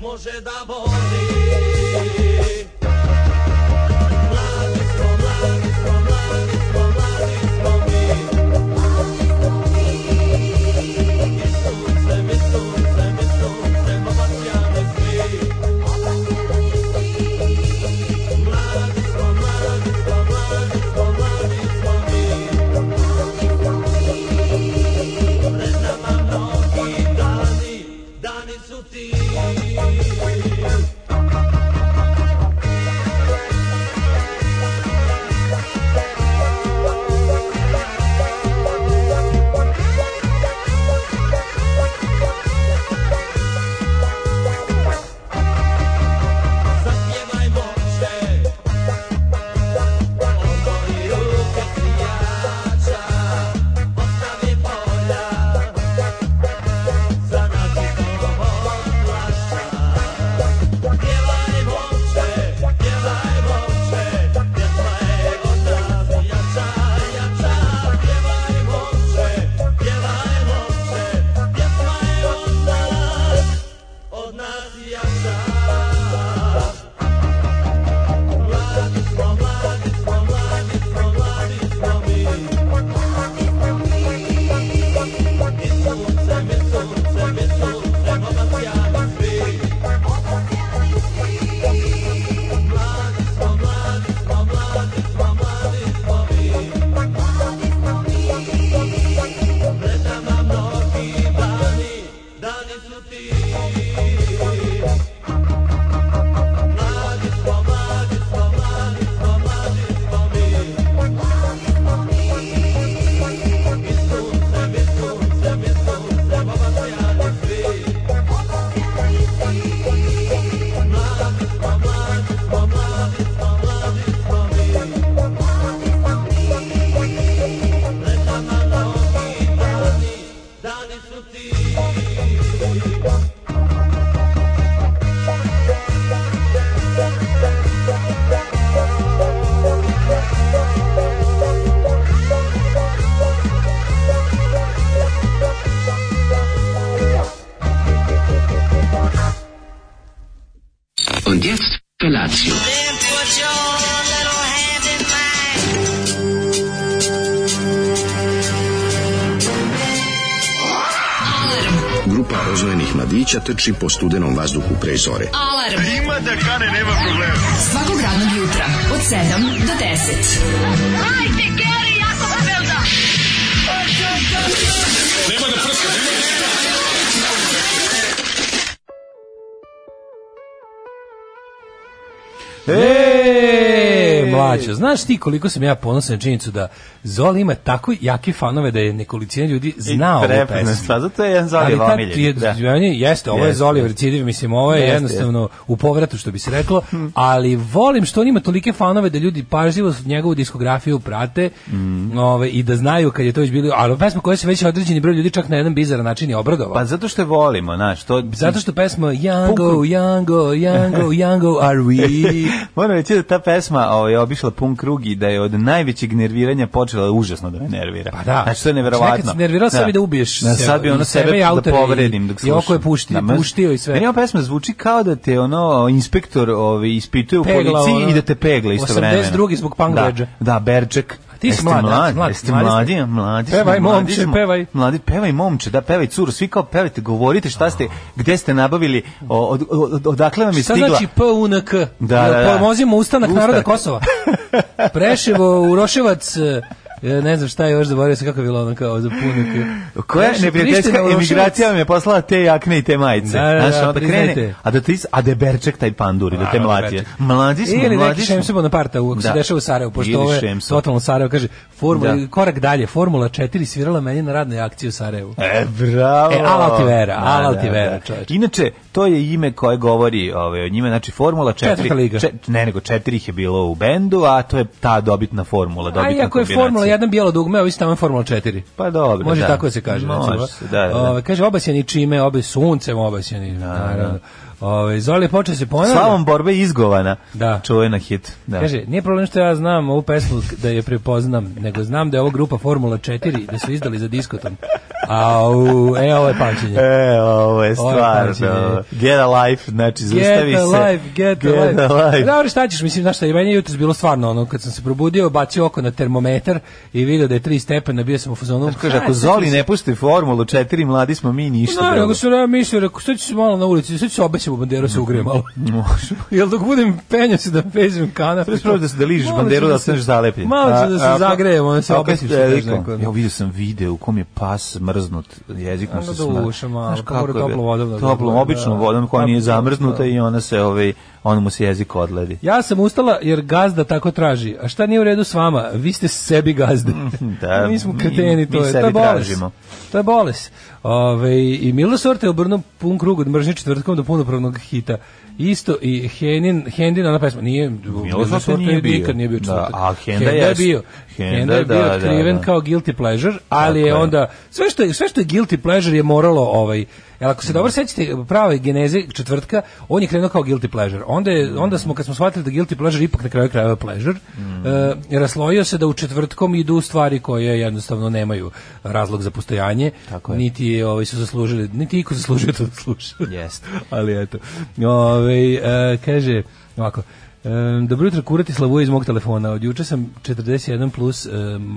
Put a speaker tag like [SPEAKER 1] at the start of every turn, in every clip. [SPEAKER 1] može da voli. Mladi smo, mladi smo, mladi smo, mladi smo mi. I sunce, mi sunce, mi sunce, obasjane svi. Mladi smo, mladi smo, mladi smo, mladi smo mi. Pred nama mnogi dani, dani su ti. Zapjevajmo se, odbori ruke prijača, ostavi polja, za naših novog plašća. Pjevajmo se, pjevajmo se, pjesma je od nas jača, jača. Pjevajmo se, pjevajmo se, pjesma je od nas, od nas jača. Mladi smo, mladi smo, mladi smo, mladi smo mi. I sunce, mi sunce, mi sunce, obasjani svi. Mladi smo, mladi smo, mladi smo, mladi smo mi. Pred nama mnogi dani, dani su ti. Mladi smo, mladi smo, mladi smo, mladi smo mi. Mi sunce, mi sunce, mi sunce, obasjani svi. Mladi smo, mladi smo, mladi smo, mladi smo mi. Pred nama mnogi dani, dani su ti.
[SPEAKER 2] Und jetzt Felatio.
[SPEAKER 3] Then put your little hand in mine.
[SPEAKER 4] Grupa rozvojenih mladića trči po studenom vazduhu pre zore.
[SPEAKER 5] Alarm. Ima da kane, nema problema. Svakog radnog jutra, od 7 do 10. Hajde, Geri, jako se velda.
[SPEAKER 6] E, mlađo, znaš ti koliko sam ja ponosan na činjenicu da Zoli ima tako jake fanove da je nekolicina ljudi zna ovu
[SPEAKER 7] prepozna
[SPEAKER 6] pesmu.
[SPEAKER 7] stvar, zato je jedan
[SPEAKER 6] Ali
[SPEAKER 7] Zolijev
[SPEAKER 6] ta
[SPEAKER 7] omiljen,
[SPEAKER 6] trije-
[SPEAKER 7] da.
[SPEAKER 6] meni jeste, ovo je
[SPEAKER 7] Jeste.
[SPEAKER 6] Zoli recidiv, mislim, ovo je
[SPEAKER 7] Jeste,
[SPEAKER 6] jednostavno u povratu, što bi se reklo, ali volim što on ima tolike fanove da ljudi pažljivo njegovu diskografiju prate
[SPEAKER 7] Mm.
[SPEAKER 6] ove, i da znaju kad je to već bilo, ali pesma koja se već određeni broj ljudi čak na jedan bizaran način je obradovao.
[SPEAKER 7] Pa zato što je volimo, znaš, to...
[SPEAKER 6] Zato što pesma Yango,
[SPEAKER 7] Punk-
[SPEAKER 6] Yango, Yango, Yango, are we?
[SPEAKER 7] Moram reći da ta pesma ovaj, obišla pun krug i da je od najvećeg nerviranja počela užasno da me nervira.
[SPEAKER 6] Pa da.
[SPEAKER 7] Znači, to je neverovatno.
[SPEAKER 6] Nekad si nervirao, sad bi da ubiješ
[SPEAKER 7] Da,
[SPEAKER 6] sebe-
[SPEAKER 7] sad bi ono
[SPEAKER 6] i sebe
[SPEAKER 7] sebe,
[SPEAKER 6] i
[SPEAKER 7] da
[SPEAKER 6] autora i-
[SPEAKER 7] povredim dok
[SPEAKER 6] i
[SPEAKER 7] slušam.
[SPEAKER 6] oko je pušti-
[SPEAKER 7] mrz-
[SPEAKER 6] puštio i sve.
[SPEAKER 7] Meni ova pesma zvuči kao da te ono inspektor ovaj, ispituje u
[SPEAKER 6] Pegla,
[SPEAKER 7] policiji
[SPEAKER 6] ono,
[SPEAKER 7] i da te pegla isto vremena.
[SPEAKER 6] 82 zbog punk
[SPEAKER 7] da,
[SPEAKER 6] bedža.
[SPEAKER 7] Da, berček.
[SPEAKER 6] ti si
[SPEAKER 7] Jeste
[SPEAKER 6] mlad,
[SPEAKER 7] mlad,
[SPEAKER 6] mlad,
[SPEAKER 7] jeste
[SPEAKER 6] mladi ste.
[SPEAKER 7] mladi, mladi
[SPEAKER 6] Pevaj,
[SPEAKER 7] smo, mladi
[SPEAKER 6] momče,
[SPEAKER 7] smo.
[SPEAKER 6] pevaj.
[SPEAKER 7] Mladi, pevaj momče, da, pevaj curu, svi kao pevajte, govorite šta ste, gde ste nabavili, o- od, od- odakle vam je
[SPEAKER 6] Šta
[SPEAKER 7] stigla.
[SPEAKER 6] znači PUNK?
[SPEAKER 7] Da,
[SPEAKER 6] Jel
[SPEAKER 7] da, da.
[SPEAKER 6] Pomozimo ustanak
[SPEAKER 7] Ustanak.
[SPEAKER 6] naroda Kosova. Preševo, Uroševac, e, ne znam šta je još zaboravio se kako je bilo ono kao za PUNK.
[SPEAKER 7] Koja
[SPEAKER 6] Preševo,
[SPEAKER 7] neprijateljska
[SPEAKER 6] Priština, Uroševac.
[SPEAKER 7] emigracija vam je poslala te jakne i te majice.
[SPEAKER 6] Da, da, da,
[SPEAKER 7] Znaš, onda
[SPEAKER 6] priznajte.
[SPEAKER 7] krene, a da ti, a da je berček taj pandur i da te
[SPEAKER 6] Naravno,
[SPEAKER 7] mlati.
[SPEAKER 6] Berček.
[SPEAKER 7] Mladi smo,
[SPEAKER 6] Ili
[SPEAKER 7] mladi
[SPEAKER 6] neki
[SPEAKER 7] smo.
[SPEAKER 6] Šemse Bonaparta, u- ako se
[SPEAKER 7] Da.
[SPEAKER 6] dešava u Sarajevu,
[SPEAKER 7] Ili
[SPEAKER 6] pošto ovo je
[SPEAKER 7] Šemso.
[SPEAKER 6] totalno Sarajevo, kaže, formula,
[SPEAKER 7] Da.
[SPEAKER 6] korak dalje, Formula 4 svirala meni na radnoj akciji u Sarajevu.
[SPEAKER 7] E, bravo.
[SPEAKER 6] E, ala ti vera,
[SPEAKER 7] Da,
[SPEAKER 6] ala
[SPEAKER 7] da,
[SPEAKER 6] ti vera,
[SPEAKER 7] da.
[SPEAKER 6] čoveče.
[SPEAKER 7] Inače, to je ime koje govori ove, o njima, znači Formula 4.
[SPEAKER 6] Četvrta liga.
[SPEAKER 7] ne, nego četiri ih je bilo u bendu, a to je ta dobitna formula,
[SPEAKER 6] A
[SPEAKER 7] dobitna
[SPEAKER 6] iako je
[SPEAKER 7] kombinacija.
[SPEAKER 6] Formula 1 bijelo dugme, a ovi su tamo Formula 4.
[SPEAKER 7] Pa dobro,
[SPEAKER 6] Može
[SPEAKER 7] da.
[SPEAKER 6] tako da se kaže.
[SPEAKER 7] Može
[SPEAKER 6] recimo.
[SPEAKER 7] se, da, da, da.
[SPEAKER 6] Ove, kaže, obasjeni čime, obe suncem obasjeni. naravno. Ove, Zoli počeo se ponavlja.
[SPEAKER 7] Slavom borbe izgovana.
[SPEAKER 6] Da.
[SPEAKER 7] Čuvena hit. Da.
[SPEAKER 6] Kaže, nije problem što ja znam ovu pesmu da je prepoznam, nego znam da je ovo grupa Formula 4, da su izdali za diskotom. Au, e, ovo je pamćenje.
[SPEAKER 7] E, ovo je stvarno.
[SPEAKER 6] pažnje.
[SPEAKER 7] Get a life, znači, zaustavi
[SPEAKER 6] Get
[SPEAKER 7] se.
[SPEAKER 6] alive, get, alive.
[SPEAKER 7] Get a life.
[SPEAKER 6] Dobro, šta ćeš, mislim, znaš šta, i meni je jutros bilo stvarno ono, kad sam se probudio, bacio oko na termometar i vidio da je tri stepena, bio sam u fazonu.
[SPEAKER 7] Kaže, ako Zoli ne pusti formulu 4, mladi smo mi ništa.
[SPEAKER 6] Da,
[SPEAKER 7] drugo.
[SPEAKER 6] nego sam ja mislio, rekao, sad ću se malo na ulici, sad ću se obećam u banderu, da se ugrijem malo.
[SPEAKER 7] Može.
[SPEAKER 6] Jel dok budem penjao se da pezim kanap.
[SPEAKER 7] Prvo prvo da se da ližiš
[SPEAKER 6] Malo ću
[SPEAKER 7] banderu da
[SPEAKER 6] da se-
[SPEAKER 7] se zalepljen.
[SPEAKER 6] malo ću da se
[SPEAKER 7] A- a-
[SPEAKER 6] zagrejem, onda se
[SPEAKER 7] a-
[SPEAKER 6] obesiš,
[SPEAKER 7] a-
[SPEAKER 6] što kažeš
[SPEAKER 7] jezikom.
[SPEAKER 6] neko.
[SPEAKER 7] Ja vidio sam video u kom je pas mrznut, jezik mu
[SPEAKER 6] Onda
[SPEAKER 7] se
[SPEAKER 6] da
[SPEAKER 7] smrznut.
[SPEAKER 6] uša malo,
[SPEAKER 7] Znaš
[SPEAKER 6] pa mora
[SPEAKER 7] kako je,
[SPEAKER 6] toplom vodom da ga
[SPEAKER 7] Toplom,
[SPEAKER 6] bude,
[SPEAKER 7] običnom
[SPEAKER 6] da.
[SPEAKER 7] vodom koja
[SPEAKER 6] Pa,
[SPEAKER 7] nije
[SPEAKER 6] da.
[SPEAKER 7] zamrznuta i ona se, ovaj, on mu se jezik odledi.
[SPEAKER 6] Ja sam ustala jer gazda tako traži. A šta nije u redu s vama? Vi ste sebi gazde.
[SPEAKER 7] da,
[SPEAKER 6] mi smo
[SPEAKER 7] mi-
[SPEAKER 6] kreteni, to
[SPEAKER 7] mi
[SPEAKER 6] je, to
[SPEAKER 7] sebi
[SPEAKER 6] je bolest.
[SPEAKER 7] tražimo.
[SPEAKER 6] To je bolest. Ove, I Milo Sorte je obrnuo pun krug od mržnje četvrtkom do punopravnog hita. Isto i Henin, Hendin, ona pesma, nije, Milo
[SPEAKER 7] Sorte nije
[SPEAKER 6] je
[SPEAKER 7] bio.
[SPEAKER 6] nikad nije bio
[SPEAKER 7] Da,
[SPEAKER 6] četvrtak.
[SPEAKER 7] a Henda
[SPEAKER 6] je
[SPEAKER 7] jest.
[SPEAKER 6] bio.
[SPEAKER 7] Henda,
[SPEAKER 6] Henda je bio
[SPEAKER 7] da, da,
[SPEAKER 6] otkriven
[SPEAKER 7] da.
[SPEAKER 6] kao guilty pleasure, ali
[SPEAKER 7] Tako
[SPEAKER 6] je
[SPEAKER 7] je.
[SPEAKER 6] onda, sve što je, sve što je guilty pleasure je moralo ovaj Jel
[SPEAKER 7] Mhm.
[SPEAKER 6] ako se dobro sećate prave geneze četvrtka, on je krenuo kao guilty pleasure. Onda je, onda smo kad smo shvatili da guilty pleasure ipak na kraju krajeva pleasure,
[SPEAKER 7] Mhm.
[SPEAKER 6] e, raslojio se da u četvrtkom idu stvari koje jednostavno nemaju razlog za postojanje,
[SPEAKER 7] Tako je.
[SPEAKER 6] niti je, ovaj su zaslužili, niti iko zaslužio to da sluša.
[SPEAKER 7] Jeste.
[SPEAKER 6] Ali eto. Ovaj e, kaže ovako Um, dobro jutro, kurati slavuje iz mog telefona. Od juče sam 41 plus e,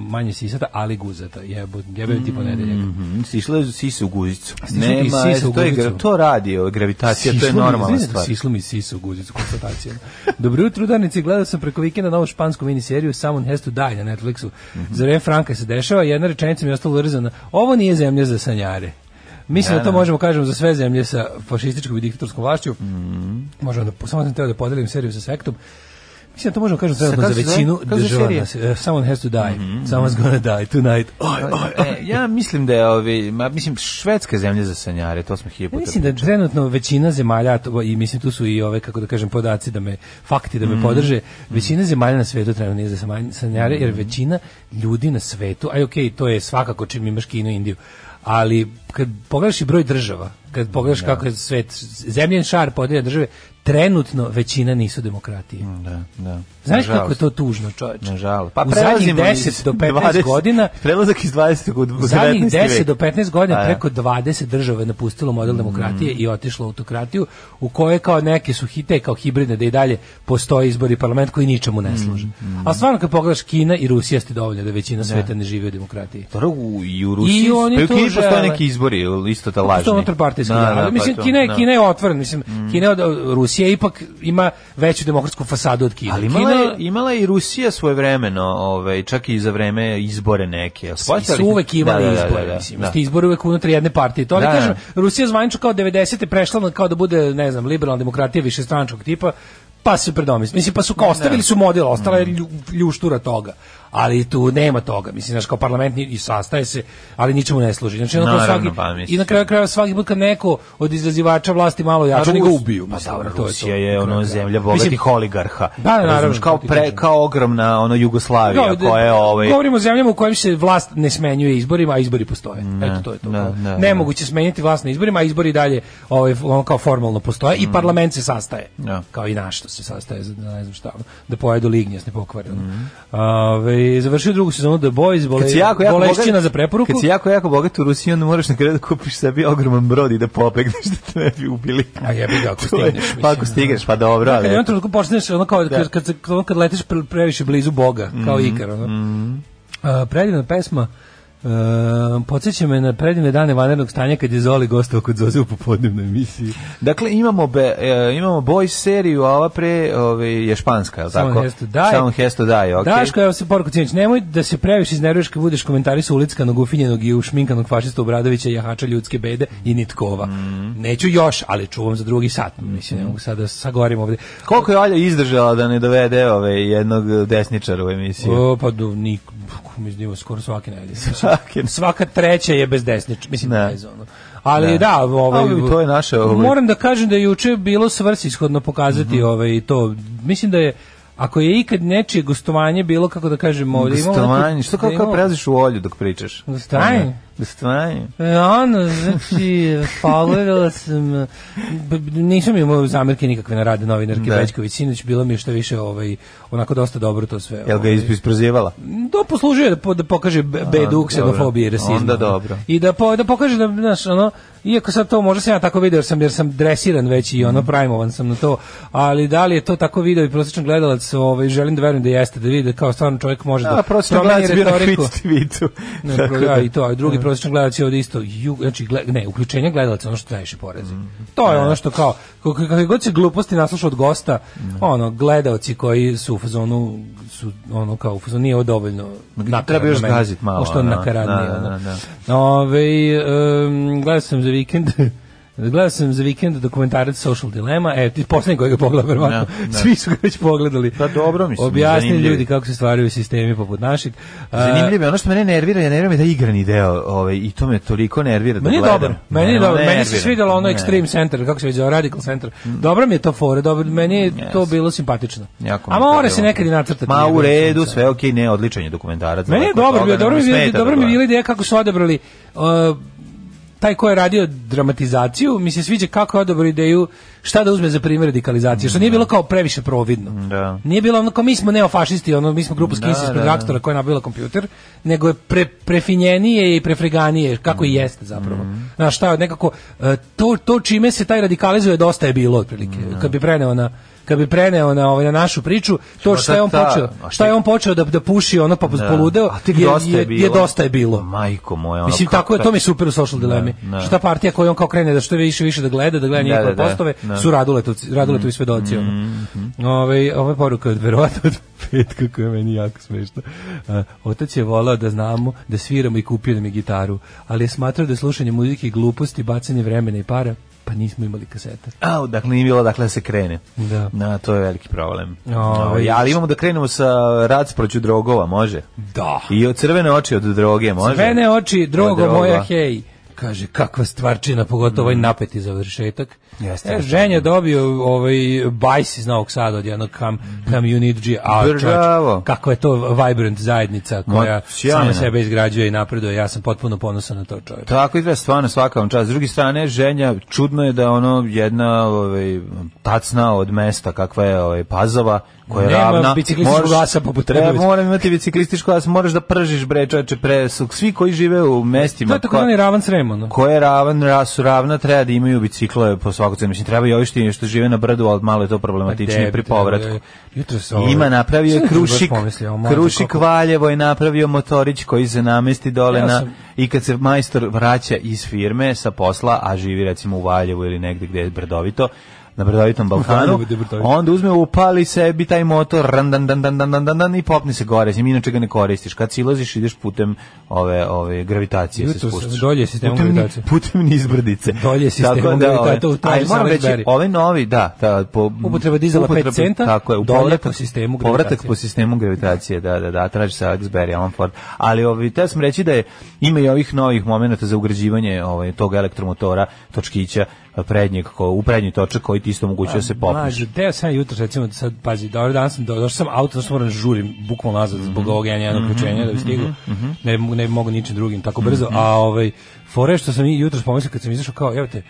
[SPEAKER 6] manje sisata, ali guzata. Jebo, jebe ti ponedeljak.
[SPEAKER 7] Mhm, Sišle sise u guzicu.
[SPEAKER 6] Sišle ti sise u
[SPEAKER 7] to je
[SPEAKER 6] guzicu.
[SPEAKER 7] gra- to radi, ovaj, gravitacija, to je
[SPEAKER 6] Sislo mi-
[SPEAKER 7] normalna
[SPEAKER 6] izvinite,
[SPEAKER 7] stvar.
[SPEAKER 6] Sislo mi sisa u guzicu konstatacijom. Dobro jutro, udarnici, gledao sam preko vikenda novu špansku miniseriju Someone Has to Die na Netflixu.
[SPEAKER 7] Mhm.
[SPEAKER 6] Za vreme Franka se dešava, jedna rečenica mi je ostala urezana. Ovo nije zemlja za sanjare. Mislim da, to možemo kažemo za sve zemlje sa fašističkom i diktatorskom vlašću.
[SPEAKER 7] Mhm.
[SPEAKER 6] Možemo da, samo sam teo da podelim seriju sa sektom. Mislim da to možemo kažemo trenutno
[SPEAKER 7] kako
[SPEAKER 6] za
[SPEAKER 7] se zove? Mhm,
[SPEAKER 6] većinu
[SPEAKER 7] Kako se zove
[SPEAKER 6] država. Uh, Someone has to die. Someone's gonna die tonight. Oj, oj, oj.
[SPEAKER 7] E, ja mislim da je ovi, ma, mislim švedska je zemlja za sanjare, to smo
[SPEAKER 6] Ja
[SPEAKER 7] hiljadu puta.
[SPEAKER 6] mislim da trenutno većina zemalja, a to- i mislim tu su i ove, kako da kažem, podaci da me, fakti da me
[SPEAKER 7] Mm.
[SPEAKER 6] podrže, većina zemalja na svetu trenutno nije za saman- sanjare,
[SPEAKER 7] Mm.
[SPEAKER 6] jer većina ljudi na svetu, aj okej, to je svakako čim imaš Kinu i Indiju, ali kad pogledaš i broj država, kad pogledaš
[SPEAKER 7] Da.
[SPEAKER 6] kako je svet, zemljen šar podelja države, trenutno većina nisu demokratije.
[SPEAKER 7] Da, da.
[SPEAKER 6] Znaš
[SPEAKER 7] Nažalost.
[SPEAKER 6] kako je to tužno, čoveče?
[SPEAKER 7] Nažalost.
[SPEAKER 6] Pa U zadnjih 10 do 15 godina
[SPEAKER 7] Prelazak iz 20. u 19.
[SPEAKER 6] u zadnjih 10
[SPEAKER 7] vek. Pa da. Mhm.
[SPEAKER 6] do 15
[SPEAKER 7] A,
[SPEAKER 6] godina
[SPEAKER 7] ja.
[SPEAKER 6] preko 20 država je napustilo model demokratije i otišlo u autokratiju u kojoj kao neke su hite kao hibridne da i dalje postoje izbori i parlament koji ničemu ne služe.
[SPEAKER 7] Mhm.
[SPEAKER 6] A stvarno kad pogledaš Kina i Rusija ste dovoljno da većina sveta ne živi u demokratiji.
[SPEAKER 7] Dobro, u, i u Rusiji,
[SPEAKER 6] I oni
[SPEAKER 7] pa i u
[SPEAKER 6] to
[SPEAKER 7] Kini postoje
[SPEAKER 6] žele.
[SPEAKER 7] neki izbori, jel, isto ta
[SPEAKER 6] Pa
[SPEAKER 7] lažni.
[SPEAKER 6] To je unutarpartijski,
[SPEAKER 7] Da,
[SPEAKER 6] da,
[SPEAKER 7] da,
[SPEAKER 6] ali
[SPEAKER 7] pa
[SPEAKER 6] mislim,
[SPEAKER 7] to,
[SPEAKER 6] Kina, je,
[SPEAKER 7] da. Mhm.
[SPEAKER 6] Kina je otvorena, mislim, Kina je od, Rusija ipak ima veću demokratsku fasadu od Kine.
[SPEAKER 7] Ali imala,
[SPEAKER 6] Kina,
[SPEAKER 7] je, imala je i Rusija svoje vremeno, ovaj, čak i za vreme izbore neke. jel
[SPEAKER 6] I
[SPEAKER 7] shvatili?
[SPEAKER 6] su uvek imali
[SPEAKER 7] Da, da, da,
[SPEAKER 6] izbore,
[SPEAKER 7] da, da.
[SPEAKER 6] mislim. Ti izbori uvek unutar jedne partije. To ali
[SPEAKER 7] Da, da.
[SPEAKER 6] kažem, Rusija zvanično kao 90. prešla na kao da bude, ne znam, liberalna demokratija višestranačkog tipa, pa se predomisli. Mislim, pa su
[SPEAKER 7] Da.
[SPEAKER 6] kao ostavili su model, ostala
[SPEAKER 7] Mm.
[SPEAKER 6] je lju, ljuštura toga. Ali tu nema toga, mislim, znaš, kao parlament ni- i sastaje se, ali ničemu ne služi. Znači, ono kao
[SPEAKER 7] Naravno,
[SPEAKER 6] svaki,
[SPEAKER 7] pa mislim.
[SPEAKER 6] i na kraju krajeva svaki put kad neko od izazivača vlasti malo jače, oni ga
[SPEAKER 7] Rus-
[SPEAKER 6] ubiju.
[SPEAKER 7] Pa
[SPEAKER 6] mislim,
[SPEAKER 7] dobro,
[SPEAKER 6] to to.
[SPEAKER 7] Rusija je
[SPEAKER 6] Na
[SPEAKER 7] ono
[SPEAKER 6] kraju
[SPEAKER 7] zemlja
[SPEAKER 6] krajeva.
[SPEAKER 7] bogatih
[SPEAKER 6] Mislim,
[SPEAKER 7] oligarha.
[SPEAKER 6] Da, da, naravno,
[SPEAKER 7] Razumeš, kao,
[SPEAKER 6] to ti
[SPEAKER 7] pre,
[SPEAKER 6] kažem.
[SPEAKER 7] kao ogromna ono Jugoslavija
[SPEAKER 6] Da,
[SPEAKER 7] koja je ovaj,
[SPEAKER 6] Govorimo o zemljama u kojim se vlast ne smenjuje izborima, a izbori postoje. Eto to je to.
[SPEAKER 7] ne, ne,
[SPEAKER 6] Nemoguće smenjati vlast na izborima, a izbori i dalje ovaj ono kao formalno postoje
[SPEAKER 7] Mm.
[SPEAKER 6] i parlament se sastaje.
[SPEAKER 7] Da.
[SPEAKER 6] Kao i naš što se sastaje za ne znam šta, ono, da pojedu lignjes nepokvareno. Ovaj, završio drugu sezonu The Boys, bole,
[SPEAKER 7] Mm. Kad si jako, jako
[SPEAKER 6] bolešćina
[SPEAKER 7] bogat-
[SPEAKER 6] za preporuku.
[SPEAKER 7] Kad si jako, jako bogat u Rusiji, onda moraš na kraju da kupiš sebi ogroman brod i da pobegneš da te ne bi ubili.
[SPEAKER 6] A jebi ga, ako
[SPEAKER 7] To je-
[SPEAKER 6] stigneš,
[SPEAKER 7] Pa
[SPEAKER 6] mislim, da. Dakle,
[SPEAKER 7] ako stigneš, pa dobro.
[SPEAKER 6] Kad u
[SPEAKER 7] ali
[SPEAKER 6] jednom
[SPEAKER 7] eto.
[SPEAKER 6] trenutku počneš ono kao kad, kad, se- ono kad letiš pre- previše blizu Boga, kao Ikar. Ono. A, predivna pesma Uh, podsjeća me na predivne dane vanrednog stanja kad je Zoli gostao kod Zoze u popodnevnoj emisiji.
[SPEAKER 7] Dakle, imamo, be, e, imamo boys seriju, a ova pre ove, je španska, je li tako?
[SPEAKER 6] Someone has to die.
[SPEAKER 7] Someone has to die, okej.
[SPEAKER 6] Daško, evo se poruku cijenić, nemoj da se previše iznervuješ kad budeš komentari sa ulickanog, ufinjenog i ušminkanog fašista Obradovića, jahača ljudske bede i nitkova. Neću još, ali čuvam za drugi sat. Mislim, ne mogu sad da sagorim ovde.
[SPEAKER 7] Koliko je Olja izdržala da ne dovede ove, jednog desničara u emisiju?
[SPEAKER 6] O, pa do nik, mislim, da ima skoro svake nedelje.
[SPEAKER 7] Svake.
[SPEAKER 6] Svaka treća je bez desnič, mislim,
[SPEAKER 7] Ne.
[SPEAKER 6] bez ono. Ali
[SPEAKER 7] Ne.
[SPEAKER 6] da, ovaj,
[SPEAKER 7] Da. Ali to je naše, ovaj- Mhm.
[SPEAKER 6] Moram da kažem da je juče bilo svrsishodno pokazati ovaj, to. Mislim da je, ako je ikad nečije gostovanje bilo, kako da kažem, ovdje imamo...
[SPEAKER 7] Gostovanje, što kako, kako prelaziš u Olju dok pričaš?
[SPEAKER 6] Gostovanje?
[SPEAKER 7] Stvarno?
[SPEAKER 6] E, Ono, znači, followerala sam, b- b- nisam imao zamjerke nikakve na rade novinarke
[SPEAKER 7] Da.
[SPEAKER 6] Bećković, sinoć bilo mi je što više ovaj, onako dosta dobro to sve.
[SPEAKER 7] Jel ga
[SPEAKER 6] ovaj.
[SPEAKER 7] je isprozivala?
[SPEAKER 6] to poslužuje da, po, da pokaže be- bedu
[SPEAKER 7] dobro.
[SPEAKER 6] ksenofobije i rasizma.
[SPEAKER 7] Onda dobro.
[SPEAKER 6] I da, po, da pokaže da, znaš, ono, iako sad to možda sam ja tako video jer sam, jer sam dresiran već i ono,
[SPEAKER 7] Mhm.
[SPEAKER 6] primovan sam na to, ali da li je to tako video i prosječan gledalac, ovaj, želim da verujem da jeste, da vidi da kao stvarno čovjek može da
[SPEAKER 7] A, prosječan
[SPEAKER 6] promeni
[SPEAKER 7] gledac je bio na
[SPEAKER 6] retoriku.
[SPEAKER 7] Fit tweetu.
[SPEAKER 6] Ne,
[SPEAKER 7] Tako
[SPEAKER 6] pro-
[SPEAKER 7] da-
[SPEAKER 6] a, i to, a drugi prosječan gledalac je ovde isto, ju, znači, gled, ne, uključenje gledalaca je ono što najviše porezi. To
[SPEAKER 7] Da.
[SPEAKER 6] je ono što kao, kako- kakve god se gluposti nasluša od gosta,
[SPEAKER 7] Da.
[SPEAKER 6] ono, gledalci koji su u fazonu, su, ono, kao u fazonu, nije ovo dovoljno nakaradno
[SPEAKER 7] treba još
[SPEAKER 6] meni.
[SPEAKER 7] gazit malo,
[SPEAKER 6] Pošto je
[SPEAKER 7] ono,
[SPEAKER 6] nakaradnije,
[SPEAKER 7] da, da,
[SPEAKER 6] ono.
[SPEAKER 7] da,
[SPEAKER 6] Ovaj, em, gledao sam za vikend, Gledao sam za vikend dokumentarac Social Dilemma, e, ti poslednji koji ga pogledao, verovatno,
[SPEAKER 7] Da, da.
[SPEAKER 6] svi su ga već pogledali.
[SPEAKER 7] Pa dobro, mislim,
[SPEAKER 6] Objasni
[SPEAKER 7] zanimljiv je.
[SPEAKER 6] ljudi kako se stvaraju sistemi poput naših. A,
[SPEAKER 7] Zanimljivo je, ono što mene nervira, ja nervira me da igrani deo, ovaj, i to me toliko nervira da
[SPEAKER 6] Meni je
[SPEAKER 7] gledam.
[SPEAKER 6] dobar, meni
[SPEAKER 7] Ne,
[SPEAKER 6] je dobar, meni se
[SPEAKER 7] nervira.
[SPEAKER 6] svidelo ono
[SPEAKER 7] Ne.
[SPEAKER 6] Extreme Center, kako se već zove, Radical Center. Dobro mi je to fore, dobro, meni je to bilo simpatično.
[SPEAKER 7] Jako mi
[SPEAKER 6] A
[SPEAKER 7] je to
[SPEAKER 6] mora
[SPEAKER 7] bilo.
[SPEAKER 6] se nekad i nacrtati.
[SPEAKER 7] Ma
[SPEAKER 6] njegove
[SPEAKER 7] u redu,
[SPEAKER 6] sunce.
[SPEAKER 7] sve okej, ne, odličan je dokumentarac.
[SPEAKER 6] Meni je
[SPEAKER 7] Daleko od
[SPEAKER 6] dobro
[SPEAKER 7] toga,
[SPEAKER 6] bio,
[SPEAKER 7] ne
[SPEAKER 6] dobro mi
[SPEAKER 7] me
[SPEAKER 6] je
[SPEAKER 7] smeta
[SPEAKER 6] bilo, dobro
[SPEAKER 7] da
[SPEAKER 6] mi je bila
[SPEAKER 7] gledam.
[SPEAKER 6] ideja kako su odabrali uh, taj ko je radio dramatizaciju, mi se sviđa kako je odabrao ideju šta da uzme za primjer radikalizacije, što nije bilo kao previše providno.
[SPEAKER 7] Da.
[SPEAKER 6] Nije bilo ono kao mi smo neofašisti, ono mi smo grupa
[SPEAKER 7] Da,
[SPEAKER 6] skinsi da,
[SPEAKER 7] da.
[SPEAKER 6] ispred reaktora koja je nabila kompjuter, nego je pre, prefinjenije i prefreganije, kako
[SPEAKER 7] Mm.
[SPEAKER 6] i jeste zapravo. Znaš, šta je nekako, e, to, to čime se taj radikalizuje dosta je bilo otprilike,
[SPEAKER 7] Mm, da.
[SPEAKER 6] kad bi preneo na kad bi preneo na ovaj na našu priču to
[SPEAKER 7] Možda
[SPEAKER 6] šta je on
[SPEAKER 7] ta-
[SPEAKER 6] počeo
[SPEAKER 7] da, a
[SPEAKER 6] šta je on počeo da da puši ono pa
[SPEAKER 7] Da.
[SPEAKER 6] poludeo
[SPEAKER 7] A tek
[SPEAKER 6] je,
[SPEAKER 7] dosta je
[SPEAKER 6] je, je
[SPEAKER 7] bilo.
[SPEAKER 6] dosta je bilo
[SPEAKER 7] Majko moja, ono,
[SPEAKER 6] Mislim,
[SPEAKER 7] kako-
[SPEAKER 6] tako je, to mi je super u social dilemi.
[SPEAKER 7] da.
[SPEAKER 6] Šta partija koju on kao krene da što više više da gleda, da gleda
[SPEAKER 7] Da,
[SPEAKER 6] njihove
[SPEAKER 7] da, da,
[SPEAKER 6] postove,
[SPEAKER 7] da. Mm-hmm.
[SPEAKER 6] su raduletovci, raduletu i svedoci. ono. Ove, ova poruka je od verovatno od petka koja je meni jako smešna. A, otac je volao da znamo, da sviramo i kupio nam je gitaru, ali je smatrao da je slušanje muzike i gluposti, bacanje vremena i para, pa nismo imali kasete.
[SPEAKER 7] Au, dakle nije bilo dakle da se krene.
[SPEAKER 6] Da.
[SPEAKER 7] Na, to je veliki problem.
[SPEAKER 6] Ovaj.
[SPEAKER 7] Ovaj, ali imamo da krenemo sa rac proću drogova, može?
[SPEAKER 6] Da.
[SPEAKER 7] I od crvene oči od droge, može?
[SPEAKER 6] Vene oči, drogo
[SPEAKER 7] Od droga. Mm.
[SPEAKER 6] moja, hej. Kaže, kakva stvarčina, pogotovo ovaj napeti završetak.
[SPEAKER 7] Jeste,
[SPEAKER 6] e,
[SPEAKER 7] jeste.
[SPEAKER 6] ženja dobio ovaj bajs iz Novog Sada od jednog kam, community a čovječ,
[SPEAKER 7] Bravo.
[SPEAKER 6] kako je to vibrant zajednica koja
[SPEAKER 7] Ma, sjajno.
[SPEAKER 6] sama sebe izgrađuje i napreduje. Ja sam potpuno ponosan na to čovjek.
[SPEAKER 7] Tako izgleda stvarno svaka vam čast. S druge strane, ženja, čudno je da ono jedna ovaj, tacna od mesta kakva je ovaj, Pazova, koja je
[SPEAKER 6] Nema
[SPEAKER 7] ravna. E,
[SPEAKER 6] biciklističkog
[SPEAKER 7] Moraš-
[SPEAKER 6] glasa poput
[SPEAKER 7] Treba-
[SPEAKER 6] Trebovića.
[SPEAKER 7] Moram imati biciklističku glas, moraš da pržiš bre čoveče, pre su svi koji žive u mestima.
[SPEAKER 6] To je tako
[SPEAKER 7] koja-
[SPEAKER 6] zvani ravan srem, ono.
[SPEAKER 7] Ko je ravan, ra- su ravna, treba da imaju biciklove po svaku cenu. Mislim, treba i ovi što, što žive na brdu, ali malo je to
[SPEAKER 6] Pa
[SPEAKER 7] problematičnije pri povratku.
[SPEAKER 6] Jutro se ovo-
[SPEAKER 7] Ima napravio je
[SPEAKER 6] Sad sam baš
[SPEAKER 7] Krušik,
[SPEAKER 6] pomislio, mlađe,
[SPEAKER 7] Krušik
[SPEAKER 6] kako-
[SPEAKER 7] Valjevo je napravio motorić koji se namesti dole
[SPEAKER 6] Ja
[SPEAKER 7] na
[SPEAKER 6] sam-
[SPEAKER 7] i kad se majstor vraća iz firme sa posla, a živi recimo u Valjevu ili negde gde je brdovito, na brdovitom Balkanu,
[SPEAKER 6] Valjevo gde je brdovito.
[SPEAKER 7] onda uzme upali sebi taj motor ran, dan, dan, dan, dan, dan, dan, dan, i popni se gore, mislim, inače ga ne koristiš. Kad silaziš ideš putem ove, ove gravitacije se
[SPEAKER 6] Jutros sam
[SPEAKER 7] spuštaš.
[SPEAKER 6] dolje sistemom
[SPEAKER 7] Putem ni- da,
[SPEAKER 6] gravitacije.
[SPEAKER 7] Putem nizbrdice.
[SPEAKER 6] Dolje sistemom gravitacije, to traži
[SPEAKER 7] ovaj, moram
[SPEAKER 6] Salisbury.
[SPEAKER 7] reći, ovaj novi, da, da po,
[SPEAKER 6] Mhm. Upotreba dizela pet
[SPEAKER 7] upotreba-
[SPEAKER 6] centa,
[SPEAKER 7] tako je, u
[SPEAKER 6] dolje po
[SPEAKER 7] povratak-
[SPEAKER 6] sistemu
[SPEAKER 7] Povratak
[SPEAKER 6] gravitacije.
[SPEAKER 7] po sistemu gravitacije, da, da, da, traži se Axberry, Alan Ford. Ali ovi, te sam reći da je, ima i ovih novih momenata za ugrađivanje ovaj, tog elektromotora, točkića, eh, prednjeg, ko, u prednji točak koji ti isto omogućuje da se popneš.
[SPEAKER 6] Mažu, teo sam ja jutro, recimo, da sad, pazi, dobro, danas sam, do- došao sam auto, došao moram da žurim, bukvalno nazad,
[SPEAKER 7] Mhm.
[SPEAKER 6] zbog ovog ja njenog uključenja da bi stigu, ne, bi- ne bi mogu ničim drugim tako brzo,
[SPEAKER 7] Mhm.
[SPEAKER 6] a ovaj, fore što sam i jutro spomislio kad sam izašao, kao, evo te,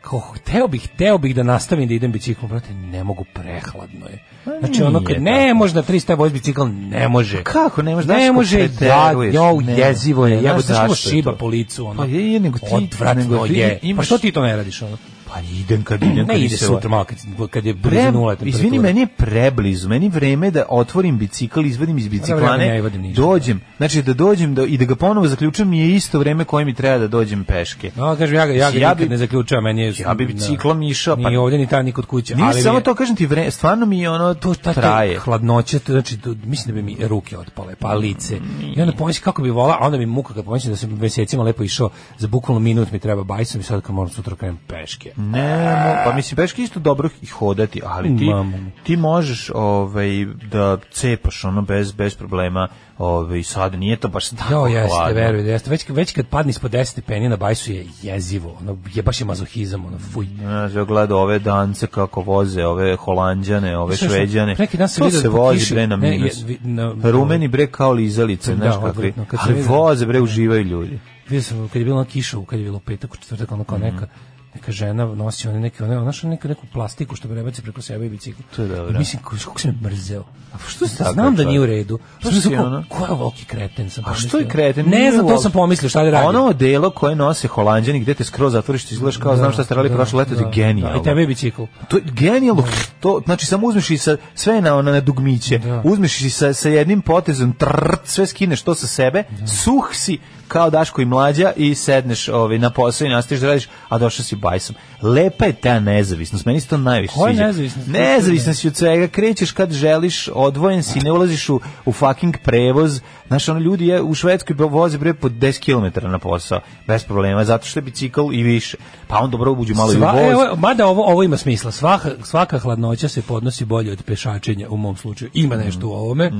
[SPEAKER 6] kao, hteo bih, hteo bih da nastavim da idem biciklom, brate, ne mogu, prehladno je. Znači, ono,
[SPEAKER 7] Pa nije Pa
[SPEAKER 6] kad ne može na 300 voz bicikl, ne može.
[SPEAKER 7] Kako ne može? Znaš
[SPEAKER 6] Ne
[SPEAKER 7] kako
[SPEAKER 6] može, da,
[SPEAKER 7] preteruješ?
[SPEAKER 6] jau,
[SPEAKER 7] Ne,
[SPEAKER 6] jezivo je,
[SPEAKER 7] ne,
[SPEAKER 6] jebo,
[SPEAKER 7] znaš
[SPEAKER 6] znaš kako
[SPEAKER 7] zašto je
[SPEAKER 6] šiba
[SPEAKER 7] to?
[SPEAKER 6] po licu, ono.
[SPEAKER 7] Pa je, nego ti-
[SPEAKER 6] Odvratno
[SPEAKER 7] nego ti
[SPEAKER 6] je. Pa
[SPEAKER 7] imaš-
[SPEAKER 6] što ti to ne radiš, ono?
[SPEAKER 7] Pa idem kad idem.
[SPEAKER 6] Ne
[SPEAKER 7] kad mi
[SPEAKER 6] ide
[SPEAKER 7] se
[SPEAKER 6] sutra malo kad, kad je blizu
[SPEAKER 7] Pre-
[SPEAKER 6] nula temperatura.
[SPEAKER 7] Izvini, meni je preblizu, meni je vreme da otvorim bicikl, izvadim iz
[SPEAKER 6] Dobro, ja ne
[SPEAKER 7] biciklane,
[SPEAKER 6] vadim ništa.
[SPEAKER 7] dođem, znači da dođem do, i da ga ponovo zaključujem mi je isto vreme koje mi treba da dođem peške.
[SPEAKER 6] No, kažem, ja ga, ja ga
[SPEAKER 7] Ja
[SPEAKER 6] nikad
[SPEAKER 7] bi-
[SPEAKER 6] ne zaključujem, meni je...
[SPEAKER 7] ja bi biciklom išao,
[SPEAKER 6] Pa,
[SPEAKER 7] pa-
[SPEAKER 6] ni ovdje, ni ta, ni kod kuće.
[SPEAKER 7] Nije
[SPEAKER 6] ali
[SPEAKER 7] samo
[SPEAKER 6] mi je-
[SPEAKER 7] to, kažem ti, vre, stvarno mi je ono, to
[SPEAKER 6] ta, ta
[SPEAKER 7] traje.
[SPEAKER 6] hladnoća, to, znači, to, mislim da bi mi ruke otpale, pa lice. I onda pomislim kako bi vola, a onda mi muka kad pomislim da sam mesecima lepo išao, za bukvalno minut mi treba bajsom i sad kad moram sutra krenem peške.
[SPEAKER 7] Ne, mo- pa mislim peške je isto dobro i hodati, ali ti
[SPEAKER 6] Mamo.
[SPEAKER 7] ti možeš ovaj da cepaš ono bez bez problema, ovaj sad nije to baš tako.
[SPEAKER 6] Jo, jeste,
[SPEAKER 7] hladno.
[SPEAKER 6] veruj, da jeste. Već, već kad padne ispod 10 stepeni na bajsu je jezivo, ono, je baš je mazohizam, ono, fuj.
[SPEAKER 7] Znaš, ja gledam ove dance kako voze, ove holanđane, ove
[SPEAKER 6] Slušaj,
[SPEAKER 7] šveđane.
[SPEAKER 6] neki dan sam
[SPEAKER 7] to
[SPEAKER 6] vidio
[SPEAKER 7] se
[SPEAKER 6] da po
[SPEAKER 7] vozi
[SPEAKER 6] kiši-
[SPEAKER 7] bre na
[SPEAKER 6] ne, je-
[SPEAKER 7] minus.
[SPEAKER 6] vi- na-
[SPEAKER 7] Rumeni bre kao lizalice, znaš
[SPEAKER 6] Da,
[SPEAKER 7] kakvi.
[SPEAKER 6] odvratno, kad sam
[SPEAKER 7] Ali
[SPEAKER 6] vidio-
[SPEAKER 7] voze bre, uživaju ljudi.
[SPEAKER 6] Vidio sam, kad je bilo ona kiša, kad je bilo u petak, u četvrtak, ono kao
[SPEAKER 7] Mhm.
[SPEAKER 6] neka, neka žena nosi one neke, one, ona što neku, neku plastiku što prebaci preko sebe i bicikla.
[SPEAKER 7] To je dobro.
[SPEAKER 6] I Mislim, kako- kako sam je mrzeo. A što
[SPEAKER 7] si takav
[SPEAKER 6] Znam da
[SPEAKER 7] čovjek?
[SPEAKER 6] nije u redu.
[SPEAKER 7] Što
[SPEAKER 6] Što
[SPEAKER 7] si ono?
[SPEAKER 6] Ko je volki kreten? Sam
[SPEAKER 7] A što
[SPEAKER 6] pomislio.
[SPEAKER 7] je kreten? Nije
[SPEAKER 6] Ne znam, to
[SPEAKER 7] uopšte.
[SPEAKER 6] sam pomislio, šta da radim.
[SPEAKER 7] Ono odelo koje nose holanđani gde te skroz zatvoriš ti izgledaš
[SPEAKER 6] Da,
[SPEAKER 7] kao znam šta ste radili prošle leto, to je genijalno.
[SPEAKER 6] I tebe je bicikl.
[SPEAKER 7] To je genijalno.
[SPEAKER 6] Da.
[SPEAKER 7] To, znači, samo uzmeš i sa, sve na, na, na dugmiće.
[SPEAKER 6] Da.
[SPEAKER 7] Uzmeš i sa, sa jednim potezom, trrt, sve skineš to sa sebe,
[SPEAKER 6] Da.
[SPEAKER 7] suh si kao Daško i mlađa i sedneš ovaj, na posao i nastaviš da radiš, a došao si bajsom. Lepa je ta nezavisnost, meni se to najviše
[SPEAKER 6] Koja
[SPEAKER 7] sviđa.
[SPEAKER 6] nezavisnost?
[SPEAKER 7] Nezavisna si od svega, krećeš kad želiš, odvojen si, ne ulaziš u, u fucking prevoz. Znaš, ono, ljudi je, u Švedskoj voze bre po 10 km na posao, bez problema, zato što je bicikl i više. Pa on dobro uđu malo i u
[SPEAKER 6] Sva,
[SPEAKER 7] voz.
[SPEAKER 6] evo, mada ovo, ovo ima smisla. Svaka, svaka hladnoća se podnosi bolje od pešačenja u mom slučaju. Ima
[SPEAKER 7] Mm.
[SPEAKER 6] nešto u ovome.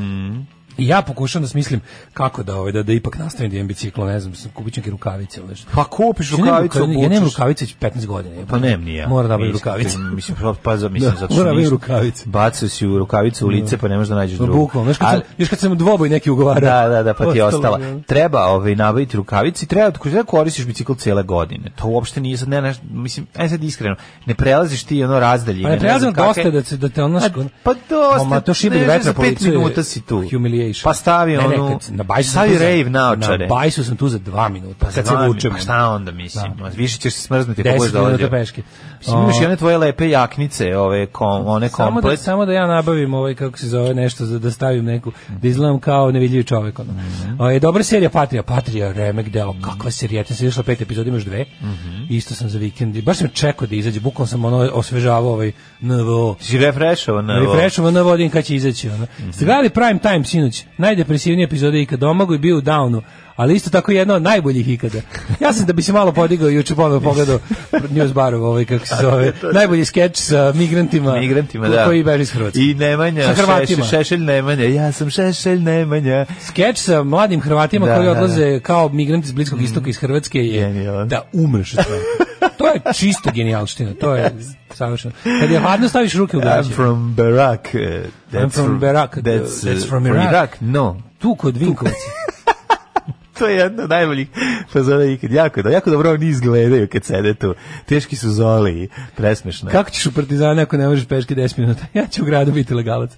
[SPEAKER 6] I ja pokušam da smislim kako da ovaj da da ipak nastavim da imam biciklo, ne znam, sam kupit ću neke rukavice ili nešto.
[SPEAKER 7] Pa kupiš
[SPEAKER 6] Ja nemam
[SPEAKER 7] rukavicu,
[SPEAKER 6] rukavi-
[SPEAKER 7] obučeš.
[SPEAKER 6] Ja nemam rukavice već 15 godina. jebote.
[SPEAKER 7] Pa nemam ni ja.
[SPEAKER 6] Mora da bude
[SPEAKER 7] Mislim,
[SPEAKER 6] rukavice.
[SPEAKER 7] Mislim, pa, pa za- mislim,
[SPEAKER 6] Da,
[SPEAKER 7] zato
[SPEAKER 6] mora
[SPEAKER 7] što
[SPEAKER 6] da
[SPEAKER 7] ništa.
[SPEAKER 6] bude rukavice.
[SPEAKER 7] Bacao si u rukavicu u lice, pa ne možeš da nađeš drugu.
[SPEAKER 6] Bukvalno, još kad,
[SPEAKER 7] Ali-
[SPEAKER 6] sam, još kad sam dvoboj neki
[SPEAKER 7] Da,
[SPEAKER 6] ugovarao.
[SPEAKER 7] da, da, pa ti je
[SPEAKER 6] Ostalo
[SPEAKER 7] ostala.
[SPEAKER 6] mi je ono.
[SPEAKER 7] Treba ovaj, nabaviti rukavice i treba da koristiš bicikl cijele godine. To uopšte nije sad, ne, ne, mislim, aj sad iskreno, ne prelaziš ti ono razdaljine.
[SPEAKER 6] Pa ne prelazim
[SPEAKER 7] znam kakve-
[SPEAKER 6] dosta da, se- da te ono...
[SPEAKER 7] A, pa dosta,
[SPEAKER 6] Ma, to šibri
[SPEAKER 7] ne,
[SPEAKER 6] vetra
[SPEAKER 7] za
[SPEAKER 6] po
[SPEAKER 7] pet
[SPEAKER 6] licu je
[SPEAKER 7] minuta si tu.
[SPEAKER 6] Humiliation.
[SPEAKER 7] Pa stavi
[SPEAKER 6] Ne, ne,
[SPEAKER 7] onu-
[SPEAKER 6] kad- na bajsu sam
[SPEAKER 7] stavi
[SPEAKER 6] tu za-
[SPEAKER 7] rave naočare.
[SPEAKER 6] Na bajsu sam tu za dva minuta. Kad se
[SPEAKER 7] Znam,
[SPEAKER 6] vučem.
[SPEAKER 7] Pa šta onda, mislim,
[SPEAKER 6] Da.
[SPEAKER 7] više ćeš se smrznuti kako budeš
[SPEAKER 6] Deset minuta
[SPEAKER 7] dolazio.
[SPEAKER 6] peške.
[SPEAKER 7] Mislim, imaš
[SPEAKER 6] O,
[SPEAKER 7] i one tvoje lepe jaknice, ove, kom, one
[SPEAKER 6] Samo da,
[SPEAKER 7] komplet.
[SPEAKER 6] samo da ja nabavim ovaj kako se zove nešto za da stavim neku da izgledam kao nevidljivi čovjek ono.
[SPEAKER 7] Mhm.
[SPEAKER 6] O, je dobra serija Patrija, Patrija remek deo. Kakva serija? Ja sam išla pet epizoda, imaš dve.
[SPEAKER 7] Mhm.
[SPEAKER 6] Isto sam za vikend. i Baš sam čekao da izađe, bukvalno sam ono osvežavao ovaj NVO.
[SPEAKER 7] Si refrešovan.
[SPEAKER 6] Ali Frešova na vodim kad će izaći. Ono.
[SPEAKER 7] Mhm.
[SPEAKER 6] Ste gledali Prime Time sinoć? Najdepresivnija epizoda ikad. Domago je bio u downu, ali isto tako jedna od najboljih ikada. Ja sam da bi se malo podigao juče ponovo pogledao News Barov, ovaj, kako se zove, najbolji skeč sa migrantima,
[SPEAKER 7] migrantima,
[SPEAKER 6] Pa, ko-
[SPEAKER 7] da.
[SPEAKER 6] koji beže iz Hrvatske.
[SPEAKER 7] I Nemanja,
[SPEAKER 6] Sa Hrvatima.
[SPEAKER 7] šešelj, šešelj Nemanja, ja sam Šešelj Nemanja.
[SPEAKER 6] Skeč sa mladim Hrvatima
[SPEAKER 7] Da,
[SPEAKER 6] koji
[SPEAKER 7] da, da.
[SPEAKER 6] odlaze kao migranti iz Bliskog istoka iz Hrvatske je
[SPEAKER 7] Genijalan.
[SPEAKER 6] da umreš od toga. To je čisto genijalština, to je savršeno. Kad je hladno staviš ruke u
[SPEAKER 7] I'm
[SPEAKER 6] gaće.
[SPEAKER 7] from Barak. uh, that's
[SPEAKER 6] I'm from Barak, uh,
[SPEAKER 7] That's, uh,
[SPEAKER 6] that's from
[SPEAKER 7] from
[SPEAKER 6] Iraq.
[SPEAKER 7] Iraq. No.
[SPEAKER 6] Tu kod Vinkovaca.
[SPEAKER 7] To je jedno od najboljih fazona ikad. Jako, do- jako dobro oni izgledaju kad sede tu. Teški su zoli i presmešno. je.
[SPEAKER 6] Pa. Kako ćeš u Partizane ako ne možeš peške 10 minuta? Ja ću u gradu biti legalac.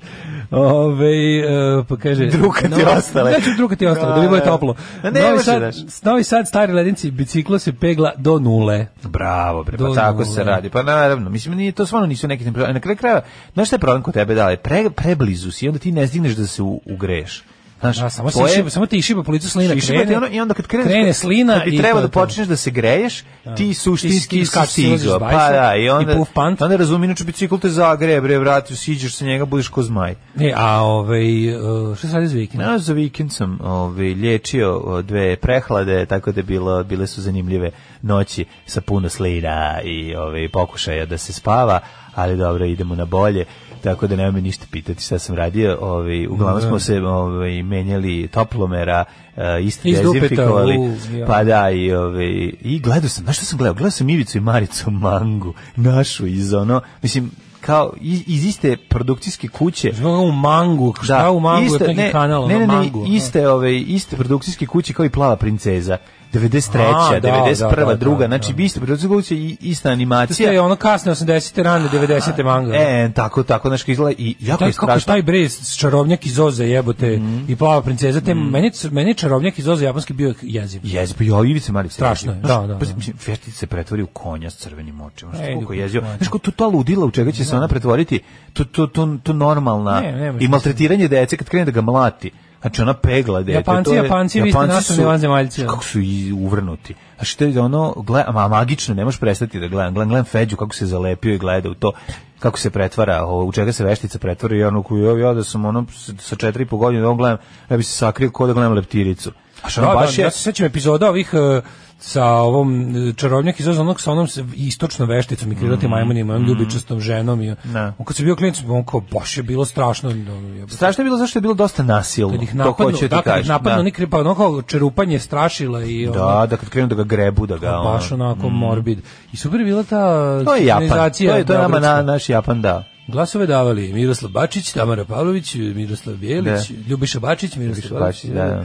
[SPEAKER 6] Ove, e, pa kaže...
[SPEAKER 7] Drukati ostale.
[SPEAKER 6] Ja ću drukati ostale, da
[SPEAKER 7] Da,
[SPEAKER 6] bi bude
[SPEAKER 7] da.
[SPEAKER 6] toplo.
[SPEAKER 7] Da, ne
[SPEAKER 6] novi,
[SPEAKER 7] može,
[SPEAKER 6] sad,
[SPEAKER 7] znaš.
[SPEAKER 6] novi sad, stari ledinci, biciklo se pegla do nule.
[SPEAKER 7] Bravo, bre, pa
[SPEAKER 6] Do
[SPEAKER 7] tako
[SPEAKER 6] nule.
[SPEAKER 7] se radi. Pa naravno, mislim, nije, to stvarno nisu neki temperature. Na kraju krajeva, znaš šta je problem kod tebe, da li pre, preblizu si i onda ti ne stigneš da se u, ugreš. Znaš,
[SPEAKER 6] Da, samo, se
[SPEAKER 7] tvoje-
[SPEAKER 6] išiba, samo ti išiba policu slina.
[SPEAKER 7] Šišima ti
[SPEAKER 6] krene,
[SPEAKER 7] ono, I onda kad kreneš,
[SPEAKER 6] krene slina
[SPEAKER 7] kad bi
[SPEAKER 6] i
[SPEAKER 7] treba
[SPEAKER 6] to je
[SPEAKER 7] da
[SPEAKER 6] to.
[SPEAKER 7] počneš da se greješ, ti
[SPEAKER 6] Ti-
[SPEAKER 7] suštinski
[SPEAKER 6] ti
[SPEAKER 7] si
[SPEAKER 6] skačeš,
[SPEAKER 7] stigao.
[SPEAKER 6] silaziš s
[SPEAKER 7] Pa
[SPEAKER 6] bajsa
[SPEAKER 7] da, i
[SPEAKER 6] i
[SPEAKER 7] onda,
[SPEAKER 6] puf pant.
[SPEAKER 7] onda razum, inače bicikl te zagreje, bre, vrati, siđeš sa njega, budeš ko zmaj.
[SPEAKER 6] Ne, a ovaj, e, šta sad iz vikenda?
[SPEAKER 7] Ja za vikend sam ovaj, liječio o, dve prehlade, tako da je bilo, bile su zanimljive noći sa puno slina i ovaj, pokušaja da se spava, ali dobro, idemo na bolje, tako da nema me ništa pitati šta sam radio. Ovaj, uglavnom
[SPEAKER 6] Da.
[SPEAKER 7] smo se ovaj, menjali toplomera, e, isto
[SPEAKER 6] Iz dupeta,
[SPEAKER 7] dezinfikovali.
[SPEAKER 6] u, ja.
[SPEAKER 7] Pa da, i, ovaj, i gledao sam, znaš što sam gledao? Gledao sam Ivicu i Maricu Mangu, našu iz ono, mislim, kao iz, iz iste produkcijske kuće
[SPEAKER 6] Zbog u mangu, šta u mangu,
[SPEAKER 7] Da. isto-
[SPEAKER 6] je neki kanal,
[SPEAKER 7] ne, ne, ne,
[SPEAKER 6] ono, mangu.
[SPEAKER 7] iste, ove, iste produkcijske kuće kao i Plava princeza. 93.
[SPEAKER 6] A, da,
[SPEAKER 7] 91.
[SPEAKER 6] da, da,
[SPEAKER 7] druga,
[SPEAKER 6] da,
[SPEAKER 7] znači
[SPEAKER 6] da.
[SPEAKER 7] iste produkcijske kuće i ista
[SPEAKER 6] To je
[SPEAKER 7] animacija.
[SPEAKER 6] ono kasne 80. rane 90. manga.
[SPEAKER 7] E, tako, tako, znači izgleda i jako
[SPEAKER 6] Taj,
[SPEAKER 7] je
[SPEAKER 6] kako
[SPEAKER 7] strašno. Mhm.
[SPEAKER 6] taj bre s- čarobnjak iz Oza jebote i plava princeza te meni c- meni čarobnjak iz Oza japanski bio jeziv.
[SPEAKER 7] Jezi, pa joj, Ivica Marić.
[SPEAKER 6] Strašno je,
[SPEAKER 7] Znaš,
[SPEAKER 6] da, da,
[SPEAKER 7] pa,
[SPEAKER 6] da.
[SPEAKER 7] Mislim, Feštic se pretvori u konja s crvenim očima. Znaš
[SPEAKER 6] Ej,
[SPEAKER 7] koliko je
[SPEAKER 6] ljudi,
[SPEAKER 7] jezio.
[SPEAKER 6] mlađe.
[SPEAKER 7] Znaš, ko to, to ludila u čega će se ona pretvoriti, to, to, to, to normalna.
[SPEAKER 6] Ne, ne može da
[SPEAKER 7] I maltretiranje dece kad krene da ga mlati. Znači ona pegla dete.
[SPEAKER 6] Japanci,
[SPEAKER 7] to je-
[SPEAKER 6] Japanci, vi ste nastavni
[SPEAKER 7] su-
[SPEAKER 6] vanzemaljci, da.
[SPEAKER 7] znaš
[SPEAKER 6] ono.
[SPEAKER 7] Kako su i uvrnuti. A što je ono, gledam, a magično, ne možeš prestati da gledam. Gledam, gledam Feđu kako se zalepio i gleda u to kako se pretvara, ovo, u čega se veštica pretvara i ono koju ja da sam ono s- sa četiri i po godine da ovo gledam, ja bi se sakrio ko da gledam leptiricu. A što
[SPEAKER 6] Da,
[SPEAKER 7] ono
[SPEAKER 6] da,
[SPEAKER 7] baš je,
[SPEAKER 6] ja se sećam epizoda ovih e, sa ovom e, čarobnjak iz onog sa onom s- istočnom vešticom i krilatim majmunima, onom ljubičastom ženom i
[SPEAKER 7] Mhm. Da.
[SPEAKER 6] on kad se bio klinac, on kao baš je bilo strašno. ono, jebote.
[SPEAKER 7] Strašno je bilo zašto je bilo dosta nasilno.
[SPEAKER 6] Kad ih
[SPEAKER 7] to
[SPEAKER 6] napadnu,
[SPEAKER 7] hoću ti
[SPEAKER 6] da, kad ih
[SPEAKER 7] kažem,
[SPEAKER 6] napadnu,
[SPEAKER 7] da.
[SPEAKER 6] oni kri- pa ono kao čerupanje strašila i ono,
[SPEAKER 7] Da, da kad krenu da ga grebu, da ga...
[SPEAKER 6] Pa
[SPEAKER 7] ono-
[SPEAKER 6] baš onako morbid. I super je bila ta
[SPEAKER 7] To je Japan. To
[SPEAKER 6] organizacija
[SPEAKER 7] je, to je nama
[SPEAKER 6] beogradska.
[SPEAKER 7] na, naš Japan, da.
[SPEAKER 6] Glasove davali Miroslav Bačić, Tamara Pavlović, Miroslav Bjelić, Ljubiša Bačić, Miroslav
[SPEAKER 7] Da. Ljubiša Bačić, da, da.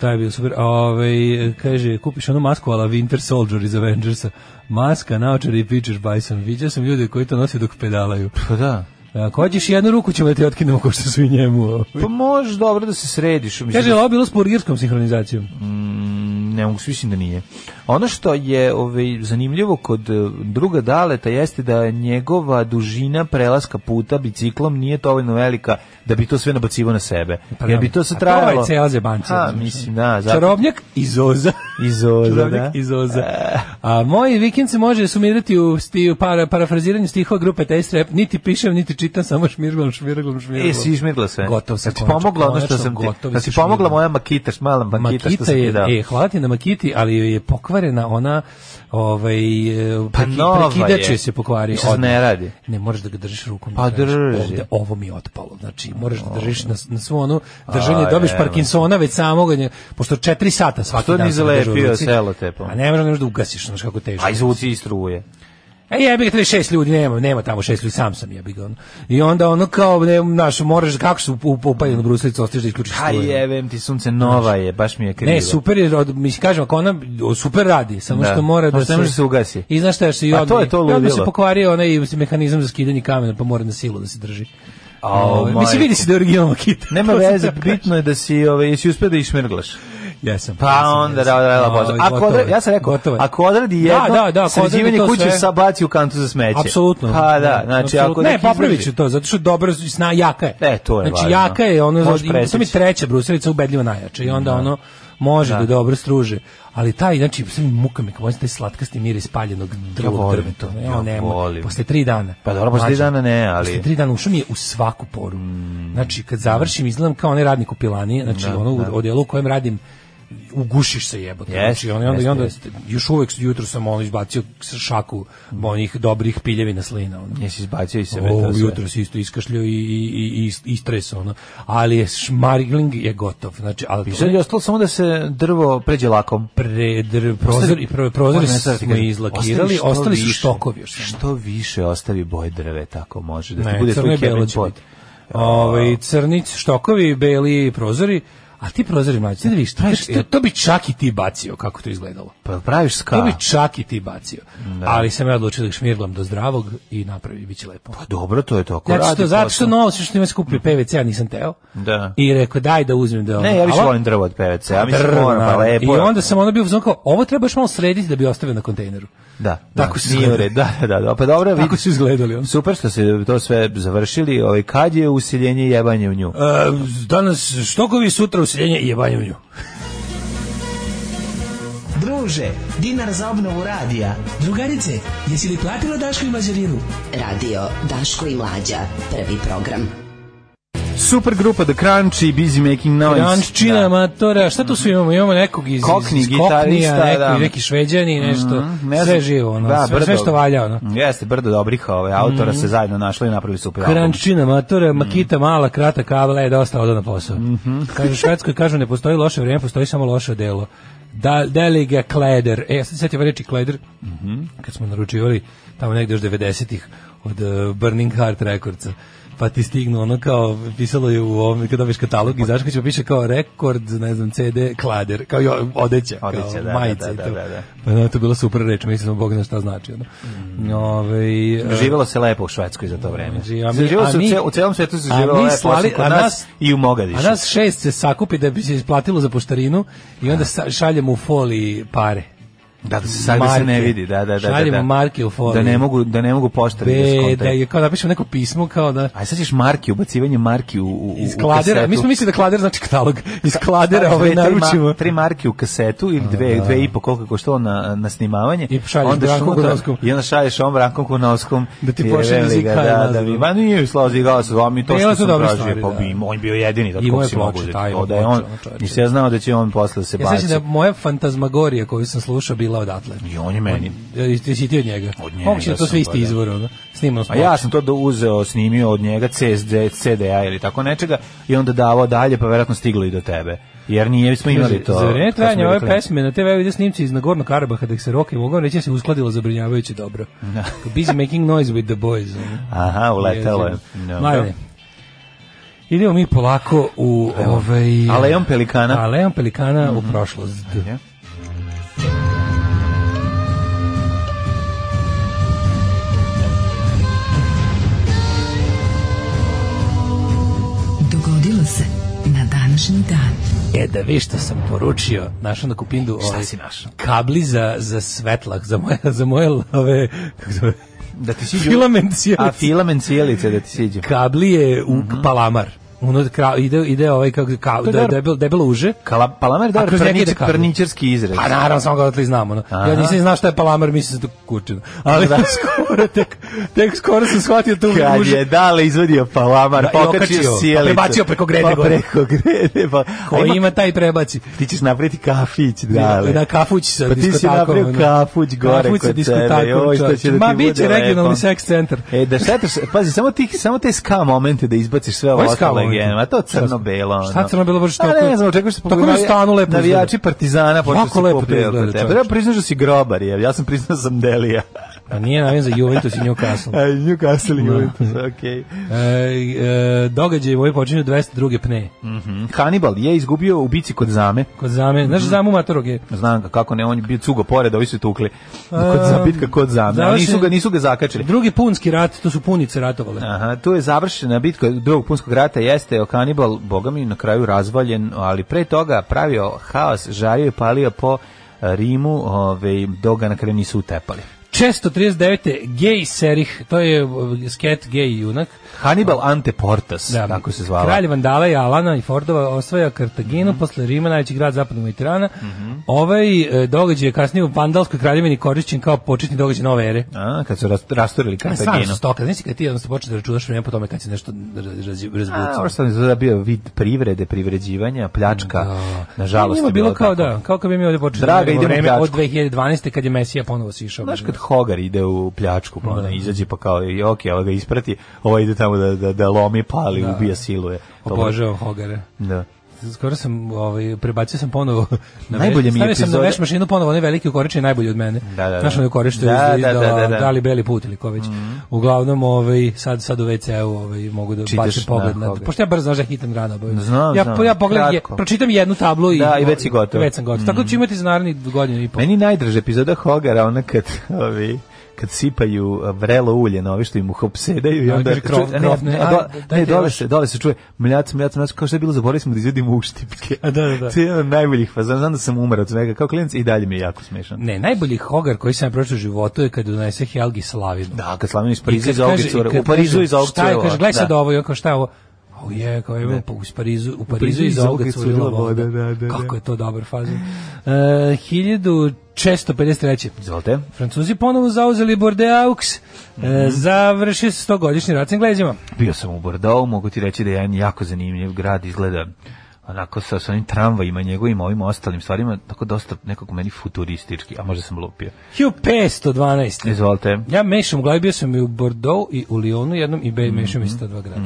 [SPEAKER 6] Taj je bio super. Ove, kaže, kupiš onu masku ala Winter Soldier iz Avengersa. Maska, naočare i pičeš bajsom. Viđao sam ljude koji to nose dok pedalaju.
[SPEAKER 7] Pa da.
[SPEAKER 6] Ako hoćeš jednu ruku ćemo da ti otkinemo ko što su i njemu.
[SPEAKER 7] Pa možeš dobro da se središ. Mislim,
[SPEAKER 6] Kaže, ovo bilo s burgirskom sinhronizacijom.
[SPEAKER 7] ne mogu se mislim da nije. Ono što je ovaj, zanimljivo kod eh, druga Daleta jeste da njegova dužina prelaska puta biciklom nije dovoljno velika da bi to sve nabacivo na sebe.
[SPEAKER 6] Pa
[SPEAKER 7] Jer
[SPEAKER 6] da.
[SPEAKER 7] bi to se
[SPEAKER 6] A
[SPEAKER 7] trajalo...
[SPEAKER 6] To je cela zebancija.
[SPEAKER 7] Ha,
[SPEAKER 6] znaš.
[SPEAKER 7] mislim, da, zato.
[SPEAKER 6] Čarobnjak iz Oza.
[SPEAKER 7] Iz oza, da. E.
[SPEAKER 6] Čarobnjak iz Oza. A moj vikend se može sumirati u, sti, u para, parafraziranju stihova grupe Taste Rap. Niti pišem, niti čitam, samo šmirglom, šmirglom, šmirglom.
[SPEAKER 7] E, si izmirila sve.
[SPEAKER 6] Gotov sam.
[SPEAKER 7] Jel ti pomogla ono što sam ti... Da si pomogla moja makita, mala makita što da.
[SPEAKER 6] Makita
[SPEAKER 7] sam ti
[SPEAKER 6] je,
[SPEAKER 7] dao.
[SPEAKER 6] e, hvala ti na Makiti, ali joj je pokvarena ona, ovaj, e,
[SPEAKER 7] Pa
[SPEAKER 6] preki-
[SPEAKER 7] nova
[SPEAKER 6] prekidač
[SPEAKER 7] je.
[SPEAKER 6] joj se pokvario.
[SPEAKER 7] Više se
[SPEAKER 6] odmah.
[SPEAKER 7] ne radi.
[SPEAKER 6] Ne, moraš da ga držiš rukom.
[SPEAKER 7] Pa
[SPEAKER 6] da kažeš,
[SPEAKER 7] drži.
[SPEAKER 6] Ovde, ovo mi je otpalo. Znači, moraš da držiš na, na svu onu držanje.
[SPEAKER 7] A,
[SPEAKER 6] Dobiš
[SPEAKER 7] evo.
[SPEAKER 6] Parkinsona već samog, nje- pošto četiri sata svaki
[SPEAKER 7] Što
[SPEAKER 6] dan.
[SPEAKER 7] ni
[SPEAKER 6] sam ga držao u
[SPEAKER 7] zalepio
[SPEAKER 6] ruci.
[SPEAKER 7] selotepom?
[SPEAKER 6] A ne možeš ne možeš da ugasiš, znaš kako teško.
[SPEAKER 7] A Pa izvuci i struje.
[SPEAKER 6] E jebi ga, treba šest ljudi, nema, nema tamo šest ljudi, sam sam jebi ga. ono. I onda ono kao, ne, znaš, moraš, kako su u upaljenu bruslicu, ostiš da isključiš
[SPEAKER 7] Ha
[SPEAKER 6] struje.
[SPEAKER 7] jevem ti sunce, nova je, baš mi je krivo.
[SPEAKER 6] Ne, super je, od- mislim, kažem, ako ona o, super radi, samo
[SPEAKER 7] Da.
[SPEAKER 6] što mora
[SPEAKER 7] Samo
[SPEAKER 6] da
[SPEAKER 7] što ne može se ugasi.
[SPEAKER 6] I znaš šta, još se i
[SPEAKER 7] Pa to
[SPEAKER 6] odmah-
[SPEAKER 7] je to
[SPEAKER 6] i odmah
[SPEAKER 7] ludilo.
[SPEAKER 6] se pokvario onaj mehanizam za skidanje kamena, pa mora na silu da se drži.
[SPEAKER 7] Au,
[SPEAKER 6] Ovaj, mislim,
[SPEAKER 7] majko.
[SPEAKER 6] vidi se da je originalno kita.
[SPEAKER 7] Nema veze, bitno je da si, ovaj, jesi uspeo da išmirglaš.
[SPEAKER 6] Jesam.
[SPEAKER 7] Pa
[SPEAKER 6] jesam,
[SPEAKER 7] onda
[SPEAKER 6] jesam.
[SPEAKER 7] ra, ra, ra,
[SPEAKER 6] Ovaj,
[SPEAKER 7] bože. Ako
[SPEAKER 6] gotovo
[SPEAKER 7] odre,
[SPEAKER 6] je,
[SPEAKER 7] ja sam rekao,
[SPEAKER 6] gotovo je.
[SPEAKER 7] ako odradi jedno,
[SPEAKER 6] da, da, ako odradi
[SPEAKER 7] sređivanje
[SPEAKER 6] to
[SPEAKER 7] kuće
[SPEAKER 6] sve-
[SPEAKER 7] sa baci u kantu za smeće.
[SPEAKER 6] Apsolutno.
[SPEAKER 7] Pa da, znači
[SPEAKER 6] Apsolutno.
[SPEAKER 7] ako
[SPEAKER 6] ne,
[SPEAKER 7] neki
[SPEAKER 6] popravit
[SPEAKER 7] izvrši-
[SPEAKER 6] ću to, zato što dobro sna jaka je.
[SPEAKER 7] E, to je
[SPEAKER 6] Znači
[SPEAKER 7] važno.
[SPEAKER 6] jaka je ono
[SPEAKER 7] Možeš
[SPEAKER 6] i- to mi
[SPEAKER 7] presjeći. Da.
[SPEAKER 6] treća brusilica ubedljivo najjača i onda ono može da. dobro struže. Ali taj, znači, sve mi muka mi, kao taj slatkasti miris paljenog drvog
[SPEAKER 7] volim
[SPEAKER 6] drveta.
[SPEAKER 7] to,
[SPEAKER 6] Ja,
[SPEAKER 7] ja
[SPEAKER 6] nema.
[SPEAKER 7] volim.
[SPEAKER 6] Posle tri dana.
[SPEAKER 7] Pa dobro, posle tri
[SPEAKER 6] Mlađe,
[SPEAKER 7] dana ne, ali- Mm.
[SPEAKER 6] Posle tri dana ušao mi je u svaku poru. Znači, kad završim, izgledam kao onaj radnik u pilani, znači
[SPEAKER 7] Da,
[SPEAKER 6] ono u odjelu u kojem radim, ugušiš se jebote.
[SPEAKER 7] Jeste,
[SPEAKER 6] znači, ono, i onda, i
[SPEAKER 7] jeste,
[SPEAKER 6] onda
[SPEAKER 7] jeste.
[SPEAKER 6] još uvek jutro sam ono izbacio šaku onih dobrih piljevina slina. Ono.
[SPEAKER 7] Jesi izbacio iz sebe to
[SPEAKER 6] O,
[SPEAKER 7] sve.
[SPEAKER 6] jutro se isto iskašljao i, i, i, i istres, ono. Ali je šmarigling je gotov. Znači, ali
[SPEAKER 7] I
[SPEAKER 6] to
[SPEAKER 7] sad je ostalo samo da se drvo pređe lakom.
[SPEAKER 6] pre, dr, prozor, i pro- prozor
[SPEAKER 7] Moram nešto da ti
[SPEAKER 6] smo
[SPEAKER 7] kažem. Ostavi
[SPEAKER 6] izlakirali,
[SPEAKER 7] što
[SPEAKER 6] ostali su
[SPEAKER 7] više.
[SPEAKER 6] štokovi još. samo.
[SPEAKER 7] Što više ostavi boje drve, tako može. Da ti
[SPEAKER 6] Ne,
[SPEAKER 7] bude
[SPEAKER 6] crno i
[SPEAKER 7] tvoj
[SPEAKER 6] belo
[SPEAKER 7] Kevin
[SPEAKER 6] će
[SPEAKER 7] Pot.
[SPEAKER 6] biti. Ovaj, crni štokovi, beli prozori, a ti prozori mlađi, sad vidiš, to, to, to bi čak i ti bacio kako to izgledalo.
[SPEAKER 7] Pa praviš ska.
[SPEAKER 6] To bi čak i ti bacio. Ali sam ja odlučio da ga šmirglam do zdravog i napravi, bit će lepo.
[SPEAKER 7] Pa dobro, to je to. Ako
[SPEAKER 6] Zato što,
[SPEAKER 7] radi
[SPEAKER 6] zato
[SPEAKER 7] posao.
[SPEAKER 6] što novo sve što ima skupio PVC, ja nisam teo.
[SPEAKER 7] Da.
[SPEAKER 6] I rekao, daj da uzmem da... ono-
[SPEAKER 7] Ne, ja više
[SPEAKER 6] ali-
[SPEAKER 7] volim drvo od peveca. Ja mislim
[SPEAKER 6] Drvo,
[SPEAKER 7] moram, pa
[SPEAKER 6] naravno.
[SPEAKER 7] lepo.
[SPEAKER 6] I
[SPEAKER 7] je.
[SPEAKER 6] onda sam onda bio uzmano kao, ovo treba još malo srediti da bi ostavio na kontejneru.
[SPEAKER 7] Da,
[SPEAKER 6] Tako
[SPEAKER 7] da,
[SPEAKER 6] su
[SPEAKER 7] nije u
[SPEAKER 6] izgledali.
[SPEAKER 7] redu. Da, da, da. Pa dobro, vidi.
[SPEAKER 6] Tako su izgledali. ono.
[SPEAKER 7] Super što se to sve završili. Ovaj kad je usiljenje i jebanje u nju?
[SPEAKER 6] E, danas štokovi, sutra usiljenje i jebanje u nju.
[SPEAKER 8] Druže, dinar za obnovu radija. Drugarice, jesi li platila Daško i Mađarinu?
[SPEAKER 5] Radio Daško i Mlađa. Prvi program.
[SPEAKER 7] Super grupa The Crunch i Busy Making Noise.
[SPEAKER 6] Jančina, matora, šta tu sve imamo? Imamo nekog iz, iz-
[SPEAKER 7] da. Kokni,
[SPEAKER 6] iz Koknija,
[SPEAKER 7] gitarista,
[SPEAKER 6] neko,
[SPEAKER 7] da.
[SPEAKER 6] neki šveđani, nešto,
[SPEAKER 7] Mhm, ne
[SPEAKER 6] sve
[SPEAKER 7] znam.
[SPEAKER 6] živo, ono,
[SPEAKER 7] Da,
[SPEAKER 6] sve, sve
[SPEAKER 7] brdo.
[SPEAKER 6] što valja, ono. Mhm.
[SPEAKER 7] Jeste, brdo dobrih ove, autora se zajedno našli i napravili super album.
[SPEAKER 6] Krančina, matura,
[SPEAKER 7] Mm.
[SPEAKER 6] makita, mala, e, krata, kavla je dosta oda da, na posao.
[SPEAKER 7] Mhm.
[SPEAKER 6] Kažu, u Švedskoj kažu, ne postoji loše vrijeme, postoji samo loše delo. Da, da li ga kleder? E, ja sad sjetim reći kleder,
[SPEAKER 7] Mhm.
[SPEAKER 6] kad smo naručivali tamo negdje još 90-ih od eh, Burning Heart Recordsa pa ti stignu ono kao pisalo je u ovom kada biš
[SPEAKER 7] Pa-
[SPEAKER 6] katalog i zašto će piše kao rekord ne znam CD klader kao jo, odeća,
[SPEAKER 7] Odeća,
[SPEAKER 6] kao
[SPEAKER 7] da,
[SPEAKER 6] majica
[SPEAKER 7] da,
[SPEAKER 6] i
[SPEAKER 7] da,
[SPEAKER 6] to.
[SPEAKER 7] da, da.
[SPEAKER 6] pa no, to je bila super reč mislim da Bog zna šta znači ono. Ovaj, eh,
[SPEAKER 7] Mm. Živelo se lepo u Švedskoj za to vreme.
[SPEAKER 6] Živjelo- a mi-
[SPEAKER 7] Živelo
[SPEAKER 6] a
[SPEAKER 7] se u,
[SPEAKER 6] mi-
[SPEAKER 7] ce- u celom svetu se
[SPEAKER 6] a
[SPEAKER 7] živelo
[SPEAKER 6] mi
[SPEAKER 7] lepo,
[SPEAKER 6] slali-
[SPEAKER 7] osim kod
[SPEAKER 6] a
[SPEAKER 7] nas,
[SPEAKER 6] nas-
[SPEAKER 7] i u Mogadišu.
[SPEAKER 6] A nas šest se sakupi da bi se isplatilo za poštarinu i onda sa- šaljemo u foliji pare.
[SPEAKER 7] Da, da se sad da se ne
[SPEAKER 6] Marke.
[SPEAKER 7] vidi, da, da, da. da,
[SPEAKER 6] Šaljemo
[SPEAKER 7] da.
[SPEAKER 6] marke u foliju.
[SPEAKER 7] Da ne mogu, da ne mogu poštari da
[SPEAKER 6] Be, da
[SPEAKER 7] skontaju.
[SPEAKER 6] je kao napišemo neko pismo kao da
[SPEAKER 7] A sad ćeš marki, ubacivanje marki u, u, u
[SPEAKER 6] iz kladera,
[SPEAKER 7] kasetu.
[SPEAKER 6] mi smo mislili da klader znači katalog, iz kladera
[SPEAKER 7] Staviš
[SPEAKER 6] ovaj
[SPEAKER 7] dve, tri ma-
[SPEAKER 6] naručimo. Da,
[SPEAKER 7] Tri marke u kasetu ili dve, dve i po koliko je koštalo na, na snimavanje.
[SPEAKER 6] I šalješ
[SPEAKER 7] Onda
[SPEAKER 6] Branku
[SPEAKER 7] šutra-
[SPEAKER 6] Kunovskom.
[SPEAKER 7] I onda šalješ ovom Brankom Kunovskom.
[SPEAKER 6] Da ti
[SPEAKER 7] jer
[SPEAKER 6] pošalje
[SPEAKER 7] veli ga,
[SPEAKER 6] zikaj
[SPEAKER 7] Da, da
[SPEAKER 6] nazad.
[SPEAKER 7] bi, ma nije mi slao zigao sa vama i to
[SPEAKER 6] Bile
[SPEAKER 7] što
[SPEAKER 6] su
[SPEAKER 7] sam
[SPEAKER 6] dobre
[SPEAKER 7] tražio.
[SPEAKER 6] stvari,
[SPEAKER 7] pa
[SPEAKER 6] da.
[SPEAKER 7] bi, on bio jedini da
[SPEAKER 6] Imao
[SPEAKER 7] kako
[SPEAKER 6] je
[SPEAKER 7] si mogu
[SPEAKER 6] ploče,
[SPEAKER 7] uzeti.
[SPEAKER 6] taj ima
[SPEAKER 7] To Da je on,
[SPEAKER 6] ploče, ono, čovječe.
[SPEAKER 7] nisam ja znao da će on posle da se
[SPEAKER 6] Ja
[SPEAKER 7] baci.
[SPEAKER 6] sećam da je moja fantazmagorija koju sam slušao Krila odatle.
[SPEAKER 7] I on je meni.
[SPEAKER 6] E, Ti si ti od njega?
[SPEAKER 7] Od njega
[SPEAKER 6] Moguće da je
[SPEAKER 7] sam,
[SPEAKER 6] to sve
[SPEAKER 7] pa
[SPEAKER 6] isti
[SPEAKER 7] da.
[SPEAKER 6] izvor, ono. Snimao smo.
[SPEAKER 7] A ja sam to do uzeo, snimio od njega CSD, CDA ili tako nečega i onda davao dalje, pa verovatno stiglo i do tebe. Jer nije smo imali to.
[SPEAKER 6] Za vreme
[SPEAKER 7] kad smo bili
[SPEAKER 6] trajanja ove
[SPEAKER 7] klinci.
[SPEAKER 6] pesme na TV vide snimci iz Nagorno Karabaha da ih se roke mogu reći da se uskladilo zabrinjavajuće dobro.
[SPEAKER 7] Da.
[SPEAKER 6] Busy making noise with the boys. ono.
[SPEAKER 7] Aha, uletelo je. Dobro.
[SPEAKER 6] Mladine, Idemo mi polako u ovaj
[SPEAKER 7] Alejom pelikana. Mhm.
[SPEAKER 6] Alejom pelikana u prošlost.
[SPEAKER 7] Ja.
[SPEAKER 9] Dogodilo se na današnji dan.
[SPEAKER 6] E da vi što sam poručio, našao na Kupindu ovaj,
[SPEAKER 7] si našao?
[SPEAKER 6] kabli za, za svetlak, za moje, za moje ove, kako se zove,
[SPEAKER 7] Da ti siđu...
[SPEAKER 6] filament sjelice.
[SPEAKER 7] A filamen cijelice da ti siđu.
[SPEAKER 6] kabli je u palamar. Unutra kra- ide, ide ovaj, kako, se- ka,
[SPEAKER 7] To je
[SPEAKER 6] de,
[SPEAKER 7] dobro.
[SPEAKER 6] debel, debelo uže.
[SPEAKER 7] Kala, palamar je dobar
[SPEAKER 6] A kroz njega
[SPEAKER 7] prničar-
[SPEAKER 6] ide kabel.
[SPEAKER 7] prničarski izraz.
[SPEAKER 6] Pa naravno, samo ga odli znamo. No. Ja
[SPEAKER 7] Aha.
[SPEAKER 6] nisam ni znao šta je palamar, mislim da se to kučino. Ali skoro, tek, tek skoro sam shvatio tu
[SPEAKER 7] Kad
[SPEAKER 6] uže.
[SPEAKER 7] je dale izvadio palamar,
[SPEAKER 6] Da, i
[SPEAKER 7] pokačio
[SPEAKER 6] okačio, pa
[SPEAKER 7] sjelicu.
[SPEAKER 6] prebacio preko grede
[SPEAKER 7] Pa
[SPEAKER 6] gore.
[SPEAKER 7] preko grede. Pa,
[SPEAKER 6] Ko
[SPEAKER 7] A ima-
[SPEAKER 6] ima Da, taj prebaci.
[SPEAKER 7] Ti ćeš napraviti kafić, dale.
[SPEAKER 6] Na kafuć sa
[SPEAKER 7] Pa ti si
[SPEAKER 6] diskotakom.
[SPEAKER 7] napravio
[SPEAKER 6] ono.
[SPEAKER 7] kafuć gore
[SPEAKER 6] Kafuć sa
[SPEAKER 7] kod
[SPEAKER 6] diskotakom,
[SPEAKER 7] sebe, joj, šta će
[SPEAKER 6] čoveče.
[SPEAKER 7] da ti
[SPEAKER 6] Ma,
[SPEAKER 7] bude
[SPEAKER 6] bit će regionalni
[SPEAKER 7] lepo.
[SPEAKER 6] seks centar.
[SPEAKER 7] E, da šetaš, pazi, samo, ti, samo te ska momente da izbaciš sve ovo
[SPEAKER 6] Koji ska
[SPEAKER 7] ostale
[SPEAKER 6] momenti?
[SPEAKER 7] genoma, to
[SPEAKER 6] Šta-
[SPEAKER 7] crno-belo. ono.
[SPEAKER 6] šta crno-belo, baš
[SPEAKER 7] A
[SPEAKER 6] tako-
[SPEAKER 7] ne znam, očekuješ se
[SPEAKER 6] tako mi u stanu lepo izgleda.
[SPEAKER 7] Navijači partizana, počeo
[SPEAKER 6] Jako
[SPEAKER 7] se
[SPEAKER 6] lepo
[SPEAKER 7] popio
[SPEAKER 6] izgleda,
[SPEAKER 7] kod tebe.
[SPEAKER 6] čoveče.
[SPEAKER 7] Treba priznaš da si grobar, je. ja sam priznao da sam Delija.
[SPEAKER 6] A nije navijen za Juventus i Newcastle.
[SPEAKER 7] A, Newcastle
[SPEAKER 6] Da.
[SPEAKER 7] Juventus, okej.
[SPEAKER 6] E, e, događaj ovaj počinju 202. pne.
[SPEAKER 7] Mhm. Hannibal je izgubio u bici kod zame.
[SPEAKER 6] Kod zame, znaš zamu matorog je.
[SPEAKER 7] Znam ga kako ne, on je bio cugo pored, ovi su tukli. Kod zabitka kod zame. A
[SPEAKER 6] završen-
[SPEAKER 7] nisu ga, nisu ga zakačili.
[SPEAKER 6] Drugi punski rat, to su punice ratovale.
[SPEAKER 7] Aha, tu je završena bitka drugog punskog rata, jeste Okanibal, boga mi, na kraju razvaljen, ali pre toga pravio haos, žario i palio po e, Rimu, ove, dok ga na kraju nisu utepali.
[SPEAKER 6] 639. Gej Serih, to je uh, sket gej junak.
[SPEAKER 7] Hannibal Ante Portas,
[SPEAKER 6] Da.
[SPEAKER 7] tako se zvala. Mhm.
[SPEAKER 6] Kralj Vandala i Alana i Fordova osvaja Kartaginu posle Rima, najveći grad zapadnog Mediterana. Ovaj e, događaj je kasnije u Vandalskoj kraljevini korišćen kao početni događaj nove ere.
[SPEAKER 7] A, kad su ras- rasturili
[SPEAKER 6] Ma, Stvarno su
[SPEAKER 7] Kartagenu.
[SPEAKER 6] stoka, znači kad ti jednostavno počneš da računaš vreme po tome kad se nešto raz- raz-
[SPEAKER 7] A,
[SPEAKER 6] razbuca.
[SPEAKER 7] ovo sam izgleda bio vid privrede, privređivanja, pljačka, nažalost.
[SPEAKER 6] Njima
[SPEAKER 7] je
[SPEAKER 6] Da. bilo kao
[SPEAKER 7] tako.
[SPEAKER 6] da, kao kad bi mi ovdje počeli
[SPEAKER 7] Draga,
[SPEAKER 6] da
[SPEAKER 7] idemo
[SPEAKER 6] vreme
[SPEAKER 7] pljačku.
[SPEAKER 6] od 2012. kad je Mesija ponovo sišao.
[SPEAKER 7] Znaš kad Hogar ide u pljačku, pa
[SPEAKER 6] Da.
[SPEAKER 7] ona izađe pa kao, i, ok, ovo ga isprati, ovo ide tamo da, da, da lomi, pali, ubija, siluje. To-
[SPEAKER 6] Obožavam Hogare.
[SPEAKER 7] Da.
[SPEAKER 6] Skoro sam, ovaj, prebacio sam ponovo na
[SPEAKER 7] Najbolje mi je
[SPEAKER 6] stavio sam na
[SPEAKER 7] epizoda-
[SPEAKER 6] veš mašinu ponovo, onaj veliki ukoričan je najbolji od mene.
[SPEAKER 7] Da, da, da.
[SPEAKER 6] Znaš onaj ukoričan
[SPEAKER 7] Da,
[SPEAKER 6] da,
[SPEAKER 7] da,
[SPEAKER 6] da,
[SPEAKER 7] da, da, da. Mhm.
[SPEAKER 6] li beli put ili ko već. Uglavnom, ovaj, sad, sad u WC-u ovaj, mogu da
[SPEAKER 7] Čitaš,
[SPEAKER 6] bacim pogled.
[SPEAKER 7] da,
[SPEAKER 6] Na,
[SPEAKER 7] Hogar.
[SPEAKER 6] pošto ja brzo znaš da hitam rano obavim.
[SPEAKER 7] Znam,
[SPEAKER 6] ja,
[SPEAKER 7] znam,
[SPEAKER 6] ja pogledam, je,
[SPEAKER 7] kratko.
[SPEAKER 6] pročitam jednu tablu i,
[SPEAKER 7] Da, i već si gotov. Mhm.
[SPEAKER 6] Već sam gotov. Tako da ću imati za narednih godinu i pol.
[SPEAKER 7] Meni je najdraža epizoda Hogara ona kad ovi kad sipaju a, vrelo ulje na ovi što im upsedaju i
[SPEAKER 6] A,
[SPEAKER 7] onda
[SPEAKER 6] kaže, krov-
[SPEAKER 7] čuje- a ne,
[SPEAKER 6] krov, ne,
[SPEAKER 7] ne,
[SPEAKER 6] aj,
[SPEAKER 7] do-
[SPEAKER 6] dajte
[SPEAKER 7] ne, dole
[SPEAKER 6] još.
[SPEAKER 7] se dole se čuje mljac mljac mljac kao što je bilo zaboravili smo da izvedimo uštipke
[SPEAKER 6] A, da, da, da.
[SPEAKER 7] to je jedan od najboljih faza znam da sam umrao od svega kao klinac i dalje mi je jako smešan
[SPEAKER 6] Ne, najbolji hogar koji sam ja pročio u životu je kad donese Helgi Slavinu.
[SPEAKER 7] da kad slavim iz
[SPEAKER 6] I
[SPEAKER 7] Pariza
[SPEAKER 6] kad
[SPEAKER 7] iz ovog
[SPEAKER 6] kaže-
[SPEAKER 7] cura
[SPEAKER 6] i kad
[SPEAKER 7] u Parizu
[SPEAKER 6] kaže,
[SPEAKER 7] iz ovog
[SPEAKER 6] Šta je,
[SPEAKER 7] cura,
[SPEAKER 6] kaže, gledaj
[SPEAKER 7] da.
[SPEAKER 6] sad ovo, i on kao šta je ovo? Au je, kao je, pa u Parizu, u Parizu iz ovoga curila voda.
[SPEAKER 7] da, da, da.
[SPEAKER 6] Kako je to dobar fazon. Uh, 1653.
[SPEAKER 7] izvolite
[SPEAKER 6] Francuzi ponovo zauzeli Bordeaux. Mm
[SPEAKER 7] Mhm.
[SPEAKER 6] završi se 100-godišnji rat s Englezima.
[SPEAKER 7] bio sam u Bordeaux mogu ti reći da je jedan jako zanimljiv grad izgleda onako sa svojim tramvajima njegovim ovim ostalim stvarima tako dosta nekako meni futuristički a možda sam lupio
[SPEAKER 6] 1512.
[SPEAKER 7] izvolite
[SPEAKER 6] Ja mešam u glavi, bio sam i u Bordeaux i u Lyonu jednom i be, mešam
[SPEAKER 7] Mhm.
[SPEAKER 6] iz ta dva grada.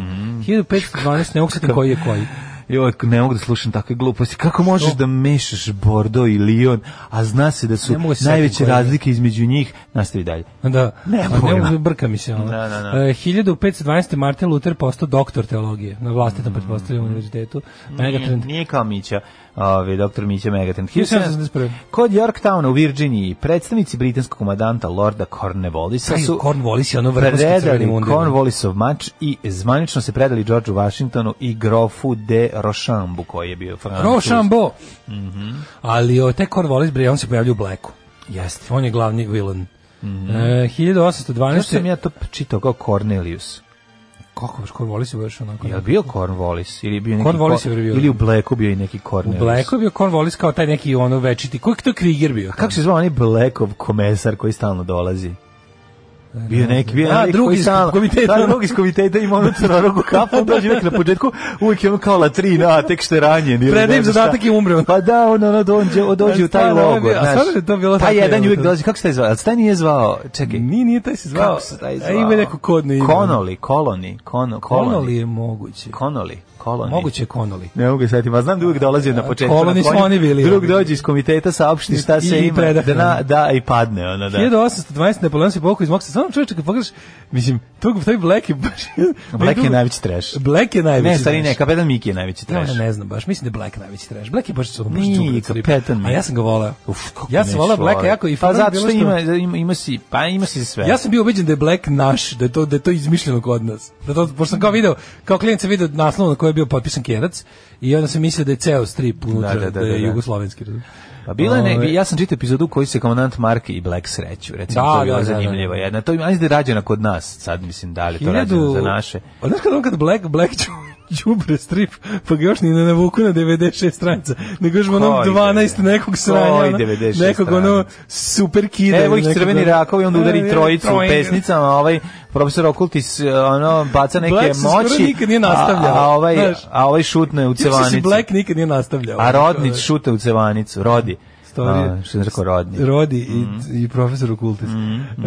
[SPEAKER 6] 1512, ne mogu setim koji je koji.
[SPEAKER 7] Joj, ne mogu da slušam takve gluposti. Kako možeš da mešaš Bordeaux i Lyon, a zna se da su
[SPEAKER 6] Ne mogu se
[SPEAKER 7] najveće
[SPEAKER 6] setiti koje je.
[SPEAKER 7] razlike između njih? Nastavi dalje.
[SPEAKER 6] Da.
[SPEAKER 7] Ne,
[SPEAKER 6] A ne
[SPEAKER 7] pojma.
[SPEAKER 6] mogu, brka mi se ono.
[SPEAKER 7] Da, da, da.
[SPEAKER 6] E, 1512. Martin Luther postao doktor teologije na
[SPEAKER 7] Mm.
[SPEAKER 6] vlastitom pretpostavljenom univerzitetu.
[SPEAKER 7] Nije,
[SPEAKER 6] Megatrend.
[SPEAKER 7] nije kao Mića, ovaj, doktor Mića Megatrend.
[SPEAKER 6] 1771.
[SPEAKER 7] Kod Yorktowna u Virginiji predstavnici britanskog komadanta Lorda Cornwallisa
[SPEAKER 6] Taj
[SPEAKER 7] su
[SPEAKER 6] Cornwallis je ono vrhunski crveni
[SPEAKER 7] predali
[SPEAKER 6] mundir.
[SPEAKER 7] Cornwallisov mač i zvanično se predali Georgeu Washingtonu i grofu de Rochambu koji je bio francus.
[SPEAKER 6] Rochambeau.
[SPEAKER 7] Mhm.
[SPEAKER 6] Ali o, taj Cornwallis, bre, on se pojavlja u Blacku.
[SPEAKER 7] Jeste.
[SPEAKER 6] On je glavni villain. e,
[SPEAKER 7] Znaš Mhm. sam
[SPEAKER 6] 1812.
[SPEAKER 7] ja to čitao kao Cornelius.
[SPEAKER 6] Kako baš Cornwallis je baš onako?
[SPEAKER 7] Je li bio Cornwallis ili je bio neki
[SPEAKER 6] Cornwallis je
[SPEAKER 7] Cor-
[SPEAKER 6] bio.
[SPEAKER 7] ili u Blacku bio i neki Cornwallis.
[SPEAKER 6] U Blacku je bio Cornwallis kao taj neki ono večiti. Koji je to Krieger bio?
[SPEAKER 7] Kako se zvao onaj Blackov komesar koji stalno dolazi? Bio neki, bio
[SPEAKER 6] A,
[SPEAKER 7] neki
[SPEAKER 6] drugi
[SPEAKER 7] koji
[SPEAKER 6] iz
[SPEAKER 7] stalno-
[SPEAKER 6] komiteta.
[SPEAKER 7] Da, drugi iz komiteta ima onu crnorogu kapu, dođe uvijek na početku, uvijek je ono kao latrina, a tek što je ranjen. ili
[SPEAKER 6] Predajem
[SPEAKER 7] ne znam
[SPEAKER 6] zadatak
[SPEAKER 7] šta.
[SPEAKER 6] i umrem.
[SPEAKER 7] Pa da, ono, ono dođe, o, dođe
[SPEAKER 6] Ali
[SPEAKER 7] u taj
[SPEAKER 6] stvarno, ovo je
[SPEAKER 7] logor.
[SPEAKER 6] bio- a stvarno je to bilo
[SPEAKER 7] Pa
[SPEAKER 6] tako,
[SPEAKER 7] jedan
[SPEAKER 6] evo,
[SPEAKER 7] je uvijek
[SPEAKER 6] to-
[SPEAKER 7] dođe, kako se taj zvao? Ali se taj nije zvao, čekaj.
[SPEAKER 6] Nije, nije taj se zvao.
[SPEAKER 7] Kako se taj zvao?
[SPEAKER 6] A ima neko kodno ime.
[SPEAKER 7] Konoli, koloni, kono, koloni.
[SPEAKER 6] Konoli je moguće.
[SPEAKER 7] Konoli, koloni.
[SPEAKER 6] Moguće je Konoli.
[SPEAKER 7] Ne mogu sveti, ma znam da uvijek dolazio na početku.
[SPEAKER 6] Koloni
[SPEAKER 7] na
[SPEAKER 6] su
[SPEAKER 7] konju,
[SPEAKER 6] oni bili,
[SPEAKER 7] Drug
[SPEAKER 6] oni.
[SPEAKER 7] dođe iz komiteta, saopšti šta
[SPEAKER 6] I-
[SPEAKER 7] se
[SPEAKER 6] i
[SPEAKER 7] ima.
[SPEAKER 6] predahne.
[SPEAKER 7] Da, da, i padne, ono, da.
[SPEAKER 6] 1820 Napoleon se povukao iz Moksa. Samo čovječe kad pogledaš, mislim, tog, taj Black je baš...
[SPEAKER 7] Black je najveći trash.
[SPEAKER 6] Black je najveći.
[SPEAKER 7] Ne, stari ne,
[SPEAKER 6] znaš.
[SPEAKER 7] kapetan Miki je najveći
[SPEAKER 6] Ja
[SPEAKER 7] trash.
[SPEAKER 6] ne, znam baš, mislim da je Black najveći trash. Black je baš su baš
[SPEAKER 7] Nije,
[SPEAKER 6] đubre crip.
[SPEAKER 7] kapetan mi
[SPEAKER 6] A
[SPEAKER 7] je.
[SPEAKER 6] ja sam ga volao.
[SPEAKER 7] Uf, kako
[SPEAKER 6] ja sam
[SPEAKER 7] neću
[SPEAKER 6] volao Blacka
[SPEAKER 7] volati.
[SPEAKER 6] jako i
[SPEAKER 7] pa
[SPEAKER 6] fazon je
[SPEAKER 7] zato
[SPEAKER 6] bilo
[SPEAKER 7] što ima ima ima si pa ima si sve.
[SPEAKER 6] Ja sam bio ubeđen da je Black naš, da je to da je to izmišljeno kod nas. Da to pošto sam kao video, kao klijent sam video naslov na kojem je bio potpisan Kerac i onda sam mislio da je ceo strip unutra da,
[SPEAKER 7] da, da,
[SPEAKER 6] je
[SPEAKER 7] da, da.
[SPEAKER 6] jugoslovenski. razumiješ?
[SPEAKER 7] Pa bila je
[SPEAKER 6] Ove,
[SPEAKER 7] ne, ja sam čitao epizodu u kojoj se komandant Mark i Black sreću, recimo
[SPEAKER 6] Da,
[SPEAKER 7] to je bila
[SPEAKER 6] da, da, da.
[SPEAKER 7] zanimljiva jedna. To ima ajde da rađena kod nas, sad mislim da li je to rađeno za naše.
[SPEAKER 6] A znaš kad on kad Black, Black ću đubre strip, pa ga još ni ne navuku na 96 stranica, nego još ono
[SPEAKER 7] Koji
[SPEAKER 6] 12
[SPEAKER 7] devet-
[SPEAKER 6] nekog sranja,
[SPEAKER 7] koji
[SPEAKER 6] ono,
[SPEAKER 7] 96
[SPEAKER 6] nekog ono
[SPEAKER 7] stranica?
[SPEAKER 6] super kida.
[SPEAKER 7] Evo ih
[SPEAKER 6] nekog-
[SPEAKER 7] crveni rakovi, onda udari
[SPEAKER 6] E,
[SPEAKER 7] trojicu u
[SPEAKER 6] trojka.
[SPEAKER 7] pesnicama, a ovaj profesor Okultis ono, baca neke
[SPEAKER 6] Black se skoro
[SPEAKER 7] moći.
[SPEAKER 6] nikad nije nastavljao,
[SPEAKER 7] A, a ovaj,
[SPEAKER 6] znaš.
[SPEAKER 7] a ovaj šutne u
[SPEAKER 6] Ti misliš da se
[SPEAKER 7] cevanicu.
[SPEAKER 6] Black Ovaj- nikad nije nastavljao.
[SPEAKER 7] A Rodnić šute u cevanicu, Rodi.
[SPEAKER 6] Story-
[SPEAKER 7] A, što sam rekao, Rodnić. Mhm.
[SPEAKER 6] Rodi i, i profesor okultist.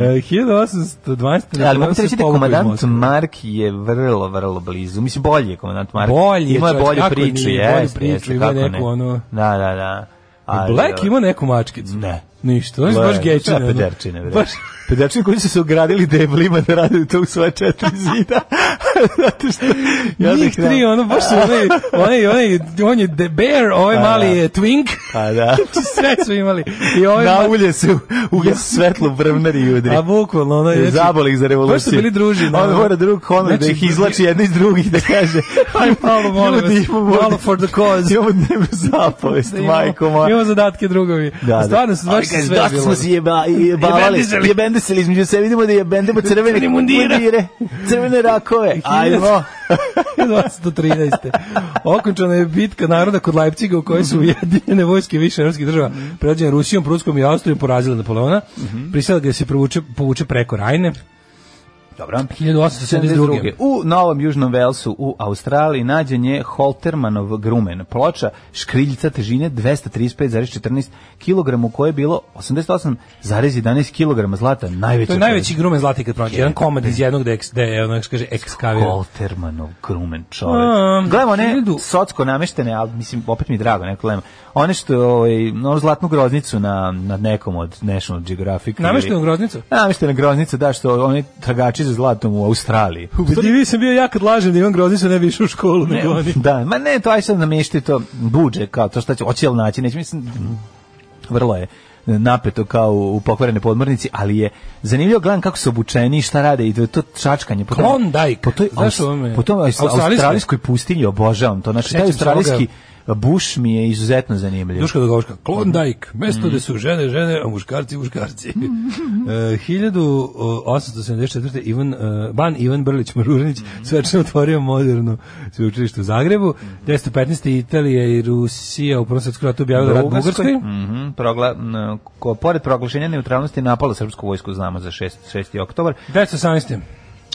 [SPEAKER 6] E, 1820.
[SPEAKER 7] Ne, ali mogu ti
[SPEAKER 6] se
[SPEAKER 7] reći da
[SPEAKER 6] povukao iz
[SPEAKER 7] komandant
[SPEAKER 6] Moskve.
[SPEAKER 7] Mark je vrlo, vrlo blizu. Mislim, bolji je komandant Mark.
[SPEAKER 6] Bolji je
[SPEAKER 7] Ima
[SPEAKER 6] čovjek,
[SPEAKER 7] bolju
[SPEAKER 6] kako
[SPEAKER 7] priču,
[SPEAKER 6] nije, bolju
[SPEAKER 7] jeste,
[SPEAKER 6] priču,
[SPEAKER 7] jeste,
[SPEAKER 6] ima
[SPEAKER 7] kako
[SPEAKER 6] neku
[SPEAKER 7] ne.
[SPEAKER 6] ono-
[SPEAKER 7] Da, da, da. Ali,
[SPEAKER 6] Black
[SPEAKER 7] da.
[SPEAKER 6] ima neku mačkicu.
[SPEAKER 7] Ne.
[SPEAKER 6] Ništa, on je baš gečina.
[SPEAKER 7] Da,
[SPEAKER 6] ono.
[SPEAKER 7] pederčine, bre.
[SPEAKER 6] Baš,
[SPEAKER 7] Pederčine koji su se ogradili deblima da rade to u svoje četiri zida. Zato što... Ja
[SPEAKER 6] njih
[SPEAKER 7] bih- da-
[SPEAKER 6] tri, ono, baš su onaj, onaj, onaj, on je the bear, ovaj
[SPEAKER 7] Pa,
[SPEAKER 6] mali
[SPEAKER 7] da.
[SPEAKER 6] je twink,
[SPEAKER 7] Pa da.
[SPEAKER 6] sve su imali. I ovaj
[SPEAKER 7] Na
[SPEAKER 6] mali-
[SPEAKER 7] ulje se ugas svetlo vrvnari i udri.
[SPEAKER 6] A bukvalno, ono je...
[SPEAKER 7] Zabole ih za revoluciju.
[SPEAKER 6] Znači, Baš su bili druži.
[SPEAKER 7] On mora drug Honor da ih izlači jedni iz drugih da kaže
[SPEAKER 6] Aj, malo, molim vas,
[SPEAKER 7] Ljudi, imamo-
[SPEAKER 6] malo for the cause.
[SPEAKER 7] Imamo dnevnu zapovest,
[SPEAKER 6] Da imamo-
[SPEAKER 7] majko moja.
[SPEAKER 6] Imamo zadatke drugovi.
[SPEAKER 7] Da, da.
[SPEAKER 6] Stvarno su
[SPEAKER 7] Ali
[SPEAKER 6] baš sve
[SPEAKER 7] kaže,
[SPEAKER 6] bilo.
[SPEAKER 7] dosta smo se jeba, jebavali,
[SPEAKER 6] Jebendisali.
[SPEAKER 7] jebendisali između sebe, vidimo da jebendimo crvene mundire, crvene rakove, ajmo.
[SPEAKER 6] 1813. Okončana je bitka naroda kod Leipciga u kojoj su
[SPEAKER 7] Mhm.
[SPEAKER 6] ujedinjene vojske više evropskih država pređene Rusijom, Pruskom i Austrijom porazile Napoleona.
[SPEAKER 7] Mhm.
[SPEAKER 6] Prisjela ga da se provuče, povuče preko Rajne.
[SPEAKER 7] Dobro.
[SPEAKER 6] 1872.
[SPEAKER 7] U Novom Južnom Velsu u Australiji nađen je Holtermanov grumen, ploča škriljca težine 235,14 kg u kojoj je bilo 88,11 kg zlata, najveća.
[SPEAKER 6] To je najveći grumen zlati kad pronađe. Jedan komad iz jednog da je, eks- da je ono, kaže,
[SPEAKER 7] čovek.
[SPEAKER 6] ekskavira.
[SPEAKER 7] Holtermanov grumen čovjek.
[SPEAKER 6] Um,
[SPEAKER 7] Gledamo ne,
[SPEAKER 6] hiljadu-
[SPEAKER 7] socko nameštene, ali mislim, opet mi je drago, neko gledamo. One što, ovaj, onu zlatnu groznicu na, na nekom od National Geographic. ili-
[SPEAKER 6] Nameštenu groznicu?
[SPEAKER 7] Nameštena groznica, da, što oni tragači za zlatom u Australiji.
[SPEAKER 6] Ubedljiviji sam bio ja kad lažem da imam groznicu, ne bi išao u školu
[SPEAKER 7] Ne,
[SPEAKER 6] nego oni.
[SPEAKER 7] da, ma ne, to aj sad namješti to buđe, kao to šta će, hoće li naći, neće, mislim, vrlo je napeto kao u, u pokvarene podmornici, ali je zanimljivo gledam kako su obučeni, i šta rade i to, to čačkanje. Po tom-
[SPEAKER 6] Klondike.
[SPEAKER 7] Po toj,
[SPEAKER 6] Znaš
[SPEAKER 7] aus-
[SPEAKER 6] ovo me-
[SPEAKER 7] po tom aus-
[SPEAKER 6] Australijskoj.
[SPEAKER 7] australijskoj pustinji obožavam to. Znači, taj
[SPEAKER 6] Sećam se
[SPEAKER 7] australijski buš mi je izuzetno zanimljiv.
[SPEAKER 6] Duška Dogovška,
[SPEAKER 7] Mm.
[SPEAKER 6] Klondajk, mesto gde su žene, žene, a muškarci, muškarci. E, 1874. Ivan, e, ban Ivan Brlić Marurinić
[SPEAKER 7] Mm.
[SPEAKER 6] svečano otvorio moderno sveučilište u Zagrebu. 1915. Italija i Rusija u Prvom svetskom ratu objavila rat Bugarskoj.
[SPEAKER 7] Mhm, progla- n- ko- pored proglašenja neutralnosti napala srpsku vojsku, znamo za 6. 6. oktobar.
[SPEAKER 6] 1918.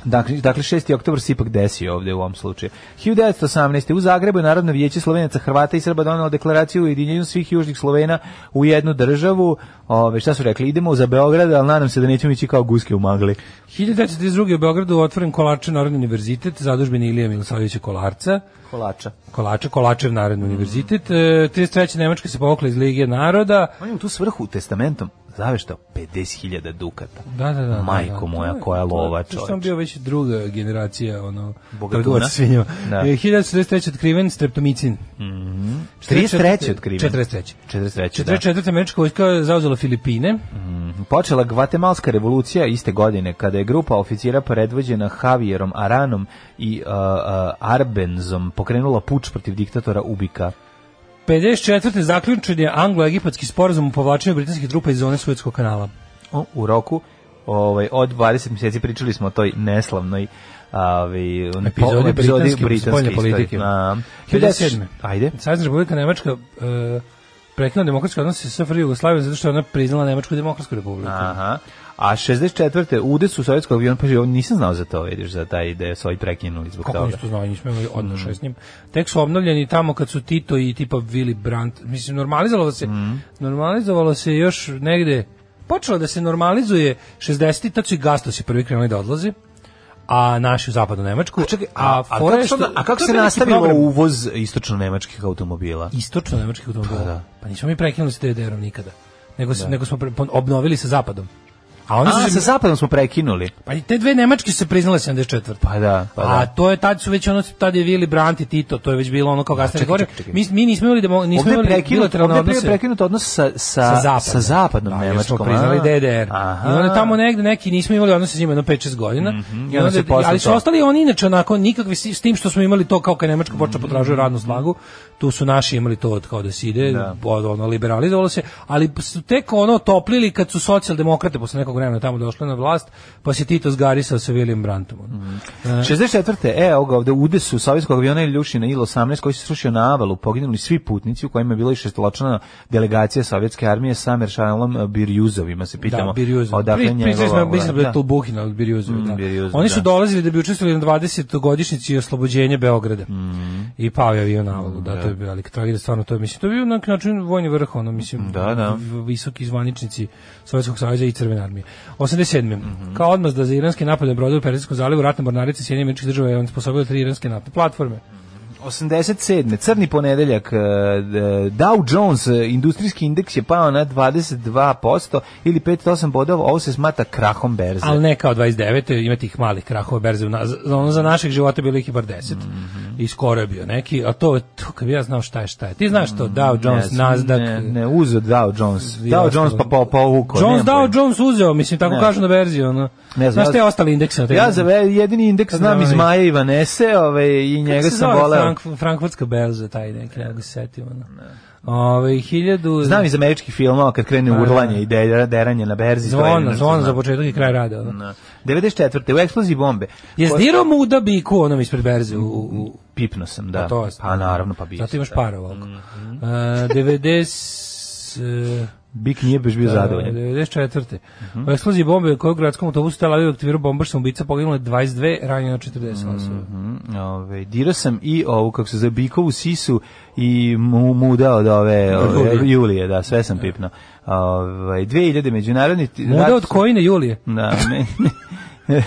[SPEAKER 7] Dakle, dakle 6. oktober se ipak desio ovde u ovom slučaju. 1918. u Zagrebu je Narodno vijeće Slovenaca, Hrvata i Srba donelo deklaraciju o ujedinjenju svih južnih Slovena u jednu državu. Ove, šta su rekli? Idemo za Beograd, ali nadam se da nećemo ići kao guske u magli.
[SPEAKER 6] 1932. u Beogradu otvoren Kolarče Narodni univerzitet, zadužbeni Ilija Milosavljevića Kolarca.
[SPEAKER 7] Kolača.
[SPEAKER 6] Kolača, Kolačev Narodni
[SPEAKER 7] Mm.
[SPEAKER 6] univerzitet. E, 33. Nemačka se povukla iz Lige naroda.
[SPEAKER 7] On je u tu svrhu testamentom zaveštao 50.000 dukata.
[SPEAKER 6] Da, da, da.
[SPEAKER 7] Majko
[SPEAKER 6] da, da.
[SPEAKER 7] moja,
[SPEAKER 6] To je-
[SPEAKER 7] koja
[SPEAKER 6] to je-
[SPEAKER 7] lova,
[SPEAKER 6] zato Što on
[SPEAKER 7] čovječe.
[SPEAKER 6] bio već druga generacija, ono,
[SPEAKER 7] Bogatuna.
[SPEAKER 6] trgovac svinjama.
[SPEAKER 7] Da.
[SPEAKER 6] Da. 1943. otkriven streptomicin.
[SPEAKER 7] 33. otkriven.
[SPEAKER 6] 43.
[SPEAKER 7] 43. da.
[SPEAKER 6] 44. američka vojska zauzela Filipine.
[SPEAKER 7] Počela Gvatemalska revolucija iste godine kada je grupa oficira predvođena Javierom Aranom i uh, uh, Arbenzom pokrenula puč protiv diktatora Ubika.
[SPEAKER 6] 54. zaključen je anglo-egipatski sporazum o povlačenju britanskih trupa iz zone Suetskog kanala.
[SPEAKER 7] O, u roku ovaj, od 20 mjeseci pričali smo o toj neslavnoj ovaj,
[SPEAKER 6] Epizodi
[SPEAKER 7] po-
[SPEAKER 6] britanske spoljne politike.
[SPEAKER 7] istorije. A,
[SPEAKER 6] 57.
[SPEAKER 7] Ajde.
[SPEAKER 6] Savezna Republika Nemačka e, prekinu demokratske odnose sa SFRJ Jugoslavijom zato što je ona priznala Nemačku demokratsku republiku.
[SPEAKER 7] Aha. A 64. udes u sovjetskog aviona, pa ovo nisam znao za to, vidiš, za taj da ideje su ovi prekinuli zbog
[SPEAKER 6] Kako
[SPEAKER 7] toga.
[SPEAKER 6] nisu to znali, nismo imali
[SPEAKER 7] Mhm.
[SPEAKER 6] odnošaj s njim. Tek su obnovljeni tamo kad su Tito i tipa Willy Brandt, mislim, normalizovalo se,
[SPEAKER 7] Mhm.
[SPEAKER 6] normalizovalo se još negde, počelo da se normalizuje 60. tad su i Gastosi prvi krenuli da odlaze, a naši u zapadnu Nemačku. A,
[SPEAKER 7] Čekaj, a, a,
[SPEAKER 6] fora je
[SPEAKER 7] kako, se
[SPEAKER 6] što-
[SPEAKER 7] onda- a kako
[SPEAKER 6] to je
[SPEAKER 7] se
[SPEAKER 6] bio neki
[SPEAKER 7] nastavilo
[SPEAKER 6] program.
[SPEAKER 7] uvoz istočno-nemačkih automobila?
[SPEAKER 6] istočno nemačkih automobila.
[SPEAKER 7] Pa
[SPEAKER 6] Pa,
[SPEAKER 7] da.
[SPEAKER 6] nismo mi prekinuli sa DDR-om nikada. Nego, se, nego smo pre- pon- obnovili sa zapadom. A oni
[SPEAKER 7] A,
[SPEAKER 6] su
[SPEAKER 7] sa zapadom smo prekinuli.
[SPEAKER 6] pa i te dve nemačke su se priznale 74.
[SPEAKER 7] Pa da, pa da.
[SPEAKER 6] A to je tad su već ono tad je Vili Brandt i Tito, to je već bilo ono kao gasne
[SPEAKER 7] čekaj,
[SPEAKER 6] gore.
[SPEAKER 7] čekaj, čekaj.
[SPEAKER 6] Mi mi nismo imali demo, nismo
[SPEAKER 7] Ovde je
[SPEAKER 6] imali
[SPEAKER 7] prekinut,
[SPEAKER 6] bilateralne
[SPEAKER 7] ovde je
[SPEAKER 6] odnose.
[SPEAKER 7] prekinut odnos sa, sa,
[SPEAKER 6] sa zapadom,
[SPEAKER 7] sa zapadnom
[SPEAKER 6] da, jer smo
[SPEAKER 7] Nemačkom.
[SPEAKER 6] priznali
[SPEAKER 7] a?
[SPEAKER 6] DDR. I onda
[SPEAKER 7] Aha. Mhm,
[SPEAKER 6] tamo negde neki nismo imali odnose s njima jedno 5-6 godina.
[SPEAKER 7] onda
[SPEAKER 6] I onda,
[SPEAKER 7] se posle
[SPEAKER 6] ali su
[SPEAKER 7] to-
[SPEAKER 6] ostali oni inače onako nikakvi s s tim što smo imali to kao kad Nemačka
[SPEAKER 7] Mhm.
[SPEAKER 6] počela potražuje radnu snagu, tu su naši imali to od kao da se ide, od, ono liberalizovalo se, ali su tek ono toplili kad su socijaldemokrate posle nekog vremena tamo došli na vlast, pa se Tito zgarisao sa William Brantom. ono.
[SPEAKER 7] Mhm. 64. E, evo ga ovde, u udesu sovjetskog aviona Iljušina Il-18 koji se srušio na avalu, poginuli svi putnici u kojima je bila i šestoločana delegacija sovjetske armije sa Meršalom Birjuzovima, se pitamo.
[SPEAKER 6] da, Birjuzov.
[SPEAKER 7] Odakle
[SPEAKER 6] Pri- pričali
[SPEAKER 7] njegova-
[SPEAKER 6] smo, mislim da je
[SPEAKER 7] da.
[SPEAKER 6] to Buhin, ali Birjuzov,
[SPEAKER 7] Mm,
[SPEAKER 6] da.
[SPEAKER 7] Birjuzov,
[SPEAKER 6] Oni su
[SPEAKER 7] da.
[SPEAKER 6] dolazili da bi učestvovali na 20-godišnjici oslobođenja Beograda.
[SPEAKER 7] Mm.
[SPEAKER 6] I pao je avion na avalu, da, to je bio, ali tragedija stvarno to je, mislim, to je bio na neki način vojni vrh, ono, mislim,
[SPEAKER 7] Da, da.
[SPEAKER 6] v- visoki zvaničnici Sovjetskog saveza i Crvene armije. 87.
[SPEAKER 7] Mhm.
[SPEAKER 6] Kao odmazda za iranske napade na brodu u Persijskom zalivu, ratna mornarica Sjedinjenih američkih država je on sposobila tri iranske napade platforme.
[SPEAKER 7] 87. Crni ponedeljak, e, d- Dow Jones, e, industrijski indeks je pao na 22% ili 5,8 bodova, ovo se smata krahom berze.
[SPEAKER 6] Ali ne kao 29. ima tih malih krahova berze. u na- za- Ono za naših života bilo ih i bar 10.
[SPEAKER 7] Mhm.
[SPEAKER 6] I skoro je bio neki. A to, to kad bi ja znao šta je šta je. Ti znaš to, Dow Jones,
[SPEAKER 7] Mm, Ne,
[SPEAKER 6] Nasdaq.
[SPEAKER 7] Ne, ne uzo Dow Jones.
[SPEAKER 6] i
[SPEAKER 7] Dow
[SPEAKER 6] ostalo.
[SPEAKER 7] Jones pa po, povuko.
[SPEAKER 6] Jones Dow Jones uzeo, mislim, tako
[SPEAKER 7] Ne.
[SPEAKER 6] kažu na berzi. Ono.
[SPEAKER 7] Ne znam,
[SPEAKER 6] znaš
[SPEAKER 7] ja-
[SPEAKER 6] te ostale indekse? na da te-
[SPEAKER 7] Ja za ve- jedini indeks
[SPEAKER 6] Kad
[SPEAKER 7] znam
[SPEAKER 6] znam
[SPEAKER 7] iz
[SPEAKER 6] onaj-
[SPEAKER 7] Maja i Vanese, ovaj, i
[SPEAKER 6] Kako
[SPEAKER 7] njega
[SPEAKER 6] se
[SPEAKER 7] sam
[SPEAKER 6] zove
[SPEAKER 7] voleo.
[SPEAKER 6] Frank- Frankfurtska berza, taj neki, ne mogu se setim. Ono. Ove, hiljadu...
[SPEAKER 7] Znam iz američkih filmova kad krene urlanje i de- deranje na berzi. to je jedino
[SPEAKER 6] Pa, da. Zvona,
[SPEAKER 7] što
[SPEAKER 6] zvona za
[SPEAKER 7] znam.
[SPEAKER 6] početak i kraj rada. Ono.
[SPEAKER 7] Da. 94. u eksploziji bombe.
[SPEAKER 6] Je zdirao mu da biku onom ispred berze u, u, u
[SPEAKER 7] Pipno sam, da.
[SPEAKER 6] Pa to je-
[SPEAKER 7] pa naravno, pa bio.
[SPEAKER 6] Zato
[SPEAKER 7] sam,
[SPEAKER 6] imaš
[SPEAKER 7] da.
[SPEAKER 6] para ovako. Mm -hmm. uh, 90...
[SPEAKER 7] Bik nije baš bio
[SPEAKER 6] Da,
[SPEAKER 7] zadovoljan. Mhm.
[SPEAKER 6] 94. e, U eksploziji bombe koju u gradskom autobusu Tel Aviv aktivirao bombaš samoubica poginulo je 22, ranjeno 40 osoba.
[SPEAKER 7] Mm, Ove, dirao sam i ovu, kako se zove, Bikovu sisu i mu, muda od ove, ove
[SPEAKER 6] Julije.
[SPEAKER 7] Julije, da, sve sam pipno. Ove, 2000 međunarodni... ti- rat-
[SPEAKER 6] Muda od Kojine Julije.
[SPEAKER 7] Da, ne,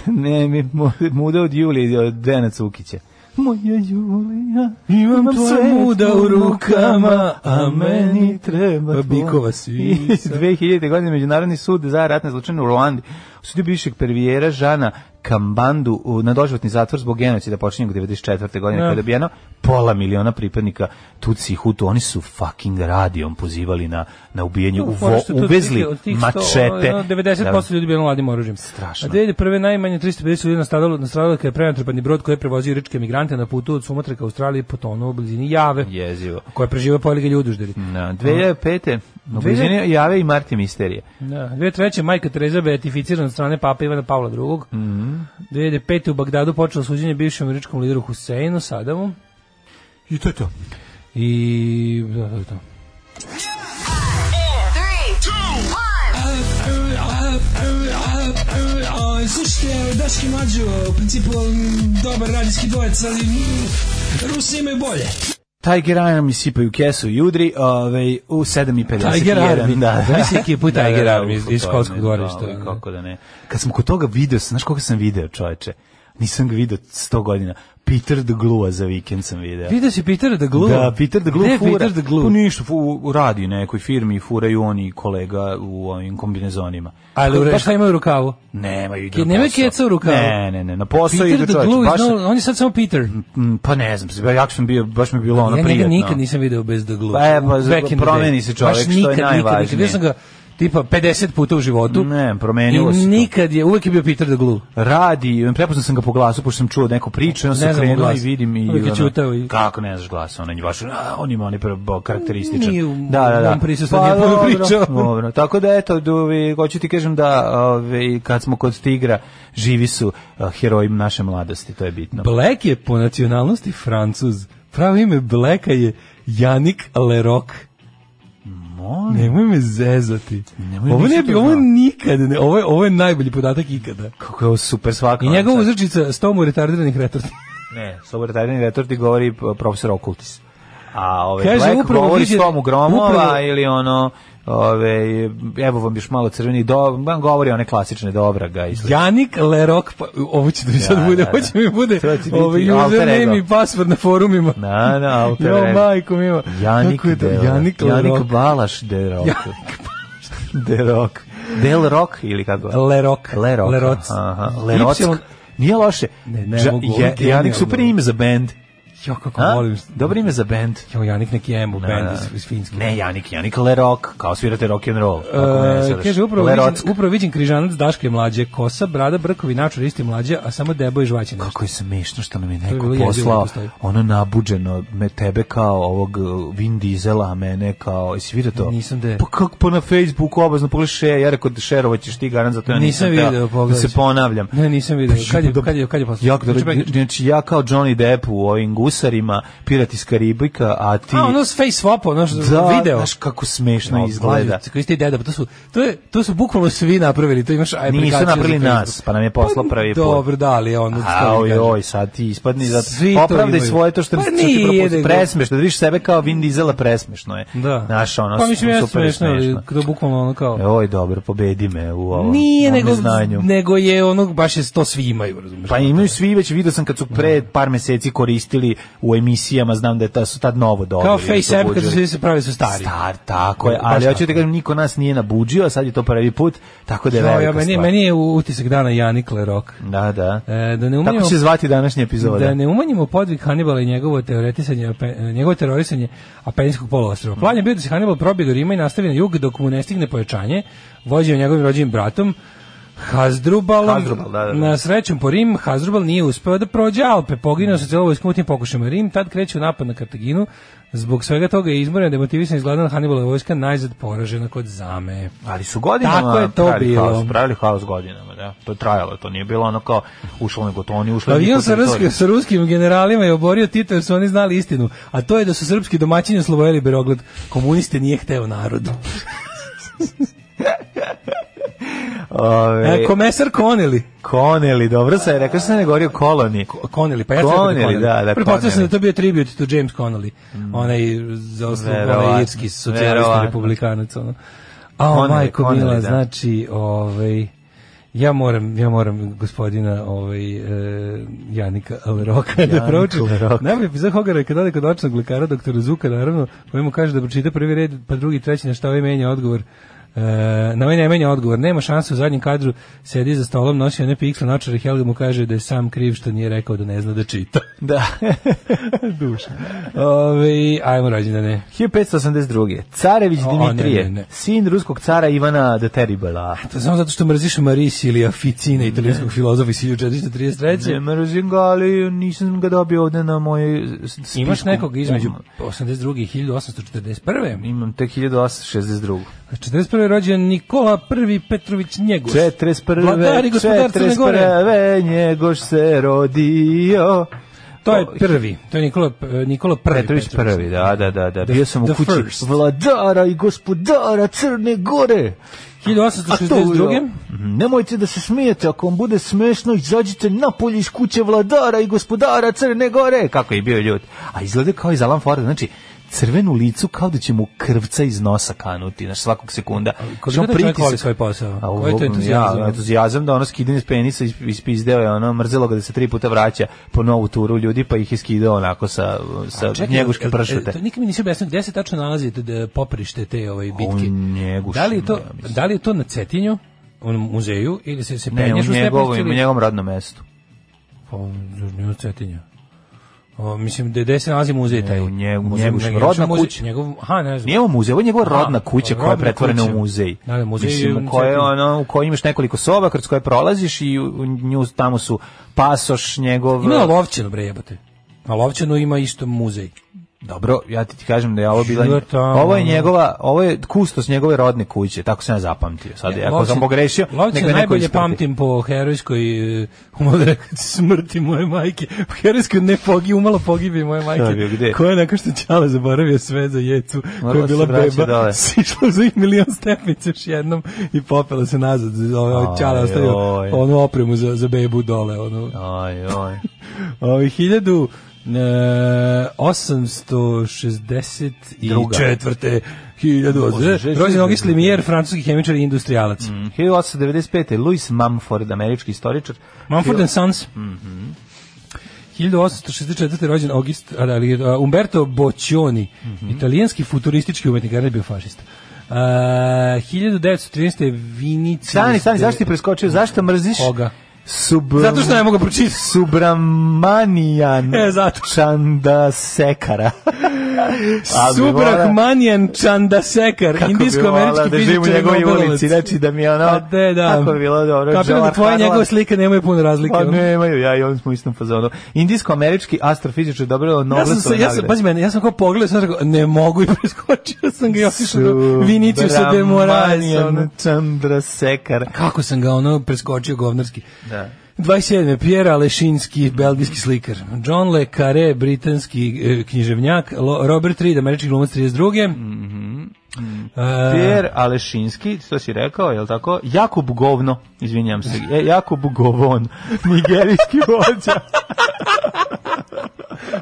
[SPEAKER 7] ne, mi- mu- muda od Julije, od Dejana Cukića. Moja Julija,
[SPEAKER 6] Imam tvoje
[SPEAKER 7] sve
[SPEAKER 6] muda u rukama, a meni
[SPEAKER 7] treba tvoja-
[SPEAKER 6] Bikova sisa.
[SPEAKER 7] 2000. godine Međunarodni sud za ratne zločine u Ruandi osudio bivšeg prvijera Žana Kambandu u- na doživotni zatvor zbog genocida počinjenog 94. godine
[SPEAKER 6] Ne.
[SPEAKER 7] kada je ubijeno pola miliona pripadnika Tutsi i Hutu. Oni su fucking radijom pozivali na, na ubijanje,
[SPEAKER 6] Tu,
[SPEAKER 7] uvo,
[SPEAKER 6] fora što tu
[SPEAKER 7] uvezli
[SPEAKER 6] Da, otprilike od tih sto-
[SPEAKER 7] mačete.
[SPEAKER 6] ono, 90% ljudi bilo mladim oružjem.
[SPEAKER 7] Strašno.
[SPEAKER 6] A 2001. najmanje 350 ljudi nastradalo, nastradalo kada je prenatrpani brod koji je prevozio iričke migrante na putu od Sumatra ka Australiji potonuo u blizini Jave,
[SPEAKER 7] Jezivo.
[SPEAKER 6] koja je preživao pojeli ga ljudi užderi.
[SPEAKER 7] Na 2005. U blizini jave i Marti Misterije.
[SPEAKER 6] Da, 2003. Majka Tereza beatificirana od strane Papa Ivana Pavla II. Mm
[SPEAKER 7] Mhm.
[SPEAKER 6] 2005. u Bagdadu počelo suđenje bivšem američkom lideru Huseinu Sadamu.
[SPEAKER 7] I to je to.
[SPEAKER 6] I... Da, da, da.
[SPEAKER 8] Slušajte, Daški Mađo, u principu m, dobar radijski dvojec, ali mm, Rusi imaju bolje.
[SPEAKER 7] Tiger Eye nam isipaju kesu i udri ovaj, u 7.51.
[SPEAKER 6] Tiger Army.
[SPEAKER 7] Da,
[SPEAKER 6] Zamisli ekipu Tiger Army iz- iz
[SPEAKER 7] u-
[SPEAKER 6] školskog
[SPEAKER 7] da,
[SPEAKER 6] dvorišta.
[SPEAKER 7] da, Kako da ne. Kad sam kod toga video, znaš koga sam video čoveče? Nisam ga video 100 godina. Peter the Glue za vikend sam video.
[SPEAKER 6] Vidio si Peter the Glue?
[SPEAKER 7] Da, Peter the Glue
[SPEAKER 6] Gde je
[SPEAKER 7] fura.
[SPEAKER 6] Peter the
[SPEAKER 7] Pa
[SPEAKER 6] Glue?
[SPEAKER 7] ništa, fu, radi nekoj firmi, furaju oni kolega u ovim kombinezonima.
[SPEAKER 6] Ali u
[SPEAKER 7] Pa
[SPEAKER 6] re- šta ima u rukavu?
[SPEAKER 7] Nema, idu
[SPEAKER 6] Ke-
[SPEAKER 7] na
[SPEAKER 6] nema
[SPEAKER 7] posao.
[SPEAKER 6] keca u rukavu?
[SPEAKER 7] Ne, ne, ne, na posao
[SPEAKER 6] Peter da
[SPEAKER 7] idu
[SPEAKER 6] the
[SPEAKER 7] čoveče.
[SPEAKER 6] Glue,
[SPEAKER 7] baš
[SPEAKER 6] is
[SPEAKER 7] sam-
[SPEAKER 6] no- on je sad samo Peter.
[SPEAKER 7] Mm, Pa ne znam, ja sam bio, baš mi je bilo ono
[SPEAKER 6] ja njega
[SPEAKER 7] prijetno.
[SPEAKER 6] nikad nisam video bez da The Glue.
[SPEAKER 7] Pa e, pa,
[SPEAKER 6] Back in the
[SPEAKER 7] promeni
[SPEAKER 6] day.
[SPEAKER 7] se čovek,
[SPEAKER 6] Baš
[SPEAKER 7] što je
[SPEAKER 6] nikad, nikad,
[SPEAKER 7] najvažnije.
[SPEAKER 6] Nikad, Vidio sam ga tipa 50 puta u životu.
[SPEAKER 7] Ne,
[SPEAKER 6] I
[SPEAKER 7] promenilo se. to.
[SPEAKER 6] nikad je, uvek je bio Peter da the Glue.
[SPEAKER 7] Radi, prepoznao sam ga po glasu, pošto sam čuo da neku priču, on se
[SPEAKER 6] Ne znam mu
[SPEAKER 7] krenuo i
[SPEAKER 6] glas.
[SPEAKER 7] vidim i...
[SPEAKER 6] Uvijek je
[SPEAKER 7] ono,
[SPEAKER 6] ćutao i-
[SPEAKER 7] Kako ne znaš glas, on je baš, a, on ima onaj prvo karakterističan. Da,
[SPEAKER 6] Nije u mom prisustvu nije puno
[SPEAKER 7] Pa, dobro,
[SPEAKER 6] pričao.
[SPEAKER 7] dobro. Tako da, eto, duvi, hoću ti kažem da, ove, kad smo kod tigra, živi su a, heroji naše mladosti, to je bitno.
[SPEAKER 6] Black je po nacionalnosti Francuz. Pravo ime Blacka je Janik Leroc.
[SPEAKER 7] molim.
[SPEAKER 6] Nemoj me zezati.
[SPEAKER 7] Nemoj,
[SPEAKER 6] ovo
[SPEAKER 7] nisam
[SPEAKER 6] ne
[SPEAKER 7] to
[SPEAKER 6] bi, ovo
[SPEAKER 7] znao.
[SPEAKER 6] nikad, ne, ovo, je, ovo je najbolji podatak ikada.
[SPEAKER 7] Kako je ovo super svaka.
[SPEAKER 6] I njegova uzrečica s tomu retardiranih retarda.
[SPEAKER 7] Ne, sobertajni retor ti govori p- profesor Okultis. A ove,
[SPEAKER 6] Kaže,
[SPEAKER 7] Black
[SPEAKER 6] upravo
[SPEAKER 7] govori
[SPEAKER 6] viđe-
[SPEAKER 7] s tomu Gromova
[SPEAKER 6] upravo-
[SPEAKER 7] ili ono, ove, evo vam još malo crveni, do, vam govori one klasične dobra ga i slično.
[SPEAKER 6] Janik Lerok, pa, ovo će da mi sad
[SPEAKER 7] Da,
[SPEAKER 6] bude,
[SPEAKER 7] da,
[SPEAKER 6] ovo će mi bude
[SPEAKER 7] To će biti
[SPEAKER 6] ovaj,
[SPEAKER 7] alter
[SPEAKER 6] username
[SPEAKER 7] ego.
[SPEAKER 6] i password na forumima.
[SPEAKER 7] Na, na, alter
[SPEAKER 6] Jo,
[SPEAKER 7] ego.
[SPEAKER 6] majko mima.
[SPEAKER 7] Janik,
[SPEAKER 6] Kako je to?
[SPEAKER 7] Del,
[SPEAKER 6] Janik Lerok.
[SPEAKER 7] Janik Balaš de Rock. de Rock. Del Rock ili kako?
[SPEAKER 6] Lerok.
[SPEAKER 7] Lerok.
[SPEAKER 6] Leroc.
[SPEAKER 7] Aha, Leroc.
[SPEAKER 6] Y-
[SPEAKER 7] Nije loše.
[SPEAKER 6] Ne, ne
[SPEAKER 7] Ja-
[SPEAKER 6] mogu, ovo je
[SPEAKER 7] Ja- Janik,
[SPEAKER 6] genijalno.
[SPEAKER 7] super ime za band.
[SPEAKER 6] Jo, kako
[SPEAKER 7] A?
[SPEAKER 6] volim.
[SPEAKER 7] Dobro ime za band.
[SPEAKER 6] Jo, Janik neki emo
[SPEAKER 7] Da,
[SPEAKER 6] band
[SPEAKER 7] da.
[SPEAKER 6] iz, iz Finjske.
[SPEAKER 7] Ne, Janik, Janik Lerok, kao svirate rock and roll. Kako ne,
[SPEAKER 6] E,
[SPEAKER 7] sadaš?
[SPEAKER 6] kaže, upravo
[SPEAKER 7] Lerock.
[SPEAKER 6] viđen, upravo viđen križanac Daške mlađe, kosa, brada, brkovi, načor, isti mlađe, a samo debo i žvaće nešto.
[SPEAKER 7] Kako je smešno što nam je
[SPEAKER 6] je
[SPEAKER 7] neko
[SPEAKER 6] bilo jezivo, ne
[SPEAKER 7] poslao
[SPEAKER 6] postoji.
[SPEAKER 7] ono nabuđeno me tebe kao ovog uh, Vin Diesela, a mene kao jesi vidio to?
[SPEAKER 6] Nisam da je.
[SPEAKER 7] Pa kako pa na Facebooku obazno pogledaj share, ja rekao da šerovat ćeš ti garant zato ja
[SPEAKER 6] Nisam
[SPEAKER 7] nisam, teo
[SPEAKER 6] video,
[SPEAKER 7] da
[SPEAKER 6] pogledaj.
[SPEAKER 7] se ponavljam. Znači,
[SPEAKER 6] Ne, nisam vidio. Kad je, kad je, kad je poslao?
[SPEAKER 7] Ja, kad- znači, ja kao Johnny Depp u ovim gusarima, pirat iz Karibika, a ti...
[SPEAKER 6] A, ono s face swap, ono što
[SPEAKER 7] da,
[SPEAKER 6] video.
[SPEAKER 7] Znaš kako smešno izgleda.
[SPEAKER 6] Koji ste i deda, pa to su, to, je, to su bukvalno svi napravili, to imaš aplikaciju.
[SPEAKER 7] Nisu
[SPEAKER 6] za
[SPEAKER 7] napravili
[SPEAKER 6] Facebook.
[SPEAKER 7] nas, pa nam je poslao prvi put.
[SPEAKER 6] Dobro, da, ali je ono... šta mi
[SPEAKER 7] Aoj,
[SPEAKER 6] kažem.
[SPEAKER 7] oj, sad ti ispadni zato.
[SPEAKER 6] Svi to
[SPEAKER 7] Opravdaj
[SPEAKER 6] imaju.
[SPEAKER 7] svoje to što
[SPEAKER 6] Pa
[SPEAKER 7] što ti
[SPEAKER 6] nije,
[SPEAKER 7] propusti.
[SPEAKER 6] nego-
[SPEAKER 7] Presmešno, da vidiš sebe kao Vin Diesela presmešno je.
[SPEAKER 6] Da.
[SPEAKER 7] Naš ono,
[SPEAKER 6] pa mislim, ja
[SPEAKER 7] super je
[SPEAKER 6] smešno, ali
[SPEAKER 7] smešno. E,
[SPEAKER 6] to bukvalno ono kao...
[SPEAKER 7] Oj, dobro, pobedi me u ovom
[SPEAKER 6] Nije,
[SPEAKER 7] mom
[SPEAKER 6] nego,
[SPEAKER 7] neznanju.
[SPEAKER 6] nego je ono, baš je to svi imaju, razumiješ?
[SPEAKER 7] Pa imaju svi, već vidio sam kad su pre
[SPEAKER 6] Da.
[SPEAKER 7] par meseci koristili u emisijama, znam da je ta, su tad novo dobro.
[SPEAKER 6] Kao face app, kad su svi se pravi su stari.
[SPEAKER 7] Star, tako je,
[SPEAKER 6] Baš
[SPEAKER 7] ali hoću
[SPEAKER 6] tako.
[SPEAKER 7] da kažem, niko nas nije nabuđio, a sad je to prvi put, tako da je
[SPEAKER 6] Jo,
[SPEAKER 7] velika
[SPEAKER 6] ja, meni,
[SPEAKER 7] stvar.
[SPEAKER 6] meni je utisak dana Janik Lerok.
[SPEAKER 7] Da, da.
[SPEAKER 6] E, da ne umanjimo-
[SPEAKER 7] Tako će zvati današnji epizod.
[SPEAKER 6] Da ne umanjimo podvig Hanibala i njegovo teoretisanje, pe- njegovo terorisanje Apenskog poluostrva. Plan je bio da se Hanibal probije do Rima i nastavi na jug dok mu ne stigne pojačanje, vođen njegovim rođenim bratom, Hazdrubalom.
[SPEAKER 7] Hazdrubal, da, da, da.
[SPEAKER 6] Na srećom po Rim, Hazdrubal nije uspeo da prođe Alpe, poginuo sa celo vojskom u tim pokušajima. Rim tad kreće u napad na Kartaginu, zbog svega toga je izmoren, demotivisan i izgledan Hanibalova vojska najzad poražena kod zame.
[SPEAKER 7] Ali su godinama
[SPEAKER 6] Tako je to
[SPEAKER 7] pravili
[SPEAKER 6] bilo.
[SPEAKER 7] haos, pravili haos godinama, da. To je trajalo, to nije bilo ono kao ušlo nego to, oni ušli
[SPEAKER 6] Avion sa, ruskim, sa ruskim generalima je oborio Tito jer su oni znali istinu, a to je da su srpski domaćini oslobojili Berogled. Komuniste nije hteo narod. E,
[SPEAKER 7] Ove,
[SPEAKER 6] komesar Koneli.
[SPEAKER 7] Koneli, dobro se je, rekao sam da ne govorio koloni.
[SPEAKER 6] Koneli, pa ja sam rekao
[SPEAKER 7] Connelly,
[SPEAKER 6] Connelly.
[SPEAKER 7] da, da,
[SPEAKER 6] Pretpostavio sam
[SPEAKER 7] Connelly. Mm.
[SPEAKER 6] da je to bio tribut to James Connelly, onaj za osnovu,
[SPEAKER 7] Verovatno,
[SPEAKER 6] onaj irski socijalista
[SPEAKER 7] verovatno.
[SPEAKER 6] republikanac. Ono. A, o,
[SPEAKER 7] Connelly,
[SPEAKER 6] majko
[SPEAKER 7] Connelly,
[SPEAKER 6] Mila,
[SPEAKER 7] da.
[SPEAKER 6] znači, ovaj, ja moram, ja moram gospodina ovaj, e, Janika Leroka da proučim.
[SPEAKER 7] Lerok.
[SPEAKER 6] Najbolji epizod Hogara je kad ode kod očnog lekara, doktora Zuka, naravno, koji mu kaže da pročita prvi red, pa drugi, treći, na šta ovaj menja odgovor. E, na ovaj ne menja odgovor, nema šanse u zadnjem kadru, sedi za stolom, nosi one piksle načare, Helga mu kaže da je sam kriv što nije rekao da ne zna da čita.
[SPEAKER 7] Da.
[SPEAKER 6] Duša. Ove, ajmo rođendane.
[SPEAKER 7] 1582. Carević
[SPEAKER 6] O,
[SPEAKER 7] Dimitrije,
[SPEAKER 6] ne, ne, ne.
[SPEAKER 7] sin ruskog cara Ivana the Terribla.
[SPEAKER 6] To je samo zato što mrziš Maris ili Aficina, italijanskog filozofa iz 1433.
[SPEAKER 7] Ne mrzim ga, ali nisam ga dobio ovde na mojoj spisku.
[SPEAKER 6] Imaš nekog između 82. i 1841.
[SPEAKER 7] Imam tek 1862.
[SPEAKER 6] 41. rođen Nikola I Petrović Njegoš.
[SPEAKER 7] 41.
[SPEAKER 6] Vladari gospodar Crne Gore.
[SPEAKER 7] 41. Njegoš se rodio.
[SPEAKER 6] To je prvi. To je Nikola, eh, Nikola prvi
[SPEAKER 7] Petrović prvi, da, da, da, da.
[SPEAKER 6] The-
[SPEAKER 7] Bio sam u
[SPEAKER 6] the
[SPEAKER 7] kući
[SPEAKER 6] first.
[SPEAKER 7] vladara i gospodara Crne Gore. A to,
[SPEAKER 6] 1862.
[SPEAKER 7] nemojte da se smijete, ako vam bude smešno, izađite napolje iz kuće vladara i gospodara Crne Gore. Kako je bio ljud. A izgleda kao iz Alan Forda, znači, crvenu licu kao da će mu krvca iz nosa kanuti, znaš, svakog sekunda. Znači,
[SPEAKER 6] Koliko
[SPEAKER 7] on
[SPEAKER 6] da čovjek
[SPEAKER 7] pritisak-
[SPEAKER 6] voli svoj posao?
[SPEAKER 7] A,
[SPEAKER 6] Koji je to
[SPEAKER 7] ja,
[SPEAKER 6] entuzijazam?
[SPEAKER 7] entuzijazam da ono skidanje s penisa isp- ispizdeo je ono, mrzelo ga da se tri puta vraća po novu turu ljudi, pa ih je skidao onako sa, sa
[SPEAKER 6] Čekaj,
[SPEAKER 7] njeguške
[SPEAKER 6] e,
[SPEAKER 7] pršute.
[SPEAKER 6] e, To nikad mi nisi objasnio gde se tačno nalazi t- d- poprište te ovaj bitke.
[SPEAKER 7] Njegušinu,
[SPEAKER 6] Da li je to
[SPEAKER 7] ja mislim.
[SPEAKER 6] da li je to na Cetinju, u onom muzeju ili se se
[SPEAKER 7] Ne, u
[SPEAKER 6] penješ u
[SPEAKER 7] njegovom,
[SPEAKER 6] stepenicu?
[SPEAKER 7] u njegovom radnom mestu.
[SPEAKER 6] Pa, nije na Cetinju. O, mislim, gde, gde se nalazi muzej taj?
[SPEAKER 7] u nje- u
[SPEAKER 6] Muzej-
[SPEAKER 7] njeguš-
[SPEAKER 6] ne,
[SPEAKER 7] rodna
[SPEAKER 6] muzej-
[SPEAKER 7] kuća.
[SPEAKER 6] Njegov, aha, ne znam.
[SPEAKER 7] Nije ovo muzej, ovo je njegova
[SPEAKER 6] A,
[SPEAKER 7] rodna kuća koja je
[SPEAKER 6] rodna
[SPEAKER 7] pretvorena
[SPEAKER 6] kuća.
[SPEAKER 7] u muzej.
[SPEAKER 6] Da, da, muzej je
[SPEAKER 7] Mislim,
[SPEAKER 6] u
[SPEAKER 7] u kojoj je
[SPEAKER 6] centru.
[SPEAKER 7] ono, u kojoj imaš nekoliko soba kroz koje prolaziš i u u nju tamo su pasoš njegov...
[SPEAKER 6] Ima na Lovćenu, bre, jebote. Na Lovćenu ima isto muzej.
[SPEAKER 7] Dobro, ja ti, ti kažem da je ovo bila
[SPEAKER 6] Život, a,
[SPEAKER 7] ovo je
[SPEAKER 6] ono.
[SPEAKER 7] njegova, ovo je kustos njegove rodne kuće, tako sam ja zapamtio. Sad ako sam
[SPEAKER 6] Lovćen-
[SPEAKER 7] pogrešio,
[SPEAKER 6] Lovćen
[SPEAKER 7] neka neko
[SPEAKER 6] najbolje
[SPEAKER 7] isprati.
[SPEAKER 6] pamtim po herojskoj e, umalo rekao smrti moje majke. Po herojskoj ne pogi, umalo pogibi moje majke.
[SPEAKER 7] bio, gde?
[SPEAKER 6] Koja je nakon što Ćale zaboravio sve za jecu, koja je
[SPEAKER 7] Morala se
[SPEAKER 6] bila
[SPEAKER 7] vraća
[SPEAKER 6] beba,
[SPEAKER 7] dole.
[SPEAKER 6] sišla za ih milion stepnica još jednom i popela se nazad. Ovo, Ćale
[SPEAKER 7] Aj,
[SPEAKER 6] ostavio
[SPEAKER 7] oj.
[SPEAKER 6] onu opremu za, za bebu dole. Ono.
[SPEAKER 7] Aj, aj.
[SPEAKER 6] Ovi, 1000 e, 864. 1000. Rođen
[SPEAKER 7] da
[SPEAKER 6] Auguste Limier, francuski hemičar i industrijalac.
[SPEAKER 7] Mm. 1895. Louis Mumford, američki istoričar.
[SPEAKER 6] Mumford and Sons.
[SPEAKER 7] Mhm.
[SPEAKER 6] 1864. rođen August, a da, ali, a, Umberto Boccioni,
[SPEAKER 7] Mhm.
[SPEAKER 6] italijanski futuristički umetnik, a ne bio fašista. Uh, 1913. Vinicius...
[SPEAKER 7] Stani, stani,
[SPEAKER 6] de-
[SPEAKER 7] zašto ti preskočio? Zašto mrziš?
[SPEAKER 6] Koga?
[SPEAKER 7] Sub...
[SPEAKER 6] Zato što ne mogu pročitati.
[SPEAKER 7] Subramanijan
[SPEAKER 6] E, zato.
[SPEAKER 7] Čanda Sekara.
[SPEAKER 6] Subrahmanjan Chandasekar, indijsko-američki
[SPEAKER 7] da živim u
[SPEAKER 6] fizičar i
[SPEAKER 7] njegovoj
[SPEAKER 6] Nobelovac.
[SPEAKER 7] ulici, znači da mi je ono...
[SPEAKER 6] A de, da.
[SPEAKER 7] Kako bi bilo dobro.
[SPEAKER 6] Kapiram da
[SPEAKER 7] John
[SPEAKER 6] tvoje i njegove
[SPEAKER 7] Harlan.
[SPEAKER 6] slike nemaju puno razlike.
[SPEAKER 7] Pa
[SPEAKER 6] ono.
[SPEAKER 7] nemaju, ja i on smo u istom fazonu. Indijsko-američki astrofizičar dobro
[SPEAKER 6] Ja sam, se, ja sam, pazi mene, ja sam kao pogledao, sam rekao, ne mogu i preskočio sam ga i otišao do Viniciusa de Moraes. ono.
[SPEAKER 7] Čandra Sekar.
[SPEAKER 6] Kako sam ga ono preskočio govnarski.
[SPEAKER 7] Da.
[SPEAKER 6] 27. Pierre Alešinski, belgijski slikar. John Le Carré, britanski e, književnjak. Lo- Robert Reed, američki glumac 32. Mm -hmm.
[SPEAKER 7] Mhm. Pierre Alešinski, što si rekao, je li tako? Jakub Govno, izvinjam se. E, Jakub Govon, nigerijski vođa.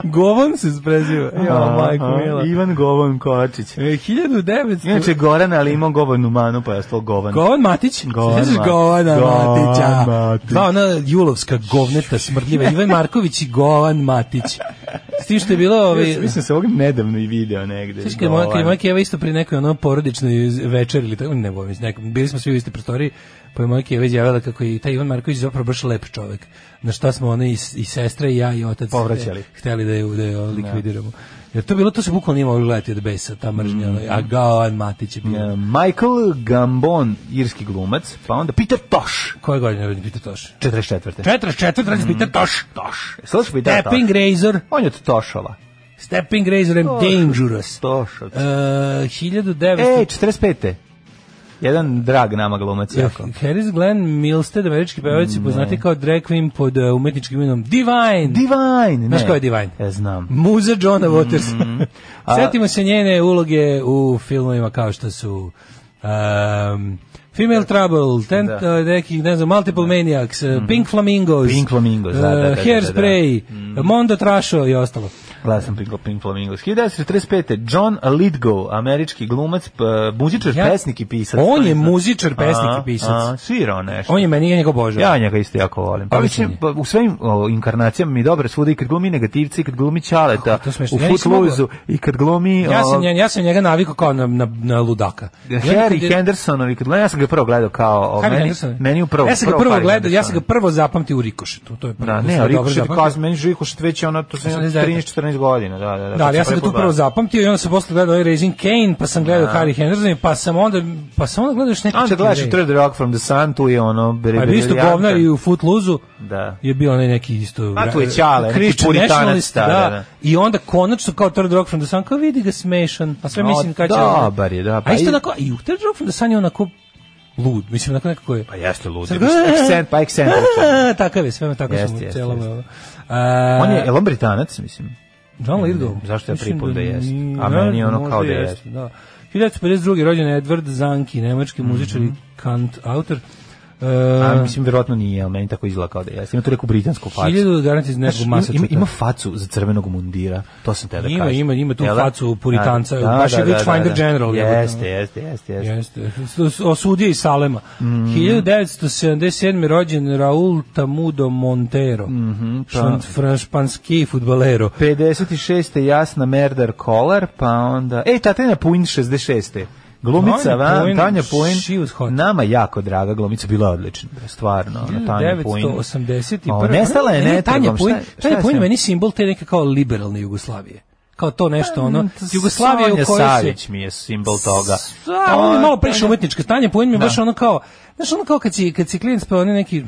[SPEAKER 6] Govon se preziva. Jo, majko mila.
[SPEAKER 7] Aha, Ivan Govon Kovačić.
[SPEAKER 6] E, 1900...
[SPEAKER 7] Inače, Goran, ali imao Govon u manu, pa je stalo Govan.
[SPEAKER 6] Govan Matić?
[SPEAKER 7] Govan
[SPEAKER 6] Sećaš
[SPEAKER 7] Matić.
[SPEAKER 6] Govana
[SPEAKER 7] Govan
[SPEAKER 6] Matića?
[SPEAKER 7] Matić.
[SPEAKER 6] Dva ona julovska govneta smrdljiva. Ivan Marković i Govan Matić. S tim što je bilo... Ovaj,
[SPEAKER 7] Ja sam- Mislim da se ovog nedavno i video negde. ovaj,
[SPEAKER 6] Sećaš kad je moja, kad je
[SPEAKER 7] Govan.
[SPEAKER 6] moja keva isto pri nekoj ono porodičnoj z- večeri ili tako, ne bojim se, nekom, bili smo svi u istoj prostoriji, pa je moja keva izjavila kako je i taj Ivan Marković zapravo baš lep čovek. Na šta smo ona i, s- i sestra i ja i otac
[SPEAKER 7] Povraćali.
[SPEAKER 6] hteli da je, da je ono likvidiramo. Jer to je bilo, to se bukvalno nije moglo gledati od besa, ta mržnja, ono, a Govan Matić je bio.
[SPEAKER 7] E, Michael Gambon, irski glumac, pa onda Peter Tosh,
[SPEAKER 6] Koje godine je rođen Peter Tosh?
[SPEAKER 7] 44.
[SPEAKER 6] 44, rođen Peter Tosh.
[SPEAKER 7] Tosh. E, Slušaj, Peter Tosh.
[SPEAKER 6] Stepping Razor,
[SPEAKER 7] On je od Tošova.
[SPEAKER 6] Stepping Razor and Dangerous.
[SPEAKER 7] Toš.
[SPEAKER 6] Uh, 1900...
[SPEAKER 7] E, 45. Jedan drag nama glumac jako.
[SPEAKER 6] Harris Glenn Milstead, američki pevač, mm, poznati kao drag queen pod uh, umetničkim imenom Divine.
[SPEAKER 7] Divine, ne.
[SPEAKER 6] Znaš ko je Divine?
[SPEAKER 7] E, znam. Mhm.
[SPEAKER 6] Muza Johna Watersa.
[SPEAKER 7] A-
[SPEAKER 6] Sjetimo se njene uloge u filmovima kao što su um, Female Trouble, ten,
[SPEAKER 7] Da. Mhm.
[SPEAKER 6] uh, neki, ne znam, Multiple Maniacs, uh, Pink Flamingos,
[SPEAKER 7] Pink Flamingos, da, da,
[SPEAKER 6] uh,
[SPEAKER 7] da, da, da, da.
[SPEAKER 6] Hairspray, Mondo Trasho i ostalo.
[SPEAKER 7] Glasan Pink, Pink Flamingos. 1945. John Lithgow, američki glumac, p- muzičar,
[SPEAKER 6] Ja-
[SPEAKER 7] pesnik i pisac.
[SPEAKER 6] On
[SPEAKER 7] To
[SPEAKER 6] je
[SPEAKER 7] nisam-
[SPEAKER 6] muzičar, pesnik i pisac.
[SPEAKER 7] A, svirao nešto.
[SPEAKER 6] On je meni, ja njega obožavam.
[SPEAKER 7] Ja njega isto jako volim. Pa
[SPEAKER 6] Odličan
[SPEAKER 7] mislim, pa Da. u svojim o, inkarnacijama mi je dobro svuda i kad glumi negativci, i kad glumi Ćaleta,
[SPEAKER 6] Kako je to smešno.
[SPEAKER 7] u
[SPEAKER 6] Ja nisam
[SPEAKER 7] Footlooseu, i kad glumi...
[SPEAKER 6] Ja sam,
[SPEAKER 7] o,
[SPEAKER 6] nje- ja sam njega navikao kao na, na, na ludaka. I onda kad
[SPEAKER 7] Harry
[SPEAKER 6] je-
[SPEAKER 7] Hendersonovi, kad gledam, ja sam ga prvo gledao kao... o,
[SPEAKER 6] Harry
[SPEAKER 7] meni,
[SPEAKER 6] Henderson.
[SPEAKER 7] meni upravo...
[SPEAKER 6] Ja sam ga prvo
[SPEAKER 7] Harry
[SPEAKER 6] gledao, ja sam ga
[SPEAKER 7] Henderson.
[SPEAKER 6] prvo zapamtio u Rikošetu. To je prvo.
[SPEAKER 7] Da,
[SPEAKER 6] sam
[SPEAKER 7] ne,
[SPEAKER 6] ga
[SPEAKER 7] ali
[SPEAKER 6] dobro da
[SPEAKER 7] Rikošet,
[SPEAKER 6] zapamtio.
[SPEAKER 7] kao meni Rikošet već je ono, to sam imao
[SPEAKER 6] 89.
[SPEAKER 7] 13-14 godina, da, da, da.
[SPEAKER 6] Da,
[SPEAKER 7] kad
[SPEAKER 6] ali ja
[SPEAKER 7] sam
[SPEAKER 6] sam tu
[SPEAKER 7] gledao.
[SPEAKER 6] prvo zapamtio i onda sam posle gledao ovaj Raising Kane, pa sam gledao Harry Henderson, pa sam onda, pa sam onda gledao još neke
[SPEAKER 7] A Da. Onda
[SPEAKER 6] četiri
[SPEAKER 7] gledaš
[SPEAKER 6] reje.
[SPEAKER 7] i Third Rock from the Sun, tu je ono...
[SPEAKER 6] Pa je bio isto
[SPEAKER 7] briljanta.
[SPEAKER 6] govnar i u Footlooseu.
[SPEAKER 7] Da.
[SPEAKER 6] Je bio onaj neki isto...
[SPEAKER 7] A tu je Ćale, neki
[SPEAKER 6] Christian
[SPEAKER 7] puritanac,
[SPEAKER 6] nationalist,
[SPEAKER 7] da,
[SPEAKER 6] da,
[SPEAKER 7] da, da.
[SPEAKER 6] I onda konačno kao Third Rock from the Sun, kao vidi ga smešan, a sve
[SPEAKER 7] No,
[SPEAKER 6] mislim kad će...
[SPEAKER 7] dobar je, da, pa
[SPEAKER 6] a isto
[SPEAKER 7] i-
[SPEAKER 6] onako, i u Third Rock from the Sun je onako lud, mislim onako nekako je...
[SPEAKER 7] Pa jeste ludi.
[SPEAKER 6] Sad
[SPEAKER 7] Pa
[SPEAKER 6] ga-
[SPEAKER 7] ekscent, pa ekscent.
[SPEAKER 6] A, takav je, sve me tako
[SPEAKER 7] Jeste,
[SPEAKER 6] sam
[SPEAKER 7] jeste,
[SPEAKER 6] celo...
[SPEAKER 7] jeste.
[SPEAKER 6] ovo.
[SPEAKER 7] On
[SPEAKER 6] A,
[SPEAKER 7] je, je li on Britanac, mislim?
[SPEAKER 6] John Lithgow.
[SPEAKER 7] Zašto ja
[SPEAKER 6] Mislim
[SPEAKER 7] pripun da jeste?
[SPEAKER 6] nije,
[SPEAKER 7] A meni je ono
[SPEAKER 6] možda
[SPEAKER 7] kao da jeste.
[SPEAKER 6] Da. 1952. rođen je Edward Zanki, nemački muzičar i kant autor. Uh,
[SPEAKER 7] Mhm. A, mislim, verovatno nije, ali meni tako izgleda kao da jeste. Ima tu neku britansku facu.
[SPEAKER 6] 1000 garanti iz
[SPEAKER 7] Znaš,
[SPEAKER 6] nekog
[SPEAKER 7] ima,
[SPEAKER 6] masa
[SPEAKER 7] ima, ima facu za crvenog mundira, to sam te da
[SPEAKER 6] da. Ima,
[SPEAKER 7] kažem.
[SPEAKER 6] ima, ima tu
[SPEAKER 7] Jel da?
[SPEAKER 6] facu puritanca,
[SPEAKER 7] Da,
[SPEAKER 6] baš je
[SPEAKER 7] da, da,
[SPEAKER 6] Witchfinder
[SPEAKER 7] da, da.
[SPEAKER 6] General, jebote.
[SPEAKER 7] Jeste, jeste, jeste, jeste.
[SPEAKER 6] Jeste. S- s- Osudio iz Salema.
[SPEAKER 7] Mhm.
[SPEAKER 6] 1977. rođen Raul Tamudo Montero.
[SPEAKER 7] Mhm,
[SPEAKER 6] Mm
[SPEAKER 7] da.
[SPEAKER 6] -hmm, španski futbalero.
[SPEAKER 7] 56. Jasna Merder Kolar, pa onda... E, Tatjana Puin 66. Glumica,
[SPEAKER 6] Tanja
[SPEAKER 7] van,
[SPEAKER 6] Puin,
[SPEAKER 7] Tanja Puin,
[SPEAKER 6] she was hot.
[SPEAKER 7] nama jako draga glumica, bila je odlična, stvarno, ona, Tanja Puin.
[SPEAKER 6] 1981.
[SPEAKER 7] O, nestala je
[SPEAKER 6] Ne, ne, Tanja
[SPEAKER 7] netragom,
[SPEAKER 6] Puin,
[SPEAKER 7] šta je- šta je
[SPEAKER 6] Tanja
[SPEAKER 7] s
[SPEAKER 6] Puin
[SPEAKER 7] njom?
[SPEAKER 6] meni simbol te neke kao liberalne Jugoslavije. Kao to nešto ono. Jugoslavija u
[SPEAKER 7] Pa, Mm, Sonja
[SPEAKER 6] kojoj
[SPEAKER 7] Savić
[SPEAKER 6] se
[SPEAKER 7] mi je simbol toga.
[SPEAKER 6] Da, ono je malo previše
[SPEAKER 7] Tanja-
[SPEAKER 6] umetnička. Tanja Puin mi je baš ono kao, znaš ono kao kad si, kad si klijent pa oni neki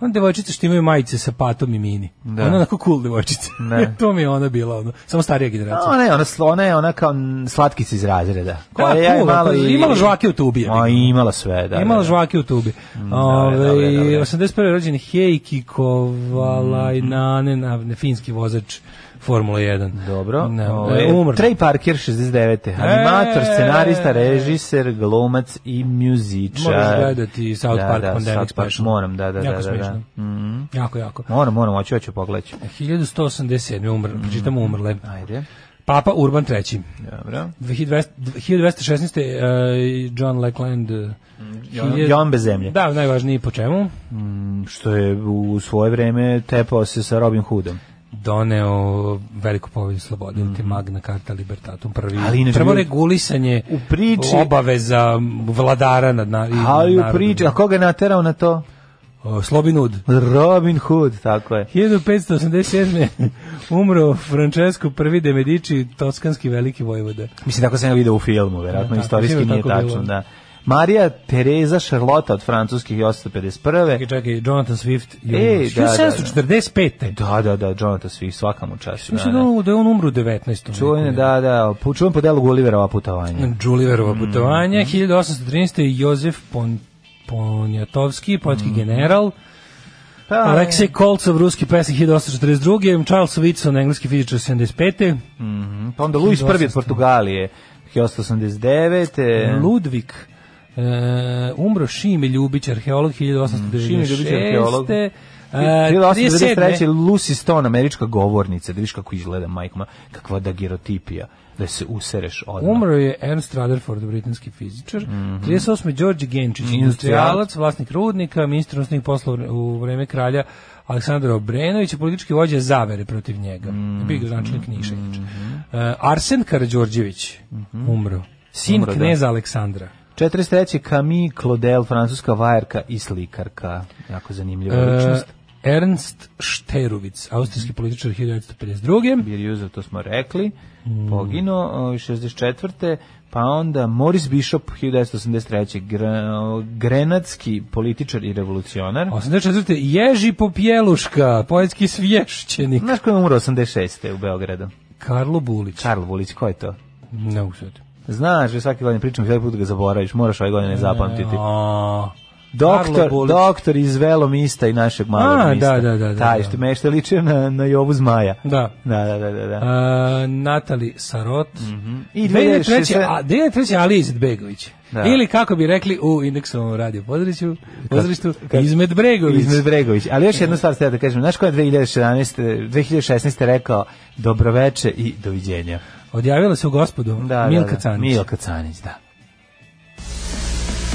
[SPEAKER 6] Ona devojčica što imaju majice sa patom i mini.
[SPEAKER 7] Da.
[SPEAKER 6] Ona onako cool devojčica.
[SPEAKER 7] Ne.
[SPEAKER 6] to mi je ona bila, ono. Samo starija generacija.
[SPEAKER 7] Pa Ona je, ona, sl- ona je ona kao mm, slatkica iz razreda. Koja je
[SPEAKER 6] cool,
[SPEAKER 7] malo
[SPEAKER 6] ako-
[SPEAKER 7] i-
[SPEAKER 6] Da, pa imala žvake u tubi, ja bih
[SPEAKER 7] A, imala sve, da.
[SPEAKER 6] Imala
[SPEAKER 7] da, da.
[SPEAKER 6] žvake u tubi.
[SPEAKER 7] dobro,
[SPEAKER 6] Ove,
[SPEAKER 7] dobro, dobro.
[SPEAKER 6] 81. rođen Heikki
[SPEAKER 7] Mm-hmm.
[SPEAKER 6] Kovalajnanen, mm. finski vozač Formula 1.
[SPEAKER 7] Dobro.
[SPEAKER 6] Ne,
[SPEAKER 7] Ovaj,
[SPEAKER 6] e, umrli.
[SPEAKER 7] Trey Parker, 69. Animator, scenarista, režiser, glumac i muzičar.
[SPEAKER 6] Moraš gledati South
[SPEAKER 7] Da,
[SPEAKER 6] Park
[SPEAKER 7] da,
[SPEAKER 6] Pandemic
[SPEAKER 7] South Park,
[SPEAKER 6] Special.
[SPEAKER 7] Moram, da, da, da.
[SPEAKER 6] jako
[SPEAKER 7] da, da.
[SPEAKER 6] smešno. Jako, jako.
[SPEAKER 7] Moram, moram, hoću, hoću pogledati.
[SPEAKER 6] 1187. umr, pročitamo umrle.
[SPEAKER 7] Mm-hmm. Ajde,
[SPEAKER 6] Papa Urban III.
[SPEAKER 7] dobro.
[SPEAKER 6] 2200 1216. eh, John Lackland. eh, hiljad-
[SPEAKER 7] John bez zemlje.
[SPEAKER 6] Da, najvažniji po čemu?
[SPEAKER 7] Što je u svoje vreme tepao se sa Robin Hoodom.
[SPEAKER 6] doneo veliku povelju slobode, mm Magna Carta Libertatum, prvi,
[SPEAKER 7] Mhm. Ali inače
[SPEAKER 6] prvo
[SPEAKER 7] bio-
[SPEAKER 6] regulisanje
[SPEAKER 7] U priči-
[SPEAKER 6] obaveza vladara nad na, i
[SPEAKER 7] Ali u
[SPEAKER 6] narodom.
[SPEAKER 7] priči, a koga je naterao na to?
[SPEAKER 6] O, Slobin Ud.
[SPEAKER 7] Robin Hood, tako je.
[SPEAKER 6] 1587. umro Francesco I de Medici, toskanski veliki vojvoda.
[SPEAKER 7] Mislim, tako sam ja video u filmu, verovatno,
[SPEAKER 6] Da, tako,
[SPEAKER 7] istorijski
[SPEAKER 6] sigurno
[SPEAKER 7] nije
[SPEAKER 6] tako
[SPEAKER 7] tačno,
[SPEAKER 6] bilo.
[SPEAKER 7] da. Marija Tereza Šarlota od francuskih 1851.
[SPEAKER 6] Čekaj, čekaj, Jonathan Swift. je
[SPEAKER 7] Ej,
[SPEAKER 6] umro.
[SPEAKER 7] da, da, da.
[SPEAKER 6] 1745.
[SPEAKER 7] Da, da, da, Jonathan Swift, svaka mu čast.
[SPEAKER 6] Mislim da, on- da je on umro u 19.
[SPEAKER 7] Čuvene,
[SPEAKER 6] veku.
[SPEAKER 7] da, da, po- čujem po delu Gulliverova putovanja. Mm.
[SPEAKER 6] Đuliverova putovanja, 1813. Jozef Pon, Ponjatovski, poljski
[SPEAKER 7] Mm.
[SPEAKER 6] general,
[SPEAKER 7] Pa,
[SPEAKER 6] Aleksej Kolcov, ruski pesnik 1842. Charles Whitson, engleski fizičar 75.
[SPEAKER 7] pa onda Luis I od Portugalije, 1889.
[SPEAKER 6] Ludvik, e, umro Šime Ljubić, arheolog 1896.
[SPEAKER 7] Šime Mm. Ljubić, arheolog.
[SPEAKER 6] E,
[SPEAKER 7] 1893.
[SPEAKER 6] 37.
[SPEAKER 7] Lucy Stone, američka govornica, da vidiš kako izgleda majkoma, kakva da girotipija, da Mhm. se usereš odmah.
[SPEAKER 6] Umro je Ernst Rutherford, britanski fizičar. 38. Đorđe Genčić,
[SPEAKER 7] Industrijalac.
[SPEAKER 6] industrijalac, vlasnik rudnika, ministar unosnih poslova u vreme kralja Aleksandra Obrenovića, politički vođa zavere protiv njega.
[SPEAKER 7] Mhm.
[SPEAKER 6] Bio je gradonačelnik Niša, inače. E, Arsen Karađorđević, umro. Sin
[SPEAKER 7] Mhm. Umro, da.
[SPEAKER 6] kneza Aleksandra.
[SPEAKER 7] 43. Camille Claudel, francuska vajarka i slikarka. Jako zanimljiva
[SPEAKER 6] E,
[SPEAKER 7] ličnost. Mhm.
[SPEAKER 6] Ernst Šteruvic, austrijski političar 1952.
[SPEAKER 7] Birjuzov, to smo rekli,
[SPEAKER 6] Mm.
[SPEAKER 7] poginuo ovaj, 64. Pa onda Moris Bishop, 1983. gre- Grenadski političar i revolucionar.
[SPEAKER 6] 84. Ježi Popjeluška, poetski svješćenik.
[SPEAKER 7] Znaš ko je umro 86. u Beogradu?
[SPEAKER 6] Karlo Bulić.
[SPEAKER 7] Karl Vulić, ko je to?
[SPEAKER 6] Ne mogu sad.
[SPEAKER 7] Znaš, ja svaki godin pričam, svaki put ga zaboraviš, moraš ove godine zapamtiti.
[SPEAKER 6] A, Karlo
[SPEAKER 7] Doktor,
[SPEAKER 6] Bulić.
[SPEAKER 7] doktor iz Velomista i našeg malog
[SPEAKER 6] A,
[SPEAKER 7] mista.
[SPEAKER 6] da, da, da, da,
[SPEAKER 7] Taj
[SPEAKER 6] da.
[SPEAKER 7] što me što liče na, na Jovu Zmaja.
[SPEAKER 6] Da.
[SPEAKER 7] Da, da, da, da. da.
[SPEAKER 6] Uh, Natali Sarot.
[SPEAKER 7] I
[SPEAKER 6] 2003.
[SPEAKER 7] 2006.
[SPEAKER 6] A, 2003. Ali Izetbegović.
[SPEAKER 7] Da.
[SPEAKER 6] Ili kako bi rekli u indeksovom radio pozorištu, pozorištu
[SPEAKER 7] Kad-
[SPEAKER 6] Izmet Bregović.
[SPEAKER 7] Izmed Bregović. Ali još jednu stvar ste da kažem. Znaš ko je 2017, 2016. rekao dobroveče i doviđenja?
[SPEAKER 6] Odjavila se u gospodu
[SPEAKER 7] Da,
[SPEAKER 6] Milka
[SPEAKER 7] da, da.
[SPEAKER 6] Canić.
[SPEAKER 7] Milka Canić, da.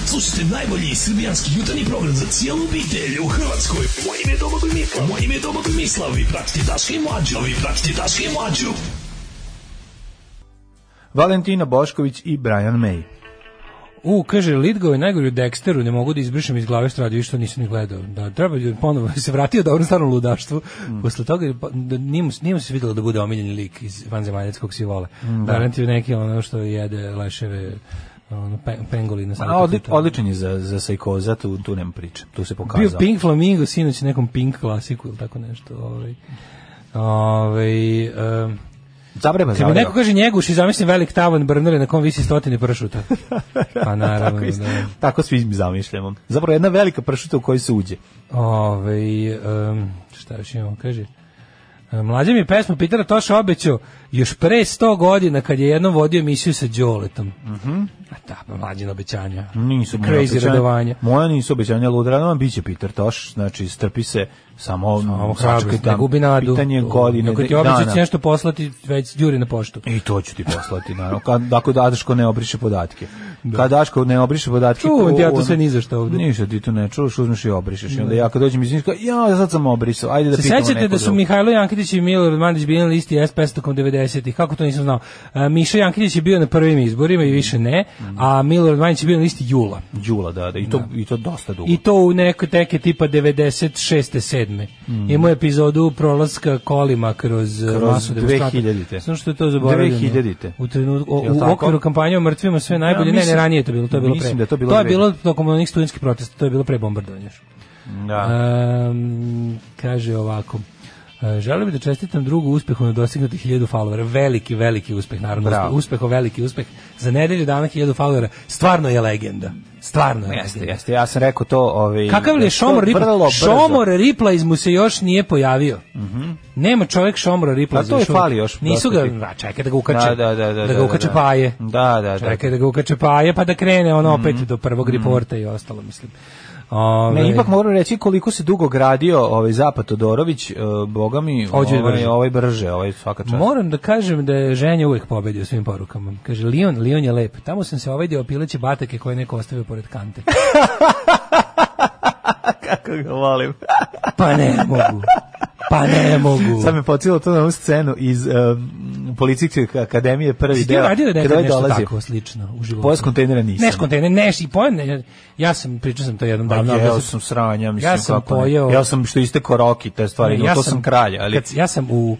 [SPEAKER 8] Slušajte najbolji srbijanski jutarnji program za cijelu obitelj u Hrvatskoj. Moje ime je Domagoj Mislav. Moje ime je Domagoj Mislav. Vi pratite Daška i Mlađu. Vi pratite Daška i Mlađu.
[SPEAKER 7] Valentina Bošković i Brian May.
[SPEAKER 6] U, kaže, Lidgove najgori u Dexteru, ne mogu da izbrišem iz glave što radio i što nisam ni gledao. Da, treba je ponovo se vratio da ovom starom ludaštvu.
[SPEAKER 7] Mm.
[SPEAKER 6] Posle toga je pa- da, nije, mu, nije mu se vidjelo da bude omiljeni lik iz vanzemaljackog sivola.
[SPEAKER 7] Mm,
[SPEAKER 6] Da. Garantio neki ono što jede leševe ono, pe, pengolina. sa
[SPEAKER 7] A, odli,
[SPEAKER 6] apetita.
[SPEAKER 7] odličan je za, za sajkoza, tu, tu nema priče. Tu se
[SPEAKER 6] Bio
[SPEAKER 7] pokazao.
[SPEAKER 6] Pink Flamingo sinoć u nekom Pink klasiku ili tako nešto. Ovaj. Ovaj, em,
[SPEAKER 7] Zabreba,
[SPEAKER 6] kad mi
[SPEAKER 7] zabreba.
[SPEAKER 6] neko kaže njeguš i zamislim velik tavan brnare na kom visi stotine pršuta. Pa naravno,
[SPEAKER 7] tako, isto,
[SPEAKER 6] da.
[SPEAKER 7] tako svi mi zamišljamo. Zapravo jedna velika pršuta u kojoj se uđe.
[SPEAKER 6] Ove, um, šta još imamo, kaže... e, Mlađe mi je pesmu Pitera Toša obećao još pre 100 godina kad je jednom vodio emisiju sa Đoletom. A ta pa mlađina obećanja.
[SPEAKER 7] Mhm. Nisu moja
[SPEAKER 6] Crazy
[SPEAKER 7] obećanja-
[SPEAKER 6] radovanja.
[SPEAKER 7] Moja nisu obećanja ludrana, bit će Peter Toš, znači strpi se samo,
[SPEAKER 6] Samo
[SPEAKER 7] sačekaj
[SPEAKER 6] hrabrost, ne
[SPEAKER 7] tam,
[SPEAKER 6] gubi nadu.
[SPEAKER 7] Pitanje godine,
[SPEAKER 6] Ako ti
[SPEAKER 7] dana.
[SPEAKER 6] obećao da će nešto poslati, već djuri na poštu.
[SPEAKER 7] I to ću ti poslati, naravno. Kad, ako Daško ne obriše podatke. Kad Daško ne obriše podatke...
[SPEAKER 6] Čuvam
[SPEAKER 7] ko-
[SPEAKER 6] ti Da. ja to sve ni za šta ovde. Da.
[SPEAKER 7] Ništa ti to ne čuvaš, uzmeš i obrišeš. I onda ja kad dođem iz Niška, ja sad sam obrisao, ajde da
[SPEAKER 6] Se
[SPEAKER 7] pitamo
[SPEAKER 6] sećate
[SPEAKER 7] neko
[SPEAKER 6] da su
[SPEAKER 7] drugo.
[SPEAKER 6] Mihajlo Jankitić i Milorad Mandić bili na listi SPS tokom 90-ih, kako to nisam znao. E, Miša Jankitić je bio na prvim izborima i više ne, a Milorad Mandić je bio na listi jula.
[SPEAKER 7] Đula, da, da, i to, i to dosta dugo.
[SPEAKER 6] I to u neke teke tipa 96. 7. Imao je epizodu prolaska kolima kroz, eh,
[SPEAKER 7] Mhm. Kroz
[SPEAKER 6] masu demonstrata.
[SPEAKER 7] 2000-te.
[SPEAKER 6] Samo što je to zaboravljeno.
[SPEAKER 7] 2000-te.
[SPEAKER 6] U, trenutku, o-
[SPEAKER 7] Jel
[SPEAKER 6] u
[SPEAKER 7] tako?
[SPEAKER 6] okviru kampanje o mrtvima sve najbolje.
[SPEAKER 7] Ja,
[SPEAKER 6] ne,
[SPEAKER 7] mislim-
[SPEAKER 6] ne, ranije je to bilo. To je bilo
[SPEAKER 7] mislim
[SPEAKER 6] pre.
[SPEAKER 7] da je to bilo
[SPEAKER 6] je
[SPEAKER 7] pre.
[SPEAKER 6] bilo tokom onih studentskih protesta. To je bilo pre bombardovanja. još.
[SPEAKER 7] Da.
[SPEAKER 6] Ehm, kaže ovako. e, Želeo bih da čestitam drugu uspehu na dostignuti 1000 followera. Veliki, veliki uspeh, naravno.
[SPEAKER 7] Bravo.
[SPEAKER 6] Bravo. Uspeh, o veliki uspeh. Za nedelju dana 1000 followera. Stvarno je legenda. Stvarno je
[SPEAKER 7] Jeste,
[SPEAKER 6] legenda.
[SPEAKER 7] jeste. Ja sam rekao to, ovaj
[SPEAKER 6] Kakav li
[SPEAKER 7] da
[SPEAKER 6] je Šomor
[SPEAKER 7] to vrlo
[SPEAKER 6] Ripla?
[SPEAKER 7] brzo. Mhm.
[SPEAKER 6] Šomor Ripla iz mu se još nije pojavio. Nema čovjek Šomora Ripla.
[SPEAKER 7] A to je fali još
[SPEAKER 6] Nisu ga,
[SPEAKER 7] dosta tih.
[SPEAKER 6] a, čekaj da ga ukače.
[SPEAKER 7] Da, da, da, da,
[SPEAKER 6] ga ukače
[SPEAKER 7] da, da.
[SPEAKER 6] paje.
[SPEAKER 7] Da, da, da.
[SPEAKER 6] Čekaj da ga ukače paje pa da krene on opet do prvog reporta i ostalo, mislim. Ove,
[SPEAKER 7] Ne, ipak moram reći koliko se dugo gradio ovaj Zapad Todorović, eh, boga mi,
[SPEAKER 6] Ođe je
[SPEAKER 7] ovaj,
[SPEAKER 6] brže.
[SPEAKER 7] ovaj brže, ovaj svaka čast.
[SPEAKER 6] Moram da kažem da je ženja uvek pobedio u svim porukama. Kaže, Lion, Lion je lep. Tamo sam se ovedio pileće batake koje je neko ostavio pored kante.
[SPEAKER 7] Kako ga volim.
[SPEAKER 6] Pa ne mogu. Pa ne mogu.
[SPEAKER 7] Sad me pocijelo to na onu scenu iz um, Policijske akademije prvi
[SPEAKER 6] Si ti
[SPEAKER 7] deo.
[SPEAKER 6] radio da nekad
[SPEAKER 7] kada ovaj
[SPEAKER 6] nešto
[SPEAKER 7] dolazi.
[SPEAKER 6] tako slično u životu?
[SPEAKER 7] Pojez kontejnera nisam.
[SPEAKER 6] Neš kontejner, neš i pojem. ne, Ja sam, pričao sam to jednom
[SPEAKER 7] Pa
[SPEAKER 6] davno. ali
[SPEAKER 7] jeo
[SPEAKER 6] ja
[SPEAKER 7] sam sranja, mislim
[SPEAKER 6] da Ja sam
[SPEAKER 7] kako ne.
[SPEAKER 6] pojeo-
[SPEAKER 7] Jeo sam što iste koroki, te stvari, no, to sam kralj, ali...
[SPEAKER 6] Kad, ja sam u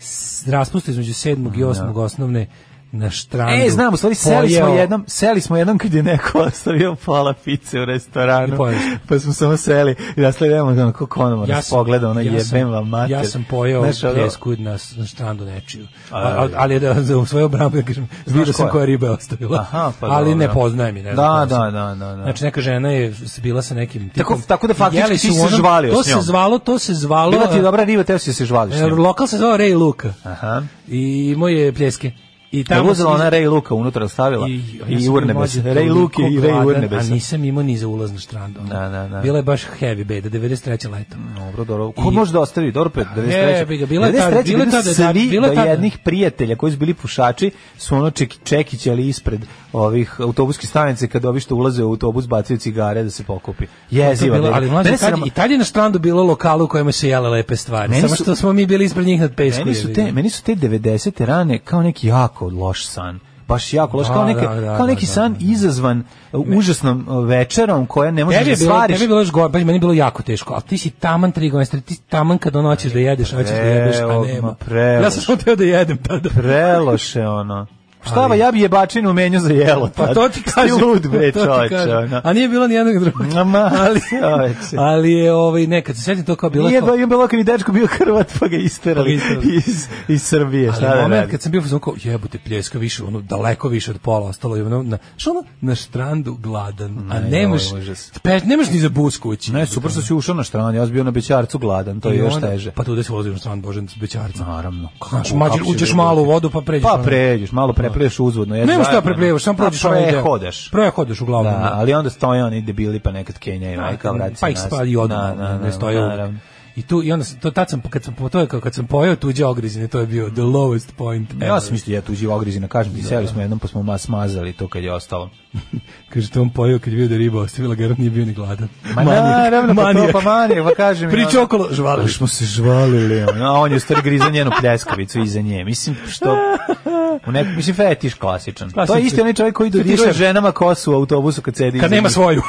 [SPEAKER 6] s- raspustu između sedmog i osmog osnovne na štrandu.
[SPEAKER 7] Da. E, znam, u stvari seli smo
[SPEAKER 6] pojeo-
[SPEAKER 7] jednom, seli smo jednom kad je neko ostavio pola pice u
[SPEAKER 6] I
[SPEAKER 7] restoranu.
[SPEAKER 6] pojeli
[SPEAKER 7] Pa smo samo seli i rasledujemo ono kako konomo
[SPEAKER 6] Ja
[SPEAKER 7] nas
[SPEAKER 6] sam-
[SPEAKER 7] Pa da pogleda, ono
[SPEAKER 6] ja sam-
[SPEAKER 7] jebem vam mater.
[SPEAKER 6] Ja sam pojeo
[SPEAKER 7] Znaš, ono,
[SPEAKER 6] pljesku na, s- na štrandu nečiju. A,
[SPEAKER 7] Ali-
[SPEAKER 6] a- ali da, za u svoju obramu, ja kažem, vidio sam
[SPEAKER 7] koja?
[SPEAKER 6] koja riba je ostavila.
[SPEAKER 7] Aha, pa
[SPEAKER 6] ali
[SPEAKER 7] dobro.
[SPEAKER 6] ne poznajem je. Ne znam
[SPEAKER 7] Da,
[SPEAKER 6] koja sam.
[SPEAKER 7] da, da, da, da.
[SPEAKER 6] Znači neka žena je s- bila sa nekim tipom.
[SPEAKER 7] Tako- tako da
[SPEAKER 6] i
[SPEAKER 7] faktički
[SPEAKER 6] jeli
[SPEAKER 7] ti
[SPEAKER 6] su
[SPEAKER 7] si
[SPEAKER 6] ono-
[SPEAKER 7] se žvalio
[SPEAKER 6] To
[SPEAKER 7] s njom.
[SPEAKER 6] se zvalo, to se zvalo...
[SPEAKER 7] Bila ti je
[SPEAKER 6] e,
[SPEAKER 7] dobra riba, teo si da se žvališ s
[SPEAKER 6] e,
[SPEAKER 7] njom.
[SPEAKER 6] Lokal se zvao Ray Luka.
[SPEAKER 7] Aha.
[SPEAKER 6] I moje pljeske. I
[SPEAKER 7] Tamo
[SPEAKER 6] tamo
[SPEAKER 7] uzela
[SPEAKER 6] sam-
[SPEAKER 7] ona Ray Luka unutra stavila i,
[SPEAKER 6] ja
[SPEAKER 7] i
[SPEAKER 6] sam bio
[SPEAKER 7] Urnebes.
[SPEAKER 6] mlađi,
[SPEAKER 7] Ray Luke i
[SPEAKER 6] toliko
[SPEAKER 7] Ray
[SPEAKER 6] gladan,
[SPEAKER 7] Urnebes.
[SPEAKER 6] A nisam imao ni za ulaz na štrandu. ono.
[SPEAKER 7] Da, da, da.
[SPEAKER 6] Bila je baš heavy beda, 93. leto.
[SPEAKER 7] Dobro, dobro. Ko
[SPEAKER 6] I-
[SPEAKER 7] može da ostavi? Dobro, pet, 93.
[SPEAKER 6] E, bi ga, bila je
[SPEAKER 7] 93.
[SPEAKER 6] tad- bila je
[SPEAKER 7] bili
[SPEAKER 6] tad- da,
[SPEAKER 7] svi
[SPEAKER 6] bila je
[SPEAKER 7] do
[SPEAKER 6] tad-
[SPEAKER 7] jednih prijatelja koji su bili pušači, su ono ček, čekić, ali ispred ovih autobuskih stanice, kad ovi što ulaze u autobus, bacaju cigare da se pokupi. Jeziva.
[SPEAKER 6] To je bilo-
[SPEAKER 7] beba.
[SPEAKER 6] ali mlađe,
[SPEAKER 7] Mene
[SPEAKER 6] tad,
[SPEAKER 7] sram-
[SPEAKER 6] i tad je na štrandu bilo lokala u kojima se jele lepe stvari.
[SPEAKER 7] Meni
[SPEAKER 6] Samo
[SPEAKER 7] su-
[SPEAKER 6] što smo mi bili ispred njih nad pesku.
[SPEAKER 7] meni su te, meni su te 90. rane kao neki jako loš san baš jako loš,
[SPEAKER 6] Da,
[SPEAKER 7] kao, neka,
[SPEAKER 6] da, da,
[SPEAKER 7] kao neki
[SPEAKER 6] da, da,
[SPEAKER 7] san izazvan uh, užasnom uh, večerom koja ne možeš
[SPEAKER 6] Tebi
[SPEAKER 7] da
[SPEAKER 6] je bilo,
[SPEAKER 7] stvariš.
[SPEAKER 6] tebi je bilo još gore, pa meni je bilo jako teško, ali ti si taman tri godine, star, ti si taman kad ono hoćeš da jedeš, hoćeš da jedeš, a
[SPEAKER 7] Preo- ma
[SPEAKER 6] nema.
[SPEAKER 7] preloš.
[SPEAKER 6] Ja sam samo teo da jedem tada.
[SPEAKER 7] Preloše ono. Šta va, ja bi jebačinu u menju za jelo.
[SPEAKER 6] Pa
[SPEAKER 7] tad.
[SPEAKER 6] to ti
[SPEAKER 7] Ti
[SPEAKER 6] kažem.
[SPEAKER 7] lud, bre,
[SPEAKER 6] to ti
[SPEAKER 7] čoveče,
[SPEAKER 6] kažem.
[SPEAKER 7] ono.
[SPEAKER 6] A nije bilo ni jednog drugog.
[SPEAKER 7] Ma, ma,
[SPEAKER 6] ali,
[SPEAKER 7] čoveče.
[SPEAKER 6] ali je, ovaj, nekad se sjetim to kao bilo...
[SPEAKER 7] Nije
[SPEAKER 6] kao-
[SPEAKER 7] ba, je bilo kad je dečko bio Hrvat, pa ga
[SPEAKER 6] Pa ga
[SPEAKER 7] isterali
[SPEAKER 6] isterali.
[SPEAKER 7] iz, iz Srbije. Šta
[SPEAKER 6] Ali
[SPEAKER 7] da
[SPEAKER 6] moment
[SPEAKER 7] radi?
[SPEAKER 6] kad sam bio u fazonu kao jebote pljeska više, ono daleko više od pola ostalo je ono na što ono na štrandu gladan, a
[SPEAKER 7] Ne,
[SPEAKER 6] nemaš
[SPEAKER 7] ovo je užas.
[SPEAKER 6] pe, nemaš ni za bus kući.
[SPEAKER 7] Ne, super što si ušao na stranu, ja sam bio na Bećarcu gladan, to je
[SPEAKER 6] I
[SPEAKER 7] još
[SPEAKER 6] onda-
[SPEAKER 7] teže.
[SPEAKER 6] Pa tu se vozi na stranu Božan Bećarca.
[SPEAKER 7] Naravno.
[SPEAKER 6] Znaš,
[SPEAKER 7] Kako
[SPEAKER 6] mađi,
[SPEAKER 7] će
[SPEAKER 6] uđeš
[SPEAKER 7] da
[SPEAKER 6] malo u
[SPEAKER 7] bude?
[SPEAKER 6] vodu pa pređeš.
[SPEAKER 7] Pa
[SPEAKER 6] ono.
[SPEAKER 7] pređeš, malo prepleješ uzvodno. jedno
[SPEAKER 6] Nemaš šta
[SPEAKER 7] zajedno.
[SPEAKER 6] prepljevaš, samo
[SPEAKER 7] Pa
[SPEAKER 6] prođeš onaj deo.
[SPEAKER 7] prehodeš.
[SPEAKER 6] Prehodeš uglavnom.
[SPEAKER 7] Da, ali onda stoje oni debili pa nekad Kenja i
[SPEAKER 6] Da,
[SPEAKER 7] majka vrati se
[SPEAKER 6] pa ih
[SPEAKER 7] nazad.
[SPEAKER 6] spali i odu,
[SPEAKER 7] Da, da, da,
[SPEAKER 6] ne stoje.
[SPEAKER 7] naravno.
[SPEAKER 6] I tu i onda sam, to tad sam kad sam to je kao kad sam pojeo tuđe ogrizine, to je bio the lowest point. ever.
[SPEAKER 7] Ja sam mislio ja tuđi ogrizina, kažem
[SPEAKER 6] Da,
[SPEAKER 7] ti, seli smo jednom pa smo ma smazali to kad je ostalo.
[SPEAKER 6] Kaže, to on pojeo kad je vidio da je riba ostavila, garant nije bio ni gladan.
[SPEAKER 7] Ma naravno, pa to,
[SPEAKER 6] manijak.
[SPEAKER 7] pa manijak, pa kažem ja.
[SPEAKER 6] Priča okolo, žvalili.
[SPEAKER 7] Ali Pa smo se žvalili, ono. a on je u stvari griza njenu pljeskavicu iza nje. Mislim, što... U nek, mislim, fetiš klasičan. To je
[SPEAKER 6] Klasičan.
[SPEAKER 7] isti onaj čovjek koji dodiruje
[SPEAKER 6] Fetišer.
[SPEAKER 7] ženama kosu u autobusu kad sedi
[SPEAKER 6] Kad
[SPEAKER 7] iza
[SPEAKER 6] nema
[SPEAKER 7] njih.
[SPEAKER 6] svoju.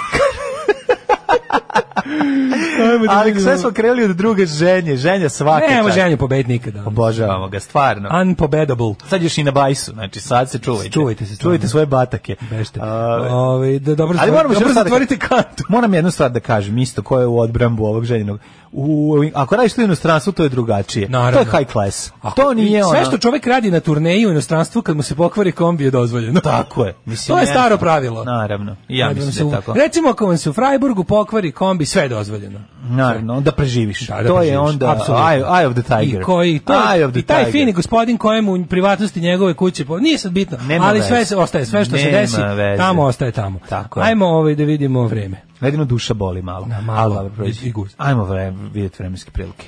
[SPEAKER 6] Ajmo da
[SPEAKER 7] Ali
[SPEAKER 6] vidimo.
[SPEAKER 7] sve smo krenuli od druge ženje, ženja svaka
[SPEAKER 6] Nema
[SPEAKER 7] čast.
[SPEAKER 6] ženju pobediti nikada.
[SPEAKER 7] Obožavamo ga, stvarno.
[SPEAKER 6] Unpobedable.
[SPEAKER 7] Sad još i na bajsu, znači sad se čuvajte.
[SPEAKER 6] Čuvajte se, stvarno.
[SPEAKER 7] Čuvajte svoje batake.
[SPEAKER 6] Bešte.
[SPEAKER 7] A,
[SPEAKER 6] Ove, da, dobro,
[SPEAKER 7] Ali moramo
[SPEAKER 6] dobro
[SPEAKER 7] još sad da
[SPEAKER 6] zatvorite kantu.
[SPEAKER 7] Moram jednu stvar da kažem, isto ko je u odbrambu ovog željenog. U, ako radiš to u inostranstvu, to je drugačije.
[SPEAKER 6] Naravno.
[SPEAKER 7] To je high class.
[SPEAKER 6] Ako-
[SPEAKER 7] to nije
[SPEAKER 6] i
[SPEAKER 7] ono...
[SPEAKER 6] Sve što čovjek radi na turneji u inostranstvu kad mu se pokvari kombi je dozvoljeno.
[SPEAKER 7] Tako je. Mislim,
[SPEAKER 6] to je
[SPEAKER 7] ne-
[SPEAKER 6] staro pravilo.
[SPEAKER 7] Naravno. I ja
[SPEAKER 6] Kad vam
[SPEAKER 7] mislim
[SPEAKER 6] se
[SPEAKER 7] da
[SPEAKER 6] u-
[SPEAKER 7] je tako.
[SPEAKER 6] Recimo ako vam se u Freiburgu pokvari kombi, sve je dozvoljeno.
[SPEAKER 7] Naravno, onda preživiš.
[SPEAKER 6] Da, da
[SPEAKER 7] to je
[SPEAKER 6] preživiš,
[SPEAKER 7] onda
[SPEAKER 6] apsolutno.
[SPEAKER 7] eye, eye of the tiger.
[SPEAKER 6] I koji to,
[SPEAKER 7] eye of the
[SPEAKER 6] i taj
[SPEAKER 7] tiger.
[SPEAKER 6] fini gospodin kojemu u privatnosti njegove kuće, po, nije sad bitno,
[SPEAKER 7] Nema
[SPEAKER 6] ali
[SPEAKER 7] veze.
[SPEAKER 6] sve se ostaje, sve što se
[SPEAKER 7] Nema
[SPEAKER 6] desi,
[SPEAKER 7] veze.
[SPEAKER 6] tamo ostaje tamo.
[SPEAKER 7] Tako je.
[SPEAKER 6] Ajmo ovaj da vidimo vreme.
[SPEAKER 7] Jedino duša boli malo.
[SPEAKER 6] Da, malo.
[SPEAKER 7] Ali dobro, prođe.
[SPEAKER 6] I guzi.
[SPEAKER 7] Ajmo vre, vidjeti vremenske prilike.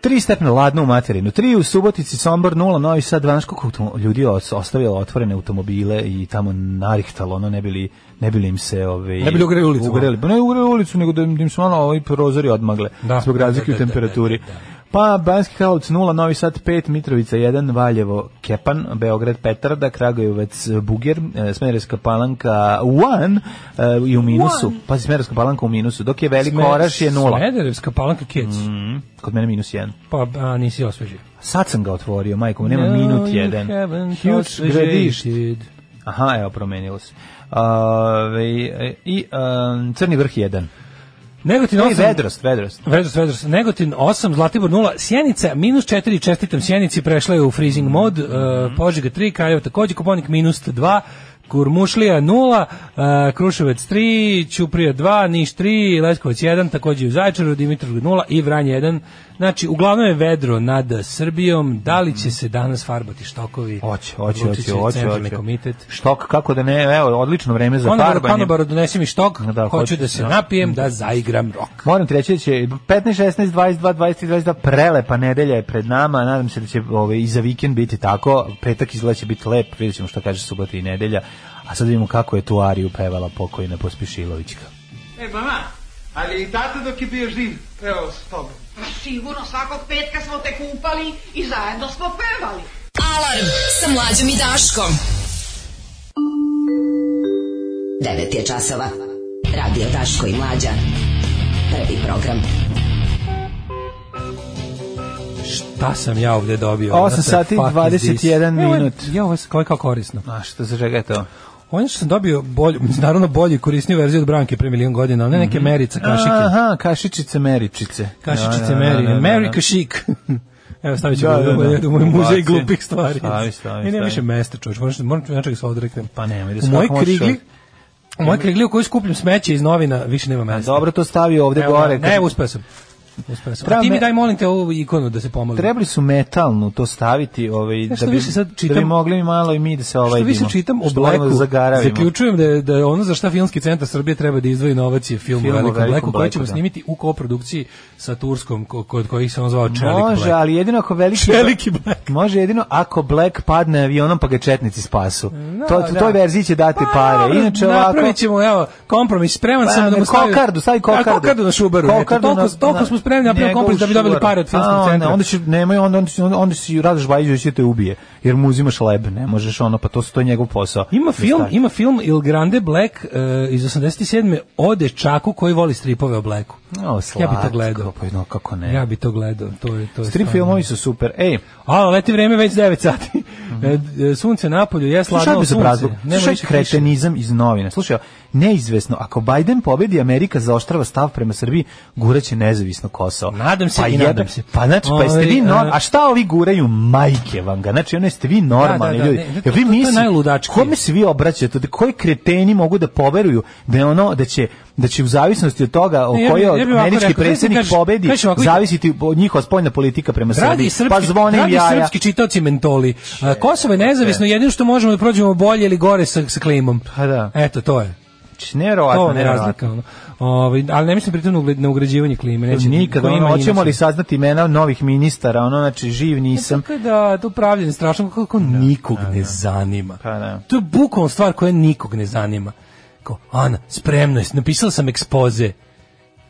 [SPEAKER 7] Tri stepne ladno u materinu, tri u Subotici, Sombor, nula, Novi Sad, dvanaest, koliko automo- ljudi je os- ostavilo otvorene automobile i tamo narihtalo, ono, ne bili, ne bili im se... Ove,
[SPEAKER 6] Ne bili ugreli ulicu.
[SPEAKER 7] Ugreli, pa ne ugreli ulicu, nego da im, da im su ono ovi prozori odmagle,
[SPEAKER 6] Da,
[SPEAKER 7] zbog
[SPEAKER 6] da,
[SPEAKER 7] razlike
[SPEAKER 6] da,
[SPEAKER 7] u
[SPEAKER 6] da, da,
[SPEAKER 7] temperaturi.
[SPEAKER 6] da, da.
[SPEAKER 7] Pa Banski Karlovac 0, Novi Sad 5, Mitrovica 1, Valjevo Kepan, Beograd Petarda, Kragujevac Buger, eh, Smederevska Palanka 1 eh, i u minusu. Pa Smederevska Palanka u minusu, dok je Veliko Oraš je Mm. 0.
[SPEAKER 6] Smederevska palanka kec.
[SPEAKER 7] Kod mene minus 1.
[SPEAKER 6] Pa a, nisi osvežio.
[SPEAKER 7] Sad sam ga otvorio, majko, mu, nema
[SPEAKER 6] No,
[SPEAKER 7] minut
[SPEAKER 6] you
[SPEAKER 7] 1.
[SPEAKER 6] haven't
[SPEAKER 7] Huge
[SPEAKER 6] osvežio.
[SPEAKER 7] gradiš. Aha, evo, promenilo se. Ove, e, I um, Crni vrh 1.
[SPEAKER 6] Negotin
[SPEAKER 7] No,
[SPEAKER 6] 8.
[SPEAKER 7] I Vedrost, Vedrost.
[SPEAKER 6] Vedros, Vedros. Negotin 8, Zlatibor 0, Sjenica minus 4, čestitam Sjenici, prešla je u freezing
[SPEAKER 7] Mhm.
[SPEAKER 6] mod, e, Požega 3, Kraljevo takođe, Koponik minus 2, Kurmušlija 0, e, Kruševac 3, Ćuprija 2, Niš 3, Leskovac 1, takođe i u Zaječaru, Dimitrovgrad 0 i Vranje 1. Znači, uglavnom je vedro nad Srbijom. Da li će se danas farbati štokovi?
[SPEAKER 7] Hoće, hoće,
[SPEAKER 6] Odlučit
[SPEAKER 7] hoće,
[SPEAKER 6] će
[SPEAKER 7] hoće,
[SPEAKER 6] centralni
[SPEAKER 7] hoće.
[SPEAKER 6] komitet.
[SPEAKER 7] Štok, kako da ne, evo, odlično vreme za
[SPEAKER 6] Konobaru,
[SPEAKER 7] farbanje.
[SPEAKER 6] konobaru, donesi mi štok,
[SPEAKER 7] Da,
[SPEAKER 6] hoću
[SPEAKER 7] hoće,
[SPEAKER 6] da se
[SPEAKER 7] da.
[SPEAKER 6] napijem, da zaigram rok.
[SPEAKER 7] Moram ti reći da će 15, 16, 22, 23, 22 prelepa nedelja je pred nama. Nadam se da će ovaj, i za vikend biti tako. Petak izgleda će biti lep. Vidjet ćemo što kaže subota i nedelja. A sad vidimo kako je tu Ariju pevala pokojna Pospišilovićka.
[SPEAKER 10] E, mama, ali i tata dok je bio živ, peo s tobom.
[SPEAKER 5] Pa Sigurno svakog petka smo te kupali i zajedno smo pevali.
[SPEAKER 9] Alarm sa mlađom i Daškom. 9 je časova. Radio Daško i Mlađa. Prvi program.
[SPEAKER 6] Šta sam ja ovde dobio?
[SPEAKER 7] 8
[SPEAKER 6] What the
[SPEAKER 7] sati i
[SPEAKER 6] fuck is
[SPEAKER 7] 21
[SPEAKER 6] this? Evo je-
[SPEAKER 7] minut.
[SPEAKER 6] Ja, ovo je kako korisno.
[SPEAKER 7] A što se čega je to?
[SPEAKER 6] Ono što sam dobio bolju, mislim, naravno bolju i korisniju verziju od Branke pre milion godina, ali ne neke merica, kašike.
[SPEAKER 7] Mhm. Aha, Da, kašičice, meričice.
[SPEAKER 6] Kašičice Meri. Meri kašik. Evo, stavit ću
[SPEAKER 7] Da,
[SPEAKER 6] ga
[SPEAKER 7] da,
[SPEAKER 6] u-
[SPEAKER 7] da.
[SPEAKER 6] u moj muzej
[SPEAKER 7] Baci.
[SPEAKER 6] glupih stvari.
[SPEAKER 7] Stavi, stavi,
[SPEAKER 6] I nema
[SPEAKER 7] stavi.
[SPEAKER 6] više mesta, čovječ. Moram, moram ja čega se odreknem.
[SPEAKER 7] Pa nemoj da
[SPEAKER 6] U
[SPEAKER 7] se
[SPEAKER 6] mojoj
[SPEAKER 7] kako možeš
[SPEAKER 6] krigli,
[SPEAKER 7] od-
[SPEAKER 6] u mojoj krigli u kojoj skupljam smeće iz novina, više nema mesta.
[SPEAKER 7] Dobro, to stavi ovde
[SPEAKER 6] Evo,
[SPEAKER 7] gore.
[SPEAKER 6] Ne, uspeo sam. Uspeo sam. A
[SPEAKER 7] Treba
[SPEAKER 6] ti mi
[SPEAKER 7] me-
[SPEAKER 6] daj, molim te, ovu ikonu da se pomolim.
[SPEAKER 7] Trebali su metalnu to staviti, ovaj,
[SPEAKER 6] Znaš što
[SPEAKER 7] da, bi,
[SPEAKER 6] više sad
[SPEAKER 7] da bi
[SPEAKER 6] čitam-
[SPEAKER 7] mogli mi malo i mi da se ovaj
[SPEAKER 6] što više čitam o
[SPEAKER 7] Što moramo da
[SPEAKER 6] Blacku,
[SPEAKER 7] zagaravimo.
[SPEAKER 6] zaključujem da je, da je ono za šta Filmski centar Srbije treba da izdvoji novac je film,
[SPEAKER 7] Film
[SPEAKER 6] o Velikom Blacku, koji
[SPEAKER 7] Blacku,
[SPEAKER 6] ćemo
[SPEAKER 7] da.
[SPEAKER 6] snimiti u koprodukciji sa Turskom, ko- kod kojih se on zvao Čelik
[SPEAKER 7] Može,
[SPEAKER 6] Black.
[SPEAKER 7] ali jedino ako veliki
[SPEAKER 6] Čeliki Black.
[SPEAKER 7] Može jedino ako Black padne avionom pa ga četnici spasu. to, to,
[SPEAKER 6] da. Pa
[SPEAKER 7] toj verziji će dati pare.
[SPEAKER 6] dobro,
[SPEAKER 7] Inače ovako...
[SPEAKER 6] Napravit ćemo, evo, kompromis, spreman
[SPEAKER 7] Pa,
[SPEAKER 6] sam da mu stavim...
[SPEAKER 7] kokardu, stavi kokardu.
[SPEAKER 6] A, kokardu na šubaru. eto,
[SPEAKER 7] Kokardu
[SPEAKER 6] toliko,
[SPEAKER 7] na-
[SPEAKER 6] toliko
[SPEAKER 7] na-
[SPEAKER 6] smo spremni da napravimo
[SPEAKER 7] njegovu
[SPEAKER 6] kompromis da bi dobili
[SPEAKER 7] šubaru.
[SPEAKER 6] pare od
[SPEAKER 7] A,
[SPEAKER 6] Filmskog
[SPEAKER 7] onda-
[SPEAKER 6] centra.
[SPEAKER 7] Onda će, nemoj, onda, onda, će- onda si Radoš Bajić će te ubije, jer mu uzimaš leb, ne možeš ono, pa to, su- to je njegov posao.
[SPEAKER 6] Ima
[SPEAKER 7] Da
[SPEAKER 6] film,
[SPEAKER 7] stavi.
[SPEAKER 6] ima film Il Grande Black e, iz 87. o dečaku koji voli stripove o Blacku.
[SPEAKER 7] O,
[SPEAKER 6] ja bi to
[SPEAKER 7] slatko,
[SPEAKER 6] gledao.
[SPEAKER 7] Pa, no, kako ne.
[SPEAKER 6] Ja bi to gledao. To je, to je
[SPEAKER 7] Strip
[SPEAKER 6] stvarno-
[SPEAKER 7] filmovi su super. Ej,
[SPEAKER 6] A, leti vreme već 9 sati. E, e, sunce napolju, je
[SPEAKER 7] Mhm. Slušaj
[SPEAKER 6] sladno
[SPEAKER 7] bez
[SPEAKER 6] sunce.
[SPEAKER 7] obrazlog.
[SPEAKER 6] Nema
[SPEAKER 7] Slušaj
[SPEAKER 6] više kiše.
[SPEAKER 7] kretenizam iz novina. Slušaj, neizvesno, ako Biden pobedi, Amerika zaoštrava stav prema Srbiji, guraće nezavisno Kosovo.
[SPEAKER 6] Nadam se i
[SPEAKER 7] jebe-
[SPEAKER 6] nadam se.
[SPEAKER 7] Pa znači, pa jeste vi
[SPEAKER 6] Ovaj,
[SPEAKER 7] nor-
[SPEAKER 6] e,
[SPEAKER 7] a šta ovi guraju majke vam ga? Znači, ono jeste vi normalni
[SPEAKER 6] Da, da, da,
[SPEAKER 7] ljudi.
[SPEAKER 6] ne, ne,
[SPEAKER 7] Jel vi
[SPEAKER 6] to- to je
[SPEAKER 7] mislite-
[SPEAKER 6] najludačkije.
[SPEAKER 7] kome se vi obraćate? Da koji kreteni mogu da poveruju da je ono da će da će u zavisnosti od toga o
[SPEAKER 6] Ne, ja bi-
[SPEAKER 7] kojoj
[SPEAKER 6] ja bi ovako
[SPEAKER 7] američki
[SPEAKER 6] rekao,
[SPEAKER 7] predsjednik
[SPEAKER 6] kažeš-
[SPEAKER 7] pobedi
[SPEAKER 6] kažeš ovako,
[SPEAKER 7] zavisiti od njihova spoljna politika prema
[SPEAKER 6] Dragi
[SPEAKER 7] Srbiji.
[SPEAKER 6] srpski,
[SPEAKER 7] Pa zvone im
[SPEAKER 6] dragi
[SPEAKER 7] jaja.
[SPEAKER 6] srpski čitaoci mentoli. A, Kosovo je nezavisno, jedino što možemo da prođemo bolje ili gore sa, sa klimom.
[SPEAKER 7] Pa da. Pa
[SPEAKER 6] Eto, to je.
[SPEAKER 7] Nevjerovatno,
[SPEAKER 6] To vam je
[SPEAKER 7] nevjerovatno.
[SPEAKER 6] razlika. Ono. Ovaj, ali ne mislim pritom na ugled- na ugrađivanje klime. Neće,
[SPEAKER 7] Nikada,
[SPEAKER 6] ko ima,
[SPEAKER 7] ono,
[SPEAKER 6] ima
[SPEAKER 7] hoćemo
[SPEAKER 6] se.
[SPEAKER 7] li saznati imena novih ministara, ono, znači, živ nisam.
[SPEAKER 6] Tako je da to pravljenje strašno kako nikog ne zanima.
[SPEAKER 7] Da, Pa da.
[SPEAKER 6] To je bukvalno stvar koja nikog ne zanima. Kao, Ana, spremno je, napisala sam ekspoze.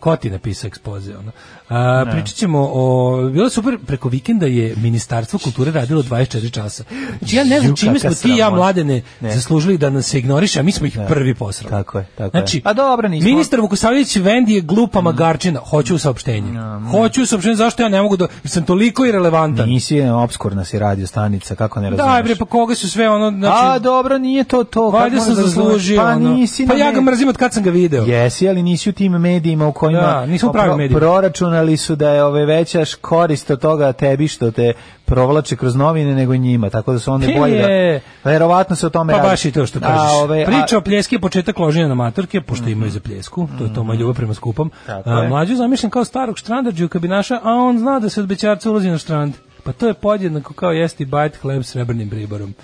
[SPEAKER 6] Ko ti je napisao ekspoze? Ono? A,
[SPEAKER 7] Da.
[SPEAKER 6] pričat ćemo o... Bilo je super, preko vikenda je Ministarstvo kulture radilo 24 časa. Znači ja ne znam
[SPEAKER 7] Ju,
[SPEAKER 6] čime smo
[SPEAKER 7] kakva
[SPEAKER 6] ti i ja
[SPEAKER 7] sramota.
[SPEAKER 6] mladene
[SPEAKER 7] Ne. Da.
[SPEAKER 6] zaslužili da nas se ignoriše, a mi smo ih prvi posrali.
[SPEAKER 7] Tako je, tako je.
[SPEAKER 6] znači,
[SPEAKER 7] A dobro, nismo- Mm.
[SPEAKER 6] Ministar Vukosavić Vendi je glupa magarčina. Hoću saopštenje. Hoću saopštenje, zašto ja ne mogu da... jer sam toliko irelevantan.
[SPEAKER 7] Da. Nisi je obskurna si radio stanica, kako ne razumeš?
[SPEAKER 6] Da, bre, pa koga su sve ono, znači,
[SPEAKER 7] A, dobro, nije to to. kako
[SPEAKER 6] valjda
[SPEAKER 7] moraš
[SPEAKER 6] Pa sam
[SPEAKER 7] da razumeš?
[SPEAKER 6] zaslužio,
[SPEAKER 7] Pa
[SPEAKER 6] ono.
[SPEAKER 7] nisi.
[SPEAKER 6] pa
[SPEAKER 7] na
[SPEAKER 6] ja ga
[SPEAKER 7] med-
[SPEAKER 6] mrzim od kad sam ga video.
[SPEAKER 7] Jesi, ali nisi u tim medijima u kojima
[SPEAKER 6] Da, nismo u pravim medijima.
[SPEAKER 7] proračunali su da je ove veća š- korist od toga tebi što te provlače kroz novine nego njima, tako da su onda
[SPEAKER 6] Ti
[SPEAKER 7] bolje
[SPEAKER 6] je-
[SPEAKER 7] da... Verovatno se o tome
[SPEAKER 6] Pa
[SPEAKER 7] radi.
[SPEAKER 6] baš i to što
[SPEAKER 7] A,
[SPEAKER 6] kažeš.
[SPEAKER 7] ove, a-
[SPEAKER 6] Priča o pljeski je početak loženja na maturke, pošto imaju za pljesku, to je to moja ljubav prema skupom.
[SPEAKER 7] Tako
[SPEAKER 6] A,
[SPEAKER 7] je.
[SPEAKER 6] mlađu zamišljam kao starog štrandađu kabinaša, a on zna da se od bećarca ulazi na štrand. Pa to je podjednako kao jesti bajt hleb s srebrnim priborom.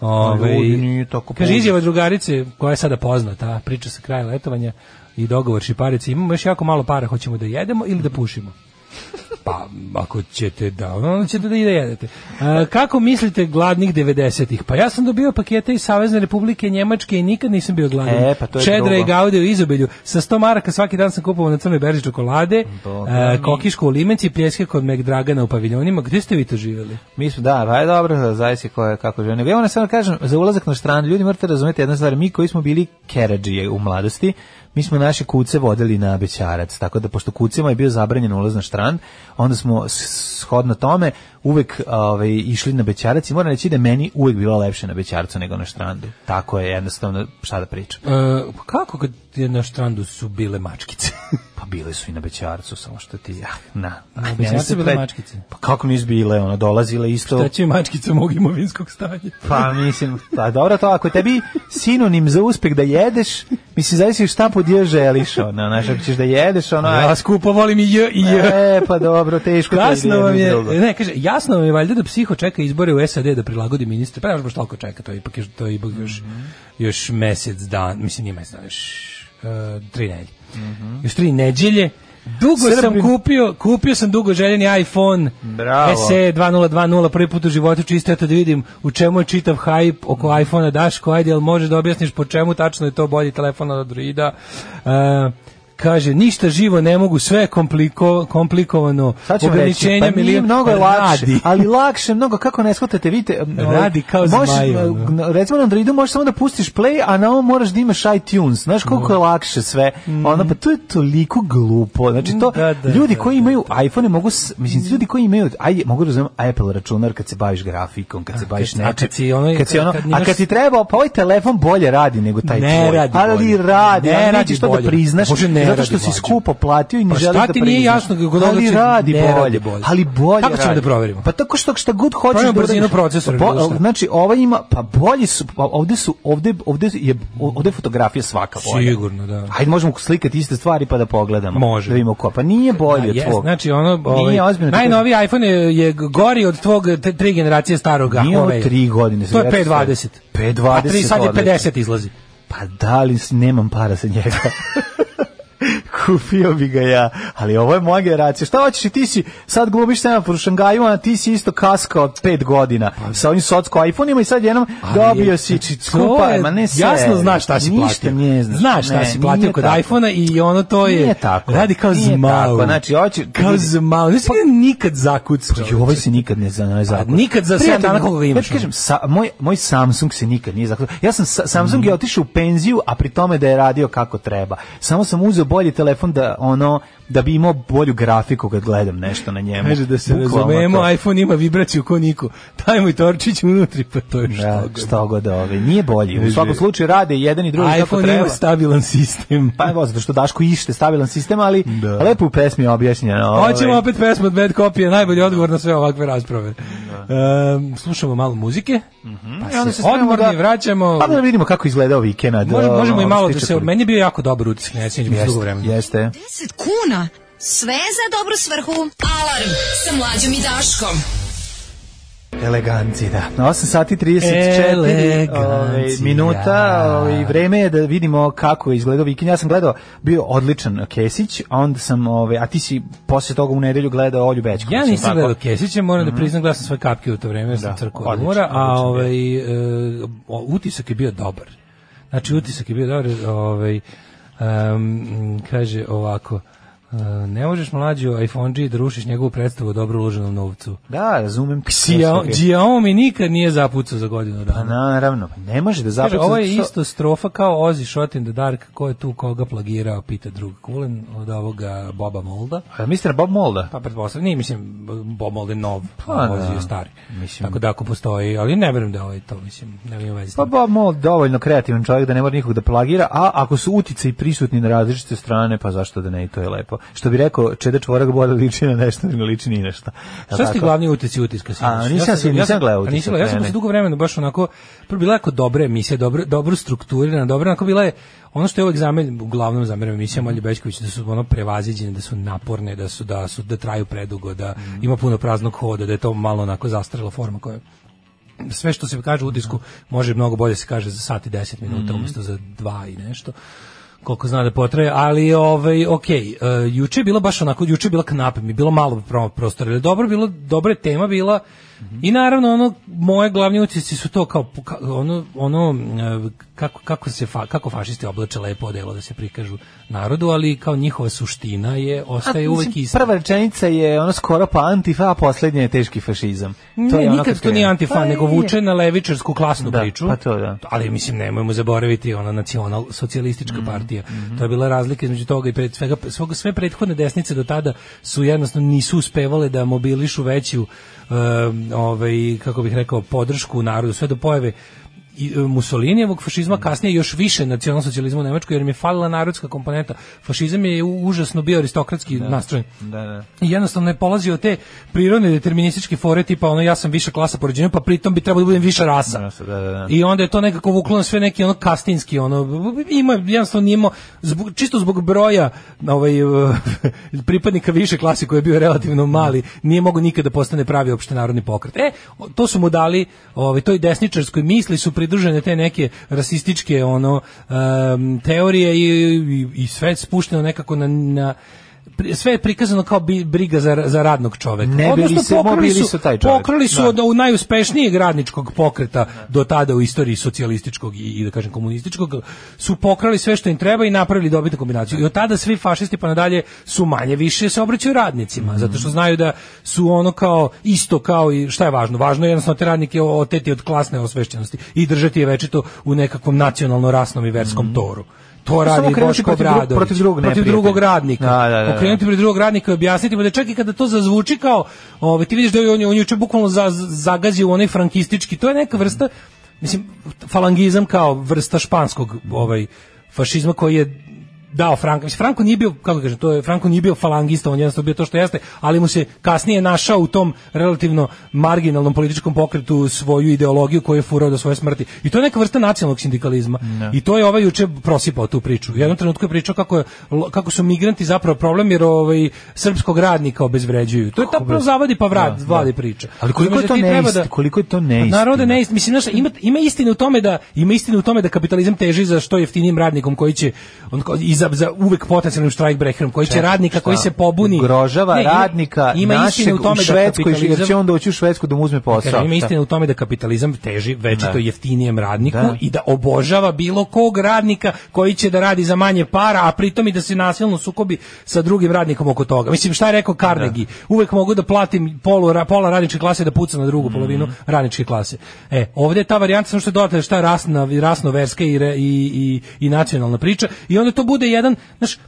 [SPEAKER 6] Ovaj,
[SPEAKER 7] Mm. Ljudi, nije tako
[SPEAKER 6] kaže
[SPEAKER 7] pogrešno.
[SPEAKER 6] izjava drugarice, koja je sada poznata, a priča sa kraja letovanja i dogovor šiparice, imamo još jako malo para, hoćemo da jedemo ili da pušimo. Pa, ako ćete da, onda ćete da i da jedete. E, kako mislite gladnih 90-ih? Pa ja sam dobio pakete iz Savezne republike Njemačke i nikad nisam bio gladan.
[SPEAKER 7] E, pa to je
[SPEAKER 6] Čedra i
[SPEAKER 7] drugo.
[SPEAKER 6] gaude u izobelju. Sa 100 maraka svaki dan sam kupovao na crnoj berži čokolade,
[SPEAKER 7] Boga
[SPEAKER 6] e,
[SPEAKER 7] mi.
[SPEAKER 6] kokišku u limenci i pljeske kod Megdragana u paviljonima. Gde ste vi to živjeli?
[SPEAKER 7] Mi smo, da, pa je dobro, da zavisi ko je, kako žene. Nego ja moram samo da kažem, za ulazak na štrand, ljudi morate razumeti jedna stvar, mi koji smo bili keradžije u mladosti, mi smo naše kuce vodili na bećarac, tako da pošto kucima je bio zabranjen ulaz na štrand, onda smo s- shodno tome uvek ovaj, išli na bećarac i moram reći da je meni uvek bilo lepše na bećarcu nego na štrandu. Tako je jednostavno, šta da pričam.
[SPEAKER 6] E, pa kako kad je na štrandu su bile mačkice?
[SPEAKER 7] Pa bile su i na Bećarcu, samo što ti, ah, na. Ah,
[SPEAKER 6] Na
[SPEAKER 7] ne,
[SPEAKER 6] Bećarcu
[SPEAKER 7] se
[SPEAKER 6] bile
[SPEAKER 7] pred-
[SPEAKER 6] mačkice?
[SPEAKER 7] Pa kako nisu bile, ono, dolazile isto.
[SPEAKER 6] Šta Da će mačkice mog imovinskog stanja?
[SPEAKER 7] Pa mislim, pa dobro to, ako je tebi sinonim za uspeh da jedeš, mislim, zavisi šta pod je želiš, ono, znaš, ako ćeš da jedeš, ono,
[SPEAKER 6] Ja skupo volim i j i j.
[SPEAKER 7] e, pa dobro, teško to ide
[SPEAKER 6] Jasno
[SPEAKER 7] jedno
[SPEAKER 6] vam
[SPEAKER 7] i
[SPEAKER 6] je,
[SPEAKER 7] drugo.
[SPEAKER 6] ne, kaže, jasno vam je valjda da psiho čeka izbore u SAD da prilagodi ministra, pa još baš toliko čeka, to je ipak, još- to je ipak još,
[SPEAKER 7] Mhm.
[SPEAKER 6] još mesec dan, mislim nije mesec dan, još e, tri nedelje. Još tri nedelje, Dugo sam
[SPEAKER 7] Mhm. Srbin-
[SPEAKER 6] kupio, kupio sam dugo željeni iPhone
[SPEAKER 7] Bravo.
[SPEAKER 6] SE 2020, prvi put u životu čisto eto da vidim u čemu je čitav hype
[SPEAKER 7] Mhm.
[SPEAKER 6] oko iPhone-a Daško, ajde, jel možeš da objasniš po čemu tačno je to bolji telefon od Androida? E, kaže, ništa živo ne mogu, sve je kompliko, komplikovano,
[SPEAKER 7] Sad ćemo reći,
[SPEAKER 6] ograničenja
[SPEAKER 7] pa nije
[SPEAKER 6] milion-
[SPEAKER 7] mnogo je lakše,
[SPEAKER 6] Radi.
[SPEAKER 7] ali lakše mnogo, kako ne shvatate, vidite, m, ovaj,
[SPEAKER 6] Radi kao
[SPEAKER 7] možeš,
[SPEAKER 6] zmaj,
[SPEAKER 7] m,
[SPEAKER 6] ono.
[SPEAKER 7] n- recimo na Androidu možeš samo da pustiš play, a na ovom moraš da imaš iTunes, znaš koliko je lakše sve, ono, pa to je toliko glupo, znači to,
[SPEAKER 6] Mm. Da, da,
[SPEAKER 7] ljudi
[SPEAKER 6] da,
[SPEAKER 7] koji imaju iPhone mogu, s- mislim, ljudi koji imaju, aj, mogu razumem Apple računar kad se baviš grafikom, kad se baviš
[SPEAKER 6] kad- a
[SPEAKER 7] nečim,
[SPEAKER 6] kad si ono-
[SPEAKER 7] kad si ono,
[SPEAKER 6] kad
[SPEAKER 7] a
[SPEAKER 6] nimaš-
[SPEAKER 7] kad ti treba, pa ovaj telefon bolje radi nego taj
[SPEAKER 6] Ne
[SPEAKER 7] tvoj,
[SPEAKER 6] radi
[SPEAKER 7] ali
[SPEAKER 6] bolje.
[SPEAKER 7] radi,
[SPEAKER 6] Ne
[SPEAKER 7] ali
[SPEAKER 6] radi
[SPEAKER 7] nećeš to da
[SPEAKER 6] bolje.
[SPEAKER 7] priznaš,
[SPEAKER 6] Bože, ne
[SPEAKER 7] zato
[SPEAKER 6] radi,
[SPEAKER 7] što si
[SPEAKER 6] mlađe.
[SPEAKER 7] skupo platio i ne
[SPEAKER 6] Pa
[SPEAKER 7] želiš
[SPEAKER 6] šta
[SPEAKER 7] da
[SPEAKER 6] ti nije
[SPEAKER 7] priznaš.
[SPEAKER 6] jasno kako da
[SPEAKER 7] ali
[SPEAKER 6] će-
[SPEAKER 7] radi
[SPEAKER 6] ne radi
[SPEAKER 7] bolje,
[SPEAKER 6] bolje.
[SPEAKER 7] ali bolje
[SPEAKER 6] Kako ćemo da
[SPEAKER 7] radi.
[SPEAKER 6] proverimo?
[SPEAKER 7] Pa tako što šta god hoćeš
[SPEAKER 6] Proverimo
[SPEAKER 7] da
[SPEAKER 6] brzinu
[SPEAKER 7] uradiš.
[SPEAKER 6] procesora,
[SPEAKER 7] Pa,
[SPEAKER 6] bilo šta.
[SPEAKER 7] znači ova ima pa bolji su pa ovde su ovde ovde je ovde je fotografija svaka bolja.
[SPEAKER 6] Sigurno, da.
[SPEAKER 7] Ajde možemo slikati iste stvari pa da pogledamo.
[SPEAKER 6] Može.
[SPEAKER 7] Da vidimo ko. Pa nije bolje
[SPEAKER 6] Da,
[SPEAKER 7] od
[SPEAKER 6] jes,
[SPEAKER 7] tvog.
[SPEAKER 6] Znači ono, ovaj,
[SPEAKER 7] Nije ozbiljno.
[SPEAKER 6] najnoviji iPhone je, je gori od tvog te- tri generacije starog
[SPEAKER 7] Nije ovo
[SPEAKER 6] Huawei-a.
[SPEAKER 7] tri godine.
[SPEAKER 6] To je
[SPEAKER 7] sve-
[SPEAKER 6] 520.
[SPEAKER 7] 520
[SPEAKER 6] A tri sad je
[SPEAKER 7] odlično.
[SPEAKER 6] 50 izlazi.
[SPEAKER 7] Pa da li s- nemam para za njega? kupio bi ga ja, ali ovo je moja generacija. Šta hoćeš i ti si, sad glumiš se na Šangajima, a ti si isto kaska od pet godina sa ovim socko iPhone-ima i sad jednom dobio si
[SPEAKER 6] znači, Pa da. to
[SPEAKER 7] skupa,
[SPEAKER 6] je-
[SPEAKER 7] ma ne sve.
[SPEAKER 6] Jasno znaš šta si
[SPEAKER 7] Ništa
[SPEAKER 6] platio.
[SPEAKER 7] ne znaš.
[SPEAKER 6] Znaš šta
[SPEAKER 7] Ne,
[SPEAKER 6] si platio
[SPEAKER 7] nije
[SPEAKER 6] kod
[SPEAKER 7] tako.
[SPEAKER 6] iPhone-a i ono to je...
[SPEAKER 7] Nije tako.
[SPEAKER 6] Radi kao
[SPEAKER 7] Nije
[SPEAKER 6] zmao.
[SPEAKER 7] tako, znači, hoće-
[SPEAKER 6] Kao zmao. Nisi ga nikad zakucao. Znači,
[SPEAKER 7] I ovaj se nikad ne zna, ne zna.
[SPEAKER 6] nikad za sedam
[SPEAKER 7] Prijatelju,
[SPEAKER 6] dana koliko ga imaš,
[SPEAKER 7] Ja ti kažem, sa, moj, moj Samsung se nikad nije zaključio. Ja sam, sa- Samsung
[SPEAKER 6] Mm.
[SPEAKER 7] je otišao u penziju, a pri tome da je radio kako treba. Samo sam uzeo bolji telefon da, ono, da bi imao bolju grafiku kad gledam nešto na njemu.
[SPEAKER 6] Kaže da se
[SPEAKER 7] Bukvalno
[SPEAKER 6] razumemo,
[SPEAKER 7] to.
[SPEAKER 6] iPhone ima vibraciju ko niko. Taj mu i torčić unutri, pa to je što.
[SPEAKER 7] Da,
[SPEAKER 6] god.
[SPEAKER 7] šta god da ove. Nije bolji. U svakom slučaju rade i jedan i drugi kako
[SPEAKER 6] iPhone
[SPEAKER 7] treba.
[SPEAKER 6] ima stabilan sistem.
[SPEAKER 7] Pa evo, zato što Daško ište stabilan sistem, ali lepo u pesmi je objašnjeno. ovaj.
[SPEAKER 6] Da. Pa, Hoćemo opet pesmu od Bad Copy, je najbolji odgovor na sve ovakve rasprave. Ehm, slušamo malo muzike, pa
[SPEAKER 7] Da. Mhm. I onda
[SPEAKER 6] se
[SPEAKER 7] se spremamo
[SPEAKER 6] odmorni
[SPEAKER 7] da-
[SPEAKER 6] vraćamo.
[SPEAKER 7] Pa da vidimo kako izgledao vikend.
[SPEAKER 6] Može- možemo i
[SPEAKER 7] ono,
[SPEAKER 6] malo
[SPEAKER 7] što
[SPEAKER 6] da
[SPEAKER 7] se
[SPEAKER 6] se...
[SPEAKER 7] tiče
[SPEAKER 6] Meni je bio jako dobar utisak, ne sjećam se dugo
[SPEAKER 7] politike.
[SPEAKER 6] vremena.
[SPEAKER 7] Jeste, jeste.
[SPEAKER 5] 10 kuna?
[SPEAKER 9] Sve za dobru svrhu. Alarm sa mlađom i Daškom.
[SPEAKER 7] Eleganci, da. Na 8 sati 34
[SPEAKER 6] Eleganci,
[SPEAKER 7] ovaj,
[SPEAKER 6] da.
[SPEAKER 7] minuta ovaj, vreme je da vidimo kako je izgledao vikend. Ja sam gledao, bio odličan Kesić, a onda sam, ovaj, a ti si posle toga u nedelju gledao Olju Bećković.
[SPEAKER 6] Ja
[SPEAKER 7] je li
[SPEAKER 6] nisam
[SPEAKER 7] tako?
[SPEAKER 6] gledao Kesića, moram da priznam, gledao sam svoje kapke u to vreme, jer sam
[SPEAKER 7] Da,
[SPEAKER 6] crkao od
[SPEAKER 7] odlično,
[SPEAKER 6] mora, a
[SPEAKER 7] odlično je.
[SPEAKER 6] ovaj, e, o- utisak je bio dobar. Znači, utisak je bio dobar, ovaj, em, kaže ovako, e, ne možeš mlađu iPhone-đi da rušiš njegovu predstavu o dobro uloženom novcu. Znači,
[SPEAKER 7] Da, razumem.
[SPEAKER 6] Xiao-
[SPEAKER 7] Okej.
[SPEAKER 6] Xiaomi nikad nije zapucao za godinu
[SPEAKER 7] Pa
[SPEAKER 6] dana.
[SPEAKER 7] naravno, pa ne može da
[SPEAKER 6] Kaže,
[SPEAKER 7] zapuca.
[SPEAKER 6] ovo je
[SPEAKER 7] zato što-
[SPEAKER 6] isto strofa kao Ozzy Shot in the Dark, ko je tu koga plagirao, pita drug Kulen od ovoga Boba Molda.
[SPEAKER 7] A, Mr. Bob Molda.
[SPEAKER 6] Pa pretpostavljam, nije, mislim, Bob Mold je nov,
[SPEAKER 7] Pa,
[SPEAKER 6] a Ozzy
[SPEAKER 7] da.
[SPEAKER 6] je stari.
[SPEAKER 7] Mislim-
[SPEAKER 6] Tako da ako postoji, ali ne verujem da je ovaj to, mislim, ne verujem veze. s
[SPEAKER 7] Pa
[SPEAKER 6] tim.
[SPEAKER 7] Bob Mold dovoljno kreativan čovjek da ne mora nikog da plagira, a ako su utice i prisutni na različite strane, pa zašto da ne i to je lepo. Što bi rekao, čeda čvorak bora liči na nešto, ne liči ni na šta. Je
[SPEAKER 6] Šta su ti
[SPEAKER 7] tako?
[SPEAKER 6] glavni utjeci utiska? sinoć?
[SPEAKER 7] A, nisam se- nisam gledao
[SPEAKER 6] a nisi
[SPEAKER 7] utisak,
[SPEAKER 6] gledao, Ja sam
[SPEAKER 7] ne,
[SPEAKER 6] posle
[SPEAKER 7] ne.
[SPEAKER 6] dugo vremena baš onako, prvo bila je jako dobra emisija, dobro, dobro strukturirana, dobro, onako bila je, ono što je uvek zamer, uglavnom zameram emisijama Olje Bećković, da su ono prevaziđene, da su naporne, da su, da su, da traju predugo, da
[SPEAKER 7] Mhm.
[SPEAKER 6] ima puno praznog hoda, da je to malo onako zastrela forma koja sve što se kaže u utisku može mnogo bolje se kaže za sat i 10 minuta umjesto za dva i nešto koliko zna da potraje, ali ovaj okej, e, juče je bilo baš onako, juče je bila knap, mi je bilo malo pro- prostora, ali dobro bilo, dobra je tema bila. I naravno ono moje glavni utisci su to kao ka- ono ono e, kako kako se fa, kako fašisti oblače lepo odelo da se prikažu narodu, ali kao njihova suština je ostaje uvek
[SPEAKER 7] Pa, Mislim,
[SPEAKER 6] ista.
[SPEAKER 7] Prva rečenica je ono skoro pa antifa, a poslednja je teški fašizam.
[SPEAKER 6] Ne,
[SPEAKER 7] je ono
[SPEAKER 6] nikad
[SPEAKER 7] kad
[SPEAKER 6] to nije
[SPEAKER 7] krene.
[SPEAKER 6] antifa,
[SPEAKER 7] Pa
[SPEAKER 6] nego
[SPEAKER 7] nije.
[SPEAKER 6] vuče na levičarsku klasnu
[SPEAKER 7] Da,
[SPEAKER 6] priču.
[SPEAKER 7] pa to da.
[SPEAKER 6] Ali mislim nemojmo zaboraviti ona nacional
[SPEAKER 7] Mm,
[SPEAKER 6] socijalistička partija.
[SPEAKER 7] mm-hmm.
[SPEAKER 6] To je bila razlika između toga i pred svega svog- sve prethodne desnice do tada su jednostavno nisu uspevale da mobilišu veću em, ovaj kako bih rekao podršku u narodu sve do pojave i e, Mussolinijevog fašizma
[SPEAKER 7] Mm.
[SPEAKER 6] kasnije još više nacionalsocijalizma u Nemačkoj jer im je falila narodska komponenta. Fašizam je u- užasno bio aristokratski nastrojen.
[SPEAKER 7] Da, da.
[SPEAKER 6] I jednostavno je polazio od te prirodne determinističke fore tipa ono ja sam više klasa po rođenju pa pritom bi trebalo da budem više rasa.
[SPEAKER 7] Da, da, da, da.
[SPEAKER 6] I onda je to nekako vuklo na sve neki ono kastinski ono ima jednostavno nije imao zbog, čisto zbog broja ovaj eh, pripadnika više klase koji je bio relativno mali nije mogao nikada da postane pravi opštenarodni pokret. E o- to su mu dali ovaj toj desničarskoj misli su pridružene te neke rasističke ono em, teorije i, i, i sve je spušteno nekako na, na pri- sve je prikazano kao bi, briga za, za radnog čoveka.
[SPEAKER 7] Ne bili
[SPEAKER 6] Odnosno,
[SPEAKER 7] se,
[SPEAKER 6] pokrali
[SPEAKER 7] mobili
[SPEAKER 6] su,
[SPEAKER 7] su taj čovek.
[SPEAKER 6] pokrali su
[SPEAKER 7] Da.
[SPEAKER 6] od od najuspješnijeg radničkog pokreta do tada u istoriji socijalističkog i, i da kažem komunističkog su pokrali sve što im treba i napravili dobitnu kombinaciju. I od tada svi fašisti pa nadalje su manje više se obraćaju radnicima,
[SPEAKER 7] Mhm.
[SPEAKER 6] zato što znaju da su ono kao isto kao i šta je važno, važno je jednostavno te radnike oteti od klasne osvešćenosti i držati je večito u nekakvom nacionalno rasnom i verskom toru. To radi
[SPEAKER 7] Mhm. krenuti
[SPEAKER 6] Boško
[SPEAKER 7] protiv drug-
[SPEAKER 6] Obradović.
[SPEAKER 7] protiv drugog neprijatelja.
[SPEAKER 6] drugog radnika.
[SPEAKER 7] Da, da, da, da.
[SPEAKER 6] Okrenuti pred drugog radnika i objasniti mu da čak i kada to zazvuči kao, ovaj ti vidiš da je on on juče bukvalno za, zagazio u onaj frankistički, to je neka vrsta mislim falangizam kao vrsta španskog ovaj fašizma koji je dao Franko. Mislim, Franko nije bio, kako da kažem, to je, Franko nije bio falangista, on je jednostavno bio to što jeste, ali mu se kasnije našao u tom relativno marginalnom političkom pokretu svoju ideologiju koju je furao do svoje smrti. I to je neka vrsta nacionalnog sindikalizma.
[SPEAKER 7] Da.
[SPEAKER 6] I to je ovaj juče prosipao tu priču. U jednom trenutku je pričao kako, je, lo- kako su migranti zapravo problem jer ovaj, srpskog radnika obezvređuju. To je zapravo zavadi pa vrat, vladi priča.
[SPEAKER 7] Da, Ali koliko je
[SPEAKER 6] Znači,
[SPEAKER 7] to
[SPEAKER 6] ti treba
[SPEAKER 7] neistina? Koliko je to neistina?
[SPEAKER 6] Pa naravno da je neistina. Mislim, znaš, ima, ima istine u tome da ima istine u tome da kapitalizam teži za što jeftinijim radnikom koji će on ko- i za, za uvek potencijalnim štrajkbrekerom koji će radnika koji se pobuni
[SPEAKER 7] Grožava
[SPEAKER 6] Ne, ima-
[SPEAKER 7] Da. radnika našeg
[SPEAKER 6] istine
[SPEAKER 7] u, Švedskoj, jer će
[SPEAKER 6] da kapitalizam-
[SPEAKER 7] on doći u Švedsku da mu uzme posao.
[SPEAKER 6] Kažem, ima
[SPEAKER 7] Šta?
[SPEAKER 6] istina u tome da kapitalizam teži večito
[SPEAKER 7] Da.
[SPEAKER 6] jeftinijem radniku
[SPEAKER 7] Da.
[SPEAKER 6] i da obožava bilo kog radnika koji će da radi za manje para, a pritom i da se nasilno sukobi sa drugim radnikom oko toga. Mislim, šta je rekao Carnegie? Uvek mogu da platim polu, ra- pola radničke klase da puca na
[SPEAKER 7] Mm.
[SPEAKER 6] drugu polovinu radničke klase. E, ovdje je ta varijanta, samo što je dodata šta je rasna, rasno-verska i, re- i, i, i nacionalna priča i onda to bude jedan, znaš, e,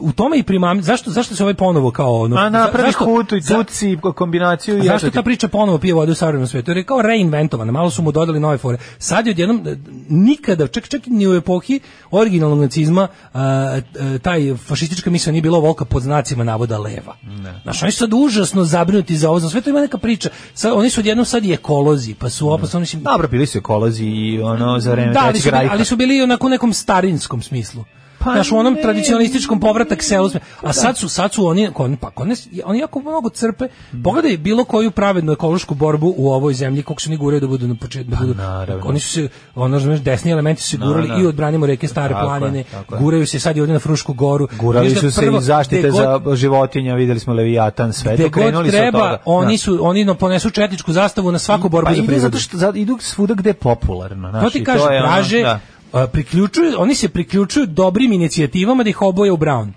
[SPEAKER 6] u tome i primam, zašto, zašto se ovaj ponovo kao ono...
[SPEAKER 7] A
[SPEAKER 6] za-
[SPEAKER 7] Pa napravi
[SPEAKER 6] zašto-
[SPEAKER 7] hutu i
[SPEAKER 6] za-
[SPEAKER 7] tuci kombinaciju.
[SPEAKER 6] a
[SPEAKER 7] i eto
[SPEAKER 6] zašto
[SPEAKER 7] ti-
[SPEAKER 6] ta priča ponovo pije vodu u savremenom svetu? Jer je kao reinventovana, malo su mu dodali nove fore. Sad je odjednom, eh, nikada, čak, čak i ni u epohi originalnog nacizma, a, eh, taj fašistička misla nije bila volka pod znacima navoda leva. Znaš, oni su sad užasno zabrinuti za ovo, za sve to ima neka priča. Sad, oni su odjednom sad i ekolozi, pa su opasno, oni su-
[SPEAKER 7] Dobro, bili su ekolozi i ono za vreme
[SPEAKER 6] da, ali
[SPEAKER 7] Trećeg
[SPEAKER 6] su, bili,
[SPEAKER 7] Rajha.
[SPEAKER 6] ali su bili onako u nekom starinskom smislu.
[SPEAKER 7] Pa
[SPEAKER 6] Pa Znaš, u onom
[SPEAKER 7] ne. Da.
[SPEAKER 6] tradicionalističkom povratak selu. sme- A sad su, sad su oni, kon- pa, kod nas- oni jako mnogo crpe. Pogledaj bilo koju pravednu ekološku borbu u ovoj zemlji, koliko su oni guraju da budu na početku. da budu-
[SPEAKER 7] Pa naravno.
[SPEAKER 6] oni su se, ono, znaš, desni elementi su se gurali
[SPEAKER 7] da.
[SPEAKER 6] i odbranimo reke Stare
[SPEAKER 7] Tako je,
[SPEAKER 6] planine,
[SPEAKER 7] tako je.
[SPEAKER 6] guraju se sad i ovdje na Frušku goru.
[SPEAKER 7] Gurali
[SPEAKER 6] Znaš da
[SPEAKER 7] su se
[SPEAKER 6] prvo,
[SPEAKER 7] i zaštite
[SPEAKER 6] gde god-
[SPEAKER 7] za životinja, videli smo Leviatan, sve
[SPEAKER 6] gde
[SPEAKER 7] to krenuli
[SPEAKER 6] god
[SPEAKER 7] su od
[SPEAKER 6] treba,
[SPEAKER 7] toga.
[SPEAKER 6] oni
[SPEAKER 7] Da.
[SPEAKER 6] su oni no- ponesu četničku zastavu na svaku borbu
[SPEAKER 7] pa
[SPEAKER 6] za
[SPEAKER 7] idu
[SPEAKER 6] prirodu.
[SPEAKER 7] zato što za- idu svuda gde je popularno, znaš,
[SPEAKER 6] To
[SPEAKER 7] i
[SPEAKER 6] ti kaže,
[SPEAKER 7] je ono,
[SPEAKER 6] traže,
[SPEAKER 7] da.
[SPEAKER 6] a, priključuju, oni se priključuju dobrim inicijativama da ih oboje u Brown.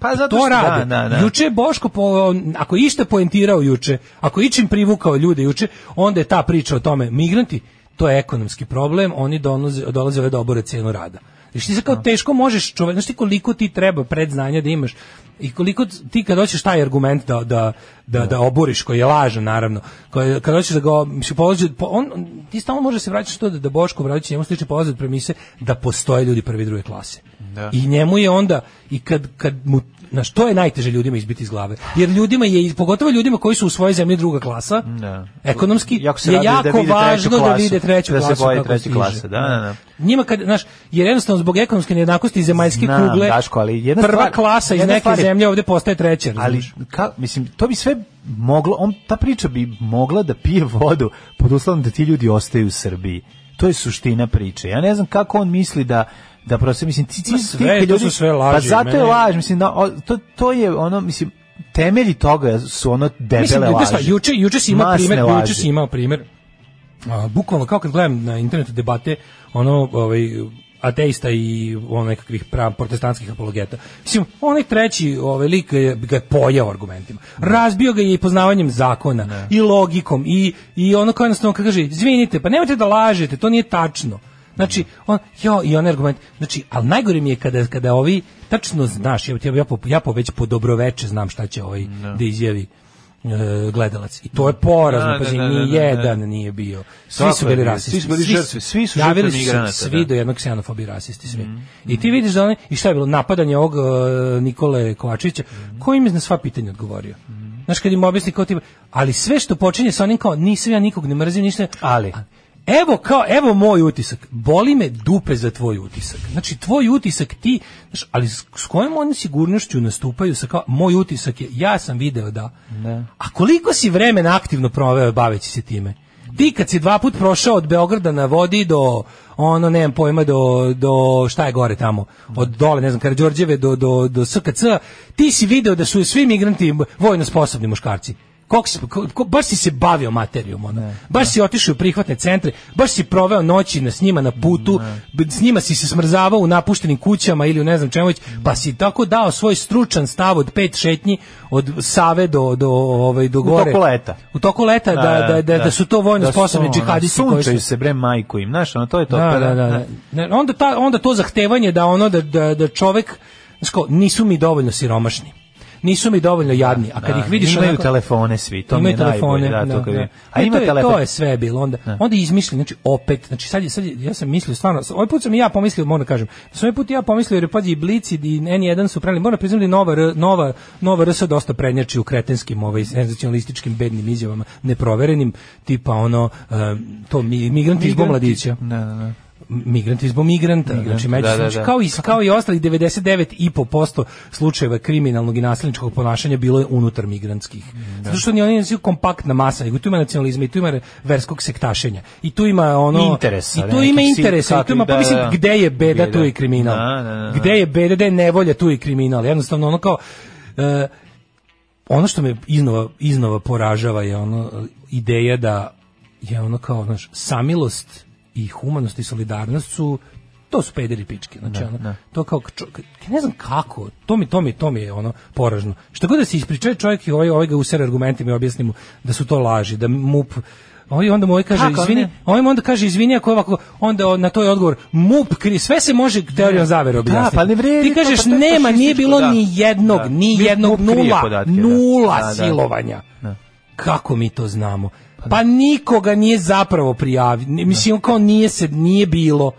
[SPEAKER 7] Pa zato
[SPEAKER 6] To
[SPEAKER 7] što,
[SPEAKER 6] rade.
[SPEAKER 7] da, da, da.
[SPEAKER 6] Juče je Boško, po, ako je išta poentirao juče, ako je ičim privukao ljude juče, onda je ta priča o tome, migranti, to je ekonomski problem, oni dolaze, dolaze ove da obore cenu rada. Znaš ti se
[SPEAKER 7] Da.
[SPEAKER 6] kao teško možeš, čovek, znaš ti koliko ti treba predznanja da imaš i koliko ti kad hoćeš taj argument da, da, da, da oboriš, koji je lažan naravno, koji, kad hoćeš da ga, mislim, polazi od- po- on, on- ti stalno može se vraćati što da, da Boško Bradović njemu sliče polazi od premise da postoje ljudi prve i druge klase.
[SPEAKER 7] Da.
[SPEAKER 6] I njemu je onda, i kad, kad mu, znaš, to je najteže ljudima izbiti iz glave. Jer ljudima je, pogotovo ljudima koji su u svojoj zemlji druga klasa,
[SPEAKER 7] Da.
[SPEAKER 6] ekonomski,
[SPEAKER 7] Jako se
[SPEAKER 6] je
[SPEAKER 7] raduju da
[SPEAKER 6] jako
[SPEAKER 7] vide treću
[SPEAKER 6] važno da
[SPEAKER 7] klasu,
[SPEAKER 6] vide treću
[SPEAKER 7] da se
[SPEAKER 6] klasu.
[SPEAKER 7] boje
[SPEAKER 6] kako
[SPEAKER 7] treće
[SPEAKER 6] stiže.
[SPEAKER 7] klase, da, da, da.
[SPEAKER 6] Njima kad, znaš, jer jednostavno zbog ekonomske nejednakosti i zemaljske
[SPEAKER 7] Znam,
[SPEAKER 6] kugle,
[SPEAKER 7] Daško, ali jedna
[SPEAKER 6] prva
[SPEAKER 7] stvar-
[SPEAKER 6] klasa iz
[SPEAKER 7] jedna
[SPEAKER 6] neke
[SPEAKER 7] stvar je-
[SPEAKER 6] zemlje ovdje postaje treća.
[SPEAKER 7] ali
[SPEAKER 6] razumeš?
[SPEAKER 7] ka, mislim to bi sve moglo on ta priča bi mogla da pije vodu pod uslovom da ti ljudi ostaju u Srbiji To je suština priče. Ja ne znam kako on misli da da prosto mislim ti, ti,
[SPEAKER 6] Ma
[SPEAKER 7] ti
[SPEAKER 6] sve,
[SPEAKER 7] kad
[SPEAKER 6] to su sve laži,
[SPEAKER 7] Pa zato je
[SPEAKER 6] mene-
[SPEAKER 7] laž, mislim na, o, to to je ono mislim temelji toga su ono debele
[SPEAKER 6] Mislim, da
[SPEAKER 7] laži.
[SPEAKER 6] šta, juče, juče si imao
[SPEAKER 7] Masne
[SPEAKER 6] primer,
[SPEAKER 7] laži.
[SPEAKER 6] juče si imao primer, a, bukvalno kao kad gledam na internetu debate, ono, ovaj, ateista i ono nekakvih pra, protestantskih apologeta. Mislim, onaj treći ovaj, lik je, ga je pojao argumentima.
[SPEAKER 7] Da.
[SPEAKER 6] Razbio ga je i poznavanjem zakona, i logikom, i, i ono kao jednostavno kad kaže, izvinite, pa nemojte da lažete, to nije tačno. Znači, on, jo, i onaj argument, znači, ali najgore mi je kada, kada ovi, tačno znaš, ja, ja, po, ja po, već po dobroveče znam šta će ovaj da izjavi e, gledalac. I to je porazno,
[SPEAKER 7] Da, da,
[SPEAKER 6] pazi,
[SPEAKER 7] da, da,
[SPEAKER 6] ni
[SPEAKER 7] da, da.
[SPEAKER 6] jedan nije bio. Svi
[SPEAKER 7] Tako
[SPEAKER 6] su
[SPEAKER 7] je
[SPEAKER 6] bili
[SPEAKER 7] bilo.
[SPEAKER 6] rasisti.
[SPEAKER 7] Svi su bili žrtve, svi su
[SPEAKER 6] javili
[SPEAKER 7] žrtve
[SPEAKER 6] se
[SPEAKER 7] migranata,
[SPEAKER 6] Svi
[SPEAKER 7] da.
[SPEAKER 6] do jednog ksenofobi rasisti svi. I ti vidiš da oni, i šta je bilo, napadanje ovog e, Nikole Kovačevića, koji im je na sva pitanja odgovorio. Znaš, kad im objasni kao ti, ali sve što počinje sa onim kao, nisam ja nikog ne mrzim, ništa,
[SPEAKER 7] Ali.
[SPEAKER 6] Evo kao, evo moj utisak. Boli me dupe za tvoj utisak. Znači, tvoj utisak ti, znaš, ali s, s kojom oni sigurnošću nastupaju sa kao, moj utisak je, ja sam video da. A koliko si vremena aktivno proveo baveći se time? Ti kad si dva put prošao od Beograda na vodi do, ono, nemam pojma, do, do šta je gore tamo, od dole, ne znam, Karadžorđeve do, do, do SKC, ti si video da su svi migranti vojno sposobni muškarci. Koliko si, ko- ko- baš si se bavio materijom, ono.
[SPEAKER 7] da.
[SPEAKER 6] baš si otišao u prihvatne centre, baš si proveo noći na, s njima na putu, b- s njima si se smrzavao u napuštenim kućama ili u ne znam čemu već, pa si tako dao svoj stručan stav od pet šetnji, od Save do, do, ovaj, do gore.
[SPEAKER 7] toku leta.
[SPEAKER 6] U toku leta, é da, da, da, da su to vojno
[SPEAKER 7] Da su
[SPEAKER 6] sposobni
[SPEAKER 7] ono,
[SPEAKER 6] džihadisti koji su...
[SPEAKER 7] Sunčaju se bre majku im, znaš, ono, to je to.
[SPEAKER 6] Da,
[SPEAKER 7] Pa
[SPEAKER 6] da, da, da. Ne, onda, ta, onda to zahtevanje da ono da, da, da čovek znaš kao, nisu mi dovoljno siromašni. Nisu mi dovoljno jadni. A kad
[SPEAKER 7] Da,
[SPEAKER 6] ih vidiš
[SPEAKER 7] imaju
[SPEAKER 6] onako-
[SPEAKER 7] telefone svi, to mi je
[SPEAKER 6] imaju
[SPEAKER 7] najbolje. Da, to kad vidim. A
[SPEAKER 6] E,
[SPEAKER 7] ima
[SPEAKER 6] to je-
[SPEAKER 7] telefon. Da.
[SPEAKER 6] To je sve bilo onda. Onda izmišljeni, znači opet, znači sad, je- sad je- ja sam mislio stvarno, s- ovaj put sam i ja pomislio, moram da kažem, da sam ovaj put i ja pomislio, jer pađi i Blici i N1 su preneli, moram priznati da je nova, R- nova, nova RS dosta prednjači u kretenskim, ovaj, senzacionalističkim bednim izjavama, neproverenim, tipa ono, em, to mi, migranti iz Bomladića
[SPEAKER 7] Da, da, da.
[SPEAKER 6] migranti zbog migranta, znači među,
[SPEAKER 7] da, da,
[SPEAKER 6] znači,
[SPEAKER 7] da.
[SPEAKER 6] kao i kao i ostalih 99,5% slučajeva kriminalnog i nasilničkog ponašanja bilo je unutar migrantskih.
[SPEAKER 7] Da.
[SPEAKER 6] Zato što ni oni nisu kompaktna masa, nego tu ima nacionalizma i tu ima verskog sektašenja. I tu ima ono
[SPEAKER 7] Interesa,
[SPEAKER 6] I tu
[SPEAKER 7] ne,
[SPEAKER 6] ima
[SPEAKER 7] nekih
[SPEAKER 6] interesa, i tu ima
[SPEAKER 7] sindikata,
[SPEAKER 6] pa mislim
[SPEAKER 7] da, da.
[SPEAKER 6] gde je beda,
[SPEAKER 7] Beda.
[SPEAKER 6] tu je i kriminal.
[SPEAKER 7] Da, da, da, da.
[SPEAKER 6] Gde je beda, gde je nevolja, tu je i kriminal. Jednostavno ono kao e, ono što me iznova, iznova poražava je ono e, ideja da je ono kao znaš, samilost i humanost i solidarnost su to su pederi pičke znači
[SPEAKER 7] Da,
[SPEAKER 6] ono, to kao čo- ja ne znam kako to mi to mi to mi je ono poražno šta god da se ispriča čovjek i ovaj ovaj ga user argumentima i objasni mu da su to laži da MUP Ovaj onda mu ovaj kaže,
[SPEAKER 7] Kako
[SPEAKER 6] izvini,
[SPEAKER 7] ne?
[SPEAKER 6] ovaj mu onda kaže, izvini, ako je ovako, onda on- na to je odgovor, MUP, kri, sve se može teorijom zavere objasniti.
[SPEAKER 7] pa ne vredi
[SPEAKER 6] Ti
[SPEAKER 7] to,
[SPEAKER 6] kažeš,
[SPEAKER 7] pa to je
[SPEAKER 6] nema, nije
[SPEAKER 7] fašističko,
[SPEAKER 6] bilo
[SPEAKER 7] da.
[SPEAKER 6] ni jednog,
[SPEAKER 7] Da.
[SPEAKER 6] ni
[SPEAKER 7] Mi-
[SPEAKER 6] jednog,
[SPEAKER 7] MUP krije
[SPEAKER 6] nula,
[SPEAKER 7] podatke, da.
[SPEAKER 6] nula
[SPEAKER 7] Da, da.
[SPEAKER 6] silovanja. Kako mi to znamo? Pa nikoga nije zapravo prijavio. Ni-
[SPEAKER 7] Da.
[SPEAKER 6] Mislim, kao nije se, nije bilo.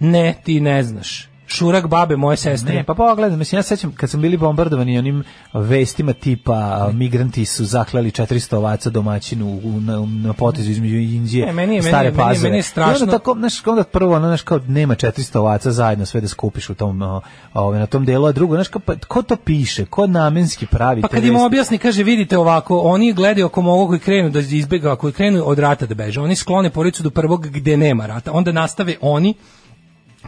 [SPEAKER 6] Ne, ti ne znaš. Šurak babe moje sestre.
[SPEAKER 7] Ne, pa pogledaj, mislim, ja se sećam kad sam bili bombardovani onim vestima tipa a, migranti su zaklali 400 ovaca domaćinu u, na, na potezu između Indije,
[SPEAKER 6] Ne, meni je-
[SPEAKER 7] stare
[SPEAKER 6] meni je- meni je-
[SPEAKER 7] pazove.
[SPEAKER 6] meni je strašno.
[SPEAKER 7] I onda tako, znaš, onda prvo, ono, znaš, kao nema 400 ovaca zajedno sve da skupiš u tom, o, ove, na tom delu, a drugo, znaš, kao, pa, ko to piše, ko namenski pravi
[SPEAKER 6] Pa
[SPEAKER 7] te
[SPEAKER 6] kad im
[SPEAKER 7] vesti?
[SPEAKER 6] objasni, kaže, vidite ovako, oni gledaju ako mogu koji krenu da izbjega, koji krenu od rata da beže, oni sklone porodicu do prvog gde nema rata, onda nastave oni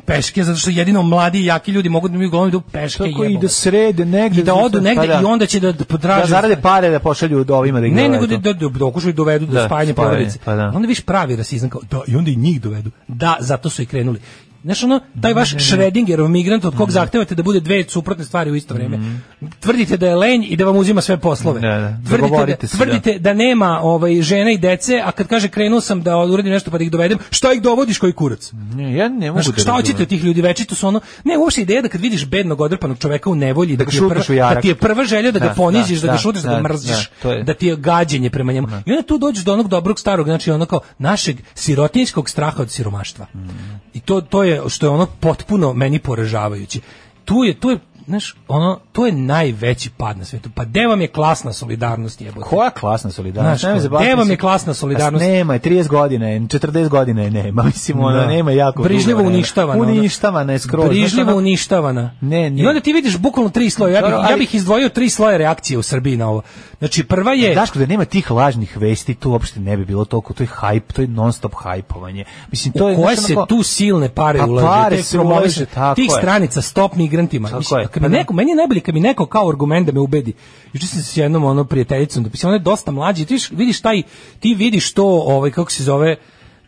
[SPEAKER 6] peške, zato što jedino mladi i jaki ljudi mogu da mi uglavnom idu peške
[SPEAKER 7] Tako i
[SPEAKER 6] jebote.
[SPEAKER 7] da srede negde.
[SPEAKER 6] I da odu negde
[SPEAKER 7] Pa da.
[SPEAKER 6] i onda će da podraže.
[SPEAKER 7] Da zarade pare da pošalju do ovima da ih
[SPEAKER 6] Ne, nego
[SPEAKER 7] dovedu.
[SPEAKER 6] da, da, da, dokušaju i dovedu do
[SPEAKER 7] Da,
[SPEAKER 6] spajanja
[SPEAKER 7] spajanje,
[SPEAKER 6] porodice.
[SPEAKER 7] pa da.
[SPEAKER 6] Onda viš pravi rasizam kao, da, i onda i njih dovedu. Da, zato su i krenuli. Znaš ono, taj vaš Schrödingerov migrant od kog zahtevate da bude dve suprotne stvari u isto vrijeme.
[SPEAKER 7] Mm.
[SPEAKER 6] Tvrdite da je lenj i da vam uzima sve poslove.
[SPEAKER 7] Da, da.
[SPEAKER 6] Tvrdite, da,
[SPEAKER 7] Dogovorite se, da.
[SPEAKER 6] tvrdite da nema ovaj, žena i dece, a kad kaže krenuo sam da uradim nešto pa da ih dovedem, šta ih dovodiš koji kurac?
[SPEAKER 7] Ne, ja ne mogu
[SPEAKER 6] Znaš,
[SPEAKER 7] da
[SPEAKER 6] šta hoćete
[SPEAKER 7] razumem.
[SPEAKER 6] od tih ljudi večito su ono ne uopšte ideja da kad vidiš bednog odrpanog čoveka u nevolji
[SPEAKER 7] Da
[SPEAKER 6] da,
[SPEAKER 7] ga
[SPEAKER 6] ti je prva,
[SPEAKER 7] šutneš u jarak.
[SPEAKER 6] da ti je prva želja da ga
[SPEAKER 7] Da,
[SPEAKER 6] poniziš da,
[SPEAKER 7] da,
[SPEAKER 6] ga šutiš da,
[SPEAKER 7] da,
[SPEAKER 6] ga mrziš
[SPEAKER 7] da, to
[SPEAKER 6] da,
[SPEAKER 7] je. Da.
[SPEAKER 6] ti je gađenje prema njemu i onda tu dođeš do onog dobrog starog znači ono kao našeg sirotinjskog straha od
[SPEAKER 7] Mm.
[SPEAKER 6] siromaštva i to to je što je ono potpuno meni poražavajuće tu je tu je znaš, ono, to je najveći pad na svetu. Pa gde vam je klasna solidarnost jebote?
[SPEAKER 7] Koja klasna solidarnost?
[SPEAKER 6] Znaš,
[SPEAKER 7] Nemoj
[SPEAKER 6] ko-
[SPEAKER 7] zabavati
[SPEAKER 6] gde vam
[SPEAKER 7] se.
[SPEAKER 6] je klasna solidarnost?
[SPEAKER 7] A Nema je, 30 godina je, 40 godina je nema. Mislim, ono,
[SPEAKER 6] Da.
[SPEAKER 7] nema jako
[SPEAKER 6] Brižljivo
[SPEAKER 7] dugo vremena.
[SPEAKER 6] uništavana. ono.
[SPEAKER 7] Uništavana je skroz. Znaš,
[SPEAKER 6] Brižljivo
[SPEAKER 7] ono-
[SPEAKER 6] uništavana.
[SPEAKER 7] Ne, ne.
[SPEAKER 6] I onda ti vidiš bukvalno tri sloja. Ja, bih,
[SPEAKER 7] Dobro, ali-
[SPEAKER 6] ja bih izdvojio tri sloje reakcije u Srbiji na ovo. Znači, prva je...
[SPEAKER 7] Daško, da nema tih lažnih vesti, tu uopšte ne bi bilo toliko, to je hype, to je non-stop hajpovanje. Mislim, to je...
[SPEAKER 6] u koje
[SPEAKER 7] znaš,
[SPEAKER 6] se
[SPEAKER 7] onako-
[SPEAKER 6] tu silne pare
[SPEAKER 7] Pa
[SPEAKER 6] ulažu,
[SPEAKER 7] pare
[SPEAKER 6] te
[SPEAKER 7] se
[SPEAKER 6] promoviš,
[SPEAKER 7] ulaže, tako
[SPEAKER 6] tih
[SPEAKER 7] je.
[SPEAKER 6] stranica stop migrantima.
[SPEAKER 7] Tako
[SPEAKER 6] Mislim,
[SPEAKER 7] je,
[SPEAKER 6] kad
[SPEAKER 7] pa
[SPEAKER 6] mi
[SPEAKER 7] da.
[SPEAKER 6] neko, meni je najbolje kad mi neko kao argument da me ubedi. Juče sam se s jednom ono prijateljicom dopisao, ona je dosta mlađa, i ti viš- vidiš taj ti vidiš to, ovaj kako se zove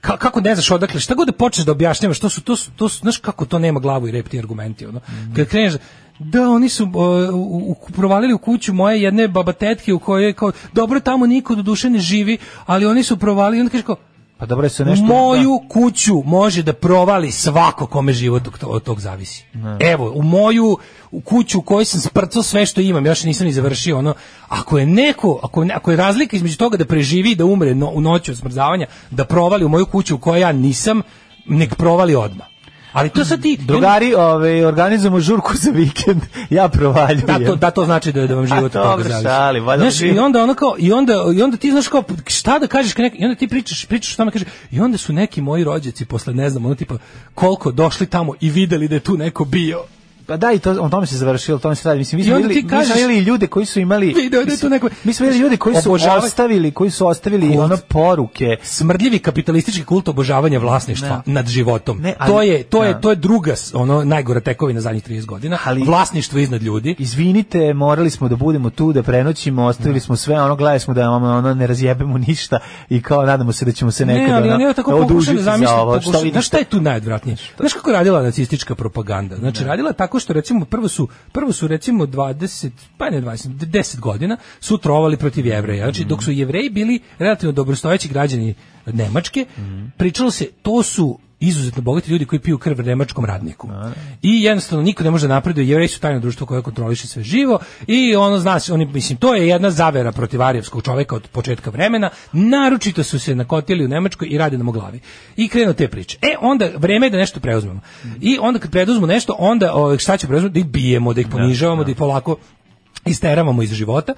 [SPEAKER 6] ka- kako ne znaš odakle, šta god da počneš da objašnjavaš, to su, to su, to su, znaš kako to nema glavu i rep ti argumenti, ono.
[SPEAKER 7] Mhm.
[SPEAKER 6] Kad kreneš, da, oni su o, u, u, provalili u kuću moje jedne babatetke u kojoj je kao, dobro, tamo niko do duše ne živi, ali oni su provalili, i onda kažeš kao,
[SPEAKER 7] Pa dobro, se nešto... da.
[SPEAKER 6] moju kuću može da provali svako kome život od to- od tog zavisi.
[SPEAKER 7] Da.
[SPEAKER 6] Evo, u moju u kuću u kojoj sam sprcao sve što imam, još nisam ni završio ono. Ako je neko, ako, je ne- ako je razlika između toga da preživi i da umre no, u noći od smrzavanja, da provali u moju kuću u kojoj ja nisam, nek provali odmah. Ali to sad ti...
[SPEAKER 7] da. Drugari, ove, organizujemo žurku za vikend, ja provaljujem.
[SPEAKER 6] da to da to znači da je- da vam život
[SPEAKER 7] A,
[SPEAKER 6] od toga
[SPEAKER 7] dobro,
[SPEAKER 6] zavisi.
[SPEAKER 7] šali, valjda
[SPEAKER 6] Znaš,
[SPEAKER 7] živ-
[SPEAKER 6] i onda ono kao i onda i onda ti znaš kao šta da kažeš kad neki i onda ti pričaš pričaš tamo kaže i onda su neki moji rođaci posle ne znam ono tipa koliko došli tamo i videli da je tu neko bio.
[SPEAKER 7] Pa da, i to, o tome se završilo, o tome se radi. Mislim, mi
[SPEAKER 6] I
[SPEAKER 7] smo
[SPEAKER 6] onda ti
[SPEAKER 7] videli, mi smo
[SPEAKER 6] kažeš-
[SPEAKER 7] videli ljude koji su imali...
[SPEAKER 6] Video da je
[SPEAKER 7] mislim,
[SPEAKER 6] tu neko-
[SPEAKER 7] Mi smo videli ljude koji su
[SPEAKER 6] Obožavaju-
[SPEAKER 7] ostavili, koji su ostavili
[SPEAKER 6] Kult.
[SPEAKER 7] ono poruke.
[SPEAKER 6] Smrdljivi kapitalistički kult obožavanja vlasništva nad životom.
[SPEAKER 7] Ne, ali-
[SPEAKER 6] to je to
[SPEAKER 7] da.
[SPEAKER 6] je to je druga s- ono najgora tekovina zadnjih 30 godina,
[SPEAKER 7] Ali-
[SPEAKER 6] vlasništvo iznad ljudi.
[SPEAKER 7] Izvinite, morali smo da budemo tu, da prenoćimo, ostavili smo sve, ono, gledali smo da vam ono, ne razjebemo ništa i kao nadamo se da ćemo se nekada
[SPEAKER 6] ne, ali
[SPEAKER 7] ono,
[SPEAKER 6] oni evo tako
[SPEAKER 7] da
[SPEAKER 6] pokušaju
[SPEAKER 7] odužiti
[SPEAKER 6] da
[SPEAKER 7] za
[SPEAKER 6] zamisle,
[SPEAKER 7] ovo.
[SPEAKER 6] pokušaju-
[SPEAKER 7] vidiš
[SPEAKER 6] znaš šta je tu najodvratnije? Znaš kako je radila nacistička propaganda? Znači, radila je tako što recimo prvo su, prvo su recimo 20, pa ne 20, 10 godina su trovali protiv jevreja. Znači, dok
[SPEAKER 7] Mhm.
[SPEAKER 6] su jevreji bili relativno dobrostojeći građani Nemačke,
[SPEAKER 7] Mhm.
[SPEAKER 6] pričalo se, to su izuzetno bogati ljudi koji piju krv nemačkom radniku. I jednostavno niko ne može da napreduje, jevreji su tajno društvo koje kontroliše sve živo i ono znaš, oni mislim to je jedna zavera protiv arijevskog čoveka od početka vremena. Naročito su se nakotili u Nemačkoj i rade nam o glavi. I krenu te priče. E onda vreme je da nešto preuzmemo. I onda kad preuzmemo nešto, onda ovaj, šta će preuzmemo? Da ih bijemo, da ih ponižavamo, da ih polako isteravamo iz života.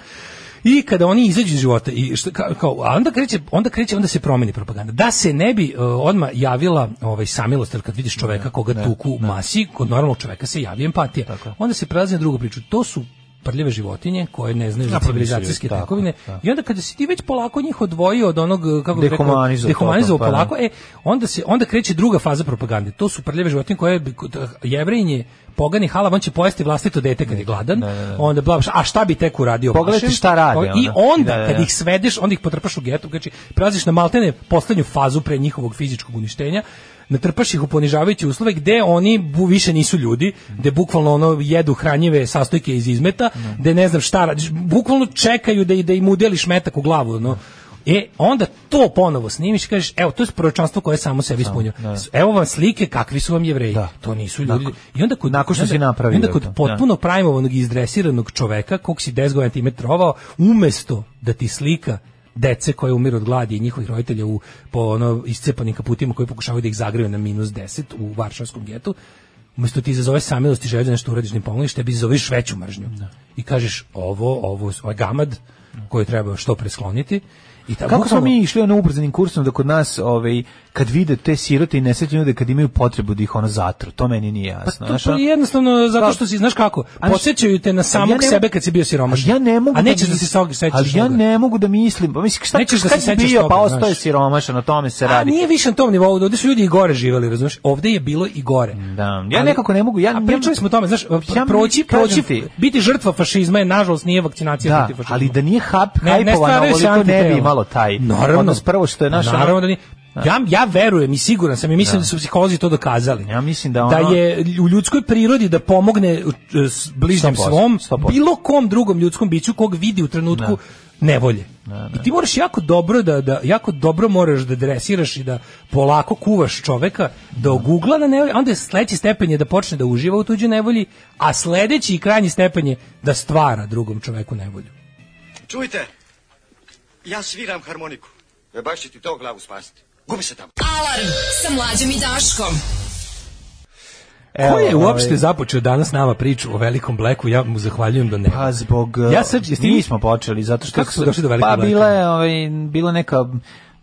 [SPEAKER 6] I kada oni izađu iz života i šta, ka- kao, a onda kreće, onda kreće, onda se promeni propaganda. Da se ne bi uh, odmah javila ovaj samilost, jer kad vidiš
[SPEAKER 7] Da,
[SPEAKER 6] čoveka koga tuku u masi, kod normalnog čoveka se javi empatija. Onda se prelazi na drugu priču. To su prljave životinje koje ne znaju za
[SPEAKER 7] Napravili su
[SPEAKER 6] civilizacijske
[SPEAKER 7] ljudi, tako,
[SPEAKER 6] tekovine.
[SPEAKER 7] tako.
[SPEAKER 6] I onda kada si ti već polako njih odvojio od onog eh, kako bih rekao,
[SPEAKER 7] Dehumanizovao
[SPEAKER 6] dehumanizovao
[SPEAKER 7] totalno, pa da.
[SPEAKER 6] polako, e onda se onda kreće druga faza propagande. To su prljave životinje koje bi- kod- jevrejnje pogani hala, on će pojesti vlastito dete kad je gladan. Onda bla, bla, a šta bi tek uradio?
[SPEAKER 7] Pogledajte
[SPEAKER 6] Bašin?
[SPEAKER 7] šta rade,
[SPEAKER 6] I
[SPEAKER 7] ono.
[SPEAKER 6] onda
[SPEAKER 7] Da, da, da.
[SPEAKER 6] kad ih svedeš, onda ih potrpaš u getu, znači prelaziš na maltene poslednju fazu pre njihovog fizičkog uništenja natrpaš ih u ponižavajuće uslove gde oni bu, više nisu ljudi, gde bukvalno ono jedu hranjive sastojke iz izmeta, gde ne znam šta radiš, bukvalno čekaju da, i- da im udeliš metak u glavu, ono. E, onda to ponovo snimiš i kažeš, evo, to je proročanstvo koje samo sebi ispunjava. Evo vam slike kakvi su vam jevreji.
[SPEAKER 7] Da.
[SPEAKER 6] To nisu ljudi.
[SPEAKER 7] Nakon-
[SPEAKER 6] I onda kod,
[SPEAKER 7] nakon što
[SPEAKER 6] i onda-
[SPEAKER 7] si napravio
[SPEAKER 6] i onda kod
[SPEAKER 7] to. Da.
[SPEAKER 6] potpuno potpuno prajmovanog i izdresiranog čoveka, kog si 10 godina time trovao, umesto da ti slika dece koje umiru od gladi i njihovih roditelja u, po ono, iscepanim kaputima koji pokušavaju da ih zagreju na minus 10 u varšavskom getu, umesto ti izazove samilost i želju da nešto uradiš ne pomogliš, tebi izazoveš veću mržnju. I kažeš ovo, ovo, ovaj gamad koji treba što preskloniti. I tako
[SPEAKER 7] Kako smo mi išli ono ubrzanim kursom da kod nas ovaj kad vide te sirote i nesretne ljude kad imaju potrebu da ih ono zatru, to meni nije jasno.
[SPEAKER 6] Pa To,
[SPEAKER 7] znaš,
[SPEAKER 6] to
[SPEAKER 7] ono-
[SPEAKER 6] je jednostavno zato
[SPEAKER 7] Da.
[SPEAKER 6] što si, znaš kako,
[SPEAKER 7] Ali-
[SPEAKER 6] podsjećaju te na samog
[SPEAKER 7] Ali ja ne-
[SPEAKER 6] sebe kad si bio siromašan.
[SPEAKER 7] Ali Ja ne mogu.
[SPEAKER 6] A nećeš da
[SPEAKER 7] mis-
[SPEAKER 6] se sećaš.
[SPEAKER 7] Ali ja
[SPEAKER 6] toga.
[SPEAKER 7] ne mogu da mislim. Pa mislim šta
[SPEAKER 6] Nećeš da
[SPEAKER 7] kad
[SPEAKER 6] se
[SPEAKER 7] si
[SPEAKER 6] sećaš
[SPEAKER 7] bio,
[SPEAKER 6] toga,
[SPEAKER 7] pa
[SPEAKER 6] znaš.
[SPEAKER 7] ostao je siromašan, o tome se
[SPEAKER 6] A
[SPEAKER 7] radi.
[SPEAKER 6] nije više na tom nivou, ovde su ljudi i gore živeli, razumeš? Ovde je bilo i gore.
[SPEAKER 7] Da, ja nekako ne mogu, ja-
[SPEAKER 6] A pričali smo o tome, znaš,
[SPEAKER 7] Ja mi-
[SPEAKER 6] proći,
[SPEAKER 7] kažem
[SPEAKER 6] proći,
[SPEAKER 7] ti.
[SPEAKER 6] biti žrtva fašizma je nažalost nije vakcinacija
[SPEAKER 7] Da,
[SPEAKER 6] protiv fašizma.
[SPEAKER 7] ali da nije hap
[SPEAKER 6] Ne, ne
[SPEAKER 7] hajpovano,
[SPEAKER 6] stvaraju se
[SPEAKER 7] ovoliko ne bi
[SPEAKER 6] antitela.
[SPEAKER 7] imalo taj.
[SPEAKER 6] Naravno.
[SPEAKER 7] Odnos prvo što je naša...
[SPEAKER 6] Naravno da nije. Ja, ja verujem i siguran sam i mislim da, su psiholozi to dokazali.
[SPEAKER 7] Ja mislim da ono-
[SPEAKER 6] da je u ljudskoj prirodi da pomogne e, s bližnjem
[SPEAKER 7] 100%,
[SPEAKER 6] svom,
[SPEAKER 7] 100%.
[SPEAKER 6] bilo kom drugom ljudskom biću kog vidi u trenutku
[SPEAKER 7] Da.
[SPEAKER 6] nevolje. I ti moraš jako dobro da, da jako dobro moraš da dresiraš i da polako kuvaš čoveka da ogugla na nevolje, onda je sledeći stepen je da počne da uživa u tuđoj nevolji, a sledeći i krajnji stepen je da stvara drugom čoveku nevolju.
[SPEAKER 11] Čujte, ja sviram harmoniku. E baš će ti to glavu spasiti. Gubi se tamo.
[SPEAKER 9] Alarm sa mlađom i Daškom.
[SPEAKER 6] Ko je
[SPEAKER 7] Evo,
[SPEAKER 6] uopšte
[SPEAKER 7] ovaj,
[SPEAKER 6] započeo danas nama priču o velikom bleku? Ja mu zahvaljujem da ne.
[SPEAKER 7] Pa zbog
[SPEAKER 6] Ja sad- jesi ti-
[SPEAKER 7] nismo počeli zato što
[SPEAKER 6] Kako smo
[SPEAKER 7] se-
[SPEAKER 6] došli do velikog
[SPEAKER 7] Pa
[SPEAKER 6] Blacka?
[SPEAKER 7] bila je ovaj bila je neka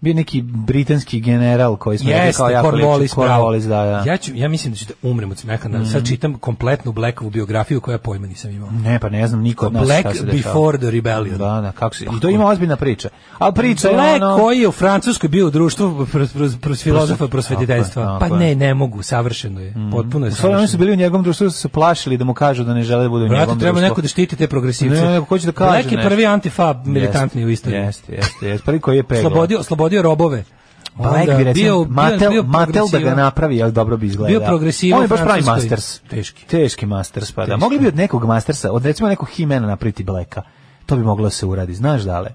[SPEAKER 7] bio neki britanski general koji smo rekli
[SPEAKER 6] Jeste,
[SPEAKER 7] kao jako liči
[SPEAKER 6] Cornwallis, bravo.
[SPEAKER 7] Cornwallis, da, da. Mhm.
[SPEAKER 6] Ja, ću, ja mislim da ću da umrem od smeha. Mm. Sad čitam kompletnu Blackovu biografiju koja pojma nisam imao.
[SPEAKER 7] Ne, pa ne znam niko od nas
[SPEAKER 6] Black
[SPEAKER 7] šta se dešava.
[SPEAKER 6] before the rebellion. Pa
[SPEAKER 7] Da, da, kako se. I to ima ozbiljna priča. A priča je
[SPEAKER 6] Black
[SPEAKER 7] Pa ono
[SPEAKER 6] koji je u Francuskoj bio u društvu pros, pros, pros filozofa
[SPEAKER 7] Prosve- tako
[SPEAKER 6] prosvetiteljstva.
[SPEAKER 7] je,
[SPEAKER 6] Pa
[SPEAKER 7] tako
[SPEAKER 6] ne,
[SPEAKER 7] je. Mhm.
[SPEAKER 6] ne mogu, savršeno je. Potpuno je
[SPEAKER 7] U stvari, oni su
[SPEAKER 6] savršeno.
[SPEAKER 7] bili u njegovom društvu, su se plašili da mu kažu da ne žele da budu u njegovom
[SPEAKER 6] Brate,
[SPEAKER 7] društvu.
[SPEAKER 6] treba neko da štiti te progresivce.
[SPEAKER 7] Ne, ne, ko će da kaže
[SPEAKER 6] Black je
[SPEAKER 7] nešto?
[SPEAKER 6] prvi antifab militantni
[SPEAKER 7] Jeste,
[SPEAKER 6] u istoriji.
[SPEAKER 7] Jeste, jeste, jeste. Prvi koji je pegla.
[SPEAKER 6] Slobodio, slobodio robove.
[SPEAKER 7] Black
[SPEAKER 6] Onda
[SPEAKER 7] bi recimo, Matel, Matel da ga
[SPEAKER 6] progresivan.
[SPEAKER 7] napravi, ali dobro bi izgledao.
[SPEAKER 6] Bio progresivan
[SPEAKER 7] On je baš pravi
[SPEAKER 6] francuski.
[SPEAKER 7] Masters.
[SPEAKER 6] Teški.
[SPEAKER 7] Teški Masters, pa da.
[SPEAKER 6] Teški.
[SPEAKER 7] Mogli bi od nekog Mastersa, od recimo nekog Himena napriti Blacka. To bi moglo da se uradi, znaš dale?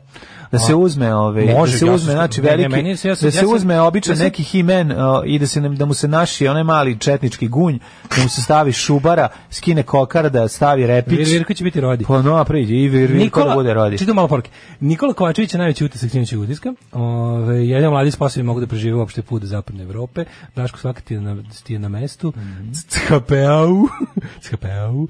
[SPEAKER 7] Da se uzme, ove,
[SPEAKER 6] može,
[SPEAKER 7] da se
[SPEAKER 6] ja
[SPEAKER 7] uzme,
[SPEAKER 6] sam-
[SPEAKER 7] znači
[SPEAKER 6] ne, ne,
[SPEAKER 7] veliki,
[SPEAKER 6] meni se- ja sam-
[SPEAKER 7] da
[SPEAKER 6] ja
[SPEAKER 7] se
[SPEAKER 6] sam-
[SPEAKER 7] uzme običan
[SPEAKER 6] ja sam-
[SPEAKER 7] neki himen o, i da se nam- da mu se naši onaj mali četnički gunj, da mu se stavi šubara, skine kokarda, stavi repić.
[SPEAKER 6] Vir- Virko će biti rodi.
[SPEAKER 7] Pa no, priđi i vir, vir, ko da bude rodi.
[SPEAKER 6] Čitam malo poruke. Nikola Kovačević je najveći utisak sinoćeg utiska. Ove, jedan mladi spasovi mogu da prežive uopšte put do zapadne Evrope. Daško svaka ti je na, ti je na mestu. Skapeau. Skapeau.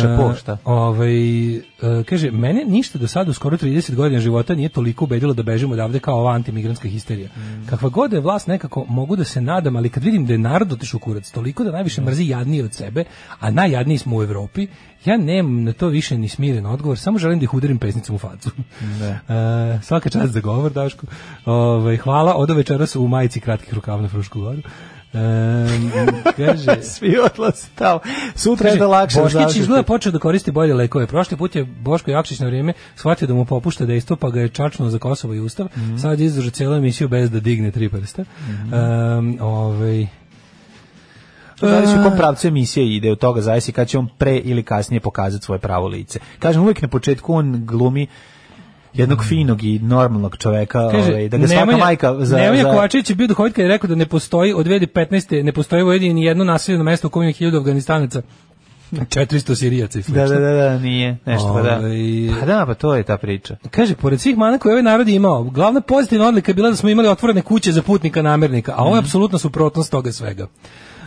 [SPEAKER 7] Šapo, šta?
[SPEAKER 6] Ovaj, e, kaže, mene ništa do sada u skoro 30 godina života nije toliko ubedilo da bežim odavde kao ova antimigrantska histerija. Kakva god da je vlast nekako mogu da se nadam, ali kad vidim da je narod otišao u kurac, toliko da najviše mrzi jadnije od sebe, a najjadniji smo u Evropi, ja nemam na to više ni smiren odgovor, samo želim da ih udarim pesnicom u facu. E, svaka čast za govor, Daško. Ovaj, hvala, odo večera su u majici kratkih rukava na Frušku goru. E, kaže,
[SPEAKER 7] Svi odlaze tamo. Sutra je
[SPEAKER 6] Kaže,
[SPEAKER 7] da lakše
[SPEAKER 6] Boškić
[SPEAKER 7] završite.
[SPEAKER 6] izgleda počeo da koristi bolje lekove. Prošli put je Boško Jakšić na vrijeme shvatio da mu popušta dejstvo, pa ga je čačnuo za Kosovo i Ustav.
[SPEAKER 7] Mhm.
[SPEAKER 6] Sad je izdržao cijelu emisiju bez da digne tri prsta. Em, ovaj,
[SPEAKER 7] To zavisi u
[SPEAKER 6] E.
[SPEAKER 7] kom pravcu emisije ide od toga, zavisi kad će on pre ili kasnije pokazati svoje pravo lice. Kažem, uvijek na početku on glumi jednog finog i normalnog čoveka, ovaj, da ga svaka
[SPEAKER 6] Nemanja-
[SPEAKER 7] majka za...
[SPEAKER 6] Nemanja
[SPEAKER 7] za-
[SPEAKER 6] Kovačević je bio dohod kad je rekao da ne postoji od 2015. ne postoji u Vojvodini ni jedno naseljeno mesto u kojem je 1000 Afganistanaca, 400 Sirijaca i
[SPEAKER 7] Da,
[SPEAKER 6] slično.
[SPEAKER 7] da, da, da, nije, nešto, pa da.
[SPEAKER 6] Ovaj-
[SPEAKER 7] Pa da, pa to je ta priča.
[SPEAKER 6] Kaže, pored svih mana koje ovaj narod je imao, glavna pozitivna odlika je bila da smo imali otvorene kuće za putnika namernika, a ovo je apsolutna suprotnost toga svega.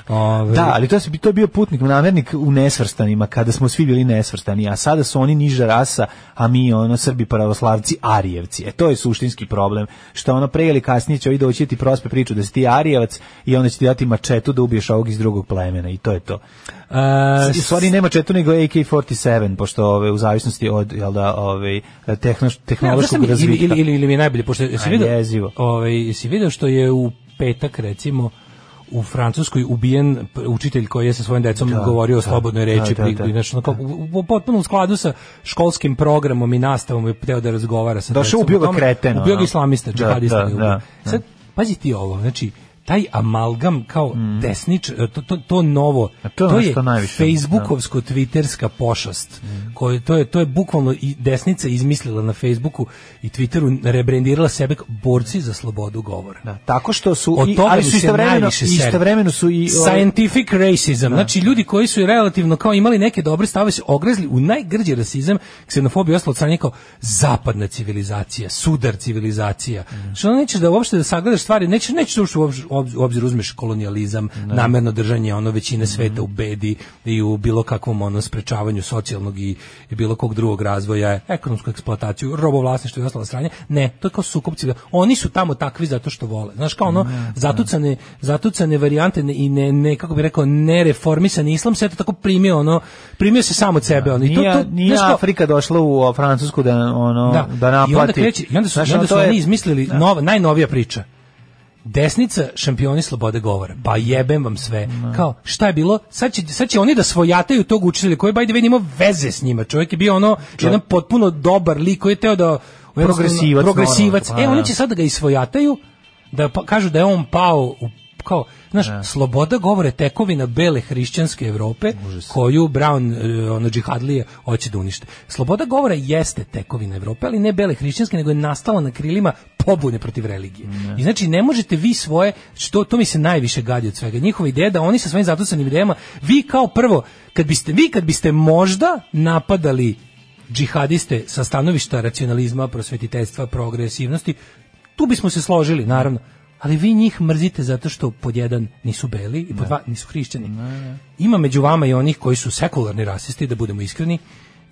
[SPEAKER 6] Ove,
[SPEAKER 7] Mhm. Da, ali to, se, to je bio putnik, namernik u nesvrstanima, kada smo svi bili nesvrstani, a sada su oni niža rasa, a mi, ono, Srbi pravoslavci, Arijevci. E, to je suštinski problem, što ono, pre ili kasnije će ovi doći i ti prospe priču da si ti Arijevac i onda će ti dati mačetu da ubiješ ovog iz drugog plemena i to je to.
[SPEAKER 6] a,
[SPEAKER 7] U stvari nema četu nego AK-47, pošto ove, u zavisnosti od, jel da, ove, tehnoš,
[SPEAKER 6] Ne, ali znaš šta
[SPEAKER 7] tehnološkog
[SPEAKER 6] mi- ili,
[SPEAKER 7] razvitka.
[SPEAKER 6] ili, ili, ili mi je najbolje, pošto jesi
[SPEAKER 7] A,
[SPEAKER 6] vidio,
[SPEAKER 7] jezivo.
[SPEAKER 6] ovaj, jesi vidio što je u petak, recimo, u Francuskoj ubijen p- učitelj koji je sa svojim decom govorio o slobodnoj reči,
[SPEAKER 7] da, da,
[SPEAKER 6] pri-
[SPEAKER 7] da.
[SPEAKER 6] znaš, ono kao, u- u- potpuno u skladu sa školskim programom i nastavom je teo da razgovara sa
[SPEAKER 7] Došao,
[SPEAKER 6] decom.
[SPEAKER 7] ubio ga
[SPEAKER 6] o tome.
[SPEAKER 7] kreten, ono.
[SPEAKER 6] Ubio ga islamista,
[SPEAKER 7] Da,
[SPEAKER 6] džihadista.
[SPEAKER 7] da,
[SPEAKER 6] ga je ubio.
[SPEAKER 7] da, da.
[SPEAKER 6] Sad, pazi ti ovo, znači, taj amalgam kao desnič, to, to, to novo,
[SPEAKER 7] Mm. A to je ono
[SPEAKER 6] je
[SPEAKER 7] što najviše- da.
[SPEAKER 6] Facebook facebookovsko-twitterska pošast. Koje, to, je, to je bukvalno i desnica izmislila na Facebooku i Twitteru, rebrendirala sebe kao borci za slobodu govora.
[SPEAKER 7] Da, tako što su,
[SPEAKER 6] Od
[SPEAKER 7] i,
[SPEAKER 6] toga
[SPEAKER 7] ali
[SPEAKER 6] mi
[SPEAKER 7] su
[SPEAKER 6] se
[SPEAKER 7] istovremeno,
[SPEAKER 6] najviše seri.
[SPEAKER 7] istovremeno su i... Da. ove-
[SPEAKER 6] Scientific racism, znači ljudi koji su relativno kao imali neke dobre stave se ogrezli u najgrđi rasizam, ksenofobiju i ostalo od kao zapadna civilizacija, sudar civilizacija.
[SPEAKER 7] Mhm.
[SPEAKER 6] Što ono nećeš da uopšte da sagledaš stvari, nećeš, nećeš da uopšte u obzir, u obzir uzmeš kolonijalizam,
[SPEAKER 7] Da.
[SPEAKER 6] namerno držanje ono većine sveta u
[SPEAKER 7] Mhm.
[SPEAKER 6] bedi i u bilo kakvom ono sprečavanju socijalnog i, i bilo kog drugog razvoja, ekonomsku eksploataciju, robovlasništvo i ostalo stranje. Ne, to je kao sukob civilizacija. Oni su tamo takvi zato što vole. Znaš, kao ono, zatucane, zatucane varijante ne- i ne, ne, kako bi rekao, nereformisani islam se eto tako primio, ono, primio se samo od sebe. Ono. I to,
[SPEAKER 7] Nije,
[SPEAKER 6] to,
[SPEAKER 7] nije
[SPEAKER 6] znaš, kao-
[SPEAKER 7] Afrika došla u o, Francusku da ono da, naplati.
[SPEAKER 6] I onda, kreće, i onda su,
[SPEAKER 7] Znaš,
[SPEAKER 6] i onda
[SPEAKER 7] ono,
[SPEAKER 6] su
[SPEAKER 7] to je- da.
[SPEAKER 6] oni izmislili nova, najnovija priča. Desnica šampioni slobode govora. Pa jebem vam sve. Kao, šta je bilo? Sad će, sad će oni da svojataju tog učitelja koji by the way nije imao veze s njima. Čovjek je bio ono jedan potpuno dobar lik koji je teo da jednostavno,
[SPEAKER 7] Progresivac,
[SPEAKER 6] progresivac.
[SPEAKER 7] normalno,
[SPEAKER 6] e,
[SPEAKER 7] pa,
[SPEAKER 6] oni
[SPEAKER 7] da.
[SPEAKER 6] će sad da ga isvojataju da pa, kažu da je on pao u kao, znaš, sloboda govore tekovina bele hrišćanske Evrope koju Brown, e, ono, džihadlije hoće da unište. Sloboda govora jeste tekovina Evrope, ali ne bele hrišćanske, nego je nastala na krilima pobune protiv religije. I znači, ne možete vi svoje, što, to mi se najviše gadi od svega, njihova ideja da oni sa svojim zatucanim idejama, vi kao prvo, kad biste, vi kad biste možda napadali džihadiste sa stanovišta racionalizma, prosvetiteljstva, progresivnosti, tu bismo se složili, naravno. ali vi njih mrzite zato što pod jedan nisu beli i pod dva nisu hrišćani. Ima među vama i onih koji su sekularni rasisti, da budemo iskreni.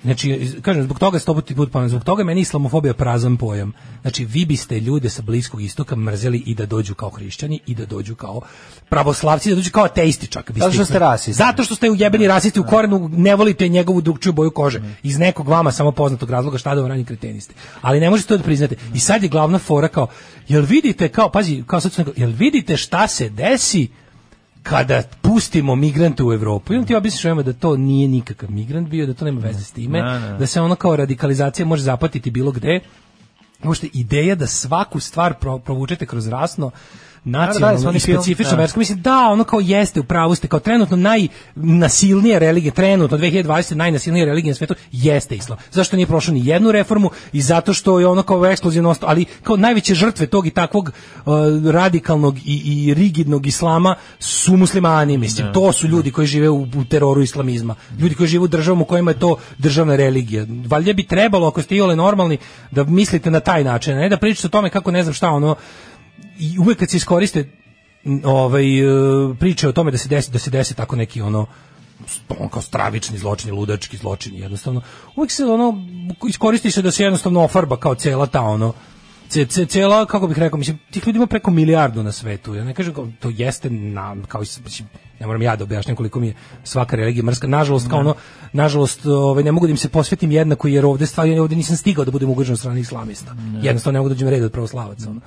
[SPEAKER 6] Znači, iz- kažem, zbog toga sto puta put ponavljam, zbog toga je meni islamofobija prazan pojam. Znači, vi biste ljude sa Bliskog istoka mrzeli i da dođu kao hrišćani, i da dođu kao pravoslavci, da dođu kao ateisti čak. biste
[SPEAKER 7] Zato što
[SPEAKER 6] ih-
[SPEAKER 7] ste rasisti.
[SPEAKER 6] Zato što ste ujebeni
[SPEAKER 7] Da,
[SPEAKER 6] rasisti u korenu, ne volite njegovu drugčiju boju kože.
[SPEAKER 7] Mm.
[SPEAKER 6] Iz nekog vama samo poznatog razloga šta da vam rani kreteniste. Ali ne možete to da priznate. I sad je glavna fora kao, jel vidite, kao, pazi, kao sad su neko- jel vidite šta se desi kada pustimo migrante u Evropu, i on ti objasniš ovima da to nije nikakav migrant bio, da to nema veze s time,
[SPEAKER 7] Ne, ne.
[SPEAKER 6] da se ono kao radikalizacija može zapatiti bilo gde, uopšte ideja da svaku stvar pro, provučete kroz rasno
[SPEAKER 7] Da, da, da,
[SPEAKER 6] nacionalno i
[SPEAKER 7] oni film,
[SPEAKER 6] specifično
[SPEAKER 7] da.
[SPEAKER 6] versko mislim da ono kao jeste u pravu ste kao trenutno najnasilnija religija trenutno 2020 najnasilnija religija na svetu jeste islam zašto nije prošlo ni jednu reformu i zato što je ono kao ekskluzivno ostalo ali kao najveće žrtve tog i takvog uh, radikalnog i, i rigidnog islama su muslimani mislim to su ljudi koji žive u, u teroru islamizma ljudi koji žive u državama u kojima je to državna religija valjda bi trebalo ako ste iole normalni da mislite na taj način a ne da pričate o tome kako ne znam šta ono i uvek kad se iskoriste m, ovaj e, priče o tome da se desi da se desi tako neki ono on kao stravični zločini, ludački zločini, jednostavno. Uvijek se ono iskoristi se da se jednostavno ofarba kao cela ta ono ce, ce- cela, kako bih rekao, mislim, tih ljudi ima preko milijardu na svetu. Ja ne kažem, kao, to jeste, na, kao, i s- mislim, ne moram ja da objašnjam koliko mi je svaka religija mrska. Nažalost, kao ono, nažalost, ovaj, ne mogu da im se posvetim jednako, jer ovde stvari, ovde nisam stigao da budem ugrožen od strane islamista. Jednostavno ne mogu da dođem na red od pravoslavaca. Ono.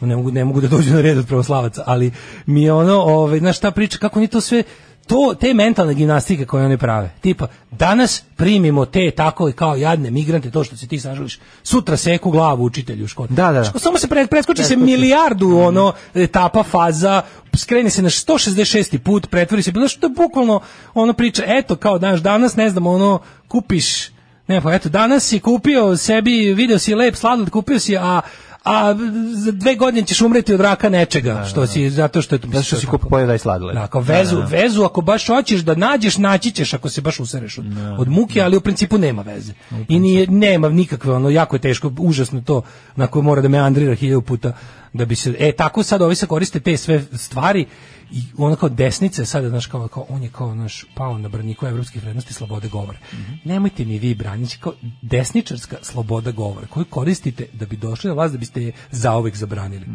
[SPEAKER 6] Ne, mogu, ne mogu da dođem na red od pravoslavaca, ali mi je ono, ovaj, znaš, ta priča, kako oni to sve, to te mentalne gimnastike koje oni prave. Tipa danas primimo te tako i kao jadne migrante to što se ti sažališ. Sutra seku glavu učitelju u školi.
[SPEAKER 7] Da, Mm. da, da.
[SPEAKER 6] Što- Samo se pre, preskoči se milijardu ono etapa faza skreni se na 166. put, pretvori se, bilo što je bukvalno ono priča, eto kao danas, danas ne znam, ono kupiš ne pa eto danas si kupio sebi, video si lep sladoled, kupio si a a za dve godine ćeš umreti od raka nečega što si zato što je to
[SPEAKER 7] Da, Zato što si kupo pojeda i sladile.
[SPEAKER 6] da, kao vezu, vezu ako baš hoćeš da nađeš, naći ćeš ako se baš usereš od, od muke, ali u principu nema veze. I nije, nema nikakve, ono, jako je teško, užasno to, na koje mora da me andrira hiljadu puta, da bi se, e, tako sad ovi se koriste te sve stvari i ono kao desnice sada, znaš, kao, kao on je kao, naš pao na braniku evropskih vrednosti slobode govora. Nemojte mi vi braniti znači, kao desničarska sloboda govora koju koristite da bi došli na vlast, da biste je zaovek zabranili.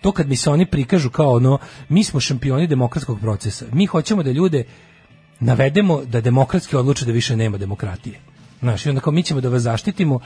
[SPEAKER 6] To kad mi se oni prikažu kao ono, mi smo šampioni demokratskog procesa, mi hoćemo da ljude navedemo da demokratski odluče da više nema demokratije. Znaš, i onda kao mi ćemo da vas zaštitimo,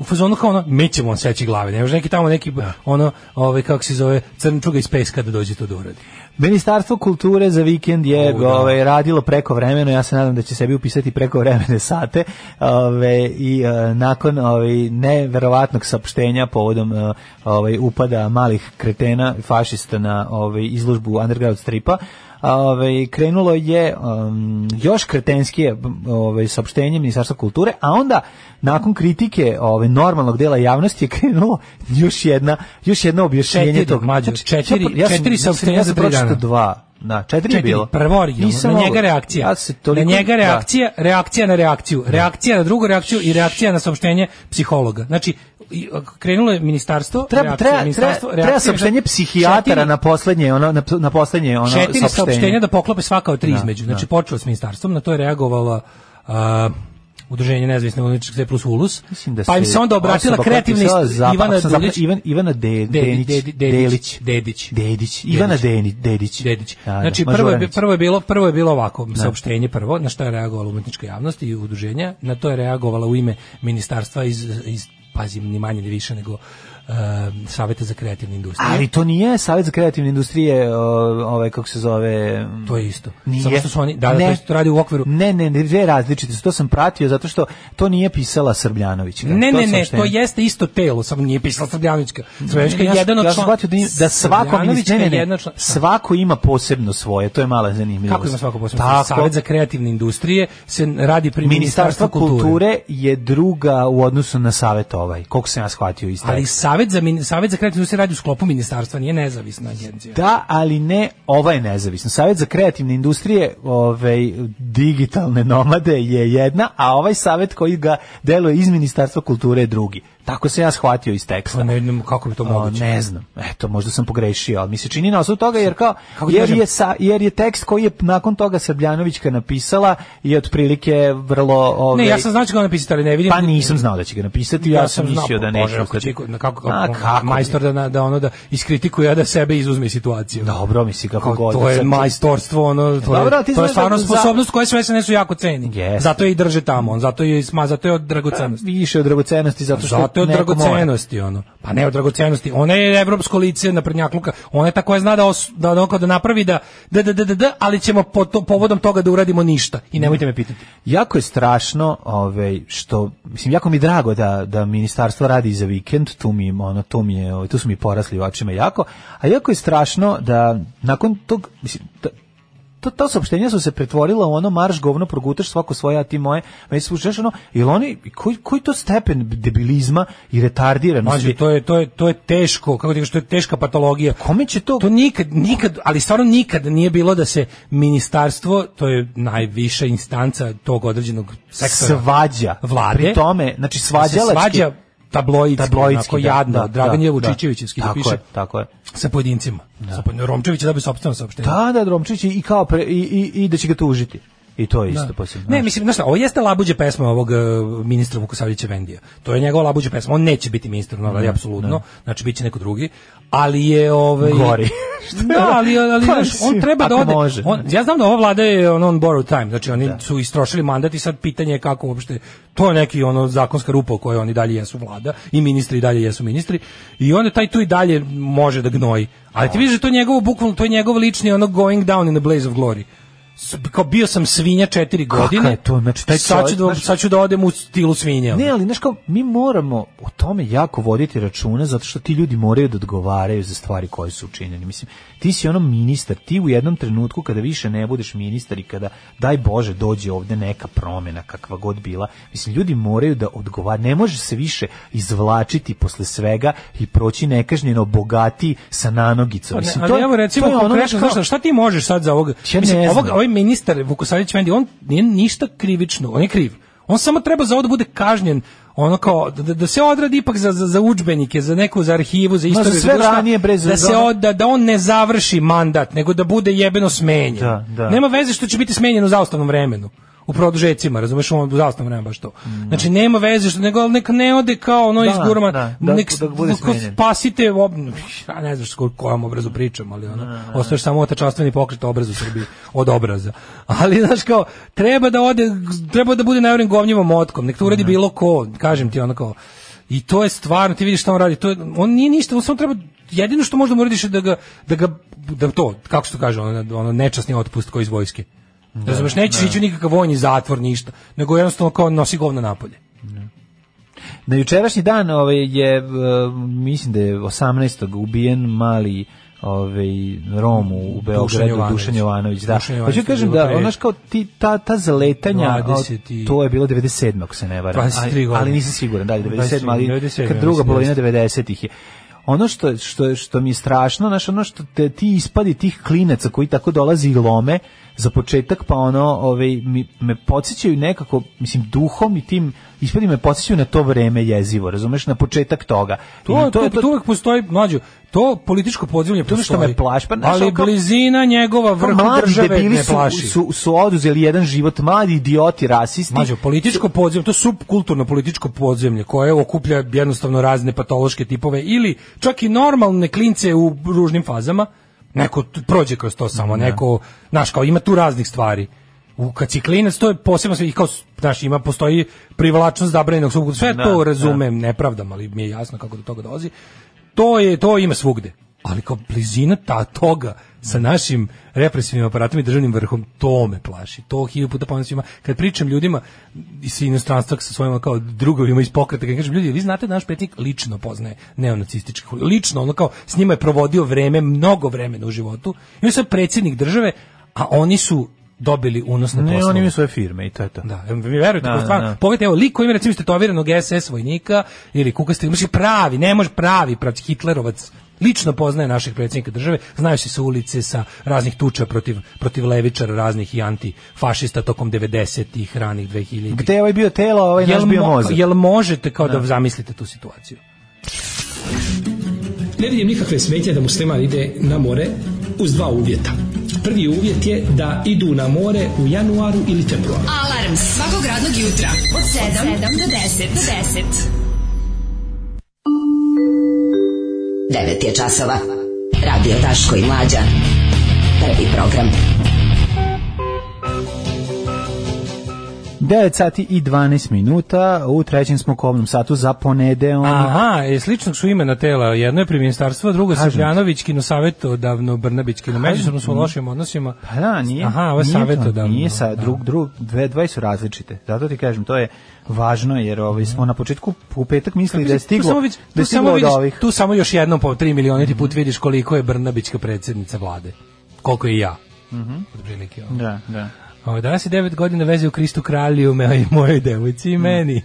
[SPEAKER 6] u fazonu kao ono, mi ćemo vam seći glave, ne može neki tamo neki, ono, ovaj, kako se zove, crnčuga iz peska da dođe to da uradi.
[SPEAKER 7] Ministarstvo kulture za vikend je
[SPEAKER 6] O, da.
[SPEAKER 7] ovaj, radilo preko vremeno, ja se nadam da će sebi upisati preko vremene sate ovaj, i eh, nakon ovaj, neverovatnog saopštenja povodom eh, ovaj, upada malih kretena fašista na ovaj, izlužbu Underground stripa, Ove, krenulo je em, još kretenskije ove, saopštenje Ministarstva kulture, a onda nakon kritike ove, normalnog dela javnosti je krenulo još jedna još jedno objašnjenje
[SPEAKER 6] Četiri,
[SPEAKER 7] tog
[SPEAKER 6] mlađo, četiri-
[SPEAKER 7] sam-
[SPEAKER 6] četiri
[SPEAKER 7] mislim,
[SPEAKER 6] saopštenja
[SPEAKER 7] Znači, ja
[SPEAKER 6] za
[SPEAKER 7] sam
[SPEAKER 6] tri
[SPEAKER 7] pročitao
[SPEAKER 6] dana.
[SPEAKER 7] dva. Da, četiri, je
[SPEAKER 6] Četiri,
[SPEAKER 7] bilo.
[SPEAKER 6] Prvo originalno,
[SPEAKER 7] Nisam
[SPEAKER 6] na
[SPEAKER 7] mogao.
[SPEAKER 6] njega reakcija.
[SPEAKER 7] Ja se toliko,
[SPEAKER 6] na njega
[SPEAKER 7] da.
[SPEAKER 6] reakcija, reakcija na reakciju, reakcija na drugu reakciju i reakcija na saopštenje psihologa. Znači, i, krenulo je ministarstvo,
[SPEAKER 7] Treba,
[SPEAKER 6] reakcija,
[SPEAKER 7] treba, treba,
[SPEAKER 6] ministarstvo,
[SPEAKER 7] treba
[SPEAKER 6] reakcija,
[SPEAKER 7] saopštenje
[SPEAKER 6] ministarstvo.
[SPEAKER 7] psihijatara
[SPEAKER 6] Četiri-
[SPEAKER 7] na poslednje, ono, na, na poslednje ono
[SPEAKER 6] četiri
[SPEAKER 7] saopštenje. da.
[SPEAKER 6] saopštenja da poklope svaka od tri između. Znači, počelo s ministarstvom, na to je reagovala a, Udruženje nezavisne ulične sve plus Ulus,
[SPEAKER 7] Mislim da
[SPEAKER 6] pa im se onda obratila
[SPEAKER 7] osoba koja je
[SPEAKER 6] kreativna
[SPEAKER 7] pisala
[SPEAKER 6] ist-
[SPEAKER 7] zap-
[SPEAKER 6] Ivana
[SPEAKER 7] ako sam zapra-
[SPEAKER 6] Dulić,
[SPEAKER 7] Ivan, Ivana De,
[SPEAKER 6] Dedi-
[SPEAKER 7] Denić,
[SPEAKER 6] Dedi-
[SPEAKER 7] Delić.
[SPEAKER 6] Dedić, Dedić.
[SPEAKER 7] Dedić. Ivana Deni, Dedić.
[SPEAKER 6] Dedić.
[SPEAKER 7] Da, da,
[SPEAKER 6] Znači prvo je,
[SPEAKER 7] Mažuranić.
[SPEAKER 6] prvo je bilo prvo je bilo ovako saopštenje prvo na što je reagovala umetnička javnost i udruženja, na to je reagovala u ime ministarstva iz iz pazim ni manje ni više nego e, Saveta za kreativnu industriju.
[SPEAKER 7] Ali to nije Savjet za kreativne industrije, o, ovaj, kako se zove... m,
[SPEAKER 6] to je isto.
[SPEAKER 7] Nije.
[SPEAKER 6] Samo što su oni da, da
[SPEAKER 7] Ne.
[SPEAKER 6] to isto to radi u okviru
[SPEAKER 7] Ne, ne, ne, dve različite su, to sam pratio zato što to nije pisala Srbljanović.
[SPEAKER 6] Ne, ne, ne,
[SPEAKER 7] saopštenje.
[SPEAKER 6] to jeste isto telo, samo nije pisala Srbljanovićka. Srbljanovićka je
[SPEAKER 7] Ja sam-
[SPEAKER 6] jedan od
[SPEAKER 7] ja sam
[SPEAKER 6] član-
[SPEAKER 7] shvatio da, im- da svako
[SPEAKER 6] Srbljanovićka
[SPEAKER 7] ministar, ne,
[SPEAKER 6] je
[SPEAKER 7] ne,
[SPEAKER 6] jedna
[SPEAKER 7] ne,
[SPEAKER 6] od član-
[SPEAKER 7] svako ima posebno svoje, to je mala zanimljivost.
[SPEAKER 6] Kako ima svako posebno?
[SPEAKER 7] Tako,
[SPEAKER 6] Savet za kreativne industrije se radi pri
[SPEAKER 7] Ministarstvo
[SPEAKER 6] Ministarstvu
[SPEAKER 7] kulture. je druga u odnosu na savet ovaj, koliko sam ja shvatio iz
[SPEAKER 6] Ali
[SPEAKER 7] teksta.
[SPEAKER 6] Savet za, min- Savet za kreativnu se radi u sklopu ministarstva, nije nezavisna agencija.
[SPEAKER 7] Da, ali ne, ova je nezavisna. Savet za kreativne industrije, ovaj, digitalne nomade je jedna, a ovaj savet koji ga deluje iz Ministarstva kulture je drugi. Tako se ja shvatio iz teksta.
[SPEAKER 6] Pa ne znam kako bi to
[SPEAKER 7] O,
[SPEAKER 6] moguće.
[SPEAKER 7] Ne znam. Eto, možda sam pogrešio, ali mi se čini na osnovu toga jer kao
[SPEAKER 6] Kako ti
[SPEAKER 7] jer
[SPEAKER 6] kažem?
[SPEAKER 7] je sa, jer je tekst koji je nakon toga Srbljanovićka napisala i otprilike vrlo ovaj
[SPEAKER 6] Ne, ja sam znao da će ga napisati, ali ne vidim.
[SPEAKER 7] Pa nisam znao da će ga napisati, ja, sam
[SPEAKER 6] znao,
[SPEAKER 7] mislio da
[SPEAKER 6] pa
[SPEAKER 7] neće.
[SPEAKER 6] Bože, ako
[SPEAKER 7] ostati.
[SPEAKER 6] će iko- na kako, kako,
[SPEAKER 7] A, kako bi?
[SPEAKER 6] majstor da, na- da ono da iskritikuje, a da sebe izuzme iz situacije.
[SPEAKER 7] Dobro, misli kako
[SPEAKER 6] Kao,
[SPEAKER 7] god. da
[SPEAKER 6] to je
[SPEAKER 7] sad-
[SPEAKER 6] majstorstvo, ono, to,
[SPEAKER 7] Dobro, ti
[SPEAKER 6] je, to je
[SPEAKER 7] znaš
[SPEAKER 6] stvarno
[SPEAKER 7] da-
[SPEAKER 6] sposobnost koja sve se nesu jako ceni.
[SPEAKER 7] Jeste. Pa,
[SPEAKER 6] Zato je i drže tamo, on, zato je, i sma, zato je od dragocenosti.
[SPEAKER 7] Više od dragocenosti, zato što
[SPEAKER 6] Zato je od
[SPEAKER 7] neko mora.
[SPEAKER 6] dragocenosti, ono. Pa ne od dragocenosti. Ona je evropsko lice na prednjakluka. Ona je ta koja zna da, os, da, ono kao da napravi da, da, da, da, da, da, ali ćemo po to, povodom toga da uradimo ništa. I nemojte me pitati.
[SPEAKER 7] Jako je strašno, ovaj što mislim jako mi je drago da da ministarstvo radi za vikend, tu mi ono to mi je, ovaj, tu su mi porasli u očima jako, a jako je strašno da nakon tog mislim da, to, to saopštenje su se pretvorila u ono marš govno progutaš svako svoje, a ti moje. Meni se slušaš ono, jel oni, koji, koji to stepen debilizma i retardiranosti?
[SPEAKER 6] Mađo, to je, to je, to je teško, kako ti kažeš, to je teška patologija.
[SPEAKER 7] Kome će to...
[SPEAKER 6] To nikad, nikad, ali stvarno nikad nije bilo da se ministarstvo, to je najviša instanca tog određenog sektora
[SPEAKER 7] svađa
[SPEAKER 6] vlade.
[SPEAKER 7] pri tome znači
[SPEAKER 6] da se
[SPEAKER 7] svađalački da,
[SPEAKER 6] svađa tabloidski, onako jadno, Dragan je Vučićevićevski da,
[SPEAKER 7] tako
[SPEAKER 6] piše
[SPEAKER 7] je, tako je
[SPEAKER 6] sa pojedincima. Sa pojedincima. Romčević je da bi sopstveno saopštenje.
[SPEAKER 7] da da Dromčić i kao pre, i, i, i da će ga tužiti i to je isto
[SPEAKER 6] Da.
[SPEAKER 7] posebno
[SPEAKER 6] Ne, mislim, znaš šta, ovo jeste labuđe pesma ovog e, ministra Vukosavljeća Vendija. To je njegova labuđe pesma. On neće biti ministar u novoj
[SPEAKER 7] Da,
[SPEAKER 6] vladi, apsolutno. Znači, bit će neko drugi. Ali je... Ovaj,
[SPEAKER 7] Gori.
[SPEAKER 6] da, ali, ali
[SPEAKER 7] Pa,
[SPEAKER 6] znaš, on
[SPEAKER 7] mislim,
[SPEAKER 6] treba da
[SPEAKER 7] ako
[SPEAKER 6] ode...
[SPEAKER 7] može.
[SPEAKER 6] On, ja znam da ova vlada je on, on borrowed time. Znači, oni
[SPEAKER 7] Da.
[SPEAKER 6] su istrošili mandat i sad pitanje je kako uopšte... To je neki ono zakonska rupa u kojoj oni dalje jesu vlada i ministri i dalje jesu ministri. I on je taj tu i dalje može da gnoji. Ali ti vidiš da je to njegovo, bukvalno, to je njegov lični ono going down in the blaze of glory. S- Kao bio sam svinja četiri
[SPEAKER 7] Kakva
[SPEAKER 6] godine.
[SPEAKER 7] je to, znači, taj
[SPEAKER 6] sad ću,
[SPEAKER 7] čovjek,
[SPEAKER 6] da,
[SPEAKER 7] znaš-
[SPEAKER 6] sad ću da odem u stilu svinja.
[SPEAKER 7] Ne, ali znaš kao, mi moramo o tome jako voditi računa zato što ti ljudi moraju da odgovaraju za stvari koje su učinjene. Mislim, ti si ono ministar, ti u jednom trenutku kada više ne budeš ministar i kada, daj Bože, dođe ovde neka promjena kakva god bila, mislim, ljudi moraju da odgovaraju. Ne može se više izvlačiti posle svega i proći nekažnjeno bogati sa nanogicom.
[SPEAKER 6] Pa ne,
[SPEAKER 7] Mislim,
[SPEAKER 6] ali
[SPEAKER 7] to je-
[SPEAKER 6] evo recimo
[SPEAKER 7] to je ono, znaš
[SPEAKER 6] konkretno,
[SPEAKER 7] kao-
[SPEAKER 6] znaš šta, šta ti možeš sad za ovog,
[SPEAKER 7] Ja ne
[SPEAKER 6] ovog,
[SPEAKER 7] znam.
[SPEAKER 6] ovaj ministar Vukosavljević Vendi, on nije ništa krivično, on je kriv. On samo treba za ovo da bude kažnjen ono kao da, da se odradi ipak za za za udžbenike, za neku za arhivu, za
[SPEAKER 7] Ma, za
[SPEAKER 6] istoriju,
[SPEAKER 7] sve
[SPEAKER 6] bilo šta,
[SPEAKER 7] ranije, bre, za-
[SPEAKER 6] da se
[SPEAKER 7] za-
[SPEAKER 6] od, da, da on ne završi mandat, nego da bude jebeno smenjen.
[SPEAKER 7] Da, da.
[SPEAKER 6] Nema veze što će biti smenjen u zaustavnom vremenu. U produžecima, razumeš, on u zaustavnom vremenu baš to.
[SPEAKER 7] Mm.
[SPEAKER 6] Znači nema veze što nego ali nek ne ode kao ono
[SPEAKER 7] Da,
[SPEAKER 6] iz gurma,
[SPEAKER 7] da, da,
[SPEAKER 6] nek
[SPEAKER 7] da bude
[SPEAKER 6] ko-
[SPEAKER 7] smenjen.
[SPEAKER 6] spasite ob... ja ne znam skoro kojem obrazu pričam, ali
[SPEAKER 7] Da,
[SPEAKER 6] ono, ostaješ samo otečastveni pokret obrazu Srbiji od obraza. Ali znaš kao treba da ode treba da bude najvorim govnjivom otkom, nek to uradi
[SPEAKER 7] Da.
[SPEAKER 6] bilo ko, kažem ti onako. I to je stvarno, ti vidiš šta on radi, to je, on nije ništa, on samo treba jedino što možda mu uradiš je da ga da ga da to, kako se to kaže, ono, ono nečasni otpust koji iz vojske.
[SPEAKER 7] Da,
[SPEAKER 6] Razumeš, nećeš ići u nikakav vojni zatvor, ništa, nego jednostavno kao nosi govno napolje.
[SPEAKER 7] Na jučerašnji dan ovaj, je, e, mislim da je 18. ubijen mali ovaj Rom u, u Beogradu
[SPEAKER 6] Jovanović.
[SPEAKER 7] Dušan Jovanović da
[SPEAKER 6] Dušan Jovanović
[SPEAKER 7] hoću
[SPEAKER 6] je
[SPEAKER 7] kažem
[SPEAKER 6] bilo
[SPEAKER 7] da
[SPEAKER 6] pre-
[SPEAKER 7] onaš kao ti ta ta zaletanja a,
[SPEAKER 6] 20 i-
[SPEAKER 7] to je bilo 97 ako se ne varam
[SPEAKER 6] 23
[SPEAKER 7] ali, ali
[SPEAKER 6] godine.
[SPEAKER 7] nisam siguran da li 97
[SPEAKER 6] 23,
[SPEAKER 7] ali
[SPEAKER 6] 97,
[SPEAKER 7] kad druga
[SPEAKER 6] mislim,
[SPEAKER 7] polovina 90-ih je ono što što što mi je strašno znaš ono što te ti ispadi tih klinaca koji tako dolazi i lome za početak pa ono ovaj mi, me podsjećaju nekako mislim duhom i tim ispadi me podsjećaju na to vreme jezivo razumeš na početak toga
[SPEAKER 6] To,
[SPEAKER 7] Ili
[SPEAKER 6] to, to, uvek postoji, mlađo, to političko podzemlje
[SPEAKER 7] To je
[SPEAKER 6] postoji.
[SPEAKER 7] što me plaši, pa znaš,
[SPEAKER 6] ali
[SPEAKER 7] ono kao-
[SPEAKER 6] blizina njegova
[SPEAKER 7] kao
[SPEAKER 6] vrha
[SPEAKER 7] mladi
[SPEAKER 6] države
[SPEAKER 7] debili
[SPEAKER 6] ne plaši.
[SPEAKER 7] su, su, su oduzeli jedan život mladi idioti rasisti
[SPEAKER 6] Mlađo, političko podzemlje, to je subkulturno političko podzemlje koje okuplja jednostavno razne patološke tipove ili čak i normalne klince u ružnim fazama. Neko t- prođe kroz to samo,
[SPEAKER 7] Da.
[SPEAKER 6] neko, znaš, kao ima tu raznih stvari. U, kad si klinac, to je posebno sve, i kao, znaš, ima, postoji privlačnost zabranjenog subkultura, sve
[SPEAKER 7] Da,
[SPEAKER 6] to
[SPEAKER 7] da.
[SPEAKER 6] razumem, nepravdam, ali mi je jasno kako do toga dolazi. To je, to ima svugde. Ali kao blizina ta toga sa našim represivnim aparatom i državnim vrhom, to me plaši. To hiljadu puta ponavljam svima. Kad pričam ljudima iz inostranstva sa svojima kao drugovima iz pokreta, kad kažem ljudi, vi znate da naš predsjednik lično poznaje neonacističke huli- Lično, ono kao s njima je provodio vreme, mnogo vremena u životu. I on je sad predsjednik države, a oni su dobili unosne
[SPEAKER 7] ne
[SPEAKER 6] poslove.
[SPEAKER 7] oni imaju svoje firme i to je to
[SPEAKER 6] Da, evo, vi verujete,
[SPEAKER 7] Da,
[SPEAKER 6] da,
[SPEAKER 7] da,
[SPEAKER 6] stvarno,
[SPEAKER 7] da.
[SPEAKER 6] pogledajte, evo, lik koji ima recimo istetoviranog SS vojnika ili kukasti, imaš i pravi, ne može pravi, pravi Hitlerovac lično poznaje našeg predsjednika države, znaju se sa ulice, sa raznih tuča protiv, protiv levičara, raznih i antifašista tokom 90-ih, ranih 2000-ih.
[SPEAKER 7] Gde je ovaj bio telo, a ovaj naš
[SPEAKER 6] Jel,
[SPEAKER 7] bio
[SPEAKER 6] mo-
[SPEAKER 7] mozak?
[SPEAKER 6] jel možete kao da zamislite tu situaciju?
[SPEAKER 12] Ne vidim nikakve smetnje da musliman ide na more uz dva uvjeta. Prvi uvjet je da idu na more u januaru ili februaru.
[SPEAKER 5] Alarm svakog radnog jutra od 7, do 10. Do 10.
[SPEAKER 9] 9 je časova. Radio Daško i Mlađa. Prvi program.
[SPEAKER 7] 9 sati i 12 minuta, u trećem smo kovnom satu za ponedeon.
[SPEAKER 6] Aha, je sličnog su imena tela. Jedno je pri ministarstvu, a drugo je
[SPEAKER 7] Kažem ti.
[SPEAKER 6] Srbljanović, kinosavjetodavno Brnabić, kino. Međusobno su u
[SPEAKER 7] Kažem,
[SPEAKER 6] lošim odnosima.
[SPEAKER 7] Pa da, nije.
[SPEAKER 6] Aha, ovo je
[SPEAKER 7] nije to,
[SPEAKER 6] savjetodavno.
[SPEAKER 7] Nije sa
[SPEAKER 6] Da.
[SPEAKER 7] drug drug dve dvoje su različite. Zato ti kažem, to je važno jer ovaj smo na početku u petak mislili da je
[SPEAKER 6] tu
[SPEAKER 7] stiglo,
[SPEAKER 6] samo, vidiš,
[SPEAKER 7] da
[SPEAKER 6] tu,
[SPEAKER 7] je
[SPEAKER 6] samo
[SPEAKER 7] stiglo od
[SPEAKER 6] vidiš,
[SPEAKER 7] ovih. Mhm.
[SPEAKER 6] tu samo još jednom po 3 milioniti put vidiš koliko je Brnabićka predsjednica vlade. Koliko i ja.
[SPEAKER 7] Mhm.
[SPEAKER 6] Otprilike, ono.
[SPEAKER 7] Da, da.
[SPEAKER 6] Ovo, danas je 9 godina veze u Kristu kralju me, mojoj devojci i meni.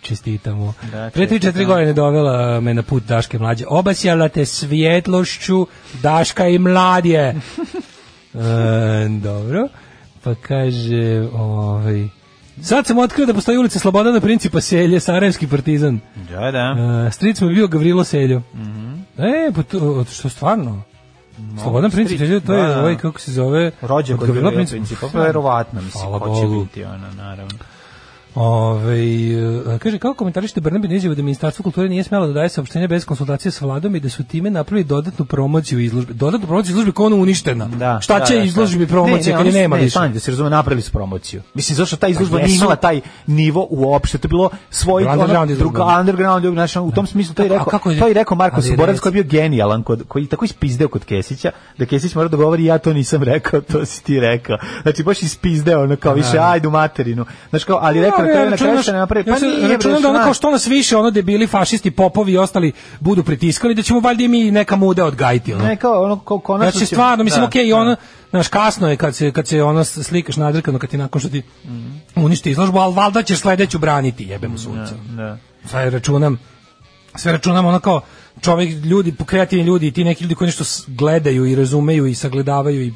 [SPEAKER 6] Čestitamo.
[SPEAKER 7] Mm. Da,
[SPEAKER 6] Pre 3-4
[SPEAKER 7] čestitam.
[SPEAKER 6] godine dovela me na put Daške mlađe. Obasjala te svjetlošću Daška i mladje. E, dobro. Pa kaže, ovaj... Sad sam otkrio da postoji ulica Slobodana Principa Selje, Sarajevski partizan.
[SPEAKER 7] Da, da.
[SPEAKER 6] E, stric mu je bio Gavrilo Seljo.
[SPEAKER 7] Mhm.
[SPEAKER 6] E, pa to, što stvarno? Slobodan
[SPEAKER 7] stric,
[SPEAKER 6] princip, Seljo, to
[SPEAKER 7] da, da.
[SPEAKER 6] je ovaj, kako se zove...
[SPEAKER 7] Rođak
[SPEAKER 6] od
[SPEAKER 7] od Gavrila Principa, pa verovatno, mislim,
[SPEAKER 6] Hvala
[SPEAKER 7] ko će
[SPEAKER 6] Bogu.
[SPEAKER 7] biti ona, naravno.
[SPEAKER 6] Ove, e, kaže, kako komentarište Brnabić na izjavu da Ministarstvo kulture nije smjelo da daje saopštenje bez konsultacije s vladom i da su time napravili dodatnu promociju izložbe. Dodatnu promociju izložbe koja je ono uništena.
[SPEAKER 7] Da,
[SPEAKER 6] Šta
[SPEAKER 7] da,
[SPEAKER 6] će
[SPEAKER 7] da, šta?
[SPEAKER 6] izložbi promocije
[SPEAKER 7] Ne, ne,
[SPEAKER 6] kad je
[SPEAKER 7] oni su-
[SPEAKER 6] nema
[SPEAKER 7] ne,
[SPEAKER 6] više? Pa
[SPEAKER 7] stani, da se razume, napravili su promociju. Mislim, zašto ta izložba nije
[SPEAKER 6] jesu.
[SPEAKER 7] imala taj nivo uopšte, to je bilo svoj
[SPEAKER 6] Bila underground
[SPEAKER 7] ono,
[SPEAKER 6] izložba.
[SPEAKER 7] druga- underground, znači, u tom smislu to je
[SPEAKER 6] A
[SPEAKER 7] rekao,
[SPEAKER 6] kako je-
[SPEAKER 7] to je rekao Marko
[SPEAKER 6] ali
[SPEAKER 7] Suborac
[SPEAKER 6] reci.
[SPEAKER 7] koji je bio genijalan, kod, koji je tako ispizdeo kod Kesića, da Kesić mora da govori ja to nisam rekao, to si ti rekao. Znači, baš ispizdeo, ono kao više,
[SPEAKER 6] Da.
[SPEAKER 7] ajdu materinu. Znači, kao, ali rekao je to je na kraju što ne napravi, pa
[SPEAKER 6] ja se
[SPEAKER 7] nije, bre,
[SPEAKER 6] računam da ono
[SPEAKER 7] znaš.
[SPEAKER 6] kao što nas više ono debili fašisti, popovi i ostali budu pritiskali da ćemo valjda i mi neka muda odgajiti ono.
[SPEAKER 7] Ne, kao, ono, kao konačno
[SPEAKER 6] Znači
[SPEAKER 7] će-
[SPEAKER 6] stvarno mislim
[SPEAKER 7] da,
[SPEAKER 6] okej i
[SPEAKER 7] da.
[SPEAKER 6] ono znaš kasno je kad se kad se ono slikaš nadrkano kad ti nakon što ti
[SPEAKER 7] Mhm.
[SPEAKER 6] uništi izložbu, al valjda ćeš sledeću braniti jebem mu sunce.
[SPEAKER 7] Da.
[SPEAKER 6] Sve računam sve računam ono kao čovjek, ljudi, kreativni ljudi i ti neki ljudi koji nešto s- gledaju i razumeju i sagledavaju i, i,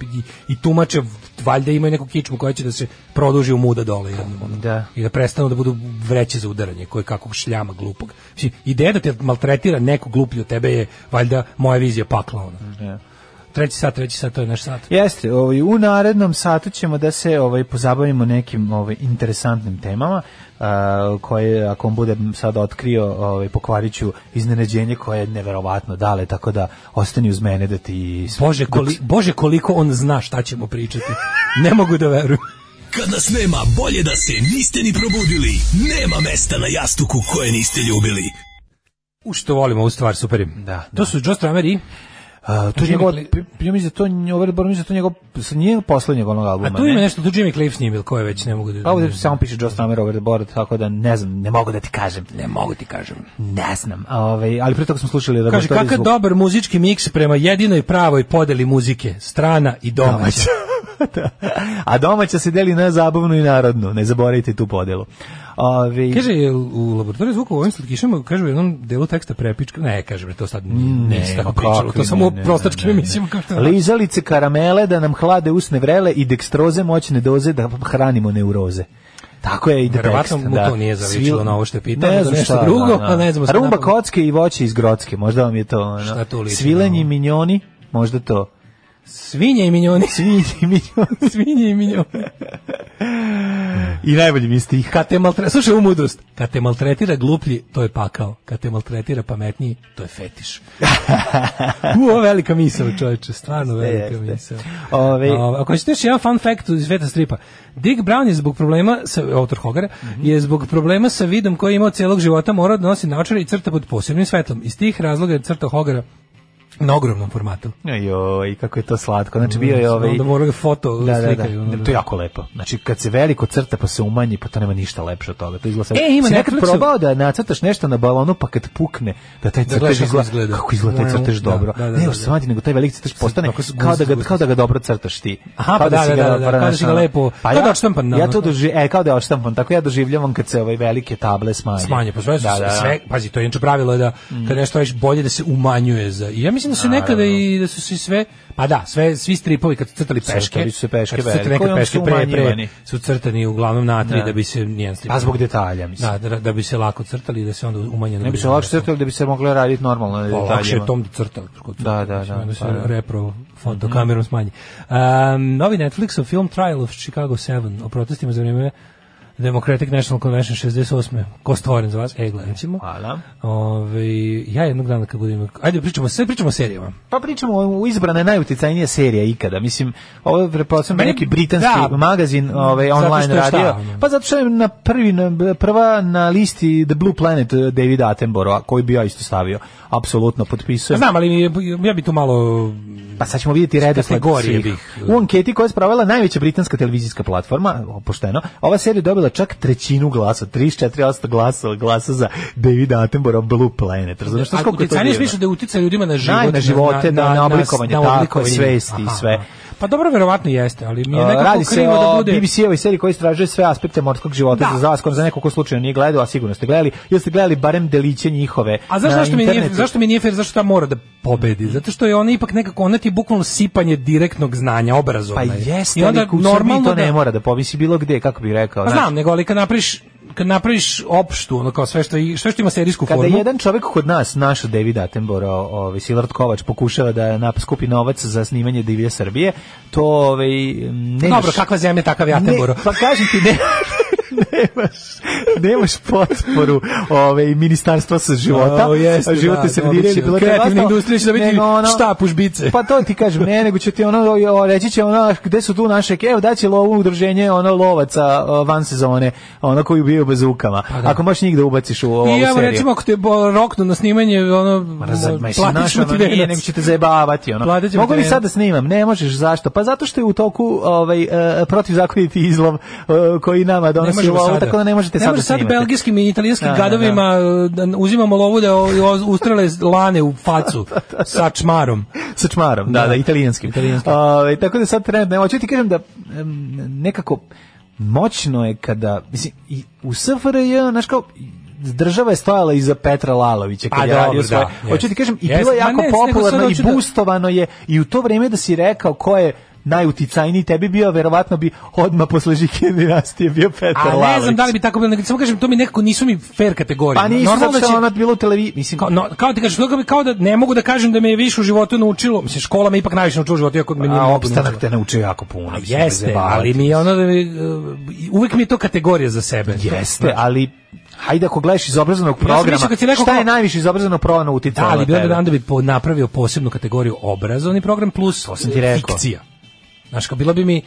[SPEAKER 6] i tumače, valjda imaju neku kičmu koja će da se produži u muda dole jednom. ono
[SPEAKER 7] Da.
[SPEAKER 6] i da prestanu da budu vreće za udaranje koje kakvog šljama glupog. Mislim, ideja da te maltretira neko gluplji od tebe je valjda moja vizija pakla ono.
[SPEAKER 7] da.
[SPEAKER 6] Treći sat, treći sat, to je naš sat.
[SPEAKER 7] Jeste, ovaj, u narednom satu ćemo da se ovaj pozabavimo nekim ovaj interesantnim temama a, koje ako vam budem sad otkrio ovaj pokvariću iznenađenje koje je neverovatno dale tako da ostani uz mene da ti
[SPEAKER 6] Bože, koli, bože koliko on zna šta ćemo pričati. Ne mogu da verujem.
[SPEAKER 8] Kad nas nema, bolje da se niste ni probudili. Nema mesta na jastuku koje niste ljubili.
[SPEAKER 6] U što volim ovu stvar, super. je.
[SPEAKER 7] Da,
[SPEAKER 6] To su Joe Stramer i...
[SPEAKER 7] A, to je njegov ja mislim da to nje- ovaj bar mislim da to njegov s- nije poslednjeg onog
[SPEAKER 6] A
[SPEAKER 7] albuma.
[SPEAKER 6] tu ima
[SPEAKER 7] ne?
[SPEAKER 6] nešto, tu Jimmy Cliff s njim ili ko je već, ne mogu da...
[SPEAKER 7] Pa ovde samo piše Joe Strummer over the board, tako da ne znam, ne mogu da ti kažem.
[SPEAKER 6] Ne mogu ti kažem.
[SPEAKER 7] Ne znam. A, Ovaj, ali pre toga smo slušali da
[SPEAKER 6] Kaže, kakav dobar muzički miks prema jedinoj pravoj podeli muzike, strana i domaća.
[SPEAKER 7] A domaća se deli na zabavnu i narodnu, ne zaboravite tu podelu. Ove,
[SPEAKER 6] Kaže jel u laboratoriju zvuka u ovim slatkišama kaže u jednom delu teksta prepička. Ne, kaže bre to sad nije se tako
[SPEAKER 7] ma
[SPEAKER 6] pričalo.
[SPEAKER 7] kakvi,
[SPEAKER 6] To samo u
[SPEAKER 7] ne, ne,
[SPEAKER 6] prostačkim
[SPEAKER 7] ne, ne.
[SPEAKER 6] emisijama kao što.
[SPEAKER 7] Lizalice karamele da nam hlade usne vrele i dekstroze moćne doze da hranimo neuroze. Tako je i tekst.
[SPEAKER 6] Verovatno mu
[SPEAKER 7] da.
[SPEAKER 6] to nije zaličilo
[SPEAKER 7] Svi-
[SPEAKER 6] na ovo što je pitao,
[SPEAKER 7] Ne
[SPEAKER 6] nego
[SPEAKER 7] znam
[SPEAKER 6] nešto
[SPEAKER 7] šta,
[SPEAKER 6] drugo,
[SPEAKER 7] da,
[SPEAKER 6] a ne znam šta
[SPEAKER 7] Rumba
[SPEAKER 6] napravim.
[SPEAKER 7] kocke i voće iz Grocke, možda vam je to. Ono.
[SPEAKER 6] Šta to liči, da.
[SPEAKER 7] Svilenji
[SPEAKER 6] ono?
[SPEAKER 7] minjoni, možda to.
[SPEAKER 6] Svinje i minjoni,
[SPEAKER 7] Svinji minjoni.
[SPEAKER 6] svinje i minjoni.
[SPEAKER 7] I najbolji mi je stih.
[SPEAKER 6] Kad te maltretira, slušaj u mudrost, kad te maltretira gluplji, to je pakao. Kad te maltretira pametniji, to je fetiš. U, ovo je velika misao, čovječe, stvarno velika
[SPEAKER 7] jeste.
[SPEAKER 6] misao.
[SPEAKER 7] Ove-
[SPEAKER 6] Ove, ako ćete još jedan fun fact iz sveta stripa, Dick Brown je zbog problema, sa, autor Hogara,
[SPEAKER 7] Mhm.
[SPEAKER 6] je zbog problema sa vidom koji je imao cijelog života morao da nosi naočare i crta pod posebnim svetlom. Iz tih razloga je crta Hogara na ogromnom formatu.
[SPEAKER 7] Joj, kako je to slatko. Znači bio je ovaj
[SPEAKER 6] Da moraju ga foto
[SPEAKER 7] da, da,
[SPEAKER 6] slikaju.
[SPEAKER 7] da. To je jako lepo. Znači, kad se veliko crta pa se umanji, pa to nema ništa lepše od toga. To izgleda
[SPEAKER 6] E, ima
[SPEAKER 7] si
[SPEAKER 6] na
[SPEAKER 7] nekad
[SPEAKER 6] Netflixu-
[SPEAKER 7] probao da nacrtaš nešto na balonu, pa kad pukne, da taj crtež
[SPEAKER 6] gledaš kako
[SPEAKER 7] izgleda,
[SPEAKER 6] izgleda.
[SPEAKER 7] Kako izgleda taj crtež
[SPEAKER 6] Da,
[SPEAKER 7] dobro.
[SPEAKER 6] da, da,
[SPEAKER 7] ne
[SPEAKER 6] da,
[SPEAKER 7] još
[SPEAKER 6] da.
[SPEAKER 7] samo ti, nego taj veliki crtež postane
[SPEAKER 6] tako s-
[SPEAKER 7] kao da, ga,
[SPEAKER 6] gusti,
[SPEAKER 7] kao da ga dobro crtaš ti.
[SPEAKER 6] Aha, pa da,
[SPEAKER 7] si
[SPEAKER 6] da,
[SPEAKER 7] ga
[SPEAKER 6] da, da,
[SPEAKER 7] dobro
[SPEAKER 6] kao da si ga
[SPEAKER 7] našao.
[SPEAKER 6] lepo- kao da je odštampan, da,
[SPEAKER 7] Ja
[SPEAKER 6] ono,
[SPEAKER 7] to
[SPEAKER 6] da.
[SPEAKER 7] doži, e, kao da je odštampan. Tako ja doživljavam kad se ove velike table smanje.
[SPEAKER 6] smanje pa sve,
[SPEAKER 7] Da, Mm. da, da.
[SPEAKER 6] sve pazi to je inače pravilo je da kad nešto radiš bolje da se umanjuje za i ja mislim da su nekada i da su se sve, pa da, sve svi stripovi kad su crtali
[SPEAKER 7] Crtali
[SPEAKER 6] peške,
[SPEAKER 7] su se peške
[SPEAKER 6] kad su crtali
[SPEAKER 7] velike,
[SPEAKER 6] neke
[SPEAKER 7] onda
[SPEAKER 6] peške
[SPEAKER 7] su
[SPEAKER 6] pre, pre
[SPEAKER 7] umanjivani.
[SPEAKER 6] su crtani uglavnom na tri
[SPEAKER 7] Da.
[SPEAKER 6] da bi se nijedan strip.
[SPEAKER 7] Pa zbog detalja, mislim.
[SPEAKER 6] Da, da, da bi se lako crtali i da se onda umanjeno.
[SPEAKER 7] Ne bi se lakše crtali da bi se moglo raditi normalno na
[SPEAKER 6] Pa,
[SPEAKER 7] detaljima.
[SPEAKER 6] lakše je tom da crta.
[SPEAKER 7] Da, da, da.
[SPEAKER 6] Onda se
[SPEAKER 7] pa da. Mhm.
[SPEAKER 6] repro fotokamerom smanji. Um, novi Netflixov film Trial of Chicago 7 o protestima za vrijeme Democratic National Convention 68. Ko stvoren za vas? E, gledat ćemo.
[SPEAKER 7] Hvala.
[SPEAKER 6] Ove, ja jednog dana kad budem... Ajde, pričamo, sve pričamo o serijama.
[SPEAKER 7] Pa pričamo o izbrane najuticajnije serija ikada. Mislim, ovo je pretpostavljam
[SPEAKER 6] Meni-
[SPEAKER 7] neki britanski
[SPEAKER 6] da.
[SPEAKER 7] magazin ovaj,
[SPEAKER 6] Zato
[SPEAKER 7] online
[SPEAKER 6] što je šta,
[SPEAKER 7] radio.
[SPEAKER 6] ono?
[SPEAKER 7] Pa zato što je na prvi, na, prva na listi The Blue Planet eh, David Attenborough, koji bi ja isto stavio. Apsolutno potpisujem.
[SPEAKER 6] Znam, ali mi- ja bi tu malo...
[SPEAKER 7] Pa sad ćemo vidjeti redosled
[SPEAKER 6] Kategorije
[SPEAKER 7] svih.
[SPEAKER 6] bih. da.
[SPEAKER 7] U anketi koja je spravila najveća britanska televizijska platforma, o, pošteno, ova serija je dobila čak trećinu glasa, 34% glasa, glasa za David Attenborough Blue Planet. Razumiješ što
[SPEAKER 6] A
[SPEAKER 7] koliko je to
[SPEAKER 6] uticajnije
[SPEAKER 7] divno?
[SPEAKER 6] misliš da je uticaj ljudima na život,
[SPEAKER 7] na živote, na- na oblikovanje, tako, svesti i sve.
[SPEAKER 6] Pa dobro, verovatno jeste, ali mi je
[SPEAKER 7] Uh,
[SPEAKER 6] nekako
[SPEAKER 7] Radi se
[SPEAKER 6] krivo da
[SPEAKER 7] o
[SPEAKER 6] bude...
[SPEAKER 7] BBC-ovoj seriji koja istražuje sve aspekte morskog života
[SPEAKER 6] Da.
[SPEAKER 7] za vas, za neko ko slučajno nije gledao, a sigurno ste gledali, ili ste gledali barem deliće njihove
[SPEAKER 6] A znaš
[SPEAKER 7] na
[SPEAKER 6] zašto mi nije
[SPEAKER 7] internetu.
[SPEAKER 6] zašto mi nije fair zašto ta mora da pobedi? Zato što je ona ipak nekako ona ti je bukvalno sipanje direktnog znanja,
[SPEAKER 7] Pa
[SPEAKER 6] obrazovna. je.
[SPEAKER 7] jeste,
[SPEAKER 6] I onda normalno
[SPEAKER 7] to ne
[SPEAKER 6] da-
[SPEAKER 7] mora da povisi bilo gde, kako bih rekao.
[SPEAKER 6] Pa
[SPEAKER 7] znaš.
[SPEAKER 6] znam, nego ali kad napraviš kad napraviš opštu, ono kao sve što i sve što ima serijsku
[SPEAKER 7] Kada
[SPEAKER 6] formu.
[SPEAKER 7] jedan čovjek kod nas, naš David Attenborough, ovaj Silard Kovač pokušava da nap skupi novac za snimanje Divlje Srbije, to ovaj ne
[SPEAKER 6] Dobro, kakva zemlja takav i Attenborough.
[SPEAKER 7] Ne, pa kažem ti ne nemaš, nemaš potporu ove, ministarstva sa života,
[SPEAKER 6] O, jeste,
[SPEAKER 7] životne
[SPEAKER 6] da,
[SPEAKER 7] sredine
[SPEAKER 6] dobit će.
[SPEAKER 7] ili bilo
[SPEAKER 6] Kreativne
[SPEAKER 7] kako.
[SPEAKER 6] industrije će da dobiti
[SPEAKER 7] Nego
[SPEAKER 6] štap u žbice.
[SPEAKER 7] Pa to ti kažem, ne, nego će ti ono, o, o, reći će ono, "Ah, gde su tu naše, evo daće lovu udruženje ono lovaca o, van sezone, ono koji ubijaju bazukama.
[SPEAKER 6] da.
[SPEAKER 7] Ako možeš njih da ubaciš u ovu
[SPEAKER 6] I evo
[SPEAKER 7] seriju.
[SPEAKER 6] recimo ako te bo- roknu na snimanje, ono
[SPEAKER 7] Razad, ma jesi
[SPEAKER 6] platiš
[SPEAKER 7] naš,
[SPEAKER 6] mu
[SPEAKER 7] ono,
[SPEAKER 6] ti
[SPEAKER 7] nije,
[SPEAKER 6] venac.
[SPEAKER 7] nego će te zajebavati. Ono.
[SPEAKER 6] Platit ćemo
[SPEAKER 7] Mogu
[SPEAKER 6] ti
[SPEAKER 7] li
[SPEAKER 6] venac.
[SPEAKER 7] sad da snimam? Ne možeš, zašto? Pa zato što je u toku ovaj, e, protivzakoniti izlov e, koji nama
[SPEAKER 6] Ne
[SPEAKER 7] donosi
[SPEAKER 6] možemo
[SPEAKER 7] lovu,
[SPEAKER 6] sada.
[SPEAKER 7] tako da ne možete
[SPEAKER 6] ne
[SPEAKER 7] sad da
[SPEAKER 6] može sad
[SPEAKER 7] snimate.
[SPEAKER 6] belgijskim i italijanskim
[SPEAKER 7] Da, da,
[SPEAKER 6] gadovima da, uzimamo lovu da o- o- ustrele lane u facu
[SPEAKER 7] Da,
[SPEAKER 6] sa čmarom.
[SPEAKER 7] sa čmarom, da, da, italijanskim.
[SPEAKER 6] Italijanskim.
[SPEAKER 7] Ovaj, tako da sad trenutno, evo, ću ti kažem da em, nekako moćno je kada, mislim, i u SFRJ, znaš kao, država je stojala iza Petra Lalovića kad
[SPEAKER 6] Pa
[SPEAKER 7] je
[SPEAKER 6] dobro,
[SPEAKER 7] radio svoje.
[SPEAKER 6] da,
[SPEAKER 7] Hoću
[SPEAKER 6] jest.
[SPEAKER 7] ti kažem, i
[SPEAKER 6] Jest,
[SPEAKER 7] bilo je
[SPEAKER 6] ma
[SPEAKER 7] jako
[SPEAKER 6] ne, nego sad
[SPEAKER 7] popularno
[SPEAKER 6] hoću
[SPEAKER 7] i
[SPEAKER 6] da-
[SPEAKER 7] boostovano je i u to vreme da si rekao ko je najuticajniji tebi bio, verovatno bi odma posle Žike dinastije bio Petar
[SPEAKER 6] A
[SPEAKER 7] Lalović.
[SPEAKER 6] ne znam da li bi tako bilo, nego samo kažem, to mi nekako nisu mi fair kategorije.
[SPEAKER 7] Pa nisu, zato
[SPEAKER 6] Normalno
[SPEAKER 7] što
[SPEAKER 6] da će-
[SPEAKER 7] je ono bilo u televiziji, mislim,
[SPEAKER 6] Kao, no, kao ti kažeš, kao, kao da ne mogu da kažem da me je više u životu naučilo, mislim, škola me ipak najviše naučila u životu, iako me nije
[SPEAKER 7] a
[SPEAKER 6] mnogo
[SPEAKER 7] opstanak
[SPEAKER 6] naučila.
[SPEAKER 7] te naučio jako puno.
[SPEAKER 6] A
[SPEAKER 7] mislim,
[SPEAKER 6] Jeste,
[SPEAKER 7] zajebavati.
[SPEAKER 6] ali mi je ono da mi, uh, uvek mi je to kategorija za sebe.
[SPEAKER 7] Jeste, ali hajde ako gledaš iz obrazovnog
[SPEAKER 6] sam
[SPEAKER 7] programa,
[SPEAKER 6] mislio kad si rekao
[SPEAKER 7] šta je
[SPEAKER 6] kao-
[SPEAKER 7] najviše iz obrazovnog programa uticalo
[SPEAKER 6] Da, ali
[SPEAKER 7] na
[SPEAKER 6] bi onda,
[SPEAKER 7] tebe?
[SPEAKER 6] onda bi po- napravio posebnu kategoriju obrazovni program plus
[SPEAKER 7] sam ti rekao.
[SPEAKER 6] fikcija. Znaš, kao bilo bi mi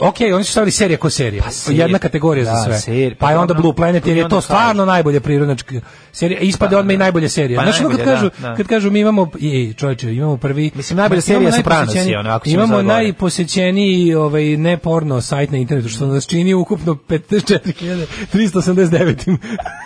[SPEAKER 6] Ok, oni su stavili serija ko serija.
[SPEAKER 7] Pa serija.
[SPEAKER 6] Jedna kategorija
[SPEAKER 7] Da,
[SPEAKER 6] za sve.
[SPEAKER 7] serija.
[SPEAKER 6] pa je onda
[SPEAKER 7] Onda-
[SPEAKER 6] Blue Planet jer
[SPEAKER 7] i
[SPEAKER 6] je
[SPEAKER 7] onda
[SPEAKER 6] to
[SPEAKER 7] kažu.
[SPEAKER 6] stvarno najbolje prirodnačka serija. Ispade odme i najbolje serije.
[SPEAKER 7] Pa
[SPEAKER 6] Znaš, ono kad
[SPEAKER 7] najbolje,
[SPEAKER 6] kažu,
[SPEAKER 7] da, da.
[SPEAKER 6] kad kažu mi imamo i čoveče, imamo prvi
[SPEAKER 7] Mislim, najbolja
[SPEAKER 6] imamo
[SPEAKER 7] serija Sopranos je,
[SPEAKER 6] najposećeniji-
[SPEAKER 7] ono, ako ćemo
[SPEAKER 6] Imamo
[SPEAKER 7] sad gore.
[SPEAKER 6] najposećeniji ovaj ne porno sajt na internetu što nas čini ukupno 54.389